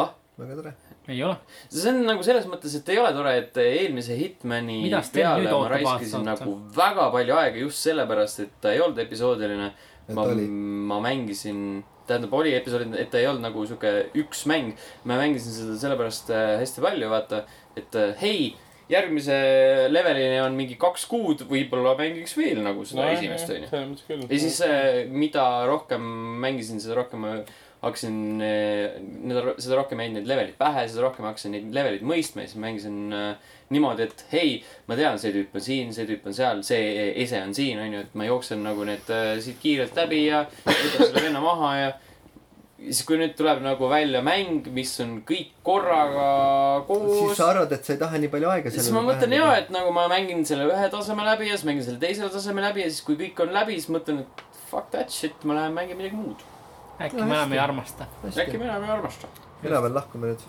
Speaker 1: ah ,
Speaker 2: väga tore .
Speaker 3: ei ole .
Speaker 1: see on nagu selles mõttes , et ei ole tore , et eelmise Hitmani
Speaker 3: Mida Sten nüüd
Speaker 1: peale ma
Speaker 3: ootab
Speaker 1: raiskasin
Speaker 3: aastalt?
Speaker 1: nagu väga palju aega just sellepärast , et ta ei olnud episoodiline .
Speaker 2: Et
Speaker 1: ma
Speaker 2: oli. ,
Speaker 1: ma mängisin , tähendab , oli episood , et ta ei olnud nagu sihuke üks mäng . ma mängisin seda sellepärast äh, hästi palju , vaata , et äh, hei , järgmise levelini on mingi kaks kuud , võib-olla mängiks veel nagu seda no, esimest , onju .
Speaker 4: selles mõttes küll .
Speaker 1: ja siis äh, mida rohkem mängisin , seda rohkem ma hakkasin , seda rohkem jäid need levelid pähe , seda rohkem hakkasin neid levelid mõistma ja siis mängisin äh, niimoodi , et hei , ma tean , see tüüp on siin , see tüüp on seal , see ese on siin , onju , et ma jooksen nagu need äh, siit kiirelt läbi ja võtan selle venna maha ja siis , kui nüüd tuleb nagu välja mäng , mis on kõik korraga
Speaker 2: siis
Speaker 1: koos
Speaker 2: sa arvad , et sa ei taha nii palju aega
Speaker 1: siis ma mõtlen ja , et nagu ma mängin selle ühe taseme läbi ja siis mängin selle teisele taseme läbi ja siis , kui kõik on läbi , siis mõtlen , et fuck that shit , ma lähen mängin midagi muud .
Speaker 3: äkki me enam ei armasta .
Speaker 1: äkki
Speaker 2: et .
Speaker 1: mina ei armasta .
Speaker 2: mina pean lahkuma nüüd .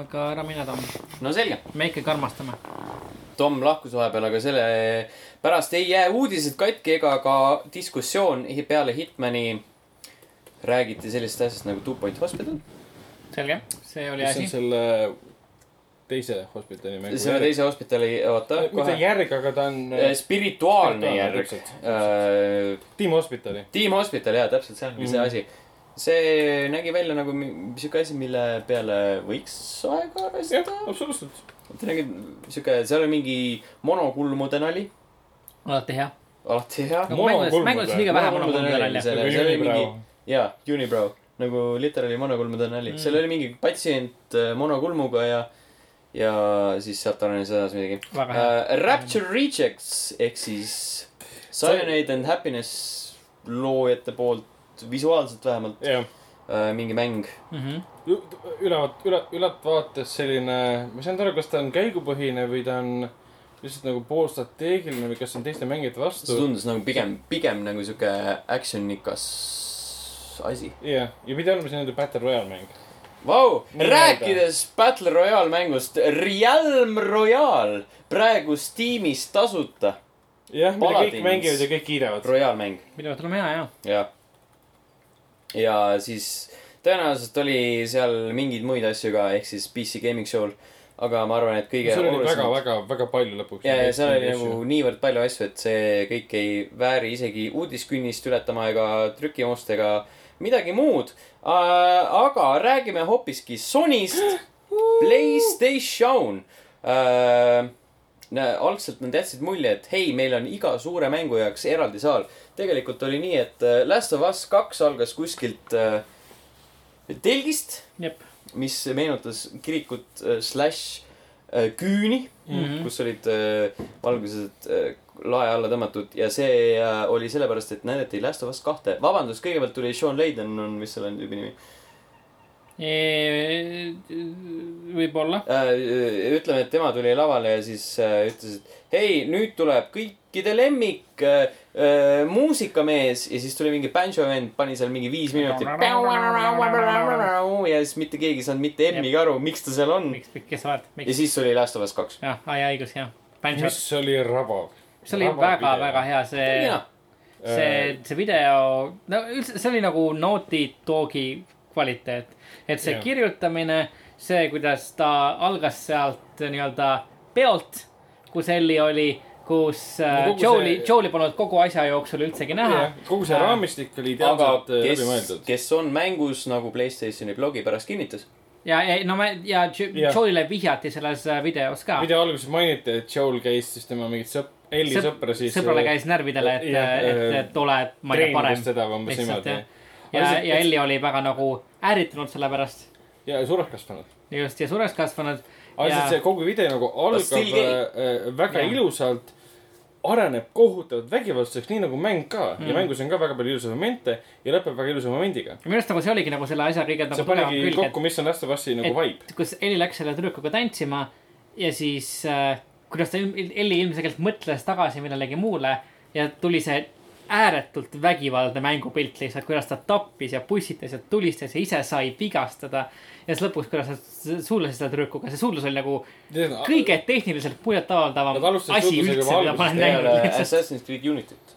Speaker 3: aga ära mine , Tom .
Speaker 1: no selge ,
Speaker 3: me ikkagi armastame .
Speaker 1: Tom lahkus vahepeal , aga selle pärast ei jää uudised katki ega ka diskussioon peale Hitmani räägiti sellisest asjast nagu Two Point Hospital .
Speaker 3: selge , see oli
Speaker 4: mis on
Speaker 3: asi .
Speaker 4: selle teise hospitali mängu
Speaker 1: selle
Speaker 4: järg.
Speaker 1: teise hospitali , oota ,
Speaker 4: mitte
Speaker 1: kohe .
Speaker 4: järg , aga ta on äh,
Speaker 1: spirituaalne järg . Äh,
Speaker 4: täpselt. Team Hospitali .
Speaker 1: Team Hospital , jaa , täpselt see ongi mm -hmm. see asi . see nägi välja nagu mi- sihuke asi , mille peale võiks aega
Speaker 4: jah
Speaker 1: arvestada ,.
Speaker 4: absoluutselt .
Speaker 1: ta nägi sihuke , seal oli mingi monokulmude nali ,
Speaker 3: alati hea .
Speaker 1: alati hea .
Speaker 4: Monokulmud või?
Speaker 3: mängudes on liiga vähe
Speaker 1: Monokulmud on
Speaker 3: monokulmude
Speaker 1: jälle
Speaker 3: välja .
Speaker 1: see- Seal- seal oli mingi- jaa , Unibrow , nagu literaali monokulmude nali mm. . seal oli mingi patsient äh, monokulmuga ja , ja siis sealt arenes edasi midagi .
Speaker 3: väga hea .
Speaker 1: Uh, Rapture Rejects ehk siis Cyanide and Happiness loojate poolt visuaalselt vähemalt
Speaker 4: jah .
Speaker 1: äh, mingi mäng .
Speaker 3: Mhm.
Speaker 4: ülevaat- , üle , ülevaates selline , ma ei saanud aru , kas ta on käigupõhine või ta on lihtsalt nagu poolstrateegiline või kas see on teiste mängijate
Speaker 1: see
Speaker 4: vastu .
Speaker 1: tundus nagu pigem , pigem nagu sihuke actionikas asi .
Speaker 4: jah , ja pidi olema see nii-öelda Battle Royale mäng .
Speaker 1: Vau ,
Speaker 4: Nii-öelda.
Speaker 1: rääkides Battle Royale mängust , Realm Royale , praegu Steamis tasuta
Speaker 4: jah , mida kõik
Speaker 1: Paladins.
Speaker 4: mängivad ja kõik kiidavad .
Speaker 1: Royale mäng
Speaker 3: minu arust on hea , jah .
Speaker 1: ja , ja siis tõenäoliselt oli seal mingeid muid asju ka , ehk siis PC Gaming Show'l , aga ma arvan , et kõige
Speaker 4: see oli väga ,
Speaker 1: olulisem
Speaker 4: väga , väga palju lõpuks .
Speaker 1: ja , ja seal oli nagu . niivõrd palju asju , et see kõik ei vääri isegi uudiskünnist ületama ega trükimust ega midagi muud . aga räägime hoopiski Sonist , Playstation . algselt nad jätsid mulje , et hei , meil on iga suure mängu jaoks eraldi saal . tegelikult oli nii , et äh, Last of Us kaks algas kuskilt äh, telgist ,
Speaker 3: jep .
Speaker 1: mis meenutas kirikut äh, slaš äh, küüni
Speaker 3: Mhm.
Speaker 1: kus olid äh, valgused äh, lae alla tõmmatud ja see äh, oli sellepärast , et näidati Last of Us kahte . vabandust , kõigepealt tuli Sean Layden on , mis selle tüübi nimi
Speaker 3: E, võib-olla .
Speaker 1: äh, . ütleme , et tema tuli lavale ja siis äh, ütles , et hei , nüüd tuleb kõikide lemmik äh, äh, muusikamees ja siis tuli mingi bändžo vend , pani seal mingi viis minutit . ja siis mitte keegi ei saanud mitte M-iga aru , miks ta seal on .
Speaker 3: miks , kes sa oled ,
Speaker 1: ja
Speaker 3: miks ?
Speaker 1: siis oli Last of Us kaks .
Speaker 3: jah , ai õigus , jah .
Speaker 4: mis
Speaker 3: see
Speaker 4: oli rabav .
Speaker 3: oli väga-väga hea , see ,
Speaker 4: Äh,
Speaker 3: see , see video , no üldse , see oli nagu Naughty Dogi kvaliteet . et see
Speaker 4: Jah.
Speaker 3: kirjutamine , see , kuidas ta algas sealt nii-öelda peolt , kus Elli oli , kus äh,
Speaker 4: No kogu
Speaker 3: Joe'li
Speaker 4: see-
Speaker 3: see... , Joe'li polnud kogu asja jooksul üldsegi näha .
Speaker 4: kogu see
Speaker 3: Äh,
Speaker 4: raamistik oli
Speaker 1: aga
Speaker 4: ideaalselt äh, läbi
Speaker 1: kes
Speaker 4: mõeldud .,
Speaker 1: kes on mängus nagu Playstationi blogi pärast kinnitas .
Speaker 3: ja , no ma ja Jo-
Speaker 4: Jah.
Speaker 3: Joe'le vihjati selles äh, videos ka .
Speaker 4: video alguses mainiti , et Joel käis siis tema mingit sõp- , Elli sõpra siis . äh,
Speaker 3: sõbrale käis närvidele , et äh,
Speaker 4: jah, ,
Speaker 3: et , et ole , ma ei tea ,
Speaker 4: treenis
Speaker 3: parem .
Speaker 4: teda või umbes
Speaker 3: lihtsalt
Speaker 4: niimoodi
Speaker 3: jah ., ja , ja Elli oli väga nagu ärritunud selle pärast
Speaker 4: ja sureks kasvanud .
Speaker 3: just ja suureks kasvanud .
Speaker 4: aga lihtsalt see kogu video nagu
Speaker 1: still
Speaker 4: algab
Speaker 1: gay.
Speaker 4: äh, väga
Speaker 3: Jah.
Speaker 4: ilusalt , areneb kohutavalt vägivaldseks , nii nagu mäng ka mm. ja mängus on ka väga palju ilusaid momente ja lõpeb väga ilusa momendiga .
Speaker 3: minu arust nagu see oligi nagu selle asja kõige
Speaker 4: see
Speaker 3: nagu tugevam
Speaker 4: panigi
Speaker 3: külg ,
Speaker 4: kokku , mis on Last of Us'i nagu vibe .
Speaker 3: et kus Elli läks selle tüdrukuga tantsima ja siis äh, kuidas ta , Elli ilmselgelt mõtles tagasi millelegi muule ja tuli see ääretult vägivaldne mängupilt lihtsalt , kuidas ta tappis ja pussitas ja tulistas ja ise sai vigastada . ja siis lõpuks , kuidas ta suudles selle tüdrukuga , see suudlus oli nagu kõige tehniliselt muljetavaldavam
Speaker 4: Nad alustasid
Speaker 3: asi
Speaker 4: suhtlusega
Speaker 3: üldse ,
Speaker 4: juba
Speaker 3: mida ma olen
Speaker 4: algusest
Speaker 3: näinud lihtsalt .
Speaker 1: Assassin's Creed Unity't .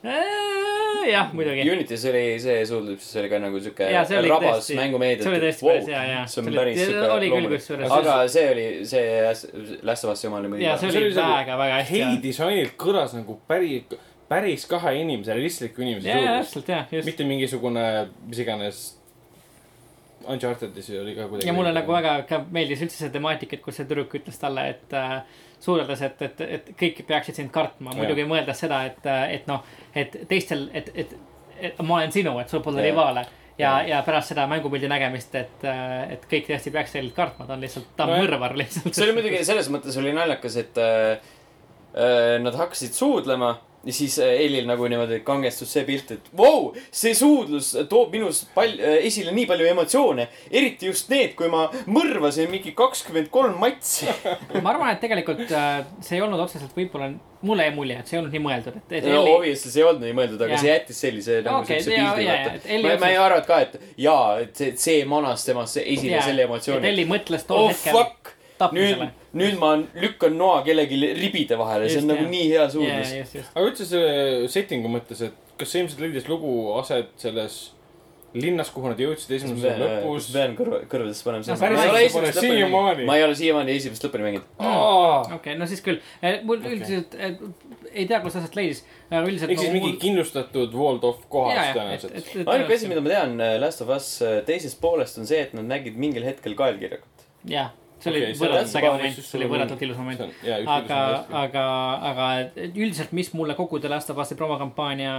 Speaker 3: jah , muidugi .
Speaker 1: Unity's oli see suudlus , see oli ka nagu siuke
Speaker 3: Jaa, see oli
Speaker 1: rabas
Speaker 3: tõesti-
Speaker 1: mängumeedia .
Speaker 3: see oli tõesti päris hea, jaa.
Speaker 1: see on
Speaker 3: See oli-
Speaker 1: päris
Speaker 3: see
Speaker 1: siuke
Speaker 3: oli küll
Speaker 1: loomulik.
Speaker 3: kusjuures.
Speaker 1: aga see oli , see Last of Us'i oma oli
Speaker 3: ja see
Speaker 1: muidugi .
Speaker 4: See
Speaker 3: oli
Speaker 4: oli nagu
Speaker 3: väga , väga hästi .
Speaker 4: hei disainilt kõlas nagu päris , päris kahe inimese , realistliku inimese
Speaker 3: jaa ,
Speaker 4: suudlus .
Speaker 3: täpselt jah , just .
Speaker 4: mitte mingisugune , mis iganes . Uncharted'is oli ka kuidagi .
Speaker 3: ja mulle nagu väga ka meeldis üldse see temaatika , et kus see tüdruk ütles talle , et äh, suudades , et , et , et kõik peaksid sind kartma ,
Speaker 4: Jah.
Speaker 3: muidugi mõeldes seda , et , et noh , et teistel , et , et , et ma olen sinu , et sul pole
Speaker 1: Jah.
Speaker 3: rivaale ja , ja pärast seda mängupildi nägemist , et , et kõik tõesti peaks teid kartma , ta on lihtsalt , ta on
Speaker 4: Nojah.
Speaker 3: mõrvar lihtsalt .
Speaker 1: see oli muidugi selles mõttes oli naljakas , et äh, äh, nad hakkasid suudlema ja siis äh, Eilil nagu niimoodi kangestus see pilt , et vau , see suudlus toob minus pal- , esile nii palju emotsioone , eriti just need , kui ma mõrvasin mingi kakskümmend kolm matsi
Speaker 3: ma arvan , et tegelikult äh, see ei olnud otseselt võib-olla , mulle jäi mulje , et see ei olnud nii mõeldud , et , et
Speaker 1: no
Speaker 3: Elli-
Speaker 1: obviously see ei olnud nii mõeldud , aga
Speaker 3: Jah.
Speaker 1: see jättis sellise nagu
Speaker 3: Okei,
Speaker 1: okay, siukse
Speaker 3: jaa,
Speaker 1: pildi
Speaker 3: jaa, jaa, et
Speaker 1: vaata . ma ,
Speaker 3: Elli
Speaker 1: ma ei
Speaker 3: otsus-
Speaker 1: arva ka , et jaa , et see , see manas temasse esile
Speaker 3: jaa,
Speaker 1: yeah. selle
Speaker 3: et
Speaker 1: emotsiooni .
Speaker 3: Elli mõtles tol
Speaker 1: oh
Speaker 3: hetkel
Speaker 1: fuck , nüüd
Speaker 3: tapmisele .,
Speaker 1: nüüd ma lükkan noa kellelgi ribide vahele , see on
Speaker 3: Just,
Speaker 1: nagu
Speaker 3: jah.
Speaker 1: nii hea
Speaker 3: jaa ,
Speaker 1: suudlus .
Speaker 3: just , just .
Speaker 4: aga üldse selle setting'u mõttes , et kas see ilmselt leidis lugu aset selles linnas , kuhu nad jõudsid esimese lõpus ?
Speaker 1: pean kõrva , kõrvadesse panema
Speaker 3: No,
Speaker 1: selle .
Speaker 3: sa
Speaker 1: ma ei
Speaker 3: rääkisid
Speaker 1: ole esimest lõpuni
Speaker 4: mulle siiamaani.
Speaker 1: mänginud. ma ei ole siiamaani esimest lõpuni mänginud .
Speaker 4: ehk
Speaker 3: okei okay, , no siis küll . mul okay. üldiselt , ei tea , kus aset leidis , aga üldiselt .
Speaker 4: siis mingi kindlustatud walled-off kohas tõenäoliselt .
Speaker 1: ainuke asi , mida ma tean äh, Last of Us äh, teisest poolest on see , et nad nägid mingil hetkel kaelkirjakut .
Speaker 3: jah , see oli
Speaker 4: Okei, see on-
Speaker 3: võrratult äge
Speaker 4: see on-
Speaker 3: moment , see oli võrratult ilus moment .
Speaker 4: jaa , üks
Speaker 3: aga , aga , aga et üldiselt , mis mulle kogu The Last of Us'i promokampaania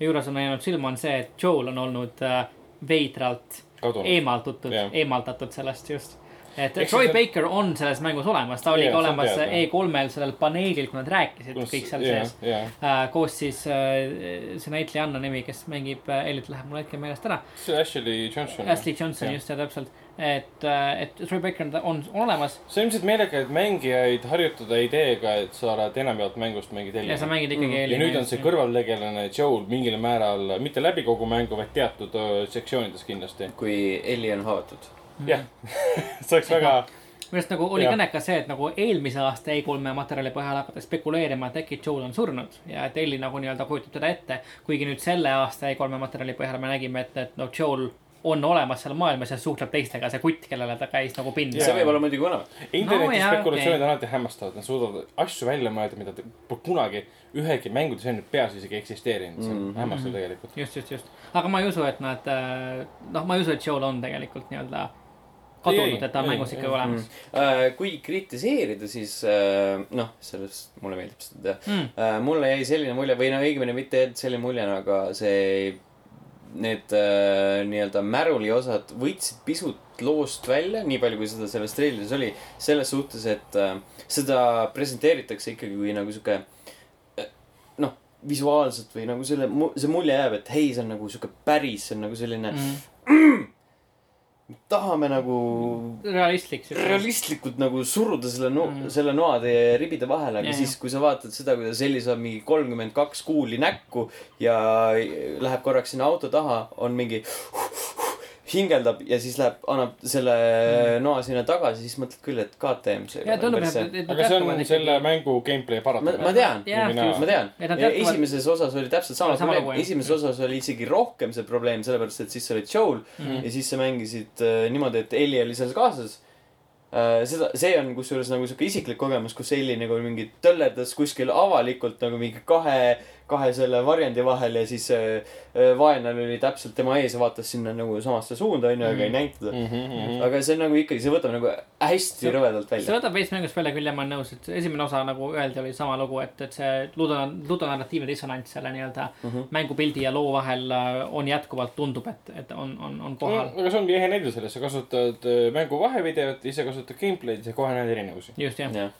Speaker 3: juures on jäänud silma , on see , et Joel on olnud äh, veidralt
Speaker 4: kadunud .
Speaker 3: eemaldutud
Speaker 4: Jah. ,
Speaker 3: eemaldatud sellest just . et
Speaker 4: Ehk
Speaker 3: Troy
Speaker 4: siis-
Speaker 3: Baker on selles mängus olemas , ta oli
Speaker 4: Jah,
Speaker 3: ka
Speaker 4: see on
Speaker 3: olemas
Speaker 4: teada.
Speaker 3: E3-l sellel paneelil , kui nad rääkisid kõik seal sees .. Äh, koos siis äh, see näitleja Anna nimi , kes mängib äh, Ellit , läheb mul hetkel meelest ära .
Speaker 4: see Ashley Johnson .
Speaker 3: Ashley Johnson ,
Speaker 4: Jah.
Speaker 3: just ja täpselt , et , et Troy Baker on- on olemas
Speaker 4: see on ilmselt meelega , et mängijaid harjutada ideega , et sa oled enamjaolt mängust mängid
Speaker 3: ja sa
Speaker 4: Elina .
Speaker 3: mängid ikkagi
Speaker 4: Mm. ja
Speaker 3: Elli .
Speaker 4: nüüd on see . kõrvaltegelane Joel mingil määral , mitte läbi kogu mängu , vaid teatud öö, sektsioonides kindlasti .
Speaker 1: kui Elli on haavatud .
Speaker 3: Mhm.
Speaker 4: jah , see oleks väga ,
Speaker 3: minu arust nagu oli
Speaker 4: Jah.
Speaker 3: kõnekas see , et nagu eelmise aasta E3-e materjali põhjal hakata spekuleerima , et äkki Joel on surnud ja et E Elli nagu nii-öelda kujutab teda ette . kuigi nüüd selle aasta E3-e materjali põhjal me nägime , et , et no Joel on olemas seal maailmas ja suhtleb teistega , see kutt , kellele ta käis nagu pinda
Speaker 1: see . võib olla muidugi vana .
Speaker 4: interneti
Speaker 3: No
Speaker 4: no,
Speaker 3: jaa,
Speaker 4: spekulatsioonid
Speaker 3: okei.
Speaker 4: okay. on alati hämmastavad , nad suudavad asju välja mõelda , mida te- pole kunagi ühegi mängudisaini peas isegi eksisteerinud , see on
Speaker 1: Mhm.
Speaker 4: mm -hmm. hämmastav tegelikult .
Speaker 3: just , just , just , aga ma ei usu , et nad , noh , ma ei usu , et Joel on tegelikult nii-öelda
Speaker 4: Ei,
Speaker 3: kadunud ,
Speaker 4: ei,
Speaker 3: et ta on
Speaker 4: ei,
Speaker 3: mängus
Speaker 4: ei,
Speaker 3: ikka olemas .
Speaker 1: Äh, kui kritiseerida , siis äh, noh , sellest mulle meeldib seda teha
Speaker 3: Mm.
Speaker 1: mm. . mulle jäi selline mulje või no õigemini mitte ainult selline mulje , aga see , need äh, nii-öelda märuli osad võtsid pisut loost välja , nii palju , kui seda selles treilis oli . selles suhtes , et äh, seda presenteeritakse ikkagi kui nagu sihuke äh, noh , visuaalselt või nagu selle , see mulje jääb , et hei , see on nagu sihuke päris , see on nagu selline mm. , tahame nagu
Speaker 3: realistlik siuke .
Speaker 1: realistlikult nagu suruda selle no-
Speaker 3: Mhm.
Speaker 1: mm. , selle noade ja ribide vahele , aga
Speaker 3: Jajah.
Speaker 1: siis , kui sa vaatad seda , kuidas Elli saab mingi kolmkümmend kaks kuuli näkku ja läheb korraks sinna auto taha , on mingi hingeldab ja siis läheb , annab selle mm. noa sinna tagasi , siis mõtled küll , et KTM see
Speaker 3: ja Mhm. tundub , et ,
Speaker 1: see .
Speaker 3: et nad
Speaker 4: aga see
Speaker 3: jätkavad
Speaker 4: on selle . mängu gameplay
Speaker 1: ma ,
Speaker 4: paratamine .
Speaker 1: ma tean ,
Speaker 3: Jah,
Speaker 1: ma tean .
Speaker 3: Et nad jätkavad-
Speaker 1: esimeses osas oli täpselt sama
Speaker 3: Sama
Speaker 1: probleem
Speaker 3: lugu, , jah.
Speaker 1: esimeses osas oli isegi rohkem see probleem , sellepärast et siis sa olid Joel
Speaker 3: Mhm.
Speaker 1: ja siis sa mängisid äh, niimoodi , et Elli oli seal kaasas . seda , see on kusjuures nagu sihuke isiklik kogemus , kus Elli nagu mingi töllerdas kuskil avalikult nagu mingi kahe , kahe selle varjendi vahel ja siis äh, äh, vaenlane oli täpselt tema ees ja vaatas sinna nagu samasse suunda onju ,
Speaker 3: Mhm.
Speaker 1: aga ei näinud
Speaker 4: Mhm,
Speaker 1: teda .
Speaker 4: tean .
Speaker 1: aga see on nagu ikkagi , see võtab nagu hästi
Speaker 3: See-
Speaker 1: rõvedalt
Speaker 3: see
Speaker 1: välja .
Speaker 3: võtab veits mängust välja küll ja ma olen nõus , et esimene osa nagu öeldi , oli sama lugu , et , et see ludo , ludonarratiivne dissonants selle nii-öelda mm
Speaker 1: Mhm.
Speaker 3: -hmm. mängupildi ja loo vahel äh, on jätkuvalt tundub , et , et on , on , on kohal .
Speaker 4: aga see ongi ehe näide sellest , sa kasutad äh, mängu vahevideot , ise kasutad gameplay'd ja kohe näed erinevusi .
Speaker 3: just jah ,
Speaker 1: jah ,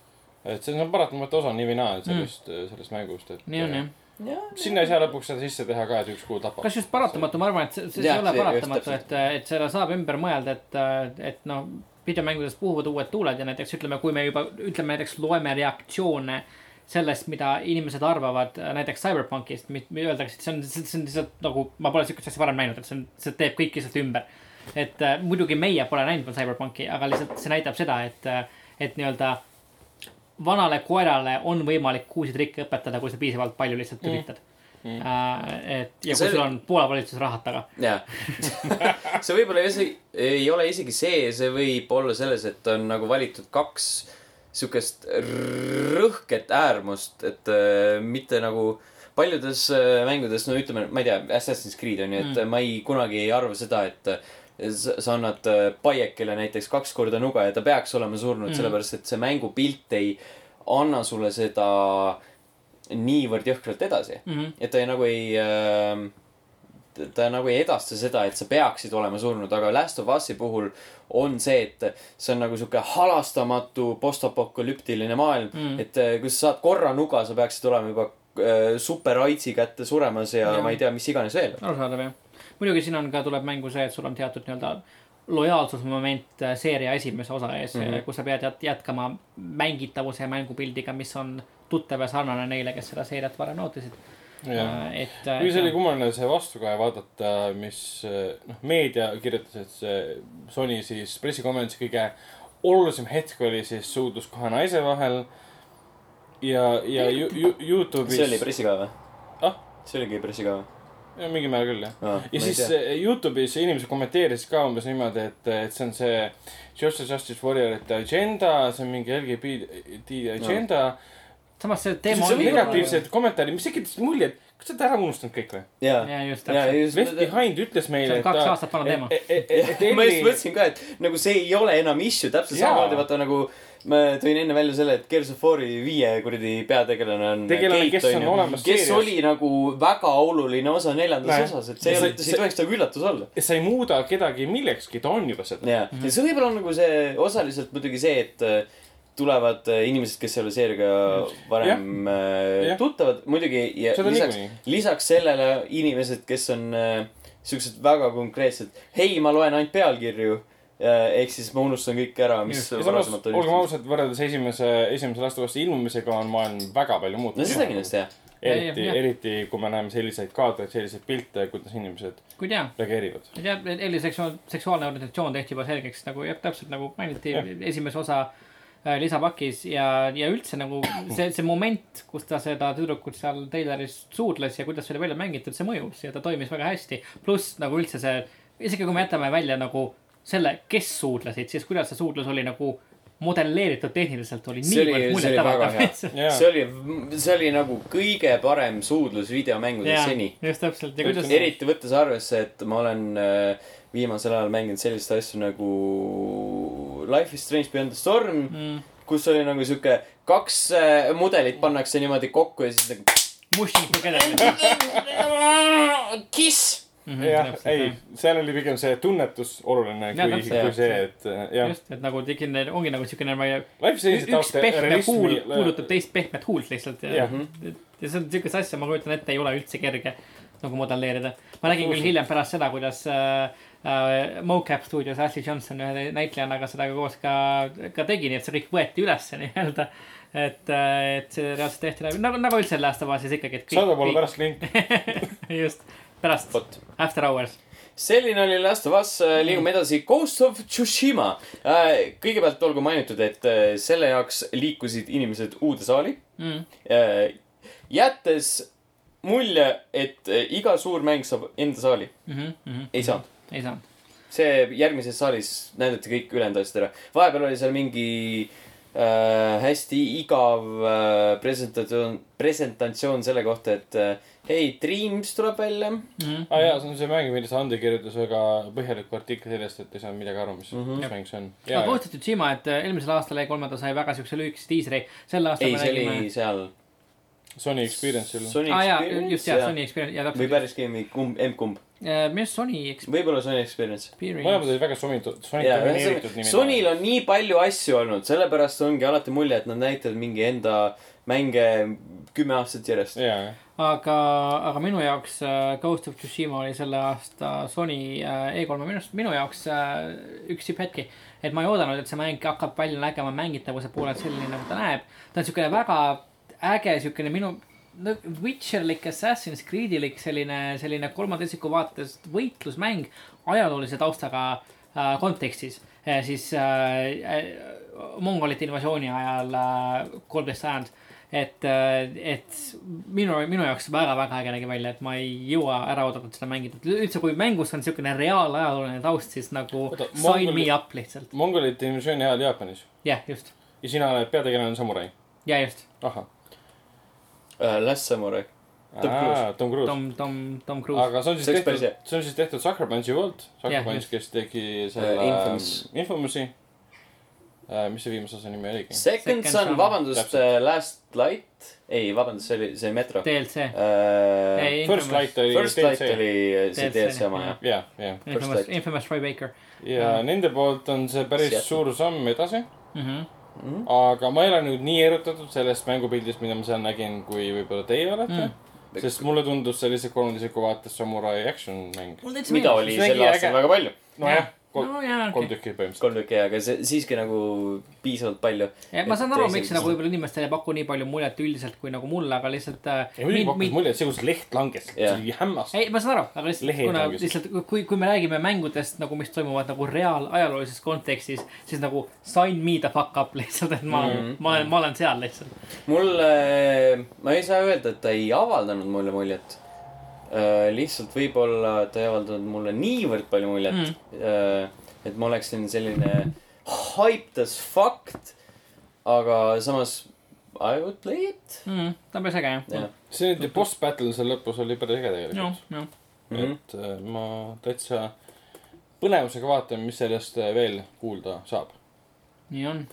Speaker 4: et see on paratamatu osa nii või naa sellest mm. , sellest mängust , et .
Speaker 3: nii on jah .
Speaker 4: sinna ei saa lõpuks seda sisse teha ka , et üks kuu tapab .
Speaker 3: kas just paratamatu , ma arvan , et see , see
Speaker 1: Jah,
Speaker 3: ei ole
Speaker 1: see- just
Speaker 3: paratamatu ,
Speaker 1: täpselt.
Speaker 3: et , et selle saab ümber mõelda , et , et noh , videomängudes puhuvad uued tuuled ja näiteks ütleme , kui me juba ütleme näiteks loeme reaktsioone sellest , mida inimesed arvavad äh, näiteks Cyberpunkist , mida öeldakse , et see on , see on lihtsalt nagu , ma pole sihukest asja varem näinud , et see on , see teeb kõik lihtsalt ümber . et äh, muidugi meie pole näinud veel Cyberpunki , aga lihtsalt see näitab seda , et , et nii-öelda vanale koerale on võimalik uusi trikke õpetada , kui sa piisavalt palju lihtsalt üritad mm. . et ja kui
Speaker 1: See-
Speaker 3: sul on Poola valitsuse rahad taga .
Speaker 1: jah . see võib-olla isegi , ei ole isegi see , see võib olla selles , et on nagu valitud kaks siukest rõhket äärmust , et äh, mitte nagu paljudes äh, mängudes , no ütleme , ma ei tea , Assassin's Creed on ju , et mm. ma ei , kunagi ei arva seda , et äh, sa sa annad äh, paiekile näiteks kaks korda nuga ja ta peaks olema surnud mm. , sellepärast et see mängupilt ei anna sulle seda niivõrd jõhkralt edasi mm .
Speaker 3: Mhm.
Speaker 1: et ta ei, nagu ei äh, ta- ta nagu ei edasta seda , et sa peaksid olema surnud , aga Last of Us'i puhul on see , et see on nagu sihuke halastamatu postapokalüptiline maailm mm. , et äh, kui sa saad korra nuga , sa peaksid olema juba äh, super aidsi kätte suremas ja,
Speaker 3: Jah.
Speaker 1: ja ma ei tea , mis iganes veel .
Speaker 3: arusaadav jah . muidugi siin on ka , tuleb mängu see , et sul on teatud nii-öelda lojaalsusmoment äh, seeria esimese osa ees mm , -hmm. kus sa pead jät- jätkama mängitavuse ja mängupildiga , mis on tuttav ja sarnane neile , kes seda seeriat varem nautisid . et . äh,
Speaker 4: või see oli kummaline see vastukaja vaadata , mis äh, noh , meedia kirjutas , et see Sony siis pressikonverentsi kõige olulisem hetk oli siis suudlus kahe naise vahel . ja , ja ju, ju, Youtube'is .
Speaker 1: see oli pressikaev või ?
Speaker 4: Ah?
Speaker 1: see oligi pressikaev
Speaker 4: mingil määral küll jah .
Speaker 1: ah,
Speaker 4: ja siis äh, Youtube'is inimesed kommenteerisid ka umbes niimoodi , et , et see on see Justice Justice Warriorite agenda , see on mingi LGBT agenda no. .
Speaker 3: samas see teema .
Speaker 4: see on negatiivsed kommentaarid , mis tekitas mulje , et kas sa oled ära unustanud kõik või ?
Speaker 1: jaa
Speaker 3: Jaa, just
Speaker 1: Jaa,
Speaker 3: täpselt.
Speaker 1: just-
Speaker 4: Left Behind ütles meile ,
Speaker 3: See on
Speaker 4: et
Speaker 3: kaks aastat vana teema.
Speaker 4: et ,
Speaker 1: E,
Speaker 4: et , et , et
Speaker 1: ma just
Speaker 4: Elli ,
Speaker 1: mõtlesin ka , et nagu see ei ole enam issue , täpselt
Speaker 4: Jaa.
Speaker 1: samamoodi vaata nagu ma tõin enne välja selle , et Gears of War'i viie kuradi peategelane on
Speaker 4: Tegelane,
Speaker 1: Kate,
Speaker 4: kes on
Speaker 1: onju,
Speaker 4: olemas
Speaker 1: kes
Speaker 4: seerias.
Speaker 1: oli nagu väga oluline osa neljandas
Speaker 4: Näe.
Speaker 1: osas , et see
Speaker 4: Ja
Speaker 1: ei ole ,
Speaker 4: see-
Speaker 1: see ei tohiks nagu üllatus olla .
Speaker 4: sa ei muuda kedagi millekski , ta on juba seda .
Speaker 1: ja , ja see võib-olla on nagu see osaliselt muidugi see , et äh, tulevad äh, inimesed , kes ei ole seeriaga varem äh,
Speaker 4: Jah.
Speaker 1: tuttavad , muidugi ja
Speaker 4: Seda
Speaker 1: lisaks
Speaker 4: niikuinii. ,
Speaker 1: lisaks sellele inimesed , kes on äh, siuksed väga konkreetsed , hei , ma loen ainult pealkirju äh, ehk siis ma unustan kõik ära , mis
Speaker 4: ja samas ,
Speaker 1: varasemalt oli
Speaker 4: olgem . ausad , võrreldes esimese , esimese lastevastu ilmumisega on maailm väga palju
Speaker 1: no seda
Speaker 4: muutunud .
Speaker 1: kindlasti jah .
Speaker 4: eriti
Speaker 3: Jah, jah. ,
Speaker 4: eriti kui me näeme selliseid kaadreid , selliseid pilte , kuidas inimesed
Speaker 3: kuid jaa
Speaker 4: reageerivad .
Speaker 3: ma ei tea , Elli seksuaal , seksuaalne orientatsioon tehti juba selgeks nagu jah , täpselt nagu mainiti
Speaker 4: Jah.
Speaker 3: esimese osa äh, lisapakis ja , ja üldse nagu see , see moment , kus ta seda tüdrukut seal treileris suudles ja kuidas see oli välja mängitud , see mõjus ja ta toimis väga hästi . pluss nagu üldse see isegi kui me jätame välja nagu selle , kes suudlesid , siis kuidas see suudlus oli nagu modelleeritud tehniliselt oli
Speaker 5: See oli-
Speaker 3: niivõrd
Speaker 5: see oli väga
Speaker 3: muljetavaldav .
Speaker 4: Jaa.
Speaker 5: see oli , see oli nagu kõige parem suudlus videomängudes seni .
Speaker 3: just täpselt ja kuidas
Speaker 5: Kuidas... . eriti võttes arvesse , et ma olen äh, viimasel ajal mänginud selliseid asju nagu
Speaker 1: nagu
Speaker 5: Life is Strange Beyond the Storm mm. , kus oli nagu sihuke kaks äh, mudelit pannakse niimoodi kokku ja siis nagu
Speaker 3: mushing together . Mhm,
Speaker 5: kiss .
Speaker 3: Mm,
Speaker 4: jah , ei , seal oli pigem see tunnetus oluline ,
Speaker 3: Jaa,
Speaker 4: kui ,
Speaker 3: täpselt.
Speaker 4: kui see , et äh, jah .
Speaker 3: just , et nagu selline ongi nagu siukene , ma ei
Speaker 4: Life Strange'i
Speaker 3: üks
Speaker 4: tausta
Speaker 3: pehme huul
Speaker 4: realismi-
Speaker 3: puudutab teist pehmet huult lihtsalt ja, ja.
Speaker 4: Jah.
Speaker 3: ja see on siukest asja , ma kujutan ette , ei ole üldse kerge nagu modelleerida . ma nägin küll hiljem pärast seda , kuidas äh, äh, mocap stuudios Ashley Johnson ühe näitlejannaga seda ka koos ka , ka tegi , nii et see kõik võeti ülesse nii-öelda . et , et see reaalselt tehti läbi , nagu , nagu üldse lasta baasis ikkagi , et .
Speaker 4: saadab mulle . pärast link .
Speaker 3: just , pärast , after hours .
Speaker 1: selline oli Last of Us , liigume edasi Ghost of Tsushima . kõigepealt olgu mainitud , et äh, selle jaoks liikusid inimesed uude saali äh,
Speaker 3: Mm. .
Speaker 1: jättes mulje , et äh, iga suur mäng saab enda saali .
Speaker 3: Mm -hmm, mm -hmm.
Speaker 1: ei saanud .
Speaker 3: ei saanud .
Speaker 1: see järgmises saalis näidati kõik ülejäänud asjad ära . vahepeal oli seal mingi äh, hästi igav äh, presentatsioon , presentatsioon selle kohta , et äh, hei , Dreams tuleb välja
Speaker 3: Mhm.
Speaker 4: aa Ah, jaa , see on see mäng , millest Andi kirjutas väga põhjaliku artikli sellest , et ei saanud midagi aru , mis mm ,
Speaker 1: Mhm.
Speaker 4: -hmm. mis mäng see on .
Speaker 3: aga Ghost of Tsushima , et äh, eelmisel aastal E3-ndal sai väga siukse lühikese diisri , sel aastal
Speaker 1: ei ,
Speaker 3: me
Speaker 1: see
Speaker 3: nägime .
Speaker 1: oli seal
Speaker 4: Sony Experience'il .
Speaker 1: Sony
Speaker 3: aa jaa ,
Speaker 1: Experience
Speaker 3: Ah, just jaa , Sony Experience , jaa
Speaker 1: või
Speaker 3: täpselt .
Speaker 1: päris game'i kumb , emb-kumb ,
Speaker 3: minu arust Sony
Speaker 1: võib-olla Sony Experience .
Speaker 4: mõlemad
Speaker 3: Experience .
Speaker 4: olid väga Sony't , Sony't domineeritud nimi .
Speaker 1: Sonyl on nii palju asju olnud , sellepärast ongi alati mulje , et nad näitavad mingi enda mänge kümme aastat järjest .
Speaker 4: jaa , jah .
Speaker 3: aga , aga minu jaoks äh, Ghost of Tsushima oli selle aasta Sony äh, E3-e minu arust , minu jaoks äh, üks sipp hetki . et ma ei oodanud , et see mäng hakkab välja nägema mängitavuse poolelt selline , nagu ta näeb . ta on siukene väga äge , siukene minu , no Witcherlik , Assassin's Creedilik selline , selline kolmanda isiku vaates võitlusmäng ajaloolise taustaga äh, kontekstis . siis äh, äh, mongolite invasiooni ajal kolmteist äh, sajand et , et minu , minu jaoks väga-väga äge nägi välja , et ma ei jõua ära oodata et seda mängida . üldse , kui mängus on siukene reaalajalooline taust , siis nagu
Speaker 4: Oota,
Speaker 3: sign
Speaker 4: Mongoli-
Speaker 3: me up lihtsalt .
Speaker 4: mongolite invasiooni ajal Jaapanis
Speaker 3: jah , just ,
Speaker 4: ja sina oled peategelane samurai .
Speaker 3: ja just
Speaker 4: ahah ,
Speaker 1: Äh, Last Samurai . Tom Cruise.
Speaker 4: Tom Cruise .
Speaker 3: Tom , Tom , Tom Cruise .
Speaker 4: aga see on siis
Speaker 1: See oleks päris
Speaker 4: tehtud , see on siis tehtud Sucker Punchi poolt . Sucker
Speaker 3: Jah,
Speaker 4: Punch ,
Speaker 3: just.
Speaker 4: kes tegi selle ähm,
Speaker 1: Äh, Infamous.
Speaker 4: Infamous'i . mis see viimase osa nimi oligi ?
Speaker 1: Second Son , vabandust , Last Light , ei , vabandust , see oli , see oli Metro . Äh,
Speaker 3: DLC . Ei,
Speaker 4: First
Speaker 3: Infamous-
Speaker 4: Light oli .
Speaker 1: First Light . oli see
Speaker 3: DLC,
Speaker 1: DLC oma ,
Speaker 3: jah.
Speaker 1: jah .
Speaker 4: jah , jah .
Speaker 1: First
Speaker 3: Infamous ,
Speaker 1: Light.
Speaker 3: Infamous Roy Baker
Speaker 4: ja nende poolt on see päris
Speaker 1: Seattle.
Speaker 4: suur samm edasi ,
Speaker 3: mm . -hmm.
Speaker 4: aga ma ei ole nüüd nii erutatud sellest mängupildist , mida ma seal nägin , kui võib-olla teie olete mm. . sest mulle tundus sellise kolmandisiku vaates samurai action mäng .
Speaker 1: mida oli
Speaker 4: see nägi
Speaker 1: sel aastal
Speaker 4: äge-
Speaker 1: väga palju ,
Speaker 4: nojah , kolm
Speaker 3: no jaa ,
Speaker 4: kolm
Speaker 3: okei .
Speaker 4: tükki põhimõtteliselt .
Speaker 1: kolm tükki , aga see siiski nagu piisavalt palju .
Speaker 3: ma saan aru , miks see nagu
Speaker 1: teisel-
Speaker 3: võib-olla inimestele ei paku nii palju muljet üldiselt kui nagu mulle , aga lihtsalt .
Speaker 4: ja muidugi pakkus mulje , et see , kus leht langes , see
Speaker 1: Jah.
Speaker 4: oli hämmastav .
Speaker 3: ei , ma saan aru , aga lihtsalt ,
Speaker 4: Lehed
Speaker 3: kuna
Speaker 4: on just-
Speaker 3: lihtsalt kui , kui me räägime mängudest nagu , mis toimuvad nagu reaalajaloolistes kontekstis , siis nagu sign me the fuck up lihtsalt , et ma mm ,
Speaker 1: Mhm.
Speaker 3: -hmm. ma olen , ma olen seal lihtsalt .
Speaker 1: mulle , ma ei saa öelda , et ta ei avaldanud mulle muljet . lihtsalt võib-olla ta ei avaldanud mulle niivõrd palju muljet mm. , et ma oleksin selline hyped as fucked , aga samas I would play it
Speaker 3: Mm, ta on päris äge jah
Speaker 1: Jah. .
Speaker 4: see nüüd boss battle seal lõpus oli päris äge
Speaker 3: jah
Speaker 4: tegelikult .,
Speaker 3: jah .
Speaker 4: et äh, ma täitsa põnevusega vaatan , mis sellest äh, veel kuulda saab .
Speaker 3: nii on .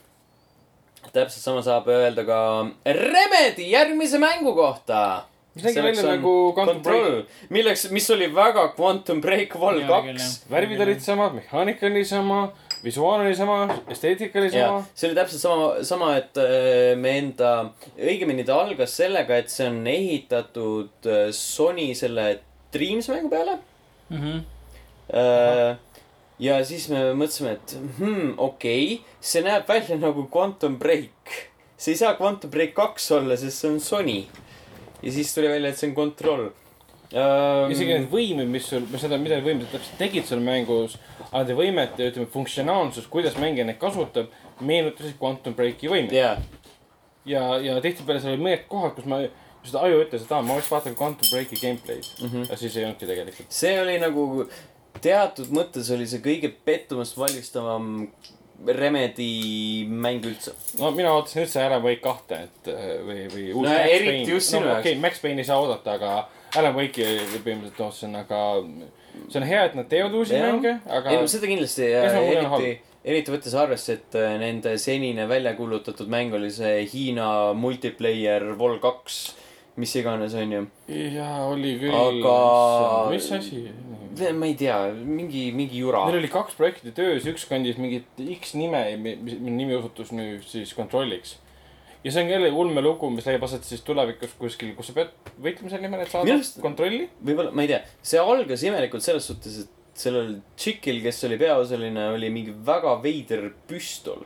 Speaker 1: täpselt sama saab öelda ka Remedi järgmise mängu kohta .
Speaker 4: mis nägi välja nagu Quantum Break .
Speaker 1: Control , milleks , mis oli väga Quantum Break Vol
Speaker 3: Ei ole küll,
Speaker 1: kaks .
Speaker 4: värvid olid samad , mehaanika oli sama , visuaal oli sama , esteetika oli
Speaker 1: ja
Speaker 4: sama .
Speaker 1: see oli täpselt sama , sama , et äh, me enda , õigemini ta algas sellega , et see on ehitatud äh, Sony selle Dreams mängu peale
Speaker 3: Mm -hmm.
Speaker 1: äh, . ja siis me mõtlesime , et hmm, okei okay, , see näeb välja nagu Quantum Break . see ei saa Quantum Break kaks olla , sest see on Sony . ja siis tuli välja , et see on Control äh, .
Speaker 4: isegi need võimed , mis sul , mis seda , mida need võimed täpselt tegid seal mängus , nende võimete , ütleme , funktsionaalsus , kuidas mängija neid kasutab , meenutasid Quantum Breaki võimeid .
Speaker 1: jaa ,
Speaker 4: ja , ja tihtipeale seal olid mõned kohad , kus ma , kus
Speaker 1: mhm.
Speaker 4: ta aju ütles , et aa , ma võiks vaadata Quantum Breaki gameplay'd mm . -hmm. ja siis ei olnudki tegelikult .
Speaker 1: see oli nagu teatud mõttes oli see kõige pettumust valmistavam Remedi mäng üldse .
Speaker 4: no mina ootasin üldse ära Wake kahte , et äh, või , või uus
Speaker 1: No
Speaker 4: Max
Speaker 1: eriti
Speaker 4: Payne.
Speaker 1: just sinu
Speaker 4: no,
Speaker 1: jaoks.
Speaker 4: okei okay, , Max Payne'i ei saa oodata , aga Alan Wake'i põhimõtteliselt ootasin , aga see on hea , et nad teevad uusi
Speaker 1: Jah.
Speaker 4: mänge , aga
Speaker 1: ei no seda kindlasti ja
Speaker 4: Esmane mulje on
Speaker 1: eriti , eriti võttes arvesse , et äh, nende senine välja kuulutatud mäng oli see Hiina multiplayer Vol kaks , mis iganes , onju .
Speaker 4: jaa , oli küll .
Speaker 1: Aga-
Speaker 4: mis asi ?
Speaker 1: ma ei tea , mingi , mingi jura .
Speaker 4: Neil oli kaks projekti töös , üks kandis mingit X nime , mille nimi osutus nüüd siis kontrolliks . ja see on jälle ulmelugu , mis leiab aset siis tulevikus kuskil , kus sa pead võitlema selle nimel , et saada
Speaker 1: Minu arust-
Speaker 4: kontrolli .
Speaker 1: võib-olla , ma ei tea , see algas imelikult selles suhtes , et sellel tšikil , kes oli peaosaline , oli mingi väga veider püstol .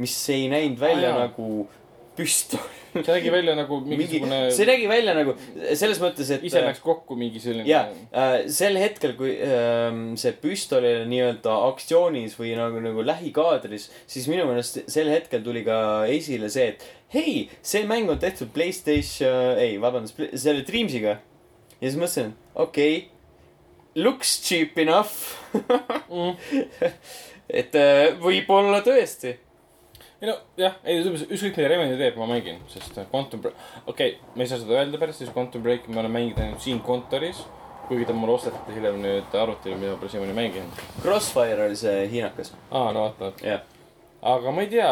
Speaker 1: mis ei näinud välja
Speaker 4: Aa,
Speaker 1: ah,
Speaker 4: jaa.
Speaker 1: nagu püstol .
Speaker 4: see nägi välja nagu
Speaker 1: mingi ,
Speaker 4: mingisugune
Speaker 1: see nägi välja nagu selles mõttes , et
Speaker 4: ise läks kokku mingi selline .
Speaker 1: ja äh, sel hetkel , kui ähm, see püstol oli nii-öelda aktsioonis või nagu , nagu lähikaadris , siis minu meelest sel hetkel tuli ka esile see , et hei , see mäng on tehtud Playstation , ei , vabandust , selle Dreamsiga . ja siis mõtlesin , okei okay, , looks cheap enough
Speaker 4: Mm.
Speaker 1: et äh, võib-olla tõesti .
Speaker 4: ei no jah , ei selles mõttes ükskõik mida Remedi teeb , ma mängin , sest äh, Quantum Break , okei okay, , ma ei saa seda öelda päris , sest Quantum Breaki ma olen mänginud ainult siin kontoris . kuigi ta mulle osteti hiljem nüüd arvutile , mida ma pole siiamaani mänginud .
Speaker 1: Crossfire oli see hiinakas ,
Speaker 4: aa , no vaata .
Speaker 1: jah .
Speaker 4: aga ma ei tea ,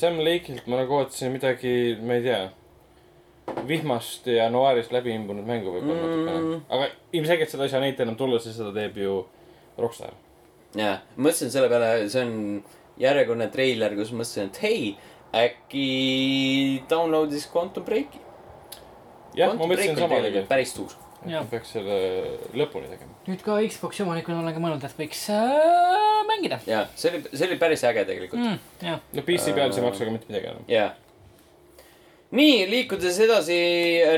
Speaker 4: Sam Lake'ilt ma nagu ootasin midagi , ma ei tea . vihmast ja noaarist läbi imbunud mängu võib-olla
Speaker 1: Mm.
Speaker 4: natukene . aga ilmselgelt seda ei saa neilt enam tulla , sest seda teeb ju Rockstar .
Speaker 1: jaa , mõtlesin selle peale , see on järjekordne treiler , kus mõtlesin , et hei , äkki download'is Quantum Breaki .
Speaker 4: jah , ma mõtlesin sama tegelikult .
Speaker 1: päris tuus .
Speaker 3: Jah.
Speaker 4: peaks selle lõpuni tegema .
Speaker 3: nüüd ka Xbox omanikuna olen ka mõelnud , et võiks äh, mängida
Speaker 1: jaa , see oli , see oli päris äge tegelikult mm. ,
Speaker 3: mm, . jah ,
Speaker 4: no PC peal see ei maksa ka mitte midagi enam .
Speaker 1: jaa . nii , liikudes edasi ,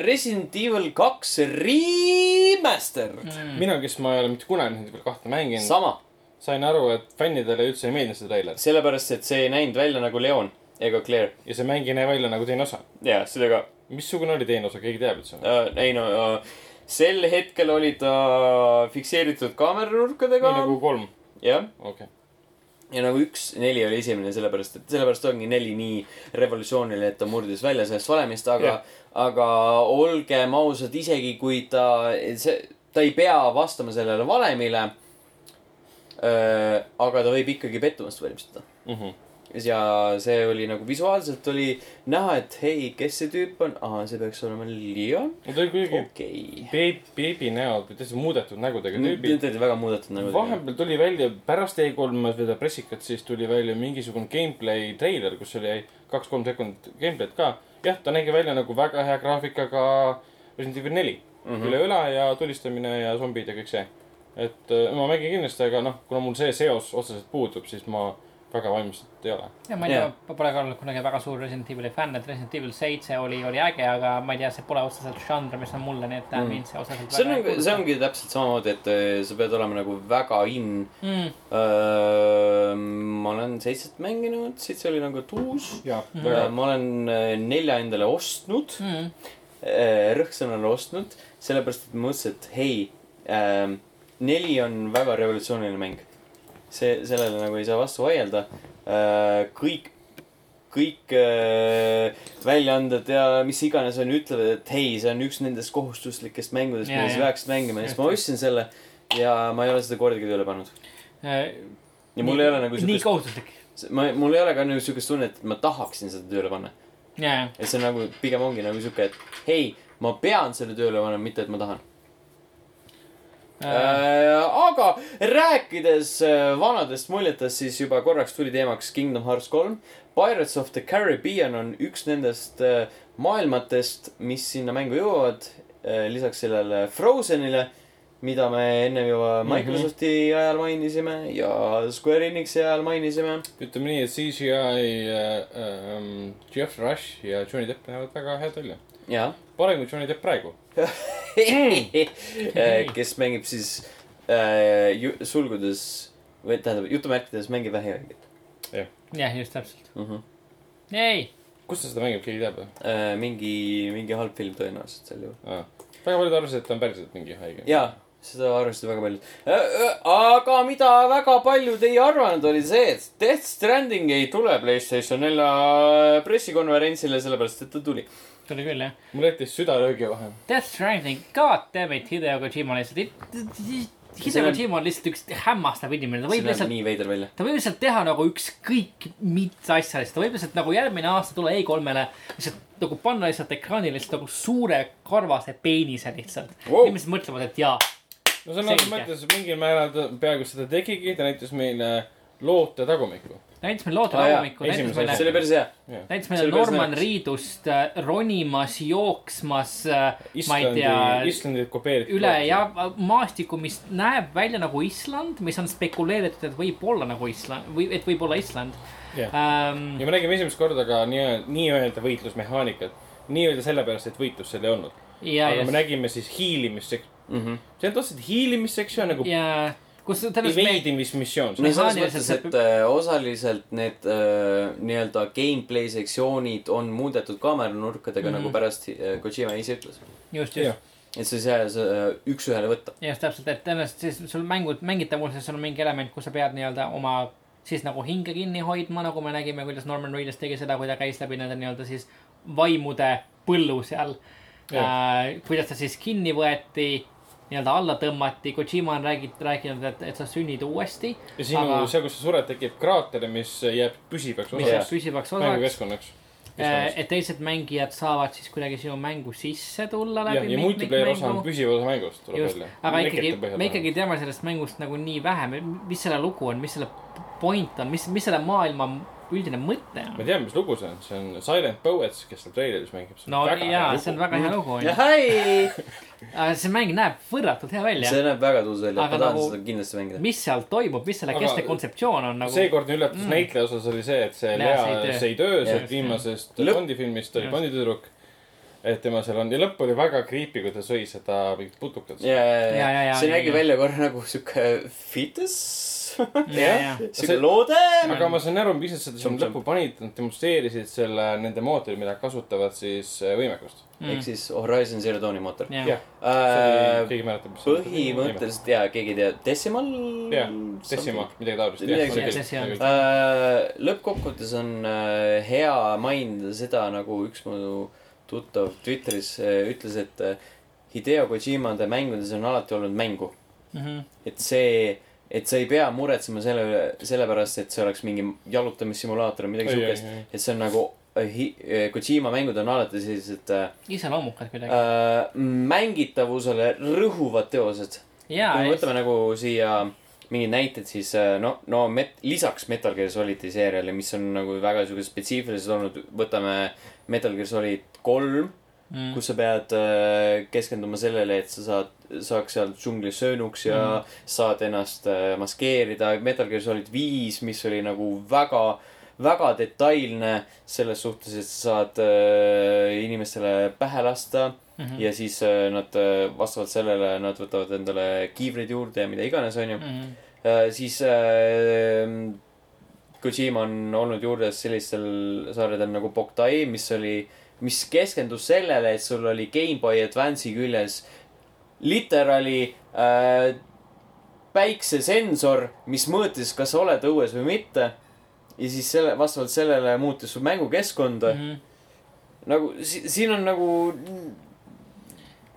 Speaker 1: Resident Evil kaks remastered mm. .
Speaker 4: mina , kes ma ei ole mitte kunagi neid veel kahte mänginud .
Speaker 1: sama ,
Speaker 4: sain aru , et fännidele üldse ei meeldinud see treiler
Speaker 1: sellepärast et see ei näinud välja nagu Leon ega Claire .
Speaker 4: ja see mäng ei näe välja nagu teine osa .
Speaker 1: jaa , seda ka
Speaker 4: missugune oli teine osa , keegi teab üldse või ?
Speaker 1: uh, . ei no uh, , sel hetkel oli ta fikseeritud kaameranurkadega
Speaker 4: nii . nagu kolm ,
Speaker 1: jah ,
Speaker 4: okei okay. .
Speaker 1: ja nagu üks neli oli esimene , sellepärast et sellepärast ongi neli nii revolutsiooniline , et ta murdis välja sellest valemist , aga
Speaker 4: Jah.
Speaker 1: yeah. , aga olgem ausad , isegi kui ta , see , ta ei pea vastama sellele valemile . aga ta võib ikkagi pettumust valmistada
Speaker 4: Mm -hmm.
Speaker 1: ja see oli nagu visuaalselt oli näha , et hei , kes see tüüp on , aa , see peaks olema Leon ,
Speaker 4: Nad olid
Speaker 1: Oh.
Speaker 4: kuidagi
Speaker 1: okei .
Speaker 4: beebi , beebi näod või täitsa muudetud nägudega
Speaker 1: Need
Speaker 4: tüübid .
Speaker 1: olid väga muudetud nagu .
Speaker 4: vahepeal tuli välja , pärast E E3-e seda pressikat , siis tuli välja mingisugune gameplay treiler , kus oli kaks-kolm sekundit gameplay'd ka . jah , ta nägi välja nagu väga hea graafikaga Resident Evil neli mm -hmm. üle õla ja tulistamine ja zombid ja kõik see . et äh, ma mängin kindlasti , aga noh , kuna mul see seos otseselt puudub , siis ma väga valmistatud ei ole .
Speaker 3: ja ma ei tea
Speaker 1: Jah. ,
Speaker 3: ma pole ka olnud kunagi väga suur Resident Evil'i fänn , et Resident Evil seitse oli , oli äge , aga ma ei tea , see pole otseselt žanr , mis on mulle , nii et mm. mind see otseselt
Speaker 1: Mhm. see on nagu , see ongi täpselt samamoodi , et äh, sa pead olema nagu väga in
Speaker 3: mm. .
Speaker 1: Öö, ma olen seitset mänginud , seitse oli nagu tuus .
Speaker 4: jaa ,
Speaker 3: Mhm.
Speaker 1: ma olen äh, nelja endale ostnud ,
Speaker 3: Mm.
Speaker 1: rõhksõnale ostnud , sellepärast et ma mõtlesin , et hei , neli on väga revolutsiooniline mäng . see , sellele nagu ei saa vastu vaielda . kõik , kõik äh, väljaanded ja mis iganes on , ütlevad , et hei , see on üks nendest kohustuslikest mängudest ,
Speaker 3: Jaa,
Speaker 1: mida sa
Speaker 3: jaa.
Speaker 1: peaksid mängima ja siis ma ostsin selle ja ma ei ole seda kordagi tööle pannud . ja mul ei ole nagu
Speaker 3: Äh, nii
Speaker 1: siukest ,
Speaker 3: kohustuslik .
Speaker 1: ma , mul ei ole ka nagu siukest tunnet , et ma tahaksin seda tööle panna .
Speaker 3: ja , ja ,
Speaker 1: et see on nagu pigem ongi nagu siuke , et hei , ma pean selle tööle panema , mitte et ma tahan
Speaker 3: Äh,
Speaker 1: äh, . aga rääkides äh, vanadest muljetest , siis juba korraks tuli teemaks Kingdom Hearts kolm . Pirates of the Caribbean on üks nendest äh, maailmatest , mis sinna mängu jõuavad äh, . lisaks sellele Frozenile , mida me ennem juba Microsofti mm -hmm. ajal mainisime ja Square Enixi ajal mainisime .
Speaker 4: ütleme nii , et CGI äh, ähm, Jeff Rush ja Johnny Depp näevad väga head välja .
Speaker 1: jah .
Speaker 4: parem kui Johnny Depp praegu .
Speaker 1: Eh, kes mängib siis äh, ju- sulgudes või tähendab jutumärkides mängib vähihaiget
Speaker 3: jah , just täpselt .
Speaker 1: uh . -huh.
Speaker 3: ei ,
Speaker 4: kus ta seda mängib , keegi teab või
Speaker 1: Äh, mingi , mingi halb film tõenäoliselt sel juhul .
Speaker 4: ah. ? väga paljud arvasid , et ta on päriselt mingi haige .
Speaker 1: jaa , seda arvestasid väga paljud . aga mida väga paljud ei arvanud , oli see , et Death Stranding ei tule Playstation nelja pressikonverentsile , sellepärast et ta tuli .
Speaker 3: tuli küll jah .
Speaker 4: mul jättis süda löögi vahele .
Speaker 3: Death Stranding , god damn it , Hideo Kojima lihtsalt .
Speaker 1: See
Speaker 3: Hideo
Speaker 1: on-
Speaker 3: Kojima on lihtsalt üks hämmastav inimene , ta
Speaker 1: see
Speaker 3: võib
Speaker 1: näeb
Speaker 3: lihtsalt ,
Speaker 1: nii veider välja .
Speaker 3: ta võib lihtsalt teha nagu ükskõik mis asja , ta võib lihtsalt nagu järgmine aasta tulla E3-le , lihtsalt nagu panna lihtsalt ekraanile lihtsalt nagu suure karvase peenise lihtsalt
Speaker 1: Wow.
Speaker 3: wow. . inimesed mõtlevad , et jaa ,
Speaker 4: no sõna otseses
Speaker 3: Selge.
Speaker 4: mõttes mingil määral ta peaaegu seda tegigi , ta näitas meile loote tagumikku .
Speaker 3: näitas meile loote
Speaker 1: Aa, jaa,
Speaker 3: hommikul , näitas
Speaker 4: esimese
Speaker 3: meile
Speaker 1: see oli päris hea .
Speaker 3: näitas
Speaker 1: See
Speaker 3: meile
Speaker 1: oli päris
Speaker 3: Norman
Speaker 1: naljakas.
Speaker 3: Reedust äh, ronimas , jooksmas äh, , ma ei
Speaker 4: Islandi
Speaker 3: tea ,,
Speaker 4: Islandit kopeeriti .
Speaker 3: üle ja maastiku , mis näeb välja nagu Island , mis on spekuleeritud , et võib-olla nagu Island või et võib-olla Island
Speaker 4: Jah.
Speaker 3: ähm,
Speaker 4: ja . me nägime esimest korda ka nii-öelda , nii-öelda võitlusmehaanikat . nii-öelda sellepärast , et võitlust seal ei olnud .
Speaker 3: ja ,
Speaker 4: aga me
Speaker 3: ja ,
Speaker 4: nägime siis hiilimissek- , see on tõesti hiilimissektsioon nagu
Speaker 3: ja kus tõenäoliselt me ,
Speaker 4: eveidimismissioon .
Speaker 1: no selles mõttes ,
Speaker 3: mehaaniliselt
Speaker 1: et äh, osaliselt need äh, nii-öelda gameplay sektsioonid on muudetud kaameranurkadega
Speaker 3: Mhm.
Speaker 1: mm , -hmm. nagu pärast äh, Kojima ise ütles .
Speaker 3: just ,
Speaker 4: jah
Speaker 3: just ,,
Speaker 1: et sa ei saa äh, üks-ühele võtta .
Speaker 3: just täpselt , et tõenäoliselt siis sul mängud , mängitavuses on mingi element , kus sa pead nii-öelda oma siis nagu hinge kinni hoidma , nagu me nägime , kuidas Norman Reedus tegi seda , kui ta käis läbi nende nii-öelda siis vaimude põllu seal . Äh, kuidas ta siis kinni võeti , nii-öelda alla tõmmati , Kojima on räägid , rääkinud , et , et sa sünnid uuesti .
Speaker 4: ja sinu aga... , seal , kus sa sured , tekib kraater , mis jääb püsivaks
Speaker 3: mis jääb
Speaker 4: osaks
Speaker 3: püsivaks osaks ,
Speaker 4: mängukeskkonnaks .
Speaker 3: et teised mängijad saavad siis kuidagi sinu mängu sisse tulla
Speaker 4: ja ,
Speaker 3: läbi nagu-
Speaker 4: ja multiplayer osa on . püsiv osa mängust , tuleb
Speaker 3: just
Speaker 4: välja ,
Speaker 3: aga ikkagi , me . ikkagi teame sellest mängust nagu nii vähe , mis selle lugu on , mis selle point on , mis , mis selle maailma üldine mõte
Speaker 4: ma
Speaker 3: on .
Speaker 4: tean , mis lugu see on , see on Silent Poets , kes seal treileris mängib .
Speaker 3: no jaa , see on väga hea lugu onju ,
Speaker 1: jahai ,
Speaker 3: aga see mäng näeb võrratult hea välja .
Speaker 1: see näeb väga tuus välja ,
Speaker 3: Aga
Speaker 1: ma tahan
Speaker 3: nagu-
Speaker 1: seda kindlasti mängida .
Speaker 3: mis seal toimub , mis selle
Speaker 4: Aga
Speaker 3: keskne kontseptsioon on nagu .
Speaker 4: seekordne üllatus mm. näitleja osas oli see , et see
Speaker 3: Lea
Speaker 4: Lea Seydoux ,
Speaker 3: Jah,
Speaker 4: see viimasest
Speaker 1: Lõpp-
Speaker 4: Bondi filmist oli
Speaker 3: Just.
Speaker 4: Bondi tüdruk . et tema seal on ja lõpp oli väga creepy , kui ta sõi seda mingit putukat .
Speaker 1: ja , ja ,
Speaker 3: ja,
Speaker 1: ja ,
Speaker 3: ja,
Speaker 1: see
Speaker 3: ja,
Speaker 1: nägi
Speaker 3: ja.
Speaker 1: välja korra nagu siuke fetus ,
Speaker 3: ja , ja ,
Speaker 1: siuke loode .
Speaker 4: aga ma saan aru , mis asjad
Speaker 1: Jump,
Speaker 4: sinna lõppu panid , nad demonstreerisid selle , nende mootori , mida kasutavad siis äh, võimekust .
Speaker 3: Mm.
Speaker 1: ehk siis Horizon Zero Dawni mootor .
Speaker 3: ja ,
Speaker 1: põhimõtteliselt
Speaker 4: keegi mäletab , mis .,
Speaker 1: jaa , keegi ei tea , Decimal .
Speaker 4: jah , Decima , midagi taolist .
Speaker 1: Midagi
Speaker 3: sellist, jah.
Speaker 1: Äh, lõppkokkuvõttes on äh, hea mainida seda , nagu üks mu tuttav Twitteris äh, ütles , et äh, Hideo Kojimade mängudes on alati olnud mängu .
Speaker 3: Mhm.
Speaker 1: et see , et sa ei pea muretsema selle üle , sellepärast , et see oleks mingi jalutamissimulaator või midagi siukest . et see on nagu äh, hi- äh, Kojima mängud on alati sellised äh,
Speaker 3: iseloomukad kuidagi .
Speaker 1: äh, mängitavusele rõhuvad teosed .
Speaker 3: ja ,
Speaker 1: kui me
Speaker 3: ja
Speaker 1: võtame nagu siia mingid näited , siis äh, no , no met- , lisaks Metal Gear Solid'i seeriale , mis on nagu väga siuksed spetsiifilised olnud , võtame Metal Gear Solid kolm mm. , kus sa pead äh, keskenduma sellele , et sa saad , saaks seal džunglis söönuks ja mm. saad ennast äh, maskeerida . Metal Gear Solid viis , mis oli nagu väga , väga detailne selles suhtes , et sa saad äh, inimestele pähe lasta
Speaker 3: Mhm.
Speaker 1: ja siis äh, nad äh, vastavalt sellele , nad võtavad endale kiivreid juurde ja mida iganes , onju . Äh, siis äh, Kojima on olnud juures sellistel sarjadel nagu Boktai , mis oli , mis keskendus sellele , et sul oli GameBoy Advance'i küljes literaali äh, päiksesensor , mis mõõtis , kas sa oled õues või mitte . ja siis selle , vastavalt sellele muutis su mängukeskkonda mm .
Speaker 3: Mhm.
Speaker 1: -hmm. nagu si- siin on nagu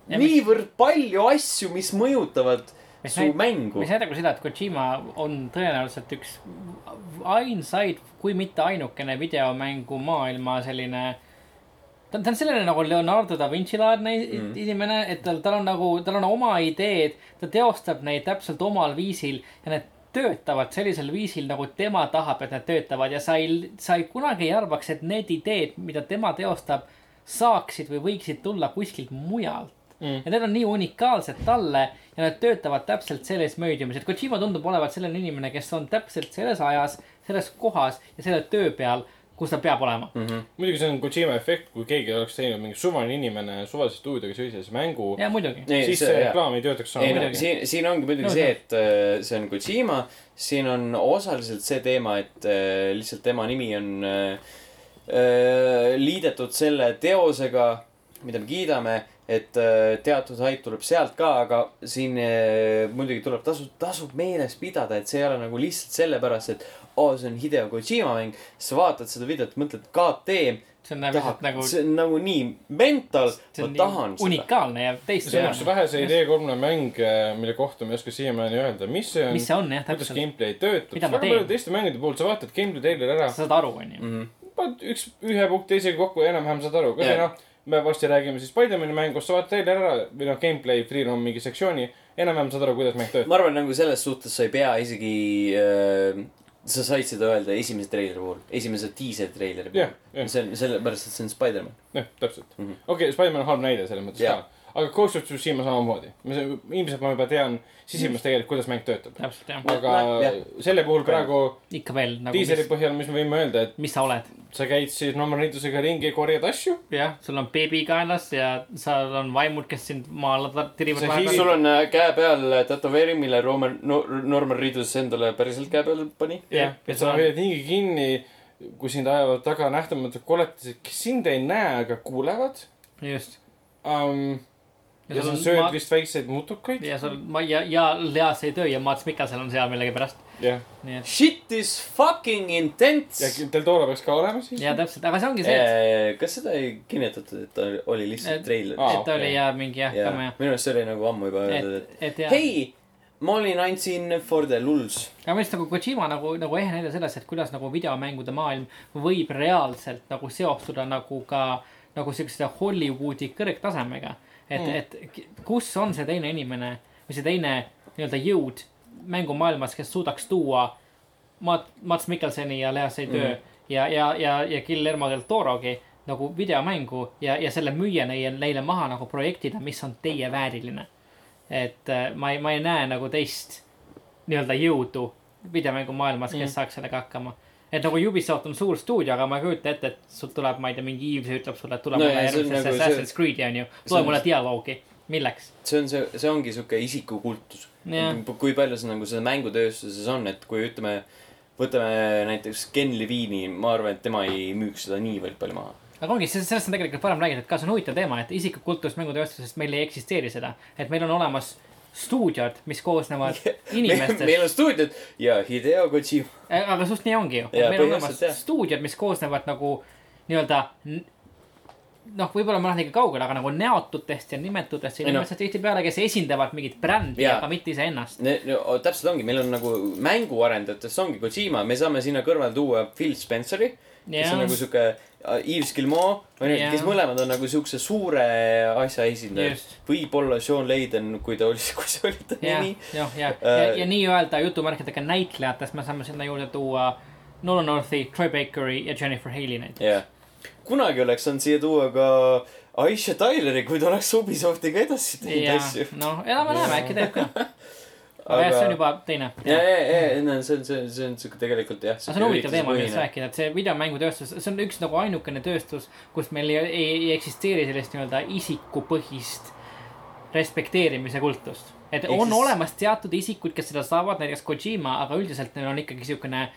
Speaker 3: Ja mis-
Speaker 1: niivõrd palju asju , mis mõjutavad
Speaker 3: Mis
Speaker 1: su
Speaker 3: näit-
Speaker 1: mängu
Speaker 3: mis näitab ka seda , et Kojima on tõenäoliselt üks ainsaid , kui mitte ainukene videomängu maailma selline . ta on , ta on selline nagu Leonardo da Vinci laadne mm. inimene , et tal , tal on nagu , tal on oma ideed , ta teostab neid täpselt omal viisil ja need töötavad sellisel viisil , nagu tema tahab , et need töötavad ja sa ei , sa ei kunagi ei arvaks , et need ideed , mida tema teostab , saaksid või võiksid tulla kuskilt mujalt mm. . ja need on nii unikaalsed talle ja nad töötavad täpselt selles möödiumis , et Kojima tundub olevat selline inimene , kes on täpselt selles ajas , selles kohas ja selle töö peal , kus ta peab olema mm . -hmm.
Speaker 4: muidugi see on Kojima efekt , kui keegi oleks teinud mingi suvaline inimene suvalise stuudioga sellise mängu ,
Speaker 3: ja muidugi .
Speaker 1: Ei,
Speaker 4: siis
Speaker 1: see-
Speaker 4: see
Speaker 1: jaa.
Speaker 4: reklaam ei töötaks
Speaker 1: ei no
Speaker 4: samamoodi .
Speaker 1: siin , siin ongi muidugi
Speaker 3: No
Speaker 1: no, see , et äh, see on Kojima , siin on osaliselt see teema , et äh, lihtsalt tema nimi on äh, äh, liidetud selle teosega , mida me kiidame , et äh, teatud haip tuleb sealt ka , aga siin äh, muidugi tuleb tasu , tasub meeles pidada , et see ei ole nagu lihtsalt sellepärast , et oo oh, , see on Hideo Kojima mäng , sa vaatad seda videot , mõtled KT ,
Speaker 3: see näeb
Speaker 1: tahad
Speaker 3: lihtsalt , nagu ,
Speaker 1: see on nagu nii mental ,
Speaker 3: see
Speaker 1: ma
Speaker 3: on
Speaker 1: tahan
Speaker 3: nii
Speaker 1: seda .
Speaker 3: unikaalne ja
Speaker 4: see on üks
Speaker 3: teistsugune .
Speaker 4: vähese idee kolmne mäng , mille kohta ma ei oska siiamaani öelda , mis see on
Speaker 3: mis , see on jah ,
Speaker 4: kuidas
Speaker 3: täpselt ,
Speaker 4: gameplay töötab .
Speaker 3: Mida ma
Speaker 4: väga
Speaker 3: teen?
Speaker 4: paljude teiste mängude puhul sa vaatad gameplay treileri ära
Speaker 3: sa , saad aru , onju .
Speaker 4: Mm. paned üks , ühe punkti teisega kokku ja enam-vähem saad aru , kui
Speaker 1: Jah.
Speaker 4: noh , me varsti räägime siis Spider-man'i mängust , sa vaatad treileri ära või noh , gameplay , freelom mingi sektsiooni , enam-vähem saad aru , kuidas mäng töötab .
Speaker 1: ma arvan , nagu selles suhtes sa ei pea isegi äh, , sa said seda öelda esimese treileri puhul , esimese diisel treileri puhul
Speaker 4: Jah, jah.
Speaker 1: see on sellepärast , et see on Spider-man .
Speaker 4: jah , täpselt mm
Speaker 1: Mhm.
Speaker 4: -hmm. . okei okay, , Spider-man on halb näide selles mõttes
Speaker 1: Jah.
Speaker 4: ka . aga Ghost of Tsushima samamoodi . me , ilmselt ma juba tean sisimas tegelikult , kuidas mäng töötab .
Speaker 3: täpselt jah ,
Speaker 4: aga
Speaker 1: Nojah, jah.
Speaker 4: selle puhul praegu
Speaker 3: ikka veel nagu ,
Speaker 4: diiseli
Speaker 3: mis,
Speaker 4: põhjal , mis me võime öelda , et
Speaker 3: mis sa oled .
Speaker 4: sa käid siis numberniitusega ringi , korjad asju .
Speaker 3: jah , sul on beebi kaelas ja seal on vaimud , kes sind maal tar- tirivad
Speaker 4: See
Speaker 3: vahepeal
Speaker 4: hiil- .
Speaker 1: sul on äh, käe peal tätoveering , mille Roman no, , Norman Reedus endale päriselt käe peale pani .
Speaker 3: Jah,
Speaker 4: ja sa hoiad ringi kinni , kui sind ajavad taga nähtamatud koletised , kes sind ei näe , aga kuulevad
Speaker 3: just .
Speaker 4: um, . ja sa sööd vist väikseid mutukaid .
Speaker 3: ja sul ma- ja , ja Leas ei töö ja Mats Mikkelson on seal millegipärast .
Speaker 4: jah ,
Speaker 3: nii et
Speaker 1: Shit is fucking
Speaker 4: ja
Speaker 1: intense .
Speaker 4: teil toora peaks ka olema siis .
Speaker 3: ja täpselt , aga see ongi see , et ,
Speaker 1: kas seda ei kinnitatud , et ta oli lihtsalt
Speaker 3: Et-
Speaker 1: treiler
Speaker 4: Aa,
Speaker 3: et ta oli
Speaker 4: okei.
Speaker 3: ja mingi jah ,
Speaker 1: Jaa,
Speaker 3: kama jah .
Speaker 1: minu arust see oli nagu ammu juba öeldud ,
Speaker 3: et , et
Speaker 1: et
Speaker 3: ja .
Speaker 1: hei , ma olin andsin for the lulls .
Speaker 3: aga ma just nagu Kojima nagu , nagu ehe näide sellest , et kuidas nagu videomängude maailm võib reaalselt nagu seostuda nagu ka nagu siukse Hollywoodi kõrgtasemega . et mm. , et kus on see teine inimene või see teine nii-öelda jõud mängumaailmas , kes suudaks tuua Mat- , Mats Mikkelsoni ja Lea Seydoux
Speaker 1: Mhm.
Speaker 3: mm. ja , ja , ja , ja Guillermo del Torogi nagu videomängu ja , ja selle müüa neile , neile maha nagu projektina , mis on teie vääriline . et äh, ma ei , ma ei näe nagu teist nii-öelda jõudu videomängumaailmas ,
Speaker 1: Mhm.
Speaker 3: kes mm. saaks sellega hakkama . et nagu Ubisoft on suur stuudio , aga ma ei kujuta ette , et sul tuleb , ma ei tea , mingi Eves ja ütleb sulle , et tule
Speaker 1: No
Speaker 3: no,
Speaker 1: ja
Speaker 3: mulle
Speaker 1: see on
Speaker 3: järgmisesse
Speaker 1: nagu
Speaker 3: nagu
Speaker 1: see-
Speaker 3: Assassin's Creed'i onju ,
Speaker 1: see on-
Speaker 3: loe mulle dialoogi , milleks ?
Speaker 1: see on see , see ongi sihuke isikukultus
Speaker 3: Jah. .
Speaker 1: kui palju see nagu see mängutööstuses on , et kui ütleme , võtame näiteks Ken Levine'i , ma arvan , et tema ei müüks seda niivõrd palju maha .
Speaker 3: aga ongi , sellest on tegelikult varem räägitud , ka see on huvitav teema , et isikukultus mängutööstusest meil ei eksisteeri seda , et meil on olemas stuudiod , mis koosnevad inimestest .
Speaker 1: meil on stuudiod ja Hideo Kojima .
Speaker 3: Eh, aga suht nii ongi ju ,
Speaker 1: Jaa,
Speaker 3: et meil on
Speaker 1: põhimõtteliselt
Speaker 3: olemas
Speaker 1: jah.
Speaker 3: stuudiod , mis koosnevad nagu nii-öelda n- noh , võib-olla ma lähen liiga kaugele , aga nagu näotutest ja nimetutest
Speaker 1: Ei noh.
Speaker 3: inimestest tihtipeale , kes esindavad mingit brändi ,
Speaker 1: Jaa.
Speaker 3: aga mitte iseennast .
Speaker 1: Ne- no täpselt ongi , meil on nagu mänguarendajatest ongi Kojima , me saame sinna kõrvale tuua Phil Spenceri , kes
Speaker 3: Jah.
Speaker 1: on nagu sihuke äh, Yves Gilmore , onju ,
Speaker 3: Jah.
Speaker 1: kes mõlemad on nagu siukse suure asja esindajad
Speaker 3: Just. .
Speaker 1: võib-olla Sean Leiden , kui ta oli , kui see oli ta
Speaker 3: jah ,
Speaker 1: nimi .
Speaker 3: jah , ja, ja,
Speaker 1: Äh,
Speaker 3: ja nii-öelda jutumärkidega näitlejatest me saame sinna juurde tuua Nolan Northi , Troy Bakeri ja Jennifer Haley näiteks .
Speaker 1: jah , kunagi oleks saanud siia tuua ka Aisha Tyleri , kui ta oleks Ubisoftiga edasi teinud
Speaker 3: ja
Speaker 1: asju .
Speaker 3: noh , elame-näeme , äkki teeb ka . aga jah , see on juba teine .
Speaker 1: ja , ja , ja , no see on , see on , see on siuke tegelikult jah .
Speaker 3: aga see on huvitav teema , millest rääkida , et see videomängutööstus , see on üks nagu ainukene tööstus , kus meil ei, ei, ei eksisteeri sellist nii-öelda isikupõhist respekteerimise kultust . et
Speaker 1: Ehk
Speaker 3: on
Speaker 1: siis-
Speaker 3: olemas teatud isikud , kes seda saavad , näiteks Kojima , aga üldiselt neil on ikkagi siukene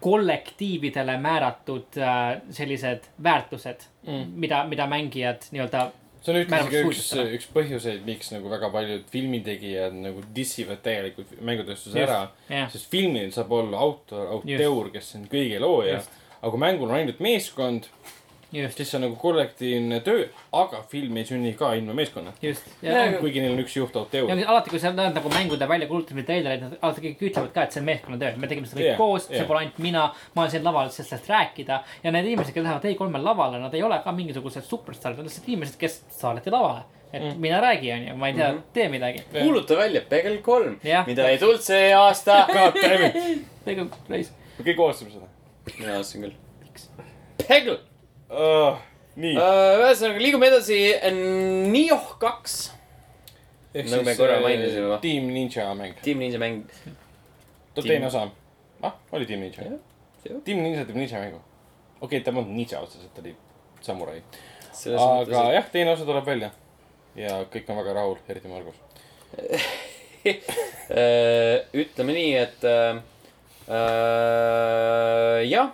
Speaker 3: kollektiividele määratud äh, sellised väärtused mm. , mida , mida mängijad nii-öelda
Speaker 4: see on ühtlasi ka
Speaker 3: Määrav
Speaker 4: üks
Speaker 3: suitsetada. ,
Speaker 4: üks põhjuseid , miks nagu väga paljud filmitegijad nagu dissivad tegelikult mängutööstuse ära .
Speaker 3: jah ,
Speaker 4: sest filmil saab olla autor ,
Speaker 3: Just.
Speaker 4: auteur , kes on kõige looja . aga kui mängul on ainult meeskond ,
Speaker 3: just ,
Speaker 4: siis see on nagu kollektiivne töö , aga film ei sünni ka ilma meeskonnata .
Speaker 3: just .
Speaker 4: kuigi neil on üks
Speaker 3: ja
Speaker 4: juhtauteur .
Speaker 3: mis- alati , kui sa näed nagu mängude väljakuulutamise treilereid , nad alati kõik ütlevad ka , et see on meeskonnatöö , me tegime seda kõik
Speaker 4: Jah,
Speaker 3: yeah, koos yeah. ,
Speaker 4: jah.
Speaker 3: see pole ainult mina , ma olen siin laval , et sellest rääkida . ja need inimesed , kes lähevad E3-l lavale , nad ei ole ka mingisugused superstaarid , nad on lihtsalt inimesed , kes saadeti lavale . et mm. mine räägi , onju , ma ei tea mm , -hmm. tee midagi .
Speaker 1: kuuluta välja Pegel kolm ,
Speaker 3: Jah.
Speaker 1: mida ei tulnud see aasta .
Speaker 3: tegu , reis .
Speaker 4: me kõik ootame seda
Speaker 1: mina vaatasin küll . Pegel
Speaker 4: uh, . nii
Speaker 1: Äh,
Speaker 4: uh, ,
Speaker 1: ühesõnaga liigume edasi , Nioh kaks .
Speaker 4: ehk
Speaker 1: nagu me
Speaker 4: siis
Speaker 1: korra
Speaker 4: äh,
Speaker 1: mainisime juba.
Speaker 4: Team Ninja mäng ,
Speaker 1: Team Ninja mäng .
Speaker 4: tuleb
Speaker 1: Team-
Speaker 4: teine osa . ah , oli Team Ninja
Speaker 1: Jah, . jah.
Speaker 4: Team Ninja teeb ninja mängu . okei okay, , ta ei olnud ninja otseselt , ta oli samurai .
Speaker 1: selles
Speaker 4: aga
Speaker 1: mõttes ,
Speaker 4: jah , teine osa tuleb välja . ja kõik on väga rahul , eriti Margus .
Speaker 1: et äh, ütleme nii , et äh, äh, jah ,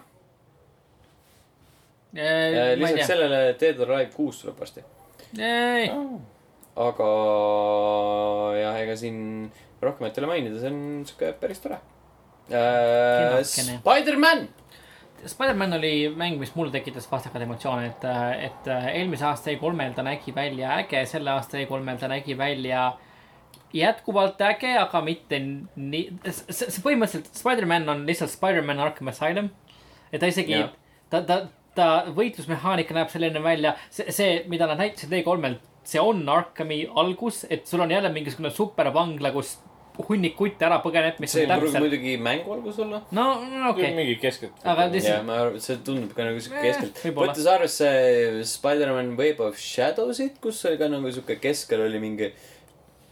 Speaker 3: ma ei
Speaker 1: lisaks
Speaker 3: tea .
Speaker 1: sellele Dead or Alive kuus tuleb varsti .
Speaker 3: ei ,
Speaker 1: aga jah , ega siin rohkemat ei ole mainida , see on siuke päris tore .
Speaker 3: Kinnukene.
Speaker 1: Spider-man ,
Speaker 3: Spider-man oli mäng , mis mul tekitas vastakaid emotsioone , et , et äh, eelmise aasta E3-l ta nägi välja äge , selle aasta E3-l ta nägi välja jätkuvalt äge , aga mitte nii , see see põhimõtteliselt Spider-man on lihtsalt Spider-man Arkham Asylum . et ta isegi
Speaker 1: Jah. ,
Speaker 3: ta , ta , ta võitlusmehaanika näeb selline välja , see , see , mida nad näitasid E3-l , see on Arkhami algus , et sul on jälle mingisugune supervangla , kus hunnik kutte ära põgeneb , mis
Speaker 1: see
Speaker 3: on
Speaker 1: ei pruugi
Speaker 3: täpselt .
Speaker 1: muidugi mängu algus olla .
Speaker 3: no , no okei okay. ,
Speaker 4: mingi keskelt .
Speaker 3: Aga lihtsalt-
Speaker 1: ja ma arvan , see tundub ka nagu siuke
Speaker 3: Eh,
Speaker 1: keskelt .
Speaker 3: võib-olla.
Speaker 1: võttes arvesse Spider-man Web of Shadowsid , kus oli ka nagu siuke keskel oli mingi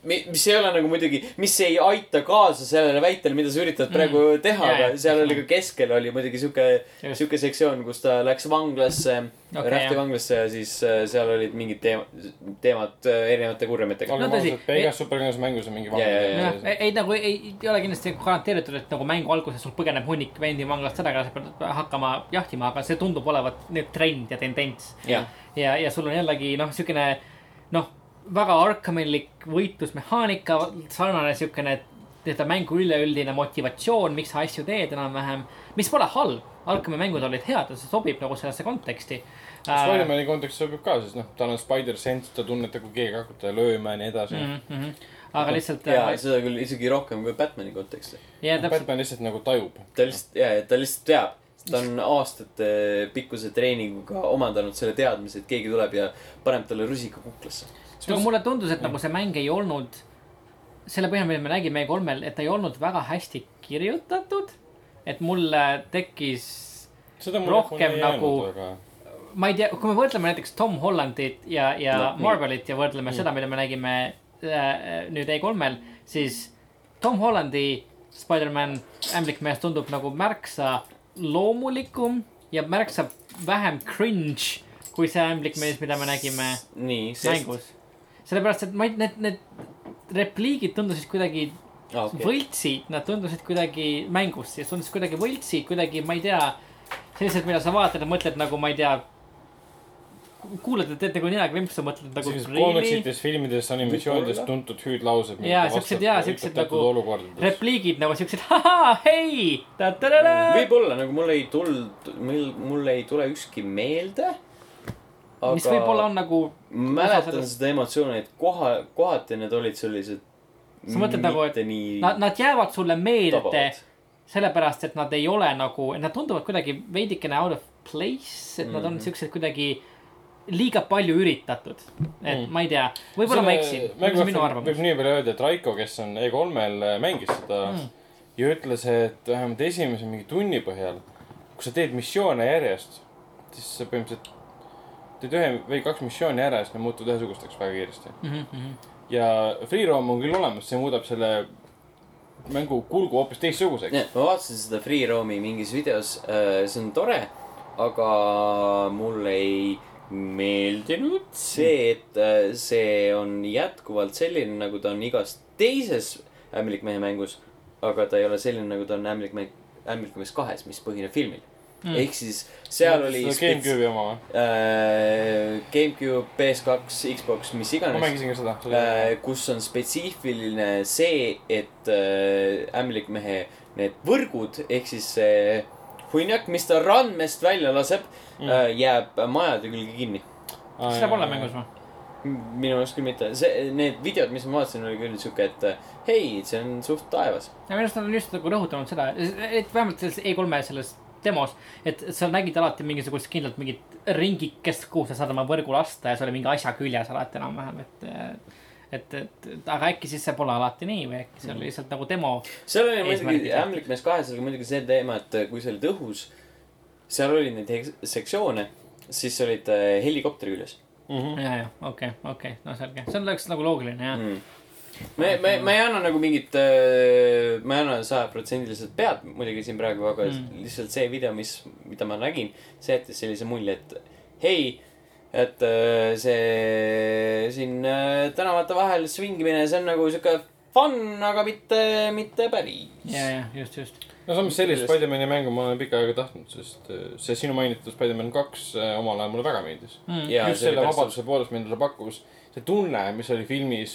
Speaker 1: mi- mis ei ole nagu muidugi , mis ei aita kaasa sellele väitele , mida sa üritad praegu mm. teha ,
Speaker 3: Jaa,
Speaker 1: aga
Speaker 3: jaa.
Speaker 1: seal oli ka keskel oli muidugi siuke ,
Speaker 3: Just.
Speaker 1: siuke sektsioon , kus ta läks vanglasse
Speaker 3: Okei,
Speaker 1: okay, , Rähti
Speaker 3: jah.
Speaker 1: vanglasse ja siis äh, seal olid mingid teema , teemad äh, erinevate kurjamitega .
Speaker 3: No
Speaker 4: olgem
Speaker 3: tõsi,
Speaker 4: ausad , igas superheroes mängus on mingi
Speaker 1: Jaa, jaa, jaa.
Speaker 3: jah , ei nagu ei, ei ei ole kindlasti garanteeritud , et nagu mängu alguses sul põgeneb hunnik vendi vanglast ära , sa pead hakkama jahtima , aga see tundub olevat nüüd trend ja tendents .
Speaker 1: jah ,
Speaker 3: ja , ja sul on jällegi noh , siukene noh , väga arkamilik võitlusmehaanika , sarnane siukene nii-öelda mängu üleüldine motivatsioon , miks sa asju teed enam-vähem , mis pole halb . Arkami mängud olid head , see sobib nagu sellesse konteksti . äh,
Speaker 4: Spider-mani kontekst sobib ka , sest noh , tal on Spider-Sense , ta tunneb , et kui keegi hakkab teda lööma ja nii edasi
Speaker 3: Mhm.
Speaker 4: mm .
Speaker 3: Äh, aga lihtsalt .
Speaker 1: ja seda küll isegi rohkem kui Batman'i kontekstis .
Speaker 3: ja
Speaker 4: -hmm.
Speaker 3: täpselt ,
Speaker 4: Batman lihtsalt nagu tajub .
Speaker 1: ta lihtsalt , jaa , ta lihtsalt teab . ta on aastate pikkuse treeninguga omandanud selle teadmise , et keegi tuleb ja paneb talle rusika kuklasse .
Speaker 3: no mulle tundus , et nagu see mäng ei olnud , selle põhjal , mida me nägime E3-l , et ta ei olnud väga hästi kirjutatud . et mulle tekkis ,
Speaker 4: seda
Speaker 3: Rohkem nagu- ma ei tea , kui me võrdleme näiteks Tom Hollandit ja , ja
Speaker 1: No,
Speaker 3: no,
Speaker 1: nii.
Speaker 3: Marvelit ja võrdleme mm. seda , mida me nägime äh, nüüd E3-l , siis Tom Hollandi Spider-man ämblik mees tundub nagu märksa loomulikum ja märksa vähem cringe kui see ämblik mees , mida me nägime
Speaker 1: nii , sest .
Speaker 3: mängus . sellepärast , et ma ei , need , need repliigid tundusid kuidagi
Speaker 1: okei ,
Speaker 3: võltsid , nad tundusid kuidagi mängus , siis tundus kuidagi võltsid , kuidagi , ma ei tea . sellised , mida sa vaatad ja mõtled nagu , ma ei tea . kuulad ja teed nagu nina krimpsu , mõtled nagu .
Speaker 4: sellises koomiksites , filmides , animatsioonides tuntud hüüdlaused .
Speaker 3: Jaa, siuksed- jaa, siuksed nagu
Speaker 4: olukordades .
Speaker 3: repliigid nagu siuksed , ahaa , hei , ta-ta-ta-ta .
Speaker 1: võib-olla nagu mul ei tulnud , mul , mul ei tule ükski meelde .
Speaker 3: mis võib-olla on nagu ,
Speaker 1: mäletan seda emotsiooni , et koha , kohati need olid sellised .
Speaker 3: Sa mõtled nagu, et
Speaker 1: Mm, nii
Speaker 3: nad , nad jäävad sulle meelde
Speaker 1: tabavad.
Speaker 3: sellepärast , et nad ei ole nagu , nad tunduvad kuidagi veidikene out of place , et mm -hmm. nad on siuksed kuidagi liiga palju üritatud . et mm. ma ei tea , võib-olla ma eksin , see on minu
Speaker 4: võib
Speaker 3: arvamus .
Speaker 4: nii palju öelda , et Raiko , kes on E3-l mängis seda mm. ja ütles , et vähemalt esimese mingi tunni põhjal , kui sa teed missioone järjest , siis sa põhimõtteliselt teed ühe või kaks missiooni ära ja siis need muutuvad ühesugusteks väga kiiresti mm .
Speaker 3: Mhm,
Speaker 4: -hmm. ja free roam on küll olemas , see muudab selle mängu kulgu hoopis teistsuguseks .
Speaker 1: Jah, ma vaatasin seda Free Roam'i mingis videos , see on tore , aga mulle ei meeldinud see , et äh, see on jätkuvalt selline , nagu ta on igas teises Ämblik mehe mängus , aga ta ei ole selline , nagu ta on Ämblik mehe , Ämblik mees kahes , mis põhineb filmil mm. . ehk siis seal oli spets-
Speaker 4: GameCube'i oma või ?
Speaker 1: äh, GameCube , PS2 , Xbox , mis
Speaker 4: ma
Speaker 1: iganes
Speaker 4: mängisin ka seda .
Speaker 1: Äh, kus on spetsiifiline see , et äh, ämblikmehe need võrgud ehk siis see hunnik , mis ta randmest välja laseb mm. , äh, jääb majade külge kinni .
Speaker 3: kas seda pole mängus ? või ?
Speaker 1: minu arust küll mitte , see , need videod , mis ma vaatasin , oli küll siuke , et äh, hei , see on suht taevas .
Speaker 3: ja minu arust nad on just nagu rõhutanud seda , et vähemalt selles E3-e selles demos , et sa nägid alati mingisugust kindlalt mingit ringikest , kuhu sa saad oma võrgu lasta ja see oli mingi asja küljes alati enam-vähem , et et , et , et aga äkki siis see pole alati nii või äkki see oli lihtsalt nagu demo .
Speaker 1: seal oli muidugi
Speaker 3: Eesmärgid. ,
Speaker 1: ämblikmees kahes oli muidugi see teema , et äh, kui sa olid õhus , seal oli neid heks- sektsioone , siis olid äh, helikopteri küljes
Speaker 4: Mhm.
Speaker 3: ja , ja okei , okei , no selge , see oleks nagu loogiline jah .
Speaker 1: mm. . me , me , me ei anna nagu mingit , ma ei anna sajaprotsendiliselt pead muidugi siin praegu , aga mm. lihtsalt see video , mis , mida ma nägin , see jättis sellise mulje , et hei , et äh, see siin äh, tänavate vahel svingimine , see on nagu sihuke fun , aga mitte , mitte päris .
Speaker 3: ja , ja just , just .
Speaker 4: no samas sellist Spider-man'i mängu ma olen pikka aega tahtnud , sest äh, see sinu mainitud Spider-man kaks äh, omal ajal mulle väga meeldis
Speaker 3: Mm,
Speaker 1: Jaa,
Speaker 4: just
Speaker 1: see oli
Speaker 4: selle
Speaker 1: päris-
Speaker 4: vabaduse poolest , mida ta pakkus , see tunne , mis oli filmis ,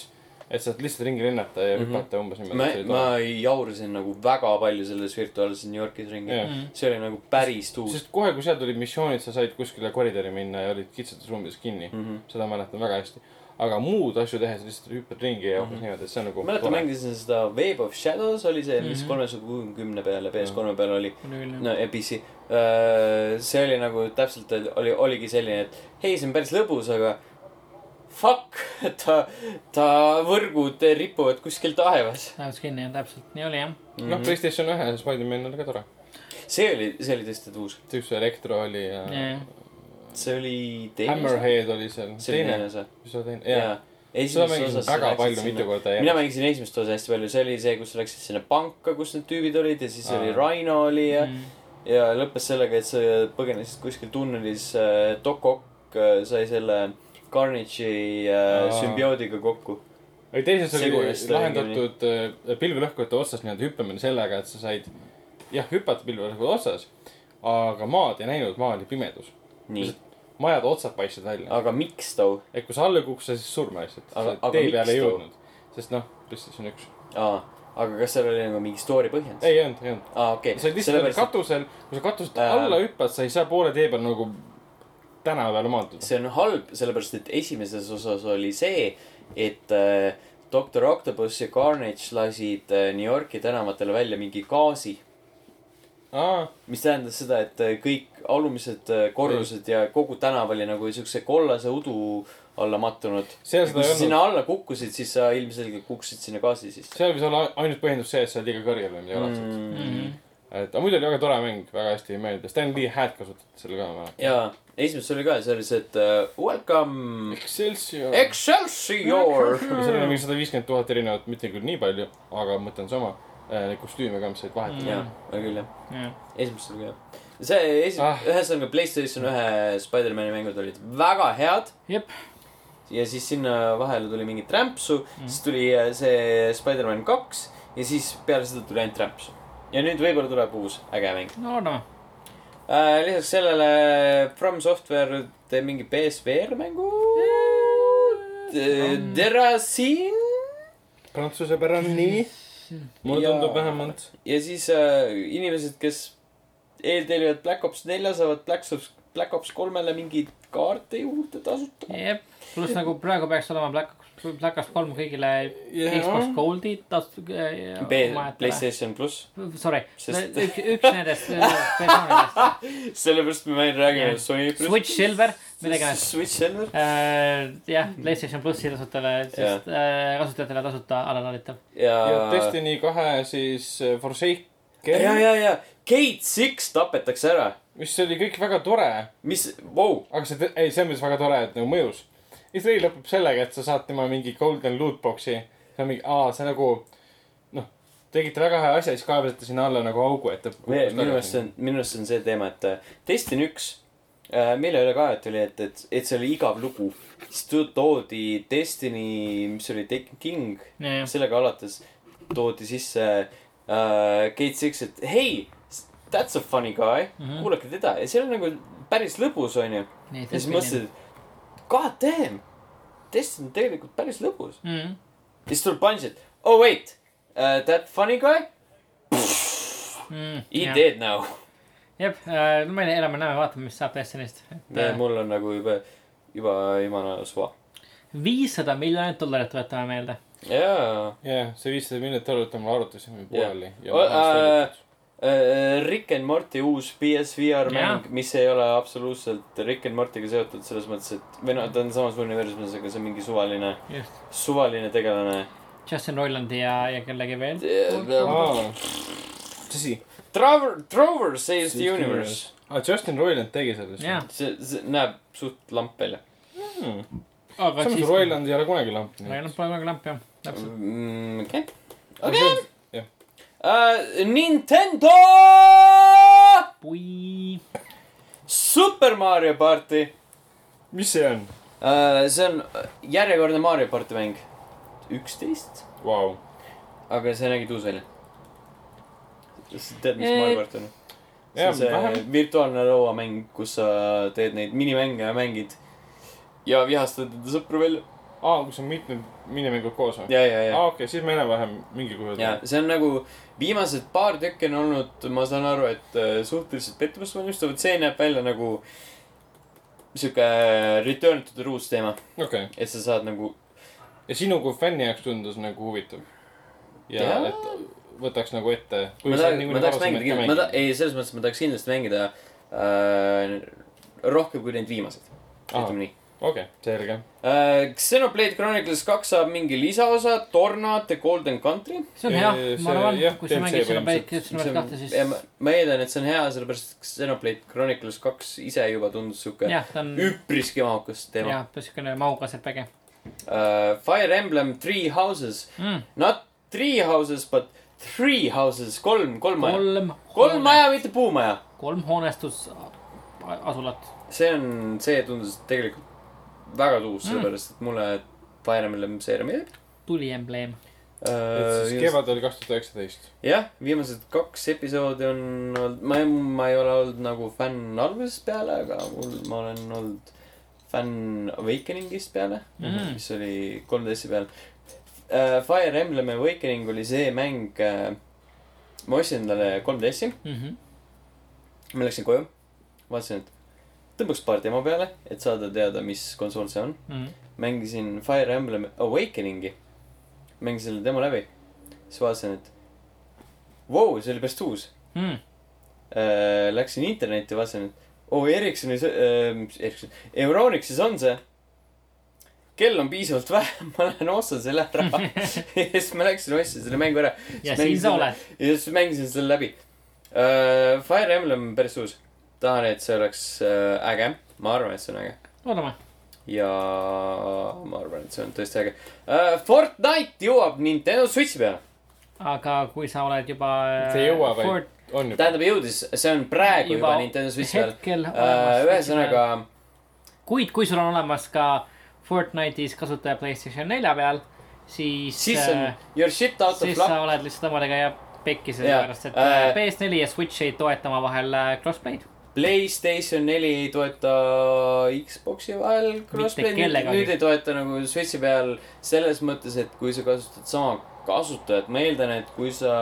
Speaker 4: et saad lihtsalt ringi lennata ja hüpata mm -hmm. umbes
Speaker 1: Mhm. ma
Speaker 4: niimoodi ,.
Speaker 1: ma jaurasin nagu väga palju selles virtuaalses New Yorkis ringi
Speaker 4: Jah.
Speaker 3: Mm,
Speaker 1: yeah. . see oli nagu päris tuus .
Speaker 4: sest kohe , kui seal tulid missioonid , sa said kuskile koridori minna ja olid kitsates ruumides kinni
Speaker 1: Mhm.
Speaker 4: mm , -hmm. seda mäletan väga hästi . aga muud asju tehes lihtsalt hüppad ringi ja umbes
Speaker 1: Mhm.
Speaker 4: mm -hmm. niimoodi , et see on nagu .
Speaker 1: mäletan ,. mängisin seda Wave of Shadows oli see ,
Speaker 4: Mhm.
Speaker 1: mis kolmesaja kuuekümne peale , PS3 peal oli .
Speaker 3: Mhm.
Speaker 1: no ja PC . see oli nagu täpselt oli , oligi selline , et hei , see on päris lõbus , aga fuck , ta , ta võrgud ripuvad kuskil taevas .
Speaker 3: lähevad kinni ja täpselt nii oli jah .
Speaker 1: Mhm.
Speaker 4: noh , Playstation ühe Spider-man oli ka tore .
Speaker 1: see oli , see oli tõesti tuus .
Speaker 4: see üks elektro oli ja,
Speaker 3: ja ,
Speaker 4: ja.
Speaker 3: ja ,
Speaker 1: see oli teine osa .
Speaker 4: Hammerhead oli seal .
Speaker 1: see oli teine
Speaker 4: teine ,
Speaker 1: osa .
Speaker 4: mis oli teine , jaa .
Speaker 1: jaa .
Speaker 4: seda mängisin väga palju , mitu korda
Speaker 1: mina
Speaker 4: järjest .
Speaker 1: mängisin esimest osa hästi palju , see oli see , kus sa läksid sinna panka , kus need tüübid olid ja siis
Speaker 4: Aa.
Speaker 1: oli Raino oli ja
Speaker 3: Mhm.
Speaker 1: ja lõppes sellega , et sa põgenesid kuskil tunnelis , Doc Ock äh, sai selle Carnage'i äh,
Speaker 4: Aa.
Speaker 1: sümbioodiga kokku .
Speaker 4: ei , teises oli
Speaker 1: Segunes ta
Speaker 4: lahendatud äh, pilvelõhkujate otsas nii-öelda hüppamine sellega , et sa said , jah , hüpata pilvelõhkujate otsas , aga maad ei näinud , maa oli pimedus .
Speaker 1: nii ,
Speaker 4: majade otsad paistsid välja .
Speaker 1: aga miks too ?
Speaker 4: et kui sa alla kukkusid , siis surma lihtsalt .
Speaker 1: Aga- aga
Speaker 4: tee peale ei
Speaker 1: miks too?
Speaker 4: jõudnud . sest noh , PlayStation üks .
Speaker 1: aa , aga kas seal oli nagu mingi story põhjendus ?
Speaker 4: ei olnud , ei olnud .
Speaker 1: aa , okei .
Speaker 4: sa olid lihtsalt nagu nende katusel , kui sa katuselt
Speaker 1: Ähm.
Speaker 4: alla hüppad , sa ei saa poole tee peal nagu tänava peale maanduda .
Speaker 1: see on halb , sellepärast et esimeses osas oli see , et äh, Doctor Octopus ja Carnage lasid äh, New Yorki tänavatele välja mingi gaasi ,
Speaker 4: aa ,
Speaker 1: mis tähendas seda , et äh, kõik alumised äh, korrused ja kogu tänav oli nagu siukse kollase udu alla mattunud .
Speaker 4: Seal seda
Speaker 1: kui
Speaker 4: ei
Speaker 1: sa
Speaker 4: olnud.
Speaker 1: sinna alla kukkusid , siis sa ilmselgelt kukkusid sinna gaasi sisse .
Speaker 4: seal võis olla ainus põhjendus see , et sa olid liiga kõrgel või
Speaker 1: Hmm.
Speaker 4: midagi laadset mm. .
Speaker 3: Mhm.
Speaker 4: et aga muidu oli väga tore mäng , väga hästi meeldis . Stan Lee häält kasutati seal ka , ma mäletan .
Speaker 1: jaa , esimeses oli ka , see oli see , et äh, welcome
Speaker 4: Excelsior .
Speaker 1: Excelsior .
Speaker 4: seal oli mingi sada viiskümmend tuhat erinevat , mitte küll nii palju , aga mõte on sama . kostüüme ka , mis said vahetada
Speaker 1: jaa , väga küll jah .
Speaker 3: ja .
Speaker 1: esimesed oli ka . see esi- ah.
Speaker 4: Ah. ,
Speaker 1: ühesõnaga Playstation ühe Spider-man'i mängud olid väga head
Speaker 3: jep ,
Speaker 1: ja siis sinna vahele tuli mingi trämpsu mm. , siis tuli äh, see Spider-man kaks ja siis peale seda tuli ainult trämpsu . ja nüüd võib-olla tuleb uus äge mäng
Speaker 3: no loodame .
Speaker 1: äh, . lisaks sellele From Software teeb mingi BSVR mängu . Äh, Terrasin
Speaker 4: prantsuse pärane nimi . mulle
Speaker 1: Jaa.
Speaker 4: tundub vähemalt .
Speaker 1: ja siis äh, inimesed , kes eeltellivad Black Ops nelja , saavad Black Ops , Black Ops kolmele mingeid kaarte juurde tasuta .
Speaker 3: jep , pluss nagu praegu peaks olema Black Ops , Black Ops kolm kõigile
Speaker 4: Jaa.
Speaker 3: Xbox Goldid tasu- . Sorry ,
Speaker 1: PlayStation pluss , Sest-
Speaker 3: üks , üks nendest äh, persoonidest ,
Speaker 1: sellepärast me meil räägime
Speaker 3: Jah.
Speaker 1: Sony pluss .
Speaker 3: Switch Silver , midagi iganes .
Speaker 1: Switch Silver
Speaker 3: äh, . jah , PlayStation plussi tasutele ,
Speaker 1: Jah.
Speaker 3: sest äh, kasutajatele tasuta alalaaditav .
Speaker 4: ja
Speaker 1: ja .
Speaker 4: Destiny kahe siis äh, Forsaken
Speaker 1: ja ,. ja , ja Gate Six tapetakse ära ,
Speaker 4: mis oli kõik väga tore ,
Speaker 1: mis , vau ,
Speaker 4: aga see , ei , see on muidugi väga tore , et nagu mõjus . ja see lõpeb sellega , et sa saad tema mingi golden loot box'i . see on mingi , aa , see nagu , noh , tegite väga hea asja , siis kaevasite sinna alla nagu augu , et ta .
Speaker 1: minu meelest see on , minu meelest see on see teema , et äh, Destiny üks , mille üle ka , et oli , et , et , et see oli igav lugu . siis tu- toodi Destiny , mis oli Taken King
Speaker 3: jah ,
Speaker 1: sellega alates toodi sisse äh, Gate Six , et hei , that's a funny guy mm , -hmm. kuulake teda ja see on nagu päris lõbus , onju .
Speaker 3: Nii,
Speaker 1: ja siis
Speaker 3: tõesti,
Speaker 1: mõtlesin , et god damn , test on tegelikult päris lõbus .
Speaker 3: Mm,
Speaker 1: ja siis tuleb Bungie , et oh wait uh, , that funny guy , he yeah. dead now .
Speaker 3: mm, jep , no me elame-näeme , vaatame , mis saab äh, Destiny'st .
Speaker 1: mul on nagu juba , juba jumala suva .
Speaker 3: viissada miljonit dollarit , võtame meelde .
Speaker 1: jaa .
Speaker 4: jah , see viissada miljonit eurot on , me arutasime pooleli .
Speaker 1: O- äh, Rick and Morty uus PSVR mäng , mis ei ole absoluutselt Rick and Morty'ga seotud selles mõttes , et või noh , ta on samas universumis , aga see on mingi suvaline ,
Speaker 3: just ,
Speaker 1: suvaline tegelane .
Speaker 3: Justin Roilandi ja , ja kellegi veel .
Speaker 4: tõsi .
Speaker 1: Trover , Trover saves the universe .
Speaker 4: aa , Ah, Justin Roiland tegi selle .
Speaker 3: jah ,
Speaker 1: see , see näeb suht lamp välja
Speaker 3: aga
Speaker 4: Hmm. samas
Speaker 3: siis .
Speaker 4: Roiland ei ole kunagi lamp .
Speaker 3: Roiland pole väga lamp noh, jah , täpselt .
Speaker 1: mm, . okei okay. , okei
Speaker 4: okei . jah ,
Speaker 1: okay. uh, . Nintendo
Speaker 3: pui .
Speaker 1: Super Mario Party
Speaker 4: mis see on ?
Speaker 1: Äh, uh, . see on järjekordne Mario party mäng . üksteist
Speaker 4: Vau ,
Speaker 1: aga see nägi tuus välja . tead , mis
Speaker 3: Eh,
Speaker 1: Minecraft on ? see
Speaker 4: jah,
Speaker 1: on see
Speaker 4: vähem-
Speaker 1: virtuaalne lauamäng , kus sa teed neid minimänge ja mängid ja vihastad enda sõpru välja . Ah.
Speaker 4: aa , kus on mitmed minimängud koos või ?
Speaker 1: ja , ja , ja
Speaker 4: aa , okei , siis me enam-vähem mingil kujul
Speaker 1: ja . see on nagu viimased paar tükki on olnud , ma saan aru , et äh, suhteliselt pettumust valmistavad , see näeb välja nagu sihuke return to the roots teema ,
Speaker 4: okei okay. ,
Speaker 1: et sa saad nagu
Speaker 4: ja sinu kui fänni jaoks tundus nagu huvitav . ja
Speaker 1: Jaa.
Speaker 4: et võtaks nagu ette .
Speaker 1: ma tahaks , ma tahaks mängida kindlasti , ma ta- , ei , selles mõttes ma tahaks kindlasti mängida äh, rohkem kui need viimased , ütleme nii .
Speaker 4: okei , selge .
Speaker 1: Äh, Xenoblade Chronicles kaks saab mingi lisaosa , Torna The Golden Country .
Speaker 3: see on hea ,
Speaker 4: see-
Speaker 3: ma arvan
Speaker 4: jah, ,
Speaker 3: kui sa
Speaker 4: DLC
Speaker 3: mängid seda
Speaker 4: põhimõtteliselt.
Speaker 3: päike , seda kahte , siis
Speaker 1: ja ma , ma eeldan , et see on hea , sellepärast et Xenoblade Chronicles kaks ise juba tundus sihuke
Speaker 3: jah , ta on
Speaker 1: üpriski mahukas teema .
Speaker 3: jah , niisugune mahukas RPG
Speaker 1: uh, Fire Emblem Three Houses ,
Speaker 3: mm, .
Speaker 1: not Three Houses , but Three Houses , kolm , kolm maja ,
Speaker 3: kolm ,
Speaker 1: kolm maja , mitte puumaja .
Speaker 3: kolm hoonestus asulat .
Speaker 1: see on , see tundus tegelikult väga tuus mm. , sellepärast et mulle Fire Emblem seeria meeldib
Speaker 3: tuli embleem .
Speaker 4: et siis
Speaker 1: uh, .
Speaker 4: kevadel kaks tuhat üheksateist .
Speaker 1: jah , viimased kaks episoodi on olnud , ma , ma ei ole olnud nagu fänn algusest peale , aga mul , ma olen olnud fänn Awakeningist peale
Speaker 3: Mhm.
Speaker 1: mm. , mis oli 3DS-i peal uh, . Fire Emblem Awakening oli see mäng uh, , ma ostsin endale 3DS-i , ma läksin koju , vaatasin , et tõmbaks paar demo peale , et saada teada , mis konsool see on .
Speaker 3: Mhm.
Speaker 1: mängisin Fire Emblem Awakeningi , mängisin selle demo läbi , siis vaatasin , et vau wow, , see oli päris uus .
Speaker 3: Mhm.
Speaker 1: Läksin internetti , vaatasin , et oo oh, , Ericssonis äh, , mis Ericsson , Euronixis on see . kell on piisavalt vähe , ma lähen ostan selle ära . ja siis ma läksin , ostsin selle mängu ära
Speaker 3: ja
Speaker 1: Mängin
Speaker 3: siin sa
Speaker 1: selle-
Speaker 3: oled .
Speaker 1: ja siis mängisin selle läbi uh, . Fire Emblem on päris uus , tahan , et see oleks uh, äge , ma arvan , et see on äge
Speaker 3: loodame .
Speaker 1: ja ma arvan , et see on tõesti äge uh, . Fortnite jõuab Nintendo Switchi peale ,
Speaker 3: aga kui sa oled juba . äh,
Speaker 4: See ei jõua või? on ju .
Speaker 1: tähendab jõudis , see on praegu juba, juba Nintendo Switchi peal .
Speaker 3: hetkel
Speaker 1: Uh,
Speaker 3: olemas .
Speaker 1: ühesõnaga .
Speaker 3: kuid kui sul on olemas ka Fortnite'is kasutaja Playstation nelja peal , siis . äh,
Speaker 1: siis on your shit out of
Speaker 3: siis sa
Speaker 1: luck .
Speaker 3: oled lihtsalt omadega ja pekki
Speaker 1: Jaa,
Speaker 3: sellepärast , et
Speaker 1: äh,
Speaker 3: äh, PS4 ja Switch ei toeta omavahel äh, crossplay'd .
Speaker 1: Playstation neli ei toeta Xbox'i vahel crossplay'd ,
Speaker 3: kellegagi.
Speaker 1: nüüd ei toeta nagu Switchi peal selles mõttes , et kui sa kasutad sama kasutajat , ma eeldan , et kui sa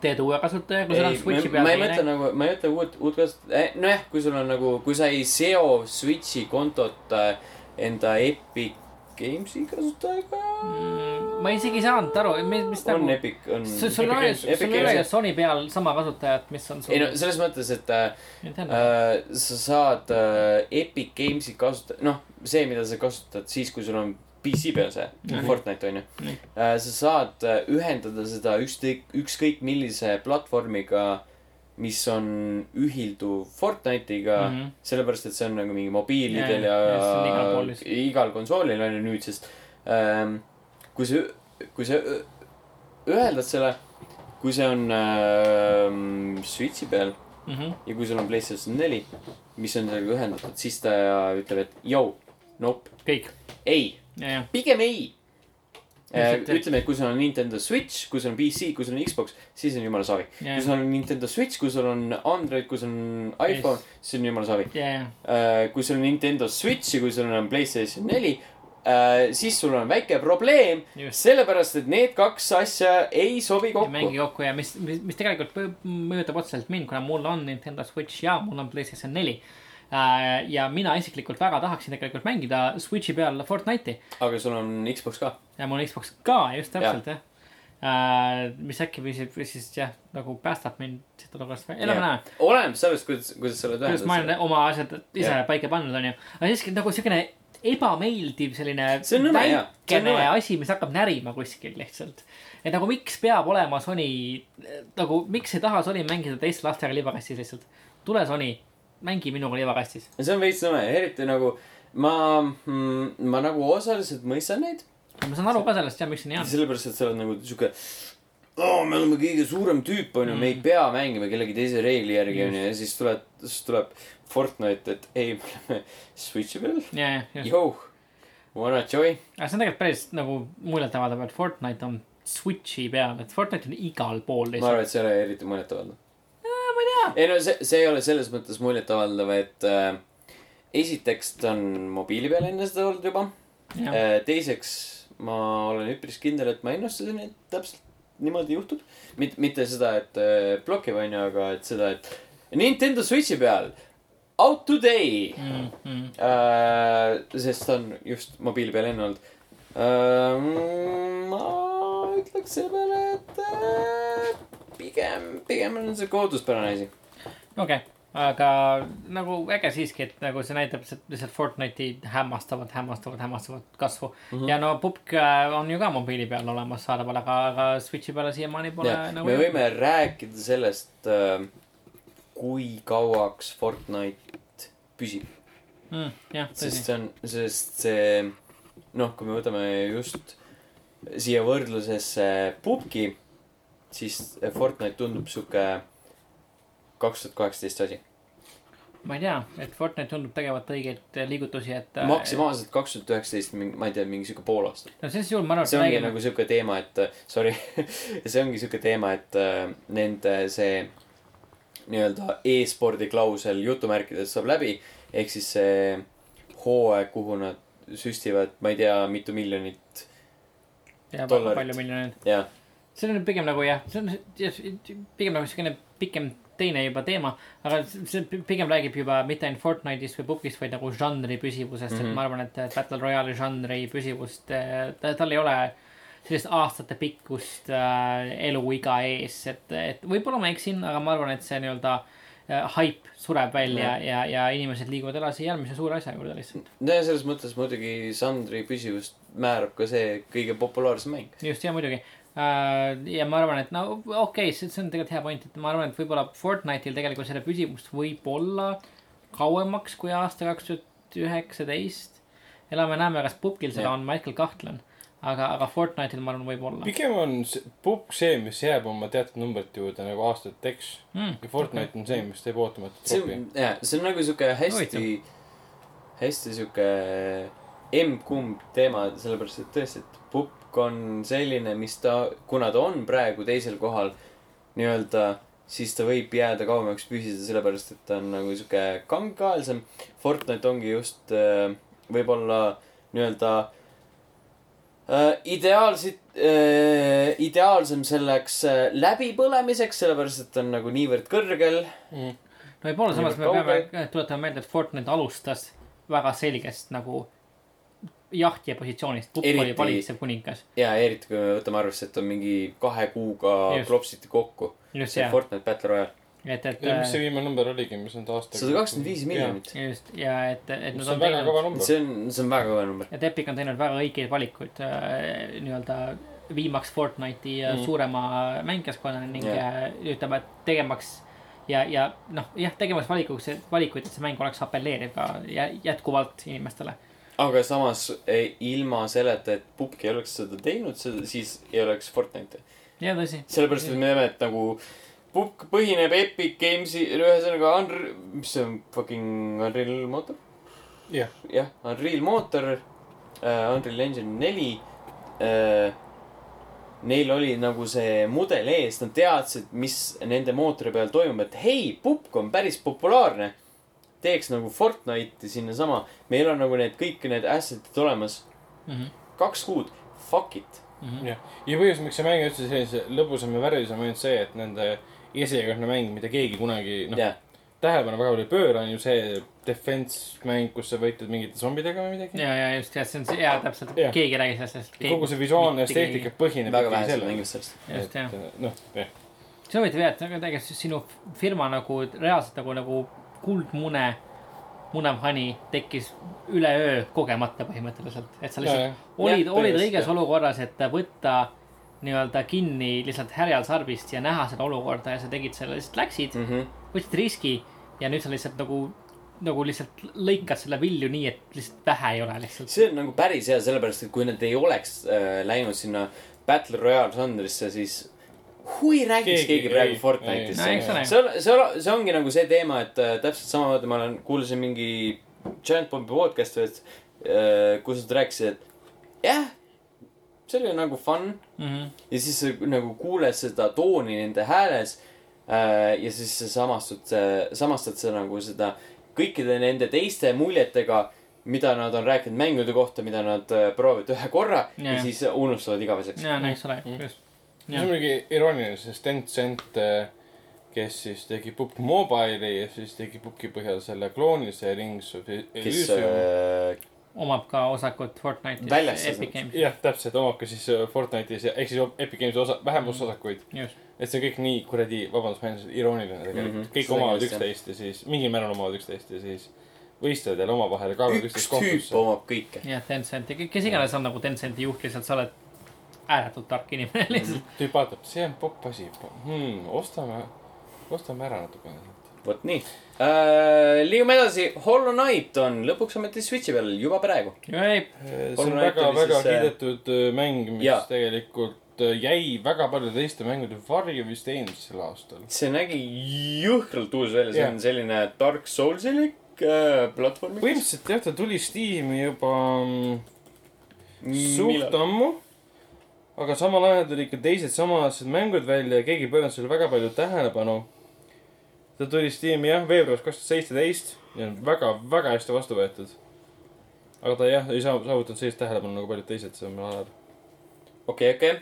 Speaker 3: teed uue kasutaja , kui sul on
Speaker 1: ei , ma,
Speaker 3: Switchi peal
Speaker 1: ma ei mõtle . nagu , ma ei mõtle uut , uut kasutajat eh, , nojah , kui sul on nagu , kui sa ei seo Switchi kontot äh, enda Epic Games'i kasutajaga mm, .
Speaker 3: ma isegi ei saanud aru , mis , mis
Speaker 1: on
Speaker 3: nagu .
Speaker 1: Epic , on .
Speaker 3: sul , sul ei ole ,
Speaker 1: Epic
Speaker 3: sul ei ole ju
Speaker 1: Games ,
Speaker 3: Sony peal sama kasutajat , mis on sul .
Speaker 1: ei no selles mõttes , et äh,
Speaker 3: Nintendo .
Speaker 1: äh, sa saad äh, Epic Games'i kasutada , noh , see , mida sa kasutad siis , kui sul on PC peal see mm -hmm. Fortnite on ju mm . -hmm. Äh, sa saad äh, ühendada seda ükskõik , ükskõik millise platvormiga , mis on ühilduv Fortnite'iga mm .
Speaker 3: Mhm.
Speaker 1: -hmm. sellepärast , et see on nagu mingi mobiilidel ja,
Speaker 3: Ja, ja, see on
Speaker 1: ja,
Speaker 3: igal pool
Speaker 1: ja
Speaker 3: vist.
Speaker 1: igal konsoolil on ju nüüd , sest ähm, kui sa , kui sa ü- üheldad selle , kui see on ähm, Switchi peal
Speaker 3: Mhm,
Speaker 1: ja kui sul on Playstation neli , mis on sellega ühendatud , siis ta ütleb , et jõu , nope ,
Speaker 3: kõik ,
Speaker 1: ei ,
Speaker 3: ja , ja .
Speaker 1: pigem ei .
Speaker 3: Lihtsalt, et-
Speaker 1: ütleme , et kui sul on Nintendo Switch , kui sul on PC , kui sul on Xbox , siis on jumala savi .
Speaker 3: Jaa.
Speaker 1: kui sul on Nintendo Switch , kui sul on Android , kui sul on iPhone , siis on jumala savi .
Speaker 3: ja , ja ,
Speaker 1: kui sul on Nintendo Switch ja kui sul on Playstation neli , siis sul on väike probleem ,
Speaker 3: just .
Speaker 1: sellepärast et need kaks asja ei sobi
Speaker 3: ei
Speaker 1: kokku
Speaker 3: mängi . kokku ja mis , mis , mis tegelikult põ- mõjutab otseselt mind , kuna mul on Nintendo Switch ja mul on Playstation neli . ja mina isiklikult väga tahaksin tegelikult mängida Switchi peal Fortnite'i
Speaker 1: aga sul on Xbox ka .
Speaker 3: ja mul on Xbox ka , just täpselt jah . Uh, mis äkki või siis , või siis jah , nagu päästab mind siit olukorrast , elame-näeme .
Speaker 1: oleneb sellest , kuidas , kuidas sa oled
Speaker 3: kuidas ma
Speaker 1: ühendatud
Speaker 3: olen . oma asjad ise
Speaker 1: Jah.
Speaker 3: paika pannud , onju . aga siiski nagu siukene ebameeldiv selline
Speaker 1: See on nõme, jah. See on
Speaker 3: väikene
Speaker 1: nõme.
Speaker 3: asi , mis hakkab närima kuskil lihtsalt . et nagu miks peab olema Sony , nagu miks ei taha Sony mängida teiste lastega libakastis lihtsalt . tule Sony , mängi minuga libakastis .
Speaker 1: Ja see on veits nõme , eriti nagu ma mm, , ma nagu osaliselt mõistan neid ,
Speaker 3: ma saan aru ka sellest jah , miks see nii on .
Speaker 1: sellepärast et sa oled nagu sihuke oh, . me oleme kõige suurem tüüp , onju , me ei pea mängima kellegi teise reegli järgi , onju , ja siis tuleb , siis tuleb Fortnite , et ei , me oleme Switchi peal .
Speaker 3: ja , ja , just .
Speaker 1: Yo , wanna join ?
Speaker 3: aga see on tegelikult päris nagu muljetavaldav , et Fortnite on Switchi peal , et Fortnite on igal pool
Speaker 1: ma
Speaker 3: lihtsalt .
Speaker 1: arvan , et see ei ole eriti muljetavaldav .
Speaker 3: ma ei tea .
Speaker 1: ei no see , see ei ole selles mõttes muljetavaldav , et äh, esiteks ta on mobiili peal enne seda olnud juba .
Speaker 3: Jah.
Speaker 1: teiseks , ma olen üpris kindel , et ma ennustasin , et täpselt niimoodi juhtub . mitte , mitte seda , et äh, blokib , onju , aga et seda , et Nintendo Switchi peal out today
Speaker 3: Mm, mm.
Speaker 1: äh, . sest ta on just mobiili peal enne olnud äh, . ma ütleks selle peale , et äh, pigem , pigem on see koduspärane asi .
Speaker 3: okei okay. , aga nagu äge siiski , et nagu see näitab lihtsalt- lihtsalt Fortnite'i hämmastavat , hämmastavat , hämmastavat kasvu mm .
Speaker 1: Mhm.
Speaker 3: -hmm. ja no pubg äh, on ju ka mobiili peal olemas saadaval , aga , aga Switch'i peale siiamaani pole
Speaker 1: Jah,
Speaker 3: nagu .
Speaker 1: me võime rääkida sellest , kui kauaks Fortnite püsib ,
Speaker 3: mm, . jah ,
Speaker 1: sest
Speaker 3: tõsi .
Speaker 1: see on , sest see , noh , kui me võtame just siia võrdlusesse pubgi , siis Fortnite tundub sihuke kaks tuhat kaheksateist asi .
Speaker 3: ma ei tea , et Fortnite tundub tegevat õigeid liigutusi , et . äh,
Speaker 1: maksimaalselt kaks tuhat üheksateist , ma ei tea , mingi sihuke pool aastat .
Speaker 3: no selles juhul ma arvan , et
Speaker 1: see
Speaker 3: me
Speaker 1: ongi
Speaker 3: räägime
Speaker 1: nagu sihuke teema , et äh, sorry , see ongi sihuke teema , et äh, nende see nii-öelda e-spordi klausel jutumärkides saab läbi . ehk siis see hooaeg , kuhu nad süstivad , ma ei tea , mitu miljonit
Speaker 3: ja,
Speaker 1: dollarit.
Speaker 3: palju miljoneid .
Speaker 1: ja
Speaker 3: see on pigem nagu jah , see on jah, pigem nagu selline pikem teine juba teema , aga see see pigem räägib juba mitte ainult Fortnite'ist või PUBG-ist , vaid nagu žanri püsivusest mm , -hmm. et ma arvan , et Battle Royale'i žanri püsivust , ta , tal ei ole sellist aastatepikkust äh, eluiga ees , et , et võib-olla ma eksin , aga ma arvan , et see nii-öelda äh, haip sureb välja mm -hmm. ja , ja inimesed liiguvad edasi järgmise suure asja juurde lihtsalt .
Speaker 1: no ja selles mõttes muidugi žanri püsivust määrab ka see kõige populaarsem mäng .
Speaker 3: just , ja muidugi . ja ma arvan , et no okei okay, , see see on tegelikult hea point , et ma arvan , et võib-olla Fortnite'il tegelikult seda püsivust võib olla kauemaks kui aasta kaks tuhat üheksateist . elame-näeme , kas pubgil seda
Speaker 1: Jah.
Speaker 3: on , ma hetkel kahtlen . aga , aga Fortnite'il ma arvan , võib olla .
Speaker 4: pigem on see- pukk see , mis jääb oma teatud numbrite juurde nagu aastateks
Speaker 3: Mm,
Speaker 4: ja Fortnite on see , mis teeb ootamatut
Speaker 1: see
Speaker 4: popi
Speaker 1: on , jaa , see on nagu sihuke hästi , hästi sihuke emb-kumb teema , sellepärast et tõesti , et pukk on selline , mis ta , kuna ta on praegu teisel kohal nii-öelda , siis ta võib jääda kauemaks püsida , sellepärast et ta on nagu sihuke kangekaelsem . Fortnite ongi just äh, võib-olla nii-öelda äh, ideaalsid äh, , ideaalsem selleks äh, läbipõlemiseks , sellepärast et ta on nagu niivõrd kõrgel
Speaker 4: mm. .
Speaker 3: no võib-olla samas me
Speaker 1: Niivõrd
Speaker 3: peame tuletama meelde , et Fortnite alustas väga selgest nagu jahtija positsioonist . pubg oli
Speaker 1: Eriti-
Speaker 3: valitsev kuningas .
Speaker 1: ja eriti , kui me võtame arvesse , et on mingi kahe kuuga
Speaker 3: Just.
Speaker 1: klopsiti kokku .
Speaker 3: just
Speaker 1: see
Speaker 3: ja ,
Speaker 1: Fortnite Battle Royale ,
Speaker 3: et , et .
Speaker 4: ja mis see viimane number oligi , mis nad aastaga
Speaker 1: sada kakskümmend viis . miljonit .
Speaker 3: äh, just ja et , et nad
Speaker 4: see
Speaker 3: on
Speaker 4: on väga
Speaker 3: teinud
Speaker 4: kõva number .
Speaker 1: see on , see on väga kõva number .
Speaker 3: et Epic on teinud väga õigeid valikuid äh, nii-öelda viimaks Fortnite'i mm.
Speaker 4: Mm.
Speaker 3: suurema mängijaskonna ning
Speaker 1: Jah.
Speaker 3: yeah. ütleme , et tegemaks ja , ja noh , jah , tegemas valikuks , valikuid , et see mäng oleks apelleeriv ka ja jätkuvalt inimestele .
Speaker 1: aga samas eh, ilma selleta , et Pupk ei oleks seda teinud , siis ei oleks Fortnite'i .
Speaker 3: ja tõsi ,
Speaker 1: sellepärast , et me teame , et nagu Pupk põhineb Epic Games'i , ühesõnaga Unreal , mis see on , fucking Unreal mootor ?
Speaker 4: jah ,
Speaker 1: jah , Unreal mootor uh, , Unreal Engine neli uh, . Neil oli nagu see mudel ees , nad teadsid , mis nende mootori peal toimub , et hei , Pupk on päris populaarne . teeks nagu Fortnite'i sinnasama , meil on nagu need kõik need asset'id olemas mm .
Speaker 3: Mhm.
Speaker 1: -hmm. kaks kuud , fuck it .
Speaker 4: jah . ja põhjus , miks see mäng üldse sellise lõbusam ja värvilisem on ainult see , et nende esialgne mäng , mida keegi kunagi , noh ,
Speaker 1: jah ,
Speaker 4: tähelepanu väga palju ei pööra , on ju see defense mäng , kus sa võitled mingite zombidega või midagi .
Speaker 3: ja , ja just , ja see on see , ja täpselt
Speaker 4: Jah.
Speaker 3: yeah. , keegi ei räägi sellest .
Speaker 4: kogu see visuaalne esteetika põhineb
Speaker 1: väga vähesed mängivad sellest .
Speaker 3: just , jah .
Speaker 4: noh , jah .
Speaker 3: see on huvitav jah , et aga tegelikult sinu firma nagu reaalselt nagu , nagu kuldmune , munevhani tekkis üleöö kogemata põhimõtteliselt , et sa
Speaker 4: Jajah.
Speaker 3: lihtsalt olid ,
Speaker 4: Jah,
Speaker 3: olid
Speaker 4: tõesti,
Speaker 3: õiges
Speaker 4: jah.
Speaker 3: olukorras , et võtta nii-öelda kinni lihtsalt härjal sarvist ja näha seda olukorda ja sa tegid selle , lihtsalt läksid mm ,
Speaker 1: Mhm.
Speaker 3: -hmm. võtsid riski ja nüüd sa lihtsalt nagu , nagu lihtsalt lõikad selle vilju nii , et lihtsalt vähe ei ole lihtsalt .
Speaker 1: see on nagu päris hea , sellepärast et kui nad ei oleks äh, läinud sinna Battle Royale žanrisse , siis hui räägiks keegi,
Speaker 4: Keegi-
Speaker 1: keegi praegu
Speaker 4: ei,
Speaker 1: Fortnite'ist .
Speaker 3: ei. No eks ole.
Speaker 1: see on , see on , see ongi nagu see teema , et äh, täpselt samamoodi ma olen , kuulasin mingi Giant Bombi podcast'i , et äh, kus nad rääkisid , et jah , see oli nagu fun
Speaker 3: -hmm.
Speaker 1: ja siis sa nagu kuuled seda tooni nende hääles äh, ja siis sa samastud , samastad sa nagu seda kõikide nende teiste muljetega , mida nad on rääkinud mängude kohta , mida nad äh, proovivad ühe korra ja,
Speaker 3: Jajah.
Speaker 1: ja siis unustavad igaveseks .
Speaker 3: ja , eks ole ,
Speaker 1: Mhm.
Speaker 3: just .
Speaker 4: see on muidugi irooniline , sest Tencent , kes siis tegi Pupk Mobile'i ja siis tegi Pupki põhjal selle kloonilise Rings of
Speaker 1: kes
Speaker 4: Elysium .
Speaker 1: äh,
Speaker 3: omab ka osakut Fortnite'is .
Speaker 1: Väljas nagu.
Speaker 3: Epic
Speaker 1: osakut.
Speaker 3: Games ,
Speaker 4: jah , täpselt , omab ka siis äh, Fortnite'is ja ehk siis Epic Games'i osa , vähemusosakuid .
Speaker 3: just .
Speaker 4: et see on kõik nii kuradi , vabandust , ma ütlen , irooniline tegelikult mm .
Speaker 1: Mhm.
Speaker 4: -hmm. kõik
Speaker 1: Seda
Speaker 4: omavad
Speaker 1: kindlasti,
Speaker 4: üksteist ja siis mingil määral omavad üksteist ja siis võistlevad jälle omavahel ja kaevavad
Speaker 1: üks
Speaker 4: üksteist
Speaker 1: tüüp
Speaker 4: kohtusse .
Speaker 1: omab kõike .
Speaker 3: jah , Tencent ja kes iganes on nagu Tencenti juht , lihtsalt sa oled ääretult tark inimene lihtsalt .
Speaker 4: tüüp vaatab , see on popp asi hmm, , ostame , ostame ära natukene .
Speaker 1: vot nii äh, . liigume edasi , Hollow Knight on lõpuks ometi Switchi peal juba praegu . Äh,
Speaker 4: see on
Speaker 1: Hollow Knight oli
Speaker 4: väga-väga
Speaker 1: siis, äh,
Speaker 4: kiidetud äh, mäng , mis ja.
Speaker 1: jaa.
Speaker 4: tegelikult äh, jäi väga paljude teiste mängude varju vist eelmisel aastal .
Speaker 1: see nägi jõhkralt uus välja , see
Speaker 4: Jah.
Speaker 1: on selline Dark Soulsilik äh, platvorm .
Speaker 4: põhimõtteliselt jah , ta tuli Steam'i juba mm, suht ammu . aga samal ajal tulid ka teised samased mängud välja ja keegi ei pööranud sellele väga palju tähelepanu . ta tuli Steam'i jah , veebruaris kaks tuhat seitseteist ja on väga-väga hästi vastu võetud . aga ta jah , ei saa- saavutanud sellist tähelepanu nagu paljud teised samal ajal .
Speaker 1: okei , okei .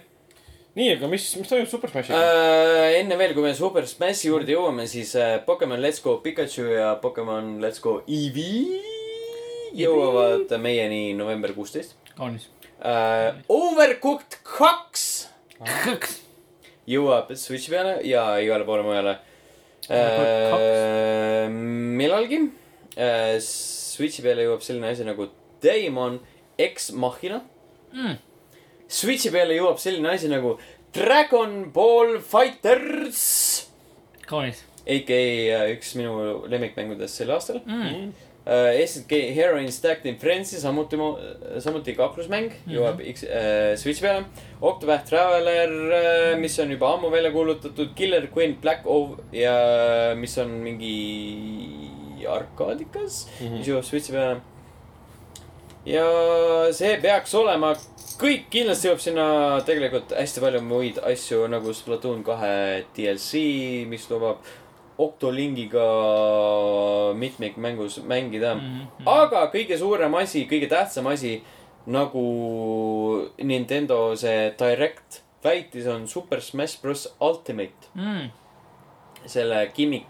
Speaker 4: nii , aga mis , mis toimub Super Smashiga ?
Speaker 1: äh, . enne veel , kui me Super Smashi juurde jõuame , siis äh, Pokemon Let's Go Pikachu ja Pokemon Let's Go Eevee jõuavad meieni november kuusteist
Speaker 3: kaunis .
Speaker 1: äh, . Overcooked kaks jõuab Switchi peale ja igale poole mujale
Speaker 3: Overcooked
Speaker 1: äh, . millalgi äh, Switchi peale jõuab selline asi nagu Daemon X Machina
Speaker 3: Mm.
Speaker 1: Switchi peale jõuab selline asi nagu Dragon Ball Fighters
Speaker 3: kaunis .
Speaker 1: AKA äh, üks minu lemmikmängudest sel aastal
Speaker 4: Hmm?
Speaker 3: Mm.
Speaker 1: äh, . SNK Heroin Stacked in Frenzy , samuti mu , samuti kaklusmäng jõuab mm -hmm. X, äh, Switchi peale . Octopath Traveler äh, , mis on juba ammu välja kuulutatud , Killer Queen Black Ov- ja äh, mis on mingi arkaadikas mm , -hmm. mis jõuab Switchi peale . ja see peaks olema kõik , kindlasti jõuab sinna tegelikult hästi palju muid asju nagu Splatoon kahe DLC , mis lubab Octolingiga mitmikmängus mängida mm . -hmm. aga kõige suurem asi , kõige tähtsam asi , nagu Nintendo see Direct väitis , on Super Smash Bros Ultimate ,
Speaker 3: Mm.
Speaker 1: selle gimmick .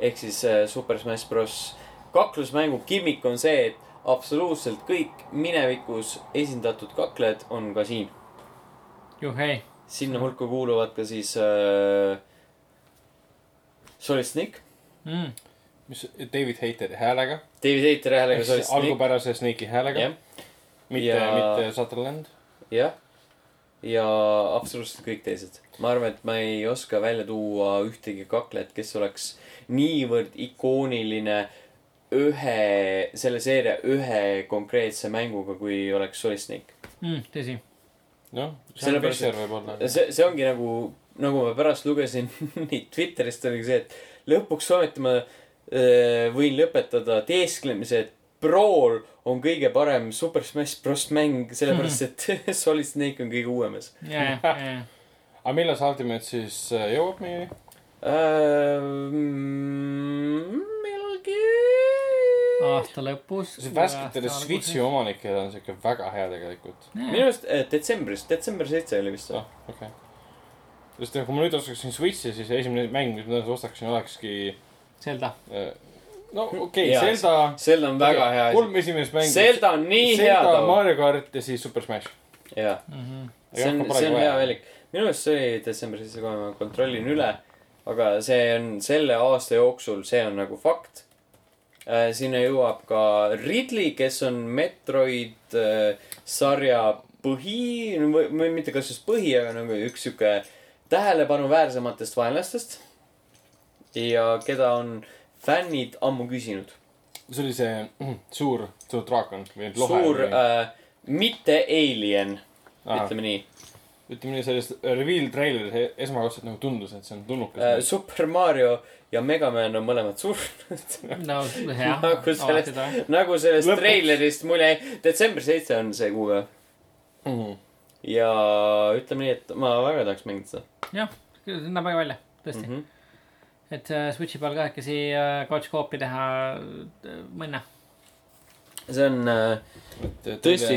Speaker 1: ehk siis äh, Super Smash Bros kaklusmängu gimmick on see , et absoluutselt kõik minevikus esindatud kaklejad on ka siin .
Speaker 3: juhei ,
Speaker 1: sinna hulka kuuluvad ka siis äh, Solid Snake ,
Speaker 3: mm.
Speaker 4: mis David Hateri häälega ,
Speaker 1: David Eiter häälega Solid Snake ,
Speaker 4: algupärase Snake'i häälega
Speaker 1: jah ,,
Speaker 4: mitte
Speaker 1: Ja-
Speaker 4: mitte Sutherland .
Speaker 1: jah . ja absoluutselt kõik teised . ma arvan , et ma ei oska välja tuua ühtegi kaklet , kes oleks niivõrd ikooniline ühe , selle seeria ühe konkreetse mänguga , kui oleks Solid Snake .
Speaker 3: Mm, tõsi ,
Speaker 4: noh , Sam
Speaker 1: Sellepärast-
Speaker 4: Fisher võib-olla .
Speaker 1: see , see ongi nagu , nagu ma pärast lugesin neid Twitterist oligi see , et lõpuks ometi ma öö, võin lõpetada teesklemise , et Brawl on kõige parem Super Smash Bros mäng , sellepärast et Solid Snake on kõige uuemas .
Speaker 3: ja , ja , ja ,
Speaker 4: aga millal see Ultimate siis äh, jõuab meieni ?
Speaker 1: Ehm, mm, millalgi . Ah,
Speaker 3: aasta lõpus .
Speaker 4: see värsketele
Speaker 1: nagu
Speaker 4: Switchi . omanikele on siuke väga hea tegelikult .
Speaker 1: minu arust eh, detsembris , detsember seitse oli vist või ?
Speaker 4: ah , okei okay. . sest noh, kui ma nüüd ostaksin Switchi , siis esimene mäng , mis ma tõenäoliselt ostaksin , olekski
Speaker 3: Zelda ,
Speaker 4: äh, no okei
Speaker 1: Jaa,
Speaker 4: okay, , Zelda .
Speaker 1: Zelda on väga hea asi .
Speaker 4: kolm esimest mängu .
Speaker 1: Zelda on nii hea
Speaker 4: Zelda ,
Speaker 1: tava .
Speaker 4: Mario kart ja siis Super Smash .
Speaker 1: jaa . see on , see on hea . valik . minu meelest see oli detsembris , kohe ma kontrollin üle . aga see on selle aasta jooksul , see on nagu fakt . sinna jõuab ka Ridley , kes on Metroid äh, sarja põhi , või mitte kas just põhi , aga nagu üks sihuke tähelepanuväärsematest vaenlastest . ja keda on fännid ammu küsinud .
Speaker 4: see oli see mm, suur , suur draakon või lohe .
Speaker 1: suur äh, mitte alien , ütleme nii .
Speaker 4: ütleme nii , sellest reveal traileris esmakordselt nagu tundus , et see on
Speaker 1: Äh,
Speaker 4: tulnukas .
Speaker 1: Super Mario ja Mega Man on mõlemad surnud .
Speaker 3: no jah ,
Speaker 1: Nagu sellest-
Speaker 3: alati tore .
Speaker 1: nagu sellest
Speaker 4: Lõpuks. Mhm.
Speaker 1: treilerist mulje jäi . detsember seitse on see kuupäev . ja ütleme nii , et ma väga tahaks mängida seda
Speaker 3: jah , see näeb väga välja , tõesti mm .
Speaker 1: Mhm.
Speaker 3: -hmm. et äh, Switchi peal kahekesi äh, couch co-op'i teha äh, mõnna .
Speaker 1: see on äh, tõesti ,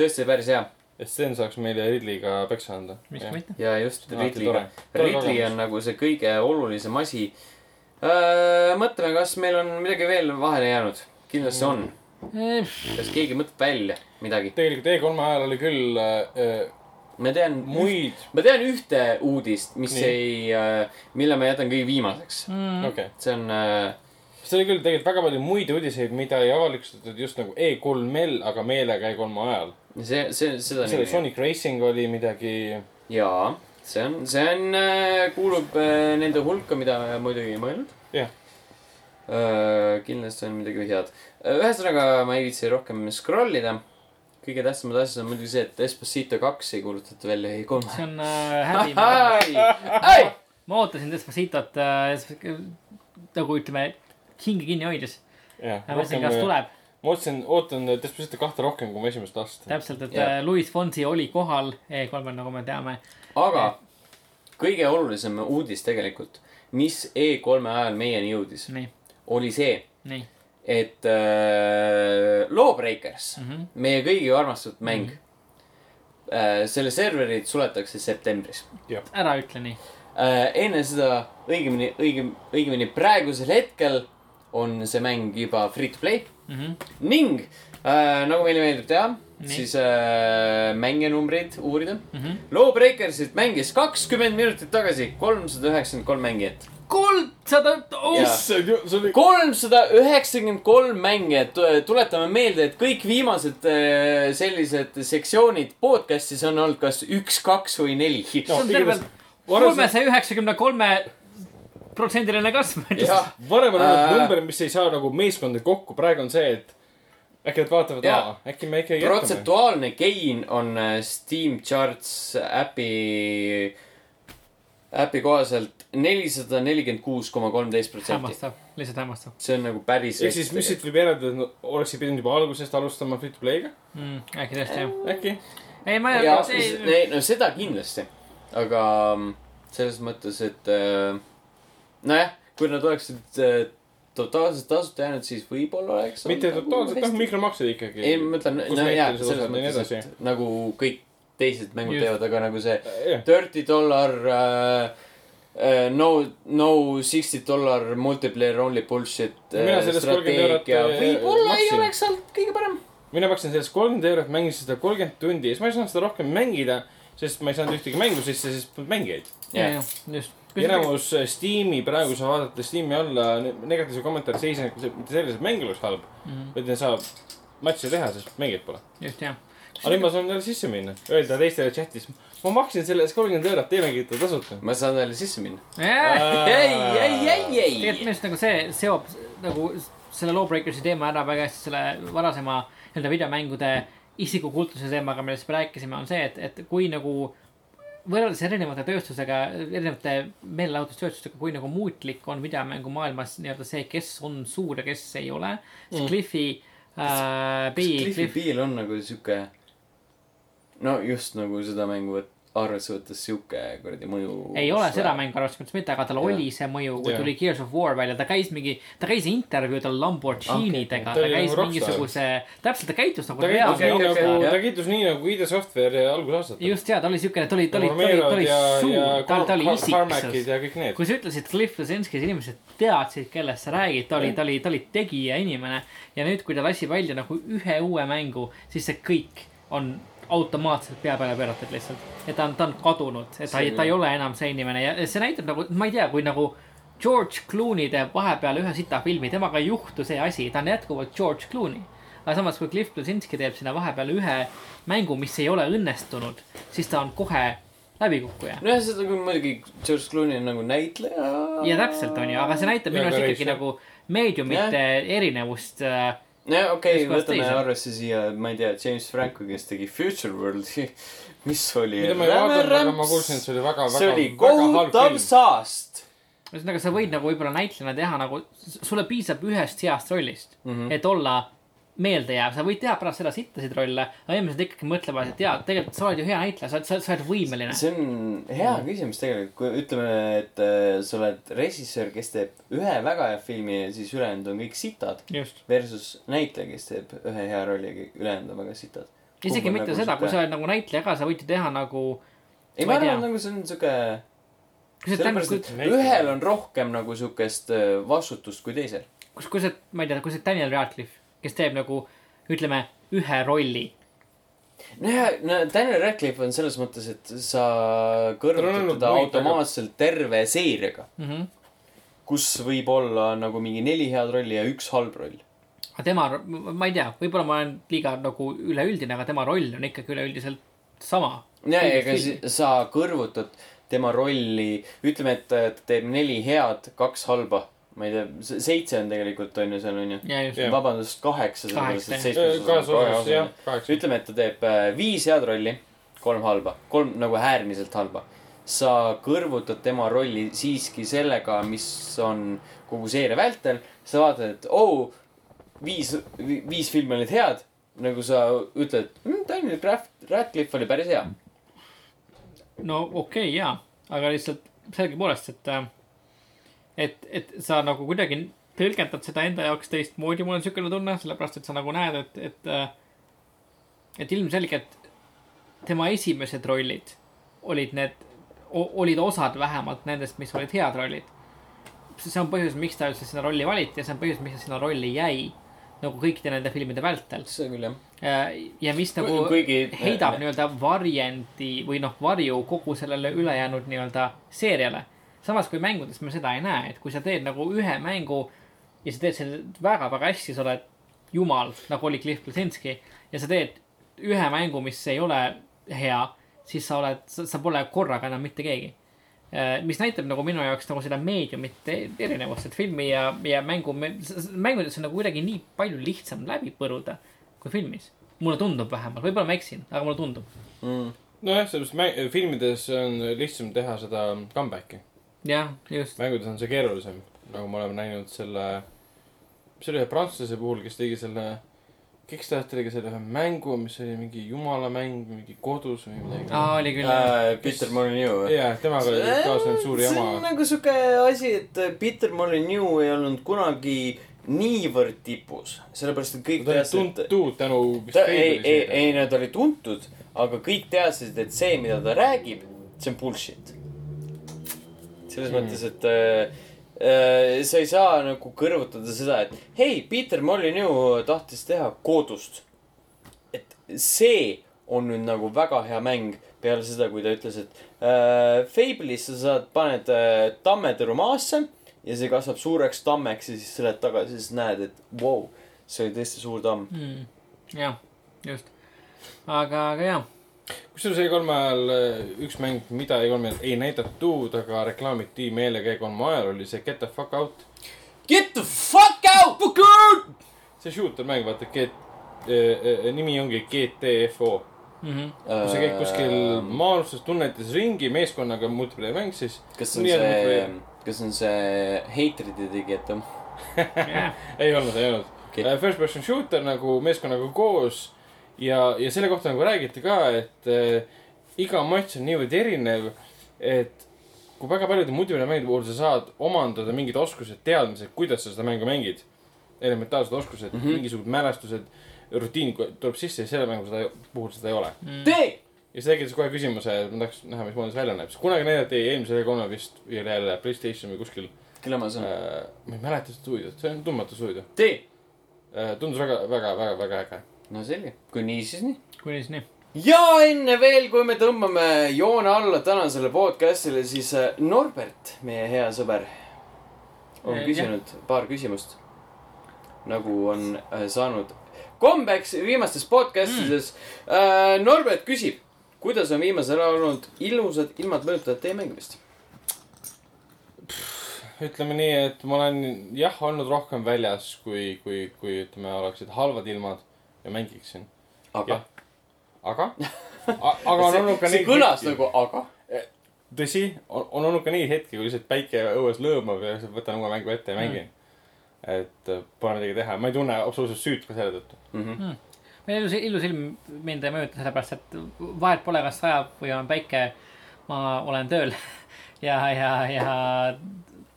Speaker 1: tõesti päris hea
Speaker 4: et Sten saaks meile Ridliga peksa anda .
Speaker 3: miks ka mitte .
Speaker 1: ja just
Speaker 4: alati
Speaker 1: Ridley'ga
Speaker 4: tore. . Tore
Speaker 1: Ridley
Speaker 4: kogemus.
Speaker 1: on nagu see kõige olulisem asi . mõtleme , kas meil on midagi veel vahele jäänud . kindlasti on . kas keegi mõtleb välja midagi ?
Speaker 4: tegelikult E3-e ajal oli küll äh,
Speaker 1: ma tean ,
Speaker 4: muid ,
Speaker 1: ma tean ühte uudist , mis
Speaker 4: Nii. Mm.
Speaker 1: Nii. ei äh, , mille ma jätan kõige viimaseks .
Speaker 3: Mm.
Speaker 4: okei okay. .
Speaker 1: see on äh,
Speaker 4: see oli küll tegelikult väga palju muid uudiseid , mida ei avalikustatud just nagu E3-l , aga meelega E3-e ajal .
Speaker 1: see , see , seda .
Speaker 4: see oli Sonic Racing oli midagi ,
Speaker 1: jaa , see on , see on äh, , kuulub äh, nende hulka , mida me muidugi ei mõelnud .
Speaker 4: jah .
Speaker 1: Öö, kindlasti on midagi head . ühesõnaga , ma ei viitsi rohkem scroll ida . kõige tähtsamad asjad on muidugi see , et Esposito kaks ei kuulutata välja ei kolme .
Speaker 3: see on äh, häbi . ma ootasin Despositot äh, nagu ütleme , hinge kinni hoides .
Speaker 4: jah .
Speaker 3: ma mõtlesin ,
Speaker 1: äh,
Speaker 3: kas tuleb .
Speaker 4: ma ootasin , ootan Desposito kahte rohkem kui ma esimest last .
Speaker 3: täpselt , et
Speaker 1: Jah.
Speaker 3: yeah. Louis Fonsi oli kohal E3-l , nagu me teame .
Speaker 1: aga kõige olulisem uudis tegelikult , mis E3-e ajal meieni jõudis ,
Speaker 3: nii ,
Speaker 1: oli see ,
Speaker 3: nii .
Speaker 1: et äh, Lawbreakers mm ,
Speaker 3: Mhm.
Speaker 1: -hmm. meie kõigi armastatud mäng mm , -hmm. äh, selle serverid suletakse septembris
Speaker 3: ära ütle nii .
Speaker 1: äh, . enne seda , õigemini , õigem , õigemini praegusel hetkel on see mäng juba free to play ning äh, nagu meile meeldib teha ,
Speaker 3: Mhm. Nii. Mhm.
Speaker 1: siis äh, mänginumbreid uurida mm -hmm. . Lawbreakersit mängis kakskümmend minutit tagasi kolmsada üheksakümmend kolm mängijat .
Speaker 3: kolmsada ,
Speaker 1: Jaa.
Speaker 3: oh ,
Speaker 4: issand , see oli .
Speaker 1: kolmsada üheksakümmend kolm mängijat , tuletame meelde , et kõik viimased äh, sellised sektsioonid podcast'is on olnud kas üks , kaks või neli
Speaker 3: see
Speaker 1: no. .
Speaker 3: on
Speaker 4: igatahes
Speaker 3: tervelt
Speaker 4: varasem-
Speaker 3: kolmesaja üheksakümne kolme protsendiline kasv .
Speaker 1: jah ,
Speaker 4: varem on olnud
Speaker 1: Äh.
Speaker 4: number , mis ei saa nagu meeskonda kokku , praegu on see , et äkki nad vaatavad ,
Speaker 1: Jaa.
Speaker 4: aa , äkki me ikkagi jätkame .
Speaker 1: protsentuaalne gain on äh, Steam Charts äpi , äpi kohaselt nelisada nelikümmend kuus koma kolmteist protsenti .
Speaker 3: hämmastav , lihtsalt hämmastav
Speaker 1: see on nagu päris .
Speaker 4: ehk siis , mis siit võib järeldada , et nad oleksid pidanud juba algusest alustama free to play'ga ,
Speaker 3: mm, . äkki tõesti jah .
Speaker 4: äkki .
Speaker 3: ei , ma ei
Speaker 1: ja , ei , no seda kindlasti , aga mm, selles mõttes , et äh, nojah , kui nad oleksid äh, totaalselt tasuta jäänud , siis võib-olla oleks .
Speaker 4: mitte totaalselt , noh , mikromaksed ikkagi .
Speaker 1: ei , ma mõtlen , no jaa , selles mõttes ,
Speaker 4: edasi .
Speaker 1: et nagu kõik teised mängud
Speaker 3: Just.
Speaker 1: teevad , aga nagu see
Speaker 4: Äh, jah ,
Speaker 1: thirty dollar äh, , no , no sixty dollar multiplayer only bullshit
Speaker 4: Mina
Speaker 1: äh,
Speaker 4: sellest 30 eurot,
Speaker 1: strateegia
Speaker 4: äh,
Speaker 1: võib-olla ei
Speaker 4: maksin.
Speaker 1: oleks olnud kõige parem .
Speaker 4: mina maksin sellest kolmkümmend eurot , mängisin seda kolmkümmend tundi ja siis ma ei saanud seda rohkem mängida , sest ma ei saanud ühtegi mängu sisse , sest polnud mängijaid .
Speaker 1: jah ,
Speaker 3: just .
Speaker 4: enamus äh, Steam'i praegu sa vaadata Steam'i alla ne- negatiivse kommentaari seisneb mitte selles , et mäng oleks halb mm ,
Speaker 3: Mhm.
Speaker 4: -hmm. vaid ei saa matši teha , sest mängijaid pole .
Speaker 3: just jah .
Speaker 4: aga nüüd ma saan jälle sisse minna , öelda teistele chatis , ma maksin selle eest kolmkümmend eurot , teemegi teda tasuta .
Speaker 1: ma saan jälle sisse minna . ei , ei ,
Speaker 4: ei ,
Speaker 1: ei , ei
Speaker 3: tegelikult minu arust nagu see seob nagu selle Lawbreakersi teema ära väga hästi selle varasema nii-öelda videomängude isikukultuse teemaga , millest me rääkisime , on see , et , et kui nagu võrreldes erinevate tööstusega , erinevate meelelahutustööstustega , kui nagu muutlik on videomängumaailmas nii-öelda see , kes on suur ja kes ei ole , siis mm. Cliffi äh, B ,
Speaker 1: kas Cliffi
Speaker 3: Cliff ,
Speaker 1: Beel on nagu sihuke , no just nagu seda mängu võt- arvesse võttes sihuke kuradi mõju .
Speaker 3: ei ole seda . mängu arvates mõttes mitte , aga tal oli see mõju , kui
Speaker 4: Jah.
Speaker 3: tuli Gears of War välja , ta käis mingi , ta käis intervjuudel Lamborghinidega
Speaker 4: Ta
Speaker 3: okay. ,
Speaker 4: oli
Speaker 3: ta käis
Speaker 4: nagu rockstar.
Speaker 3: mingisuguse , täpselt ta käitus nagu
Speaker 4: ta kiitus
Speaker 1: okei,
Speaker 4: nii
Speaker 1: okei,
Speaker 4: nagu ,
Speaker 1: okei,
Speaker 4: ta
Speaker 1: jah.
Speaker 4: kiitus nii nagu ID Software algusaastatel .
Speaker 3: just ja ta oli siukene , ta oli , ta oli , ta oli , ta
Speaker 4: Romerod
Speaker 3: oli
Speaker 4: ja , ja
Speaker 3: suur , ta , ta oli
Speaker 4: Car- Carmackid
Speaker 3: isikus .
Speaker 4: ja kõik need .
Speaker 3: kui sa ütlesid Cliff Lesinski , siis inimesed teadsid , kellest sa räägid , ta oli , ta oli , ta oli tegija inimene . ja nüüd , kui ta lasi välja nagu ühe uue mängu , siis see kõik on automaatselt pea peale pööratud lihtsalt . et ta on , ta on kadunud , et ta ei , ta ei ole enam see inimene ja see näitab nagu , ma ei tea , kui nagu . George Clooney teeb vahepeal ühe sita filmi , temaga ei juhtu see asi , ta on jätkuvalt George Clooney aga samas , kui Cliff Blazinski teeb sinna vahepeal ühe mängu , mis ei ole õnnestunud , siis ta on kohe läbikukkuja .
Speaker 1: nojah , seda küll muidugi George Clooney on nagu näitleja .
Speaker 3: ja täpselt on ju , aga see näitab minu
Speaker 4: Väga
Speaker 3: arust ikkagi
Speaker 4: reis, jah.
Speaker 3: nagu meediumite erinevust . äh,
Speaker 1: nojah , okei okay, ,
Speaker 3: Ühest kohast
Speaker 1: võtame
Speaker 3: teise.
Speaker 1: arvesse siia , ma ei tea , James Franco , kes tegi Future World'i , mis oli .
Speaker 4: mida ma ei vaadanud , aga ma kuulsin , et see oli väga ,
Speaker 1: see
Speaker 4: väga
Speaker 1: oli ,
Speaker 4: väga halb
Speaker 1: kohutav
Speaker 4: film .
Speaker 1: saast .
Speaker 3: ühesõnaga , Mhm. sa võid nagu võib-olla näitlejana teha nagu , sulle piisab ühest heast rollist mm , -hmm. et olla meelde jääb , sa võid teha pärast seda sittasid rolle , aga inimesed ikkagi mõtlevad , et jaa , tegelikult sa oled ju hea näitleja , sa oled , sa oled , sa oled võimeline .
Speaker 1: see on hea
Speaker 3: Mhm.
Speaker 1: küsimus tegelikult , kui ütleme , et äh, sa oled režissöör , kes teeb ühe väga hea filmi ja siis ülejäänud on kõik sitad .
Speaker 3: just .
Speaker 1: Versus näitleja , kes teeb ühe hea rolli ja kõik ülejäänud on väga sitad .
Speaker 3: isegi mitte seda , kui sa oled nagu näitleja ka , sa võid ju teha nagu .
Speaker 1: ei , ma arvan , nagu see on siuke ,
Speaker 3: kui sa ,
Speaker 1: sellepärast ,
Speaker 3: kui
Speaker 1: et ühel on rohkem nagu siukest äh, vastutust kui teisel .
Speaker 3: kus , kui sa , ma ei tea , kui sa oled Daniel Radcliffe , kes teeb nagu , ütleme , ühe rolli .
Speaker 1: nojah , no Daniel Radcliffe on selles mõttes , et sa
Speaker 4: Tal on
Speaker 1: kõrvutad teda
Speaker 4: olnud muid väga-
Speaker 1: automaatselt terve seeriaga ,
Speaker 3: Mm -hmm.
Speaker 1: kus võib olla nagu mingi neli head rolli ja üks halb roll .
Speaker 3: aga tema , ma ei tea , võib-olla ma olen liiga nagu üleüldine , aga tema roll on ikkagi üleüldiselt sama .
Speaker 1: ja , ega si- sa kõrvutad tema rolli , ütleme , et ta teeb neli head , kaks halba , ma ei tea , seitse on tegelikult on ju seal on ju ,
Speaker 3: ja just
Speaker 4: Jah.
Speaker 1: vabandust , kaheksa , sellepärast
Speaker 3: Kaheksa,
Speaker 1: et
Speaker 4: Eh,
Speaker 1: seitsmes
Speaker 4: kaasa
Speaker 1: on
Speaker 4: osas
Speaker 1: kahe
Speaker 4: jah
Speaker 1: osa .
Speaker 4: kaheksa
Speaker 1: ütleme , et ta teeb äh, viis head rolli , kolm halba , kolm nagu äärmiselt halba . sa kõrvutad tema rolli siiski sellega , mis on kogu seeria vältel , sa vaatad , et oo oh, , viis , viis filmi olid head , nagu sa ütled mmm, , Daniel Craft- Radcliffe oli päris hea .
Speaker 3: no okei okay, jaa , aga lihtsalt sellegipoolest , et , et , et sa nagu kuidagi tõlgendad seda enda jaoks teistmoodi , mul on niisugune tunne , sellepärast et sa nagu näed , et , et , et ilmselgelt tema esimesed rollid olid need , olid osad vähemalt nendest , mis olid head rollid . see on põhjus , miks ta üldse sinna rolli valiti ja see on põhjus , miks ta sinna rolli jäi nagu kõikide nende filmide vältel .
Speaker 1: seda küll jah .
Speaker 3: ja mis nagu
Speaker 1: Ku- kuigi- äh,
Speaker 3: heidab nii-öelda varjendi või noh , varju kogu sellele ülejäänud nii-öelda seeriale . samas kui mängudes me seda ei näe , et kui sa teed nagu ühe mängu ja sa teed selle väga-väga hästi , sa oled jumal , nagu oli Cliff Blasinski ja sa teed ühe mängu , mis ei ole hea , siis sa oled , sa pole korraga enam mitte keegi . mis näitab nagu minu jaoks nagu seda meediumite erinevust , et filmi ja , ja mängu , mängudes on nagu kuidagi nii palju lihtsam läbi põruda kui filmis . mulle tundub vähemalt , võib-olla ma eksin , aga mulle tundub .
Speaker 4: nojah , sellepärast mäng- , filmides on lihtsam teha seda comeback'i .
Speaker 3: jah , just .
Speaker 4: mängudes on see keerulisem , nagu me oleme näinud selle , see oli ühe prantslase puhul , kes tegi selle Kickstarteriga selle ühe mängu , mis oli mingi jumalamäng , mingi kodus või midagi .
Speaker 3: aa , oli küll jah .
Speaker 1: Äh, Peter Molyneux või ?
Speaker 4: jaa , temaga oli kaasnenud suur
Speaker 1: see on
Speaker 4: jama .
Speaker 1: nagu sihuke asi , et Peter Molyneux ei olnud kunagi niivõrd tipus , sellepärast et kõik
Speaker 4: ta oli
Speaker 1: teadsid ,
Speaker 4: tuntud tänu .
Speaker 1: ta ei , ei , ei , nad olid tuntud , aga kõik teadsid , et see , mida ta räägib , see on bullshit . selles mm. mõttes , et äh, äh, sa ei saa nagu kõrvutada seda , et hei , Peter Molyneux tahtis teha kodust . et see on nüüd nagu väga hea mäng peale seda , kui ta ütles , et äh, Fable'is sa saad , paned äh, tammetõru maasse ja see kasvab suureks tammeks ja siis sa lähed tagasi ja siis näed , et vau wow, , see oli tõesti suur tamm .
Speaker 3: Mm. jah , just . aga , aga jah ,
Speaker 4: kusjuures E E3-l äh, üks mäng , mida E3-l ei näidatud , aga reklaamiti meelega E3 ajal oli see Get the fuck out .
Speaker 1: Get the fuck out , fuck out .
Speaker 4: see shooter mäng , vaata , Get , eh, nimi ongi GTFO .
Speaker 3: Mhm.
Speaker 1: Øh,
Speaker 4: kus sa käid kuskil
Speaker 1: Äh.
Speaker 4: maalustes , tunnetes ringi meeskonnaga multiplayer mäng siis .
Speaker 1: kas see on see , kas see on see Hatred'i digitum ?
Speaker 3: jah ,
Speaker 4: ei olnud , ei olnud
Speaker 1: Okei.
Speaker 4: okay. . First person shooter nagu meeskonnaga koos ja , ja selle kohta nagu räägiti ka , et äh, iga matš on niivõrd erinev , et kui väga paljude multiplayer mängide puhul sa saad omandada mingid oskused , teadmised , kuidas sa seda mängu mängid . elementaarsed oskused mm , -hmm. mingisugused mälestused , rutiin ko- tuleb sisse ja selle mängu seda , puhul seda ei ole .
Speaker 3: Mm.
Speaker 1: tee .
Speaker 4: ja see tekitas kohe küsimuse , et ma tahaks näha , mismoodi see välja näeb , sest kunagi näidati eelmisel kolmel vist , või oli jälle Playstation või kuskil
Speaker 1: kelle oma see on ?
Speaker 4: äh, , ma ei mäleta seda stuudiot , see on tundmatu stuudio .
Speaker 1: tee .
Speaker 4: Äh, tundus väga , väga , väga , väga äge .
Speaker 1: no selge , kui nii , siis nii .
Speaker 3: kuni siis nii .
Speaker 1: ja enne veel , kui me tõmbame joone alla tänasele podcast'ile , siis äh, Norbert , meie hea sõber , on
Speaker 4: Äh,
Speaker 3: Eh,
Speaker 1: küsinud paar küsimust . nagu on äh, saanud kombeks viimastes podcast ides mm. . Norbert küsib , kuidas on viimasel ajal olnud ilusad ilmad mõjutavad teie mängimist ?
Speaker 4: ütleme nii , et ma olen jah olnud rohkem väljas , kui , kui , kui ütleme , oleksid halvad ilmad ja mängiksin .
Speaker 1: aga
Speaker 4: Jah. ? aga , aga on olnud ka
Speaker 1: see
Speaker 4: neid
Speaker 1: kõlas nagu aga .
Speaker 4: tõsi , on on olnud ka neid hetki , kui lihtsalt päike õues lõõmab ja lihtsalt võtan uue mängu ette ja mängin .
Speaker 1: Mm.
Speaker 4: et äh, pole midagi teha , ma ei tunne absoluutselt süüt ka selle tõttu .
Speaker 3: meil ilus , ilus ilm mind ei mõjuta sellepärast , et vahet pole , kas sajab või on päike . ma olen tööl ja , ja , ja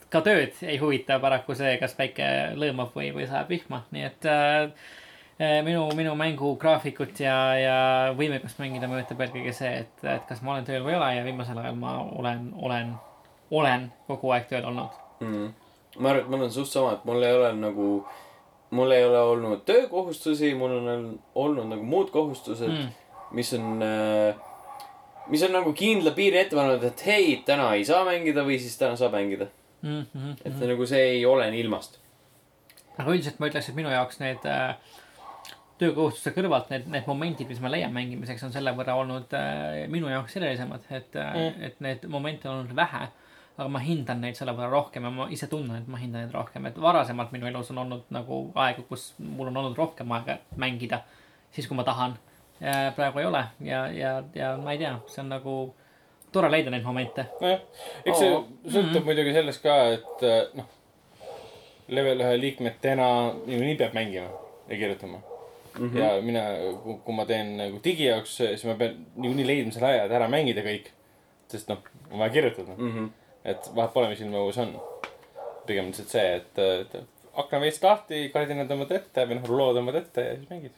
Speaker 3: ka tööd ei huvita paraku see , kas päike lõõmab või , või sajab vihma , nii et äh, minu , minu mängugraafikut ja , ja võimekust mängida mõjutab eelkõige see , et , et kas ma olen tööl või ei ole ja viimasel ajal ma olen , olen , olen kogu aeg tööl olnud .
Speaker 1: mm. . ma arvan , et mul on suht sama , et mul ei ole nagu , mul ei ole olnud töökohustusi , mul on ol- olnud nagu muud kohustused mm.
Speaker 3: Mm. ,
Speaker 1: mis on äh, , mis on nagu kindla piiri ette pannud , et hei , täna ei saa mängida või siis täna saab mängida .
Speaker 3: Mm -hmm.
Speaker 1: et mm. nagu see ei ole nii ilmast .
Speaker 3: aga üldiselt ma ütleks , et minu jaoks need äh, töökohustuste kõrvalt need , need momendid , mis ma leian mängimiseks , on selle võrra olnud äh, minu jaoks erilisemad , et äh,
Speaker 4: Mm.
Speaker 3: mm. , et neid momente on olnud vähe . aga ma hindan neid selle võrra rohkem ja ma ise tunnen , et ma hindan neid rohkem , et varasemalt minu elus on olnud nagu aegu , kus mul on olnud rohkem aega mängida , siis kui ma tahan . praegu ei ole ja , ja , ja ma ei tea , see on nagu tore leida neid momente .
Speaker 4: nojah , eks see
Speaker 3: Oo.
Speaker 4: sõltub muidugi sellest ka , et äh, noh , level ühe liikmetena niikuinii peab mängima ja kirjutama . Mm -hmm. ja mina , kui ma teen nagu digi jaoks , siis ma pean niikuinii leidma selle aja , et ära mängida kõik . sest noh , on vaja kirjutada mm .
Speaker 1: Mhm.
Speaker 4: et vahet pole , mis ilma õues on . pigem lihtsalt see , et, et akna veits lahti , kardinad tõmbad ette või noh , ruloo tõmbad ette ja siis mängid .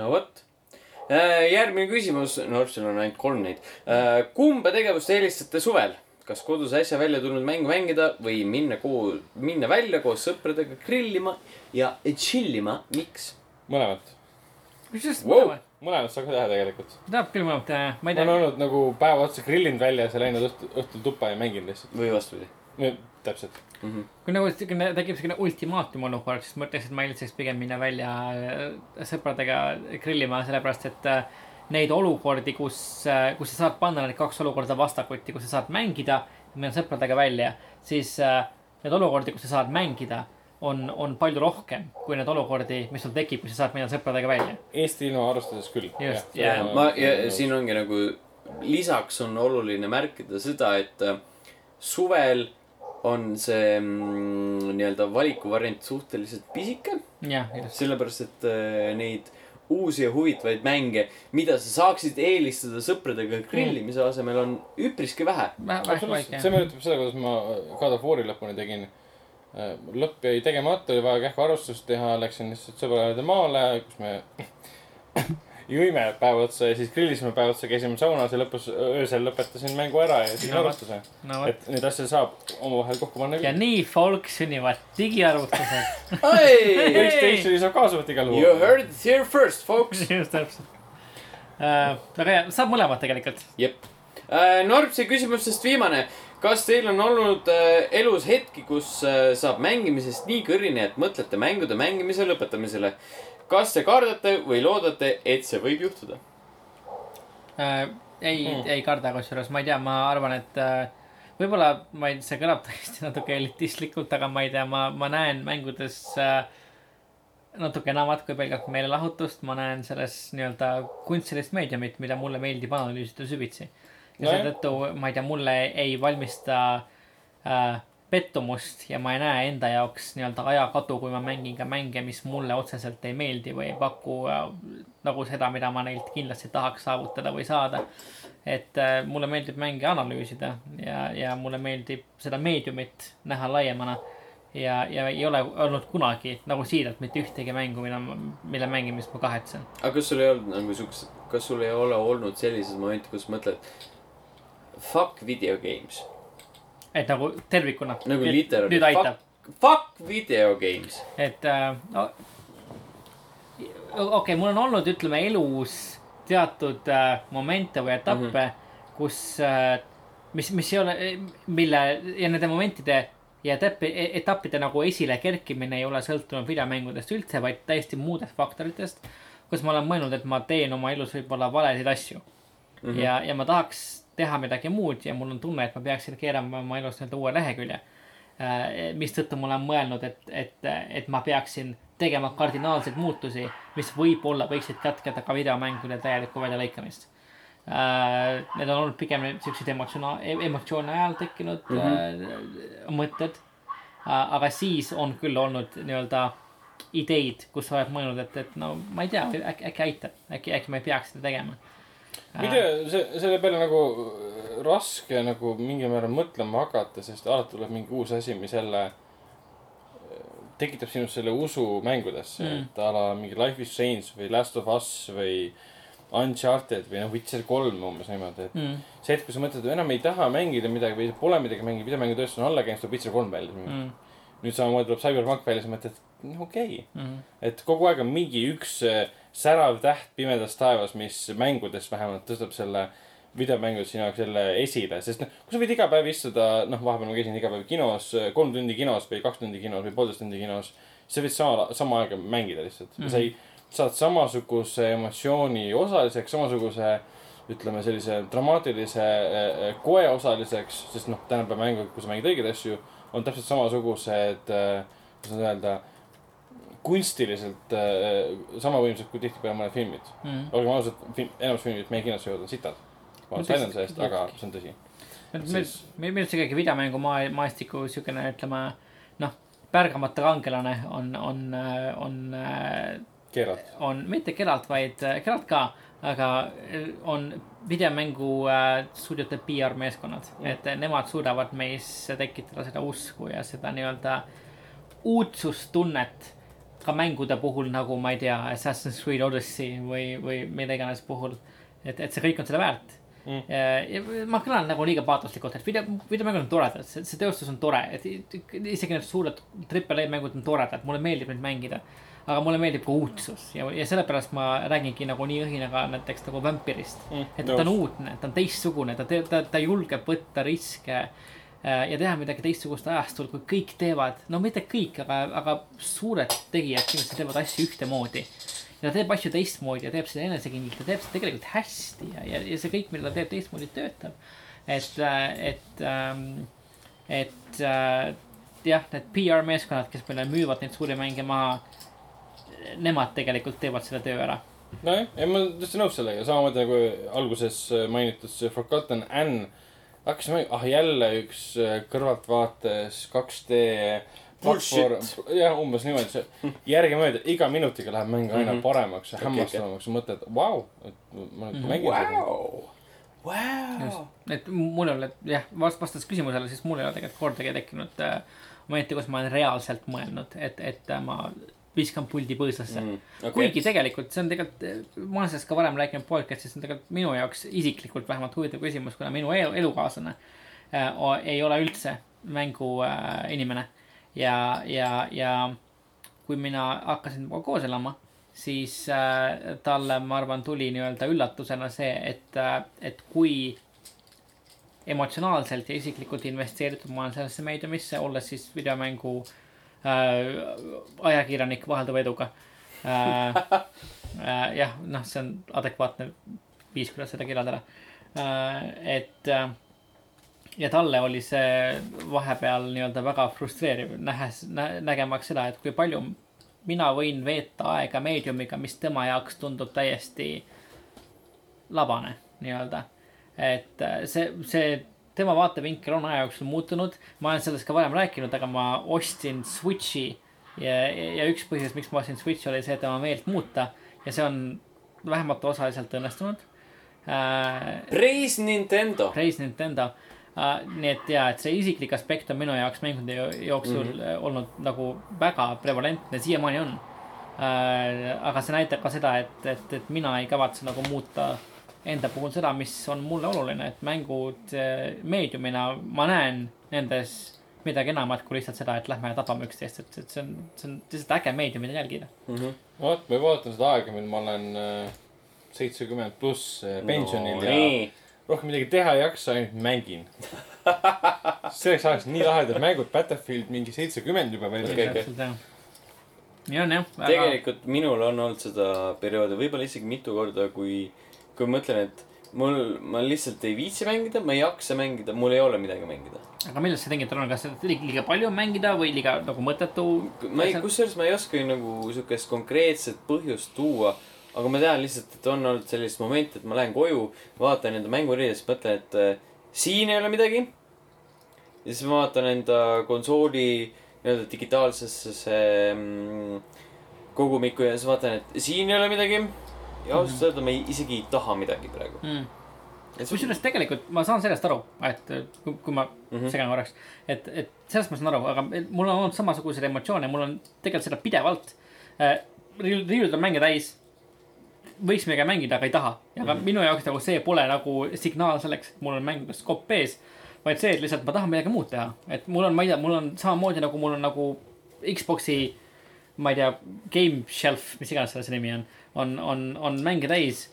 Speaker 1: no vot . järgmine küsimus , no sul on ainult kolm neid . kumba tegevust eelistate suvel ? kas kodus äsja välja tulnud mängu mängida või minna koos , minna välja koos sõpradega grillima ja chill ima , miks ?
Speaker 4: mõlemat ,
Speaker 3: kusjuures
Speaker 1: Wow.
Speaker 3: wow.
Speaker 4: mõlemat saab ka teha tegelikult .
Speaker 3: tahab küll mõlemat teha , ma ei
Speaker 4: ma
Speaker 3: tea
Speaker 4: olen . olnud nagu päeva otsa grillinud väljas ja läinud õhtul , õhtul tuppa ja mänginud lihtsalt .
Speaker 1: või vastupidi ?
Speaker 4: täpselt .
Speaker 3: kui nagu siukene tekib siukene ultimaatum olukord , siis ma ütleks , et ma eelistaks pigem minna välja äh, sõpradega grillima , sellepärast et äh, neid olukordi , kus , kus sa saad panna need kaks olukorda vastakuti , kus sa saad mängida , minna sõpradega välja , siis äh, neid olukordi , kus sa saad mängida , on , on palju rohkem kui neid olukordi , mis sul tekib , kui sa saad minna sõpradega välja .
Speaker 4: Eesti ilma arvestades küll .
Speaker 3: Just, jaa.
Speaker 1: ma , ja siin ongi nagu , lisaks on oluline märkida seda , et äh, suvel on see mm, nii-öelda valikuvariant suhteliselt pisike ,
Speaker 3: jah , just .
Speaker 1: Noh, sellepärast et äh, neid uusi ja huvitavaid mänge , mida sa saaksid eelistada sõpradega grillimise asemel , on üpriski vähe .
Speaker 3: väheke
Speaker 4: absoluutselt , see
Speaker 3: väike .
Speaker 4: meenutab seda , kuidas ma God of War'i lõpuni tegin . lõpp jäi tegemata , oli vaja kähku arvustust teha , läksin lihtsalt sõbrale juurde maale , kus me jõime päev otsa ja siis grillisime päev otsa , käisime saunas ja lõpus , öösel lõpetasin mängu ära ja tegin
Speaker 3: No vot.
Speaker 4: arvustuse .
Speaker 3: no vot .
Speaker 4: et neid asju saab omavahel kokku panna
Speaker 3: ja
Speaker 4: küll .
Speaker 3: nii , folk , sünnivad digiarvutused .
Speaker 1: You
Speaker 4: Playstationi saab kaasa võtta igal pool .
Speaker 1: heard it here first , folks .
Speaker 3: just täpselt . väga hea , saab mõlemad tegelikult .
Speaker 1: jep . Äh, Norbsi küsimustest viimane . kas teil on olnud äh, elus hetki , kus äh, saab mängimisest nii kõrini , et mõtlete mängude mängimise lõpetamisele ? kas te kardate või loodate , et see võib juhtuda ?
Speaker 3: äh, . ei
Speaker 4: Mm.
Speaker 3: mm. , ei karda kusjuures , ma ei tea , ma arvan , et äh, võib-olla ma ei , see kõlab tõesti natuke elitistlikult , aga ma ei tea , ma , ma näen mängudes äh, natuke enamat kui pelgalt meelelahutust , ma näen selles nii-öelda kunstilist meediumit , mida mulle meeldib analüüsida süvitsi . ja no
Speaker 4: Nojah.
Speaker 3: seetõttu , ma ei tea , mulle ei valmista äh, pettumust ja ma ei näe enda jaoks nii-öelda ajakadu , kui ma mängin ka mänge , mis mulle otseselt ei meeldi või ei paku äh, nagu seda , mida ma neilt kindlasti tahaks saavutada või saada . et äh, mulle meeldib mänge analüüsida ja , ja mulle meeldib seda meediumit näha laiemana ja , ja ei ole olnud kunagi nagu siiralt mitte ühtegi mängu , mida , mille mängimist ma kahetsen .
Speaker 1: aga kas sul ei olnud nagu siukest , kas sul ei ole olnud sellises momenti , kus mõtled fuck video games
Speaker 3: et nagu tervikuna .
Speaker 1: nagu literaalselt .
Speaker 3: nüüd aitab .
Speaker 1: Fuck video games .
Speaker 3: et äh, no, okei okay, , mul on olnud , ütleme elus teatud äh, momente või etappe mm , -hmm. kus äh, , mis , mis ei ole , mille ja nende momentide ja etappe , etappide nagu esile kerkimine ei ole sõltunud videomängudest üldse , vaid täiesti muudest faktoritest . kus ma olen mõelnud , et ma teen oma elus võib-olla valesid asju mm . -hmm. ja , ja ma tahaks teha midagi muud ja mul on tunne , et ma peaksin keerama oma elus nii-öelda uue lehekülje Äh, mistõttu ma olen mõelnud , et , et , et ma peaksin tegema kardinaalseid muutusi , mis võib-olla võiksid katkeda ka videomängude täielikku väljalõikamist . Need on olnud pigem siuksed emotsioona- , emotsioone ajal tekkinud mm -hmm. äh, mõtted . aga siis on küll olnud nii-öelda ideid , kus sa oled mõelnud , et , et no ma ei tea , äkki , äkki aitab , äkki , äkki ma ei peaks seda tegema . Äh.
Speaker 4: ma ei tea , see , selle peale nagu äh, raske nagu mingil määral mõtlema hakata , sest alati tuleb mingi uus asi , mis jälle äh, tekitab sinust selle usu mängudesse
Speaker 3: Mm.
Speaker 4: mm. , et a la mingi Life is Strange või Last of Us või Uncharted või noh , Witcher kolm umbes niimoodi , et
Speaker 3: mm, .
Speaker 4: see hetk , kui sa mõtled , et enam ei taha mängida midagi või pole midagi mängida , videomängutööstus on alla käinud , siis tuleb Witcher kolm välja mm. .
Speaker 3: Mm,
Speaker 4: nüüd samamoodi tuleb Cyberpunk välja , siis mõtled , et noh, okei okay. ,
Speaker 3: mm.
Speaker 4: et kogu aeg on mingi üks äh, särav täht pimedas taevas , mis mängudes vähemalt tõstab selle videomängu sinu jaoks jälle esile , sest noh , kui sa võid iga päev istuda , noh , vahepeal ma käisin iga päev kinos , kolm tundi kinos või kaks tundi kinos või poolteist tundi kinos , siis sa võid sama , sama aega mängida lihtsalt
Speaker 3: Mhm.
Speaker 4: mm , -hmm. sa ei , saad samasuguse emotsiooni osaliseks , samasuguse ütleme sellise dramaatilise äh, äh, koe osaliseks , sest noh , tänapäeva mängu , kui sa mängid õigeid asju , on täpselt samasugused , kuidas öelda , kunstiliselt äh, sama võimsad kui tihtipeale mõned filmid .
Speaker 3: mm.
Speaker 4: olgem ausad , film , enamus filmid meie kinos jõuavad on sitad . ma
Speaker 3: No
Speaker 4: olen väljend sellest ,
Speaker 3: tõesti-
Speaker 4: aga see on tõsi .
Speaker 3: meil
Speaker 4: Siis- ,
Speaker 3: meil , meil ikkagi videomängu maa , maastiku siukene , ütleme noh , pärgamata kangelane on , on , on ,
Speaker 4: keerad .
Speaker 3: on mitte Geralt , vaid äh, Geralt ka , aga äh, on videomängu äh, stuudiote PR meeskonnad mm. , et äh, nemad suudavad meisse tekitada seda usku ja seda nii-öelda uudsustunnet ka mängude puhul , nagu ma ei tea , Assassin's Creed Odyssey või , või mille iganes puhul . et , et see kõik on seda väärt
Speaker 4: Mm.
Speaker 3: mm. . ma kõlan nagu liiga paatoslikult , et video , videomängud on toredad , see , see tööstus on tore , et isegi need suured triple A mängud on toredad , mulle meeldib neid mängida . aga mulle meeldib ka uudsus ja , ja sellepärast ma räägingi nagu nii õhinaga näiteks nagu Vampirist
Speaker 4: Mm,
Speaker 3: mm, . et ta on
Speaker 4: nõus.
Speaker 3: uudne , ta on teistsugune , ta , ta , ta julgeb võtta riske äh, ja teha midagi teistsugust ajastul , kui kõik teevad . no mitte kõik , aga , aga suured tegijad kindlasti teevad asju ühtemoodi . ja ta teeb asju teistmoodi ja teeb seda enesekindlalt , ta teeb seda tegelikult hästi ja , ja , ja see kõik , mida ta teeb teistmoodi , töötab . et , et , et äh, jah , need PR meeskonnad , kes meile müüvad neid suuri mänge maha , nemad tegelikult teevad selle töö ära .
Speaker 4: nojah , ei ma olen täiesti nõus sellega , samamoodi nagu alguses äh, mainitud see Forgotten Anne . hakkasin mängima , ah jälle üks äh, kõrvaltvaates 2D .
Speaker 1: Bullshit. .
Speaker 4: jah , umbes niimoodi , see järgemööda iga minutiga läheb mäng aina
Speaker 5: Mhm.
Speaker 4: paremaks ja
Speaker 1: Okei,
Speaker 4: hämmastavamaks , mõtled , vau , et ma nüüd
Speaker 3: Mhm.
Speaker 4: mängin seda .
Speaker 1: Vau , vau .
Speaker 3: et mul ei ole jah , vast- vastates küsimusele , siis mul ei ole tegelikult kordagi tekkinud äh, momenti , kus ma olen reaalselt mõelnud , et , et äh, ma viskan puldi põõsasse mm, . Okay. kuigi tegelikult see on tegelikult , ma olen sellest ka varem rääkinud podcast'is , see on tegelikult minu jaoks isiklikult vähemalt huvitav küsimus , kuna minu elu , elukaaslane äh, o- ei ole üldse mänguinimene äh, . ja , ja , ja kui mina hakkasin temaga koos elama , siis äh, talle , ma arvan , tuli nii-öelda üllatusena see , et äh, , et kui emotsionaalselt ja isiklikult investeeritud ma olen sellesse meediumisse , olles siis videomängu äh, ajakirjanik vahelduva eduga äh, . äh, jah , noh , see on adekvaatne viis , kuidas seda kirjeldada äh, . et äh, ja talle oli see vahepeal nii-öelda väga frustreeriv , nähes nä, , nägemaks seda , et kui palju mina võin veeta aega meediumiga , mis tema jaoks tundub täiesti labane nii-öelda . et äh, see , see tema vaatevinkel on aja jooksul muutunud , ma olen sellest ka varem rääkinud , aga ma ostsin Switchi ja , ja üks põhjus , miks ma ostsin Switchi oli see , et oma meelt muuta ja see on vähemalt osaliselt õnnestunud äh, .
Speaker 5: Praise Nintendo .
Speaker 3: Praise Nintendo uh, . nii et ja , et see isiklik aspekt on minu jaoks mängude jo- jooksul mm -hmm. olnud nagu väga prevalentne , siiamaani on uh, . aga see näitab ka seda , et , et , et mina ei kavatse nagu muuta enda puhul seda , mis on mulle oluline , et mängud eh, meediumina , ma näen nendes midagi enamat kui lihtsalt seda , et lähme ja tapame üksteist , et , et see on , see on lihtsalt äge meedium , mida jälgida .
Speaker 4: vot , ma vaatan seda aega , mil ma olen äh, seitsekümmend pluss äh, pensionil ja
Speaker 5: nii ,
Speaker 4: rohkem midagi teha ei jaksa , ainult mängin . selleks ajaks nii lahedad mängud , Battlefield mingi seitsekümmend juba välja
Speaker 5: Okei,
Speaker 4: okay. .
Speaker 5: okei.
Speaker 3: nii on jah , väga ,
Speaker 5: tegelikult minul on olnud seda perioodi võib-olla isegi mitu korda , kui , kui ma mõtlen , et mul , ma lihtsalt ei viitsi mängida , ma ei jaksa mängida , mul ei ole midagi mängida .
Speaker 3: aga millest see tingitud on , kas seda liiga liiga palju on mängida või liiga nagu mõttetu ?
Speaker 5: ma ei , kusjuures ma ei oska nagu siukest konkreetset põhjust tuua , aga ma tean lihtsalt , et on olnud sellist momenti , et ma lähen koju , vaatan enda mänguriides , mõtlen , et äh, siin ei ole midagi . ja siis ma vaatan enda konsooli
Speaker 1: nii-öelda digitaalsesse see mm, kogumikku ja siis vaatan , et siin ei ole midagi . ja
Speaker 3: Mhm.
Speaker 1: ausalt öelda me ei, isegi ei taha midagi praegu .
Speaker 3: mm. . kusjuures tegelikult ma saan sellest aru , et kui, kui ma mm -hmm. segan korraks , et , et sellest ma saan aru , aga mul on olnud samasuguseid emotsioone , mul on tegelikult seda pidevalt äh, . riiulid on mänge täis . võiks midagi mängida , aga ei taha . ja ka mm -hmm. minu jaoks nagu see pole nagu signaal selleks , et mul on mängudes kopp ees . vaid see , et lihtsalt ma tahan midagi muud teha , et mul on , ma ei tea , mul on samamoodi nagu mul on nagu Xbox'i ma ei tea , game shelf , mis iganes selle asja nimi on , on , on , on mänge täis .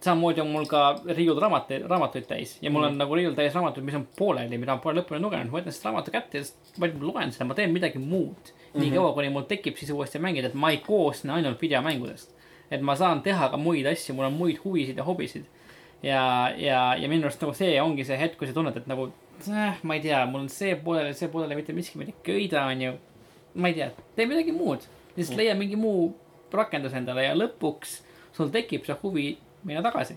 Speaker 3: samamoodi on mul ka riiul raamatuid , raamatuid täis ja mul on nagu riiul täis raamatuid , mis on pooleli , mida ma pole lõpuni lugenud , ma võtan selle raamatu kätte ja siis ma loen seda , ma teen midagi muud . nii kaua , kuni mul tekib sisu uuesti mängida , et ma ei koosne ainult videomängudest . et ma saan teha ka muid asju , mul on muid huvisid ja hobisid . ja , ja , ja minu arust nagu see ongi see hetk , kui sa tunned , et nagu äh, ma ei tea , mul on see pooleli , see pooleli , mitte miski mind ei köida , onju ma ei tea , tee midagi muud , lihtsalt leia mingi muu rakendus endale ja lõpuks sul tekib see huvi minna tagasi .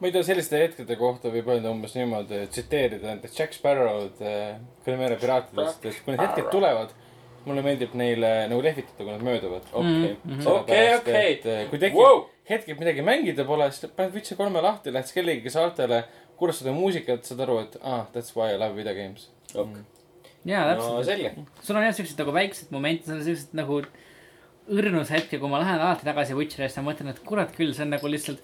Speaker 4: ma ei tea , selliste hetkede kohta võib öelda umbes niimoodi , tsiteerida näiteks Jack Sparrow'd äh, Kõnemere piraatidest , et kui need hetked tulevad , mulle meeldib neile nagu lehvitada , kui nad mööduvad .
Speaker 3: Mhm.
Speaker 1: okei , Mm-hmm. okei ,
Speaker 4: Sellepärast, et,
Speaker 1: okei .
Speaker 4: äh, kui tekib wow.
Speaker 1: Wow!
Speaker 4: hetk , et midagi mängida pole , siis paned vitsi kolme lahti , lähed kellegagi saartele , kuulad seda muusikat , saad aru , et ah, that's why I love video games .
Speaker 3: ja
Speaker 1: no
Speaker 3: täpselt
Speaker 1: selge .
Speaker 3: no, , sul on jah siuksed nagu väiksed momente , sul on siuksed nagu õrnus hetk ja kui ma lähen alati tagasi Witcherist ja mõtlen , et kurat küll , see on nagu lihtsalt ,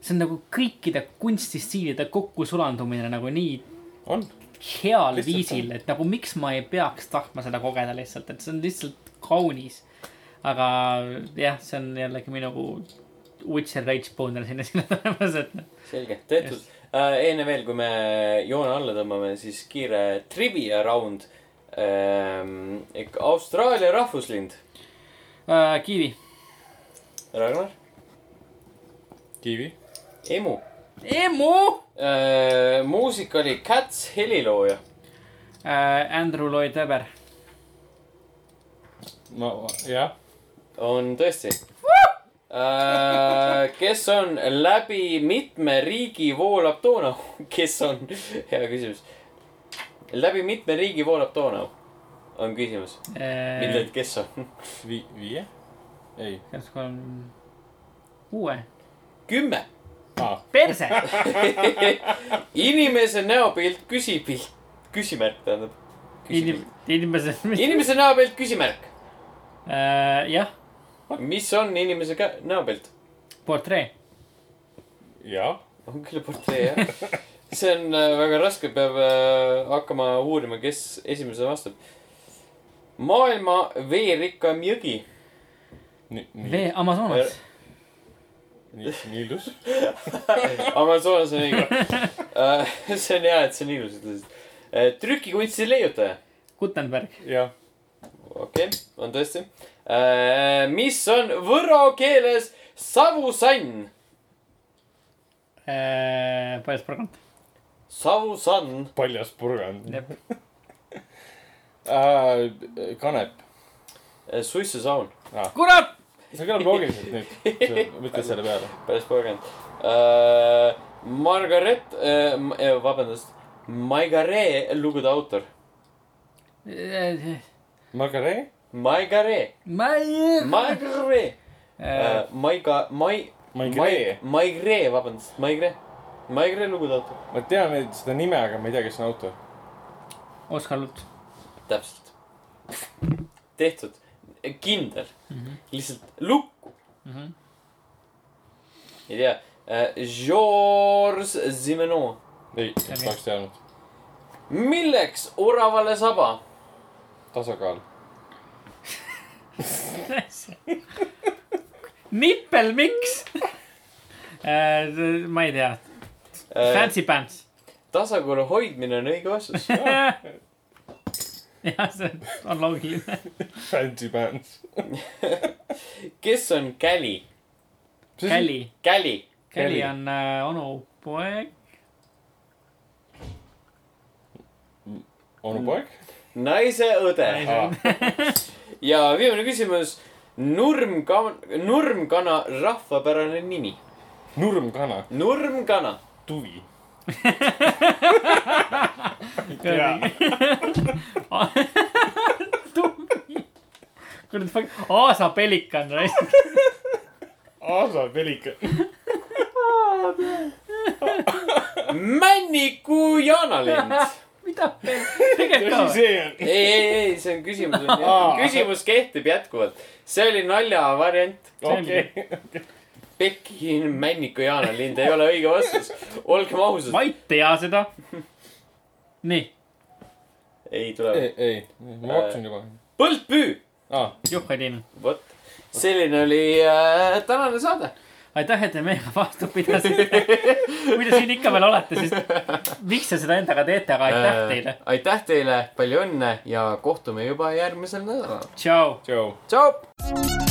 Speaker 3: see on nagu kõikide kunstistiilide kokkusulandumine nagu nii heal
Speaker 4: on , Lihtsalt
Speaker 3: lihtsalt viisil , et nagu miks ma ei peaks tahtma seda kogeda lihtsalt , et see on lihtsalt kaunis . aga jah , see on jällegi minu nagu Witcher Rage Boner sinna sinna tulemas , et
Speaker 1: selge , tehtud . enne veel , kui me joone alla tõmbame , siis kiire trivia round . Austraalia rahvuslind ,
Speaker 3: uh, . kivi ,
Speaker 1: Ragnar ,
Speaker 4: kiivi .
Speaker 1: emu .
Speaker 3: emu uh, .
Speaker 1: muusik oli Cats helilooja .
Speaker 3: Äh, Andrew Lloyd Webber ,
Speaker 4: ma , jah ,
Speaker 1: on tõesti . kes on läbi mitme riigi voolab Donau ? kes on ? hea küsimus . läbi mitme riigi voolab Donau ? on küsimus .
Speaker 3: äh,
Speaker 1: mitte , et kes on .
Speaker 4: vi- , viie ? ei ,
Speaker 3: kas kolm , kuue ,
Speaker 1: kümme .
Speaker 4: aa ,
Speaker 3: perse ,
Speaker 1: inimese näopilt küsipilt , küsimärk tähendab .
Speaker 3: inim- , inimesed ,
Speaker 1: inimese näopilt küsimärk .
Speaker 3: jah ,
Speaker 1: mis on inimese kä- näopilt ?
Speaker 3: portree ,
Speaker 4: jah .
Speaker 1: on küll portree jah . see on äh, väga raske , peab äh, hakkama uurima , kes esimesena vastab . maailma veerikkam jõgi .
Speaker 4: nii , nii ,
Speaker 3: vee Amazonas ,
Speaker 4: nii , nii ilus .
Speaker 1: Amazonas on õige äh, . see on hea , et see on ilus , ütlesid äh, . trükikunsti leiutaja .
Speaker 3: Gutenberg ,
Speaker 4: jah ,
Speaker 1: okei okay, , on tõesti äh, . mis on võro keeles savusann ?
Speaker 3: paljas porgand ,
Speaker 1: savusann .
Speaker 4: paljas purgand .
Speaker 3: jep ,
Speaker 4: kanep .
Speaker 1: eh, suissusaun ,
Speaker 3: kurat ,
Speaker 4: see kõlab loogiliselt nüüd , mõtle selle peale .
Speaker 1: päris põrgand uh, . Margaret uh, , vabandust , Maigare lugude autor .
Speaker 3: Äh,
Speaker 4: Margaree ?
Speaker 1: Maigare ,
Speaker 3: ma Äh, ei .
Speaker 1: Maigare uh, , Maiga , Mai ,
Speaker 4: Maigre .
Speaker 1: Maigre , vabandust , Maigre , Maigre lugude autor .
Speaker 4: ma tean nüüd seda nime , aga ma ei tea , kes on autor .
Speaker 3: Oskar Lutt ,
Speaker 1: täpselt , tehtud , kindel mm , -hmm. lihtsalt lukku mm .
Speaker 3: Mhm.
Speaker 1: -hmm. ei tea uh, , Georges Zimenon ,
Speaker 4: ei , oleks teadnud .
Speaker 1: milleks oravale saba ?
Speaker 4: tasakaal .
Speaker 3: nippel , miks uh, ? ma ei tea ,
Speaker 1: Äh,
Speaker 3: fancy pants ,
Speaker 1: tasakaalu hoidmine on õige vastus .
Speaker 3: jah , see on loogiline ,
Speaker 4: Fancy bands .
Speaker 1: kes on Käli ?
Speaker 3: Käli .
Speaker 1: Käli .
Speaker 3: Kelly on äh, onu poeg ,
Speaker 4: onu poeg .
Speaker 1: naise õde . ja viimane küsimus . nurmkana , nurmkana rahvapärane nimi .
Speaker 4: nurmkana .
Speaker 1: nurmkana .
Speaker 4: tuvi .
Speaker 3: kuradi fuck , Aasa pelikan , raisk .
Speaker 4: Aasa pelika .
Speaker 1: Männiku jaanalind .
Speaker 3: mida pel- , tegelikult
Speaker 4: mis
Speaker 3: ka .
Speaker 4: see on ?
Speaker 1: ei , ei , ei , see on küsimus
Speaker 4: Aa. ,
Speaker 1: küsimus kehtib jätkuvalt . see oli nalja variant .
Speaker 4: okei ,
Speaker 1: Pekin Männiku jaanalind ei ole õige vastus . olgem ausad ,
Speaker 3: Mait ei jaa seda . nii ,
Speaker 1: ei tule .
Speaker 4: ei , ei , ma hakkasin juba .
Speaker 1: põldpüü ,
Speaker 4: aa ,
Speaker 3: juhka tiim .
Speaker 1: vot selline oli äh, tänane saade .
Speaker 3: aitäh , et te meiega vastu pidasite . kui te siin ikka veel olete , siis miks te seda endaga teete , aga
Speaker 1: Äh.
Speaker 3: aitäh teile .
Speaker 1: aitäh teile , palju õnne ja kohtume juba järgmisel nädalal .
Speaker 3: tšau .
Speaker 4: tšau .
Speaker 1: tšau .